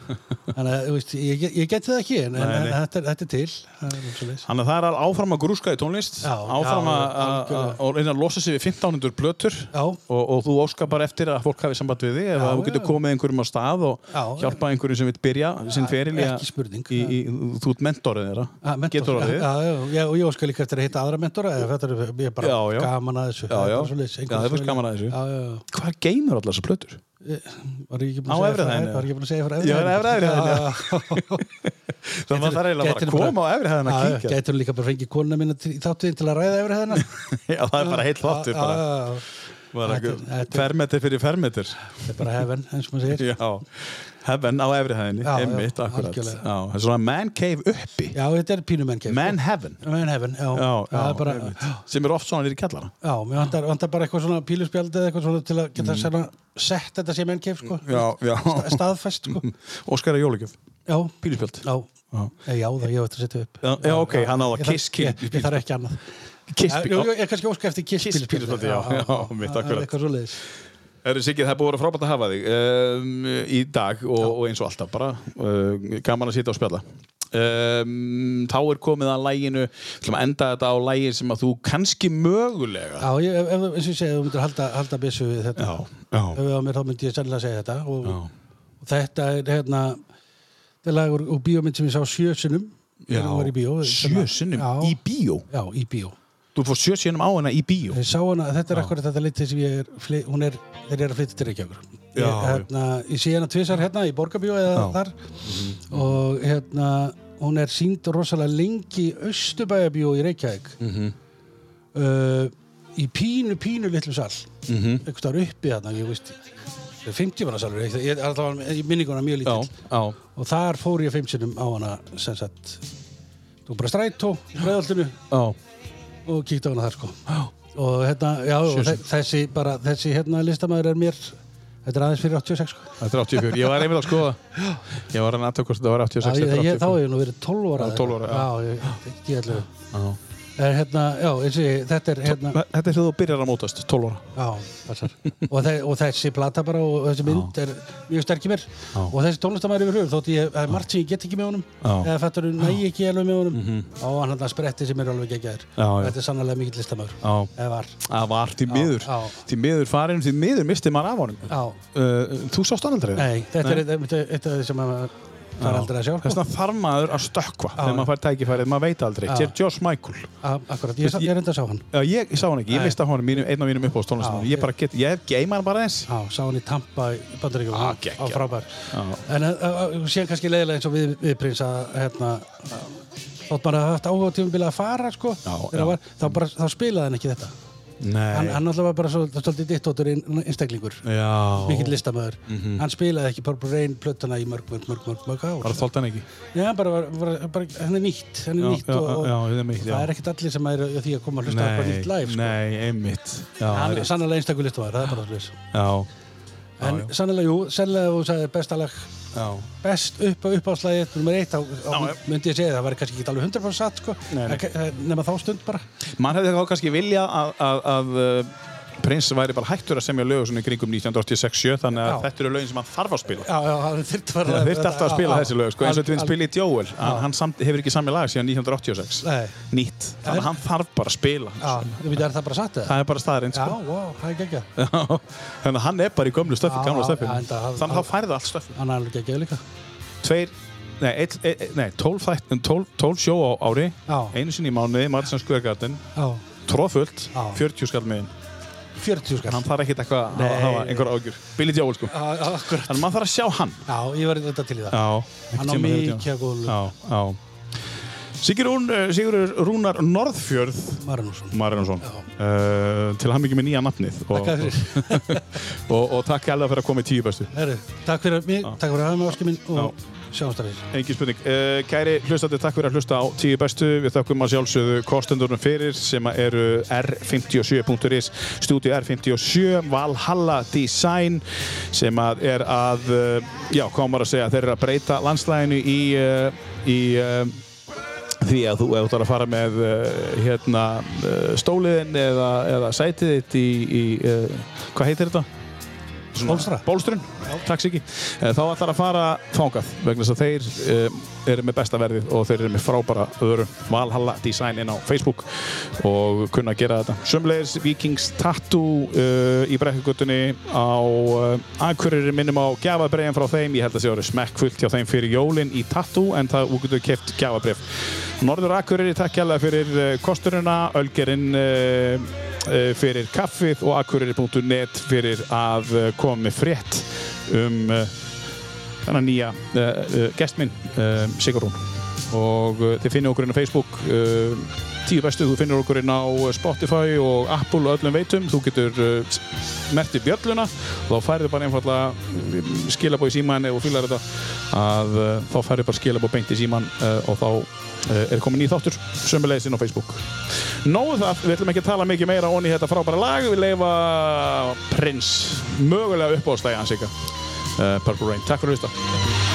[SPEAKER 3] Þannig að, þú veist, ég, ég- ég geti það ekki, en, en,
[SPEAKER 2] Nei, nei.
[SPEAKER 3] en þetta, er- þetta er til. Það er um svoleiðis.
[SPEAKER 2] Þannig að það er al- áfram að grúska í tónlist,
[SPEAKER 3] Já,
[SPEAKER 2] áfram
[SPEAKER 3] já,
[SPEAKER 2] að- að
[SPEAKER 3] algjörlega.
[SPEAKER 2] að- að reyna að losa sig við 1500 plötur
[SPEAKER 3] Já.
[SPEAKER 2] og, og þú óskar bara eftir að fólk hafi samband við þig ef
[SPEAKER 3] Já,
[SPEAKER 2] að þú getur
[SPEAKER 3] já.
[SPEAKER 2] komið einhverjum á stað og
[SPEAKER 3] Já,
[SPEAKER 2] hjálpa einhverjum sem vil byrja sinn feril í að-
[SPEAKER 3] ekki spurning.
[SPEAKER 2] í, í, þú ert mentorið þeirra,
[SPEAKER 3] Ah, mentor,
[SPEAKER 2] getur
[SPEAKER 3] já,
[SPEAKER 2] orðið
[SPEAKER 3] já, já, já, og ég óskar líka eftir að hitta aðra mentora eða þetta er ég er bara
[SPEAKER 2] Já, já.
[SPEAKER 3] gaman að þessu
[SPEAKER 2] Já,
[SPEAKER 3] Það er
[SPEAKER 2] já.
[SPEAKER 3] bara svoleiðis,
[SPEAKER 2] Já,
[SPEAKER 3] einhvern
[SPEAKER 2] það er bara
[SPEAKER 3] veginn.
[SPEAKER 2] gaman að þessu.
[SPEAKER 3] já, já, já.
[SPEAKER 2] Hvað geymur allar þessar plötur?
[SPEAKER 3] Var ég ekki
[SPEAKER 2] Á
[SPEAKER 3] búin að segja
[SPEAKER 2] efri
[SPEAKER 3] frá-
[SPEAKER 2] hæðinni,
[SPEAKER 3] Var ég ekki búin að segja frá
[SPEAKER 2] Já, efri hæðinni, já.
[SPEAKER 3] hæðin
[SPEAKER 2] Þannig að það er eiginlega bara að koma á efri hæðina að kíkja.
[SPEAKER 3] Gætur líka bara fengið konuna mína til- í þáttuðin til að ræða efri hæðina
[SPEAKER 2] Já, það er bara heill þáttur bara. Bara
[SPEAKER 3] Þetta er-
[SPEAKER 2] einhver
[SPEAKER 3] þetta er-
[SPEAKER 2] Fermetri fyrir fermetri
[SPEAKER 3] Það er bara heaven, eins og maður segir
[SPEAKER 2] Já, heaven á efri hæðinni
[SPEAKER 3] Já, já,
[SPEAKER 2] Einmitt, akkurat já,
[SPEAKER 3] algjörlega.
[SPEAKER 2] Það er svona man cave uppi
[SPEAKER 3] Já, þetta er pínu menn kef
[SPEAKER 2] Man heaven
[SPEAKER 3] Man heaven, já,
[SPEAKER 2] Já, já,
[SPEAKER 3] Það er bara
[SPEAKER 2] einmitt. Sem er oft svona nýri kallara
[SPEAKER 3] Já, mér vantar, vantar bara eitthvað svona píluspjald eða eitthvað svona til að geta svona sett þetta sem enn kef, sko
[SPEAKER 2] Mm. Já, já.
[SPEAKER 3] Sta- Staðfest, sko
[SPEAKER 2] Óskar er jólugjöf
[SPEAKER 3] Já,
[SPEAKER 2] Píluspjöld
[SPEAKER 3] Já, Nei, já það ég hef eftir að setja upp
[SPEAKER 2] Já, já, ok, hann á það,
[SPEAKER 3] Ég
[SPEAKER 2] Kiss
[SPEAKER 3] þarf-
[SPEAKER 2] Kill-
[SPEAKER 3] Ég, ég þarf ekki annað
[SPEAKER 2] Kiss
[SPEAKER 3] Já,
[SPEAKER 2] Pí-
[SPEAKER 3] jú, jú, Ég er kannski óska eftir Kiss
[SPEAKER 2] Kiss
[SPEAKER 3] Píluspjaldi,
[SPEAKER 2] Píluspjaldi, já, já, mitt
[SPEAKER 3] það er
[SPEAKER 2] akkurat.
[SPEAKER 3] Eitthvað svoleiðis
[SPEAKER 2] Herri Siggi, það er búið að vera frábært að hafa þig um, í dag og, og eins og alltaf bara uh, gaman að sitja og spjalla um, Þá er komið að læginu ætlum að enda þetta á lægin sem að þú kannski mögulega
[SPEAKER 3] Já, ég, ef, ef, eins og ég segi, ef þú myndir halda, halda byssu við þetta
[SPEAKER 2] já,
[SPEAKER 3] Ef við á mér þá myndi ég sennilega segja þetta og,
[SPEAKER 2] Já.
[SPEAKER 3] og þetta er hérna Þetta er lagur úr bíómynd sem ég sá sjösunum
[SPEAKER 2] já.
[SPEAKER 3] bíó,
[SPEAKER 2] Sjö sinnum
[SPEAKER 3] já,
[SPEAKER 2] í bíó
[SPEAKER 3] Já, í bíó
[SPEAKER 2] Þú fór sjö sinnum á hana í bíó
[SPEAKER 3] Ég sá hana, þetta er akkurat þetta leiti sem ég er, fly, hún er, þeir eru að flytja til Reykjavíkur. Ég,
[SPEAKER 2] Já, já.
[SPEAKER 3] hérna, ég sé hana tvisar hérna í Borgabíó eða
[SPEAKER 2] Já.
[SPEAKER 3] þar og hérna, hún er sínd rosalega lengi í Östubæjabíó í Reykjavík
[SPEAKER 2] Mhm.
[SPEAKER 3] uh, í pínu, pínu litlu sall mm -hmm.
[SPEAKER 2] Mhm.
[SPEAKER 3] einhverstaðar uppi þarna, ég veist 50 manna salur, ég, ég, allavega ég minni hana mjög lítill
[SPEAKER 2] já,
[SPEAKER 3] og þar fór ég fimm sinnum á hana sem sagt, þú bara strætó í bregðaltinu
[SPEAKER 2] já,
[SPEAKER 3] og kíkti á hana þar sko og hérna, já, og þe- þessi bara, þessi hérna listamæður er mér þetta er aðeins fyrir 86 sko
[SPEAKER 2] þetta er 84 ég var einmitt að skoða ég var að natta hvort þetta var 86
[SPEAKER 3] já, ég,
[SPEAKER 2] þetta er
[SPEAKER 3] ég,
[SPEAKER 2] 84.
[SPEAKER 3] þá hef ég nú verið 12 ára
[SPEAKER 2] Já, 12 ára, já.
[SPEAKER 3] já, ég, ekki allir
[SPEAKER 2] Já.
[SPEAKER 3] en hérna, já, eins og ég, þetta er hérna
[SPEAKER 2] þetta er þegar þú byrjar að mótast 12 ára
[SPEAKER 3] já, passar og, þe og þessi plata bara og þessi mynd er mjög sterk í mér og þessi tónlistamæður yfir höfum þótt ég, það er margt sem ég get ekki með honum
[SPEAKER 2] Já. Mhm.
[SPEAKER 3] eða fættur hún næ ekki alveg með honum á hann hann spretti sem er alveg geggjæður
[SPEAKER 2] Já, já.
[SPEAKER 3] þetta er sannlega mikill listamæður
[SPEAKER 2] Já.
[SPEAKER 3] eða var,
[SPEAKER 2] það var því miður
[SPEAKER 3] já.
[SPEAKER 2] því miður farin, því miður misti maður af honum
[SPEAKER 3] já,
[SPEAKER 2] uh, þú sást hann aldrei
[SPEAKER 3] Nei, þetta er eitt- eitt eitt af því sem maður fara aldrei að sjá. sko.
[SPEAKER 2] þess vegna þarf maður að stökkva þegar maður fær tækifærið, maður veit aldrei
[SPEAKER 3] Já.
[SPEAKER 2] þetta er Josh Michael
[SPEAKER 3] A- Ah, Akkurat, ég,
[SPEAKER 2] Þú veist,
[SPEAKER 3] ég reyndi að sjá hann.
[SPEAKER 2] Já, ég, ég sá hann ekki, ég
[SPEAKER 3] Nei.
[SPEAKER 2] mista hann mínum, einn af mínum uppáðs tónlistamönnum
[SPEAKER 3] Já,
[SPEAKER 2] ég bara get, ég geima hann bara eins
[SPEAKER 3] Já, sá hann í Tampa í Bandaríkjum.
[SPEAKER 2] Ah, geggjað.
[SPEAKER 3] Á frábær.
[SPEAKER 2] Já.
[SPEAKER 3] En uh, uh, síðan kannski leiðilega eins og við, við prins að hérna, uh, þótt maður að haft áhuga á tímabili að fara, sko.
[SPEAKER 2] Já,
[SPEAKER 3] þegar
[SPEAKER 2] já.
[SPEAKER 3] hann Var, þá, bara, þá spilaði hann ekki þetta. Hann,
[SPEAKER 2] Nei,
[SPEAKER 3] hann alltaf var bara svo- svolítið dittóttur inn- einstaklingur.
[SPEAKER 2] já
[SPEAKER 3] Mikill listamöður.
[SPEAKER 2] Mhm.
[SPEAKER 3] Hann spilaði ekki Purple Rain plötuna í mörg, mörg, mörg, mörg, mörg ár.
[SPEAKER 2] bara þólt hann ekki
[SPEAKER 3] Nei, hann bara, var- var- bara, hann er nýtt, hann er
[SPEAKER 2] Já,
[SPEAKER 3] nýtt
[SPEAKER 2] já,
[SPEAKER 3] og, og
[SPEAKER 2] já, það er mitt,
[SPEAKER 3] það
[SPEAKER 2] já.
[SPEAKER 3] er ekkert allir sem er að því að koma að hlusta á bara nýtt live, sko.
[SPEAKER 2] nei, einmitt já,
[SPEAKER 3] hann
[SPEAKER 2] það
[SPEAKER 3] er
[SPEAKER 2] er-
[SPEAKER 3] sannlega einstakur listamæður, það er bara slúðis.
[SPEAKER 2] já,
[SPEAKER 3] En
[SPEAKER 2] já.
[SPEAKER 3] sannlega, jú, sannlega ef þú sagði besta lag,
[SPEAKER 2] já,
[SPEAKER 3] best upp á uppáðslæðið, nummer eitt, þá á,
[SPEAKER 2] Já, já.
[SPEAKER 3] myndi ég segja það, það væri kannski ekki alveg 100% satt, sko,
[SPEAKER 2] Nei, nei.
[SPEAKER 3] En ka- nema þá stund bara.
[SPEAKER 2] mann hefði þá kannski vilja að, að, að uh, prins væri bara hættur að semja lög svona í kringum 1986 þannig að
[SPEAKER 3] Já.
[SPEAKER 2] þetta eru lögin sem hann þarf að spila
[SPEAKER 3] Já, já, það þurfti bara
[SPEAKER 2] það þurfti alltaf að spila
[SPEAKER 3] já, já.
[SPEAKER 2] þessi lög sko, eins og
[SPEAKER 3] Al-
[SPEAKER 2] þetta
[SPEAKER 3] al-
[SPEAKER 2] spila í Joel hann, hann samt, hefur ekki samið lag síðan 1986
[SPEAKER 3] Nei.
[SPEAKER 2] nýtt, þannig að hann þarf bara að spila
[SPEAKER 3] Já, þú veit, er það bara satt eða?
[SPEAKER 2] það er bara staðarinn
[SPEAKER 3] Já,
[SPEAKER 2] sko.
[SPEAKER 3] wow, það er geggjað.
[SPEAKER 2] Já, þannig að hann er bara í gömlu stöffi,
[SPEAKER 3] Já,
[SPEAKER 2] gamla
[SPEAKER 3] já,
[SPEAKER 2] stöffi
[SPEAKER 3] já, enda, hann-
[SPEAKER 2] þannig að þá færði allt stöffi
[SPEAKER 3] Hann er alveg geggjað líka.
[SPEAKER 2] tveir, nei, eitt, eitt, nei 12, þætt, 12, 12 sjó á ári
[SPEAKER 3] Já.
[SPEAKER 2] einu sinni í mánuði, Martin Square Garden
[SPEAKER 3] Já,
[SPEAKER 2] tróðfullt,
[SPEAKER 3] Já.
[SPEAKER 2] 40 skall miðin
[SPEAKER 3] 40 skall.
[SPEAKER 2] hann þarf ekkit eitthvað að hafa- hafa einhver ágjur Billy Joel sko,
[SPEAKER 3] Já, já, akkurat.
[SPEAKER 2] þannig að maður þarf að sjá hann
[SPEAKER 3] Já, ég verði þetta til í það.
[SPEAKER 2] Já,
[SPEAKER 3] Hann á
[SPEAKER 2] einhvern tímann hefur
[SPEAKER 3] mikið
[SPEAKER 2] tímann.
[SPEAKER 3] að góðu lög.
[SPEAKER 2] Já, já Sigur, Rún, eh, Sigurður Rúnar Norðfjörð
[SPEAKER 3] Marinússon.
[SPEAKER 2] Marjónsson uh, til hann mikið með nýja nafnið og,
[SPEAKER 3] Takk fyrir.
[SPEAKER 2] og, og takk alveg fyrir að koma í tíu bestu
[SPEAKER 3] Herru, takk fyrir mig, takk fyrir að hafa með Óskar minn og sjáumst að þér.
[SPEAKER 2] Engin spurning. Uh, kæri hlustandi, takk fyrir að hlusta á tíu bestu. Við þakkum að sjálfsögðu kostendurnum fyrir sem eru r57.is, stúdíu R57, Valhalla Design sem að er að, uh, já, hvað á maður að segja, þeir eru að breyta landslæginu í, uh, í uh, því að þú ef þú ætlar að fara með uh, hérna, uh, stóliðin eða, eða sætið þitt í, í uh, hvað heitir þetta?
[SPEAKER 3] Bólstra.
[SPEAKER 2] Bólstrun, takk Siggi Eh, Þá ætlar að fara þangað vegna þess að þeir um, eru með besta verðið og þeir eru með frábæra öðru Valhalla Design inn á Facebook og kunna að gera þetta Sumleis Vikings Tattoo uh, í brekkugutunni á uh, Akureyri minnum á gjafabreiðin frá þeim ég held að sé orðið smekkfullt hjá þeim fyrir jólin í Tattoo en það úr getur keft gjafabref Norður Akureyri takk hérlega fyrir uh, kosturina Ölgerinn uh, eh, fyrir kaffið og akureyri.net fyrir að eh, koma með frétt um eh, þennan nýja uh, gest minn, uh, Sigur Rún og uh, þið finnir okkur inn á Facebook uh, tíu bestu, þú finnir okkur inn á eh, Spotify og Apple og öllum veitum þú getur uh, merti bjölluna og þá færðu bara einfallega skilabóð í síman og fílar þetta að uh, þá færðu bara skilabóð beint í síman uh, og þá uh, er komin í þáttur sömulegis inn á Facebook Nóðu það, við ætlum ekki að tala mikið meira onni þetta frábæra lag, við leifa Prince, mögulega upp á stæði hans ykkar uh, Purple Rain, Eh, takk fyrir að hlusta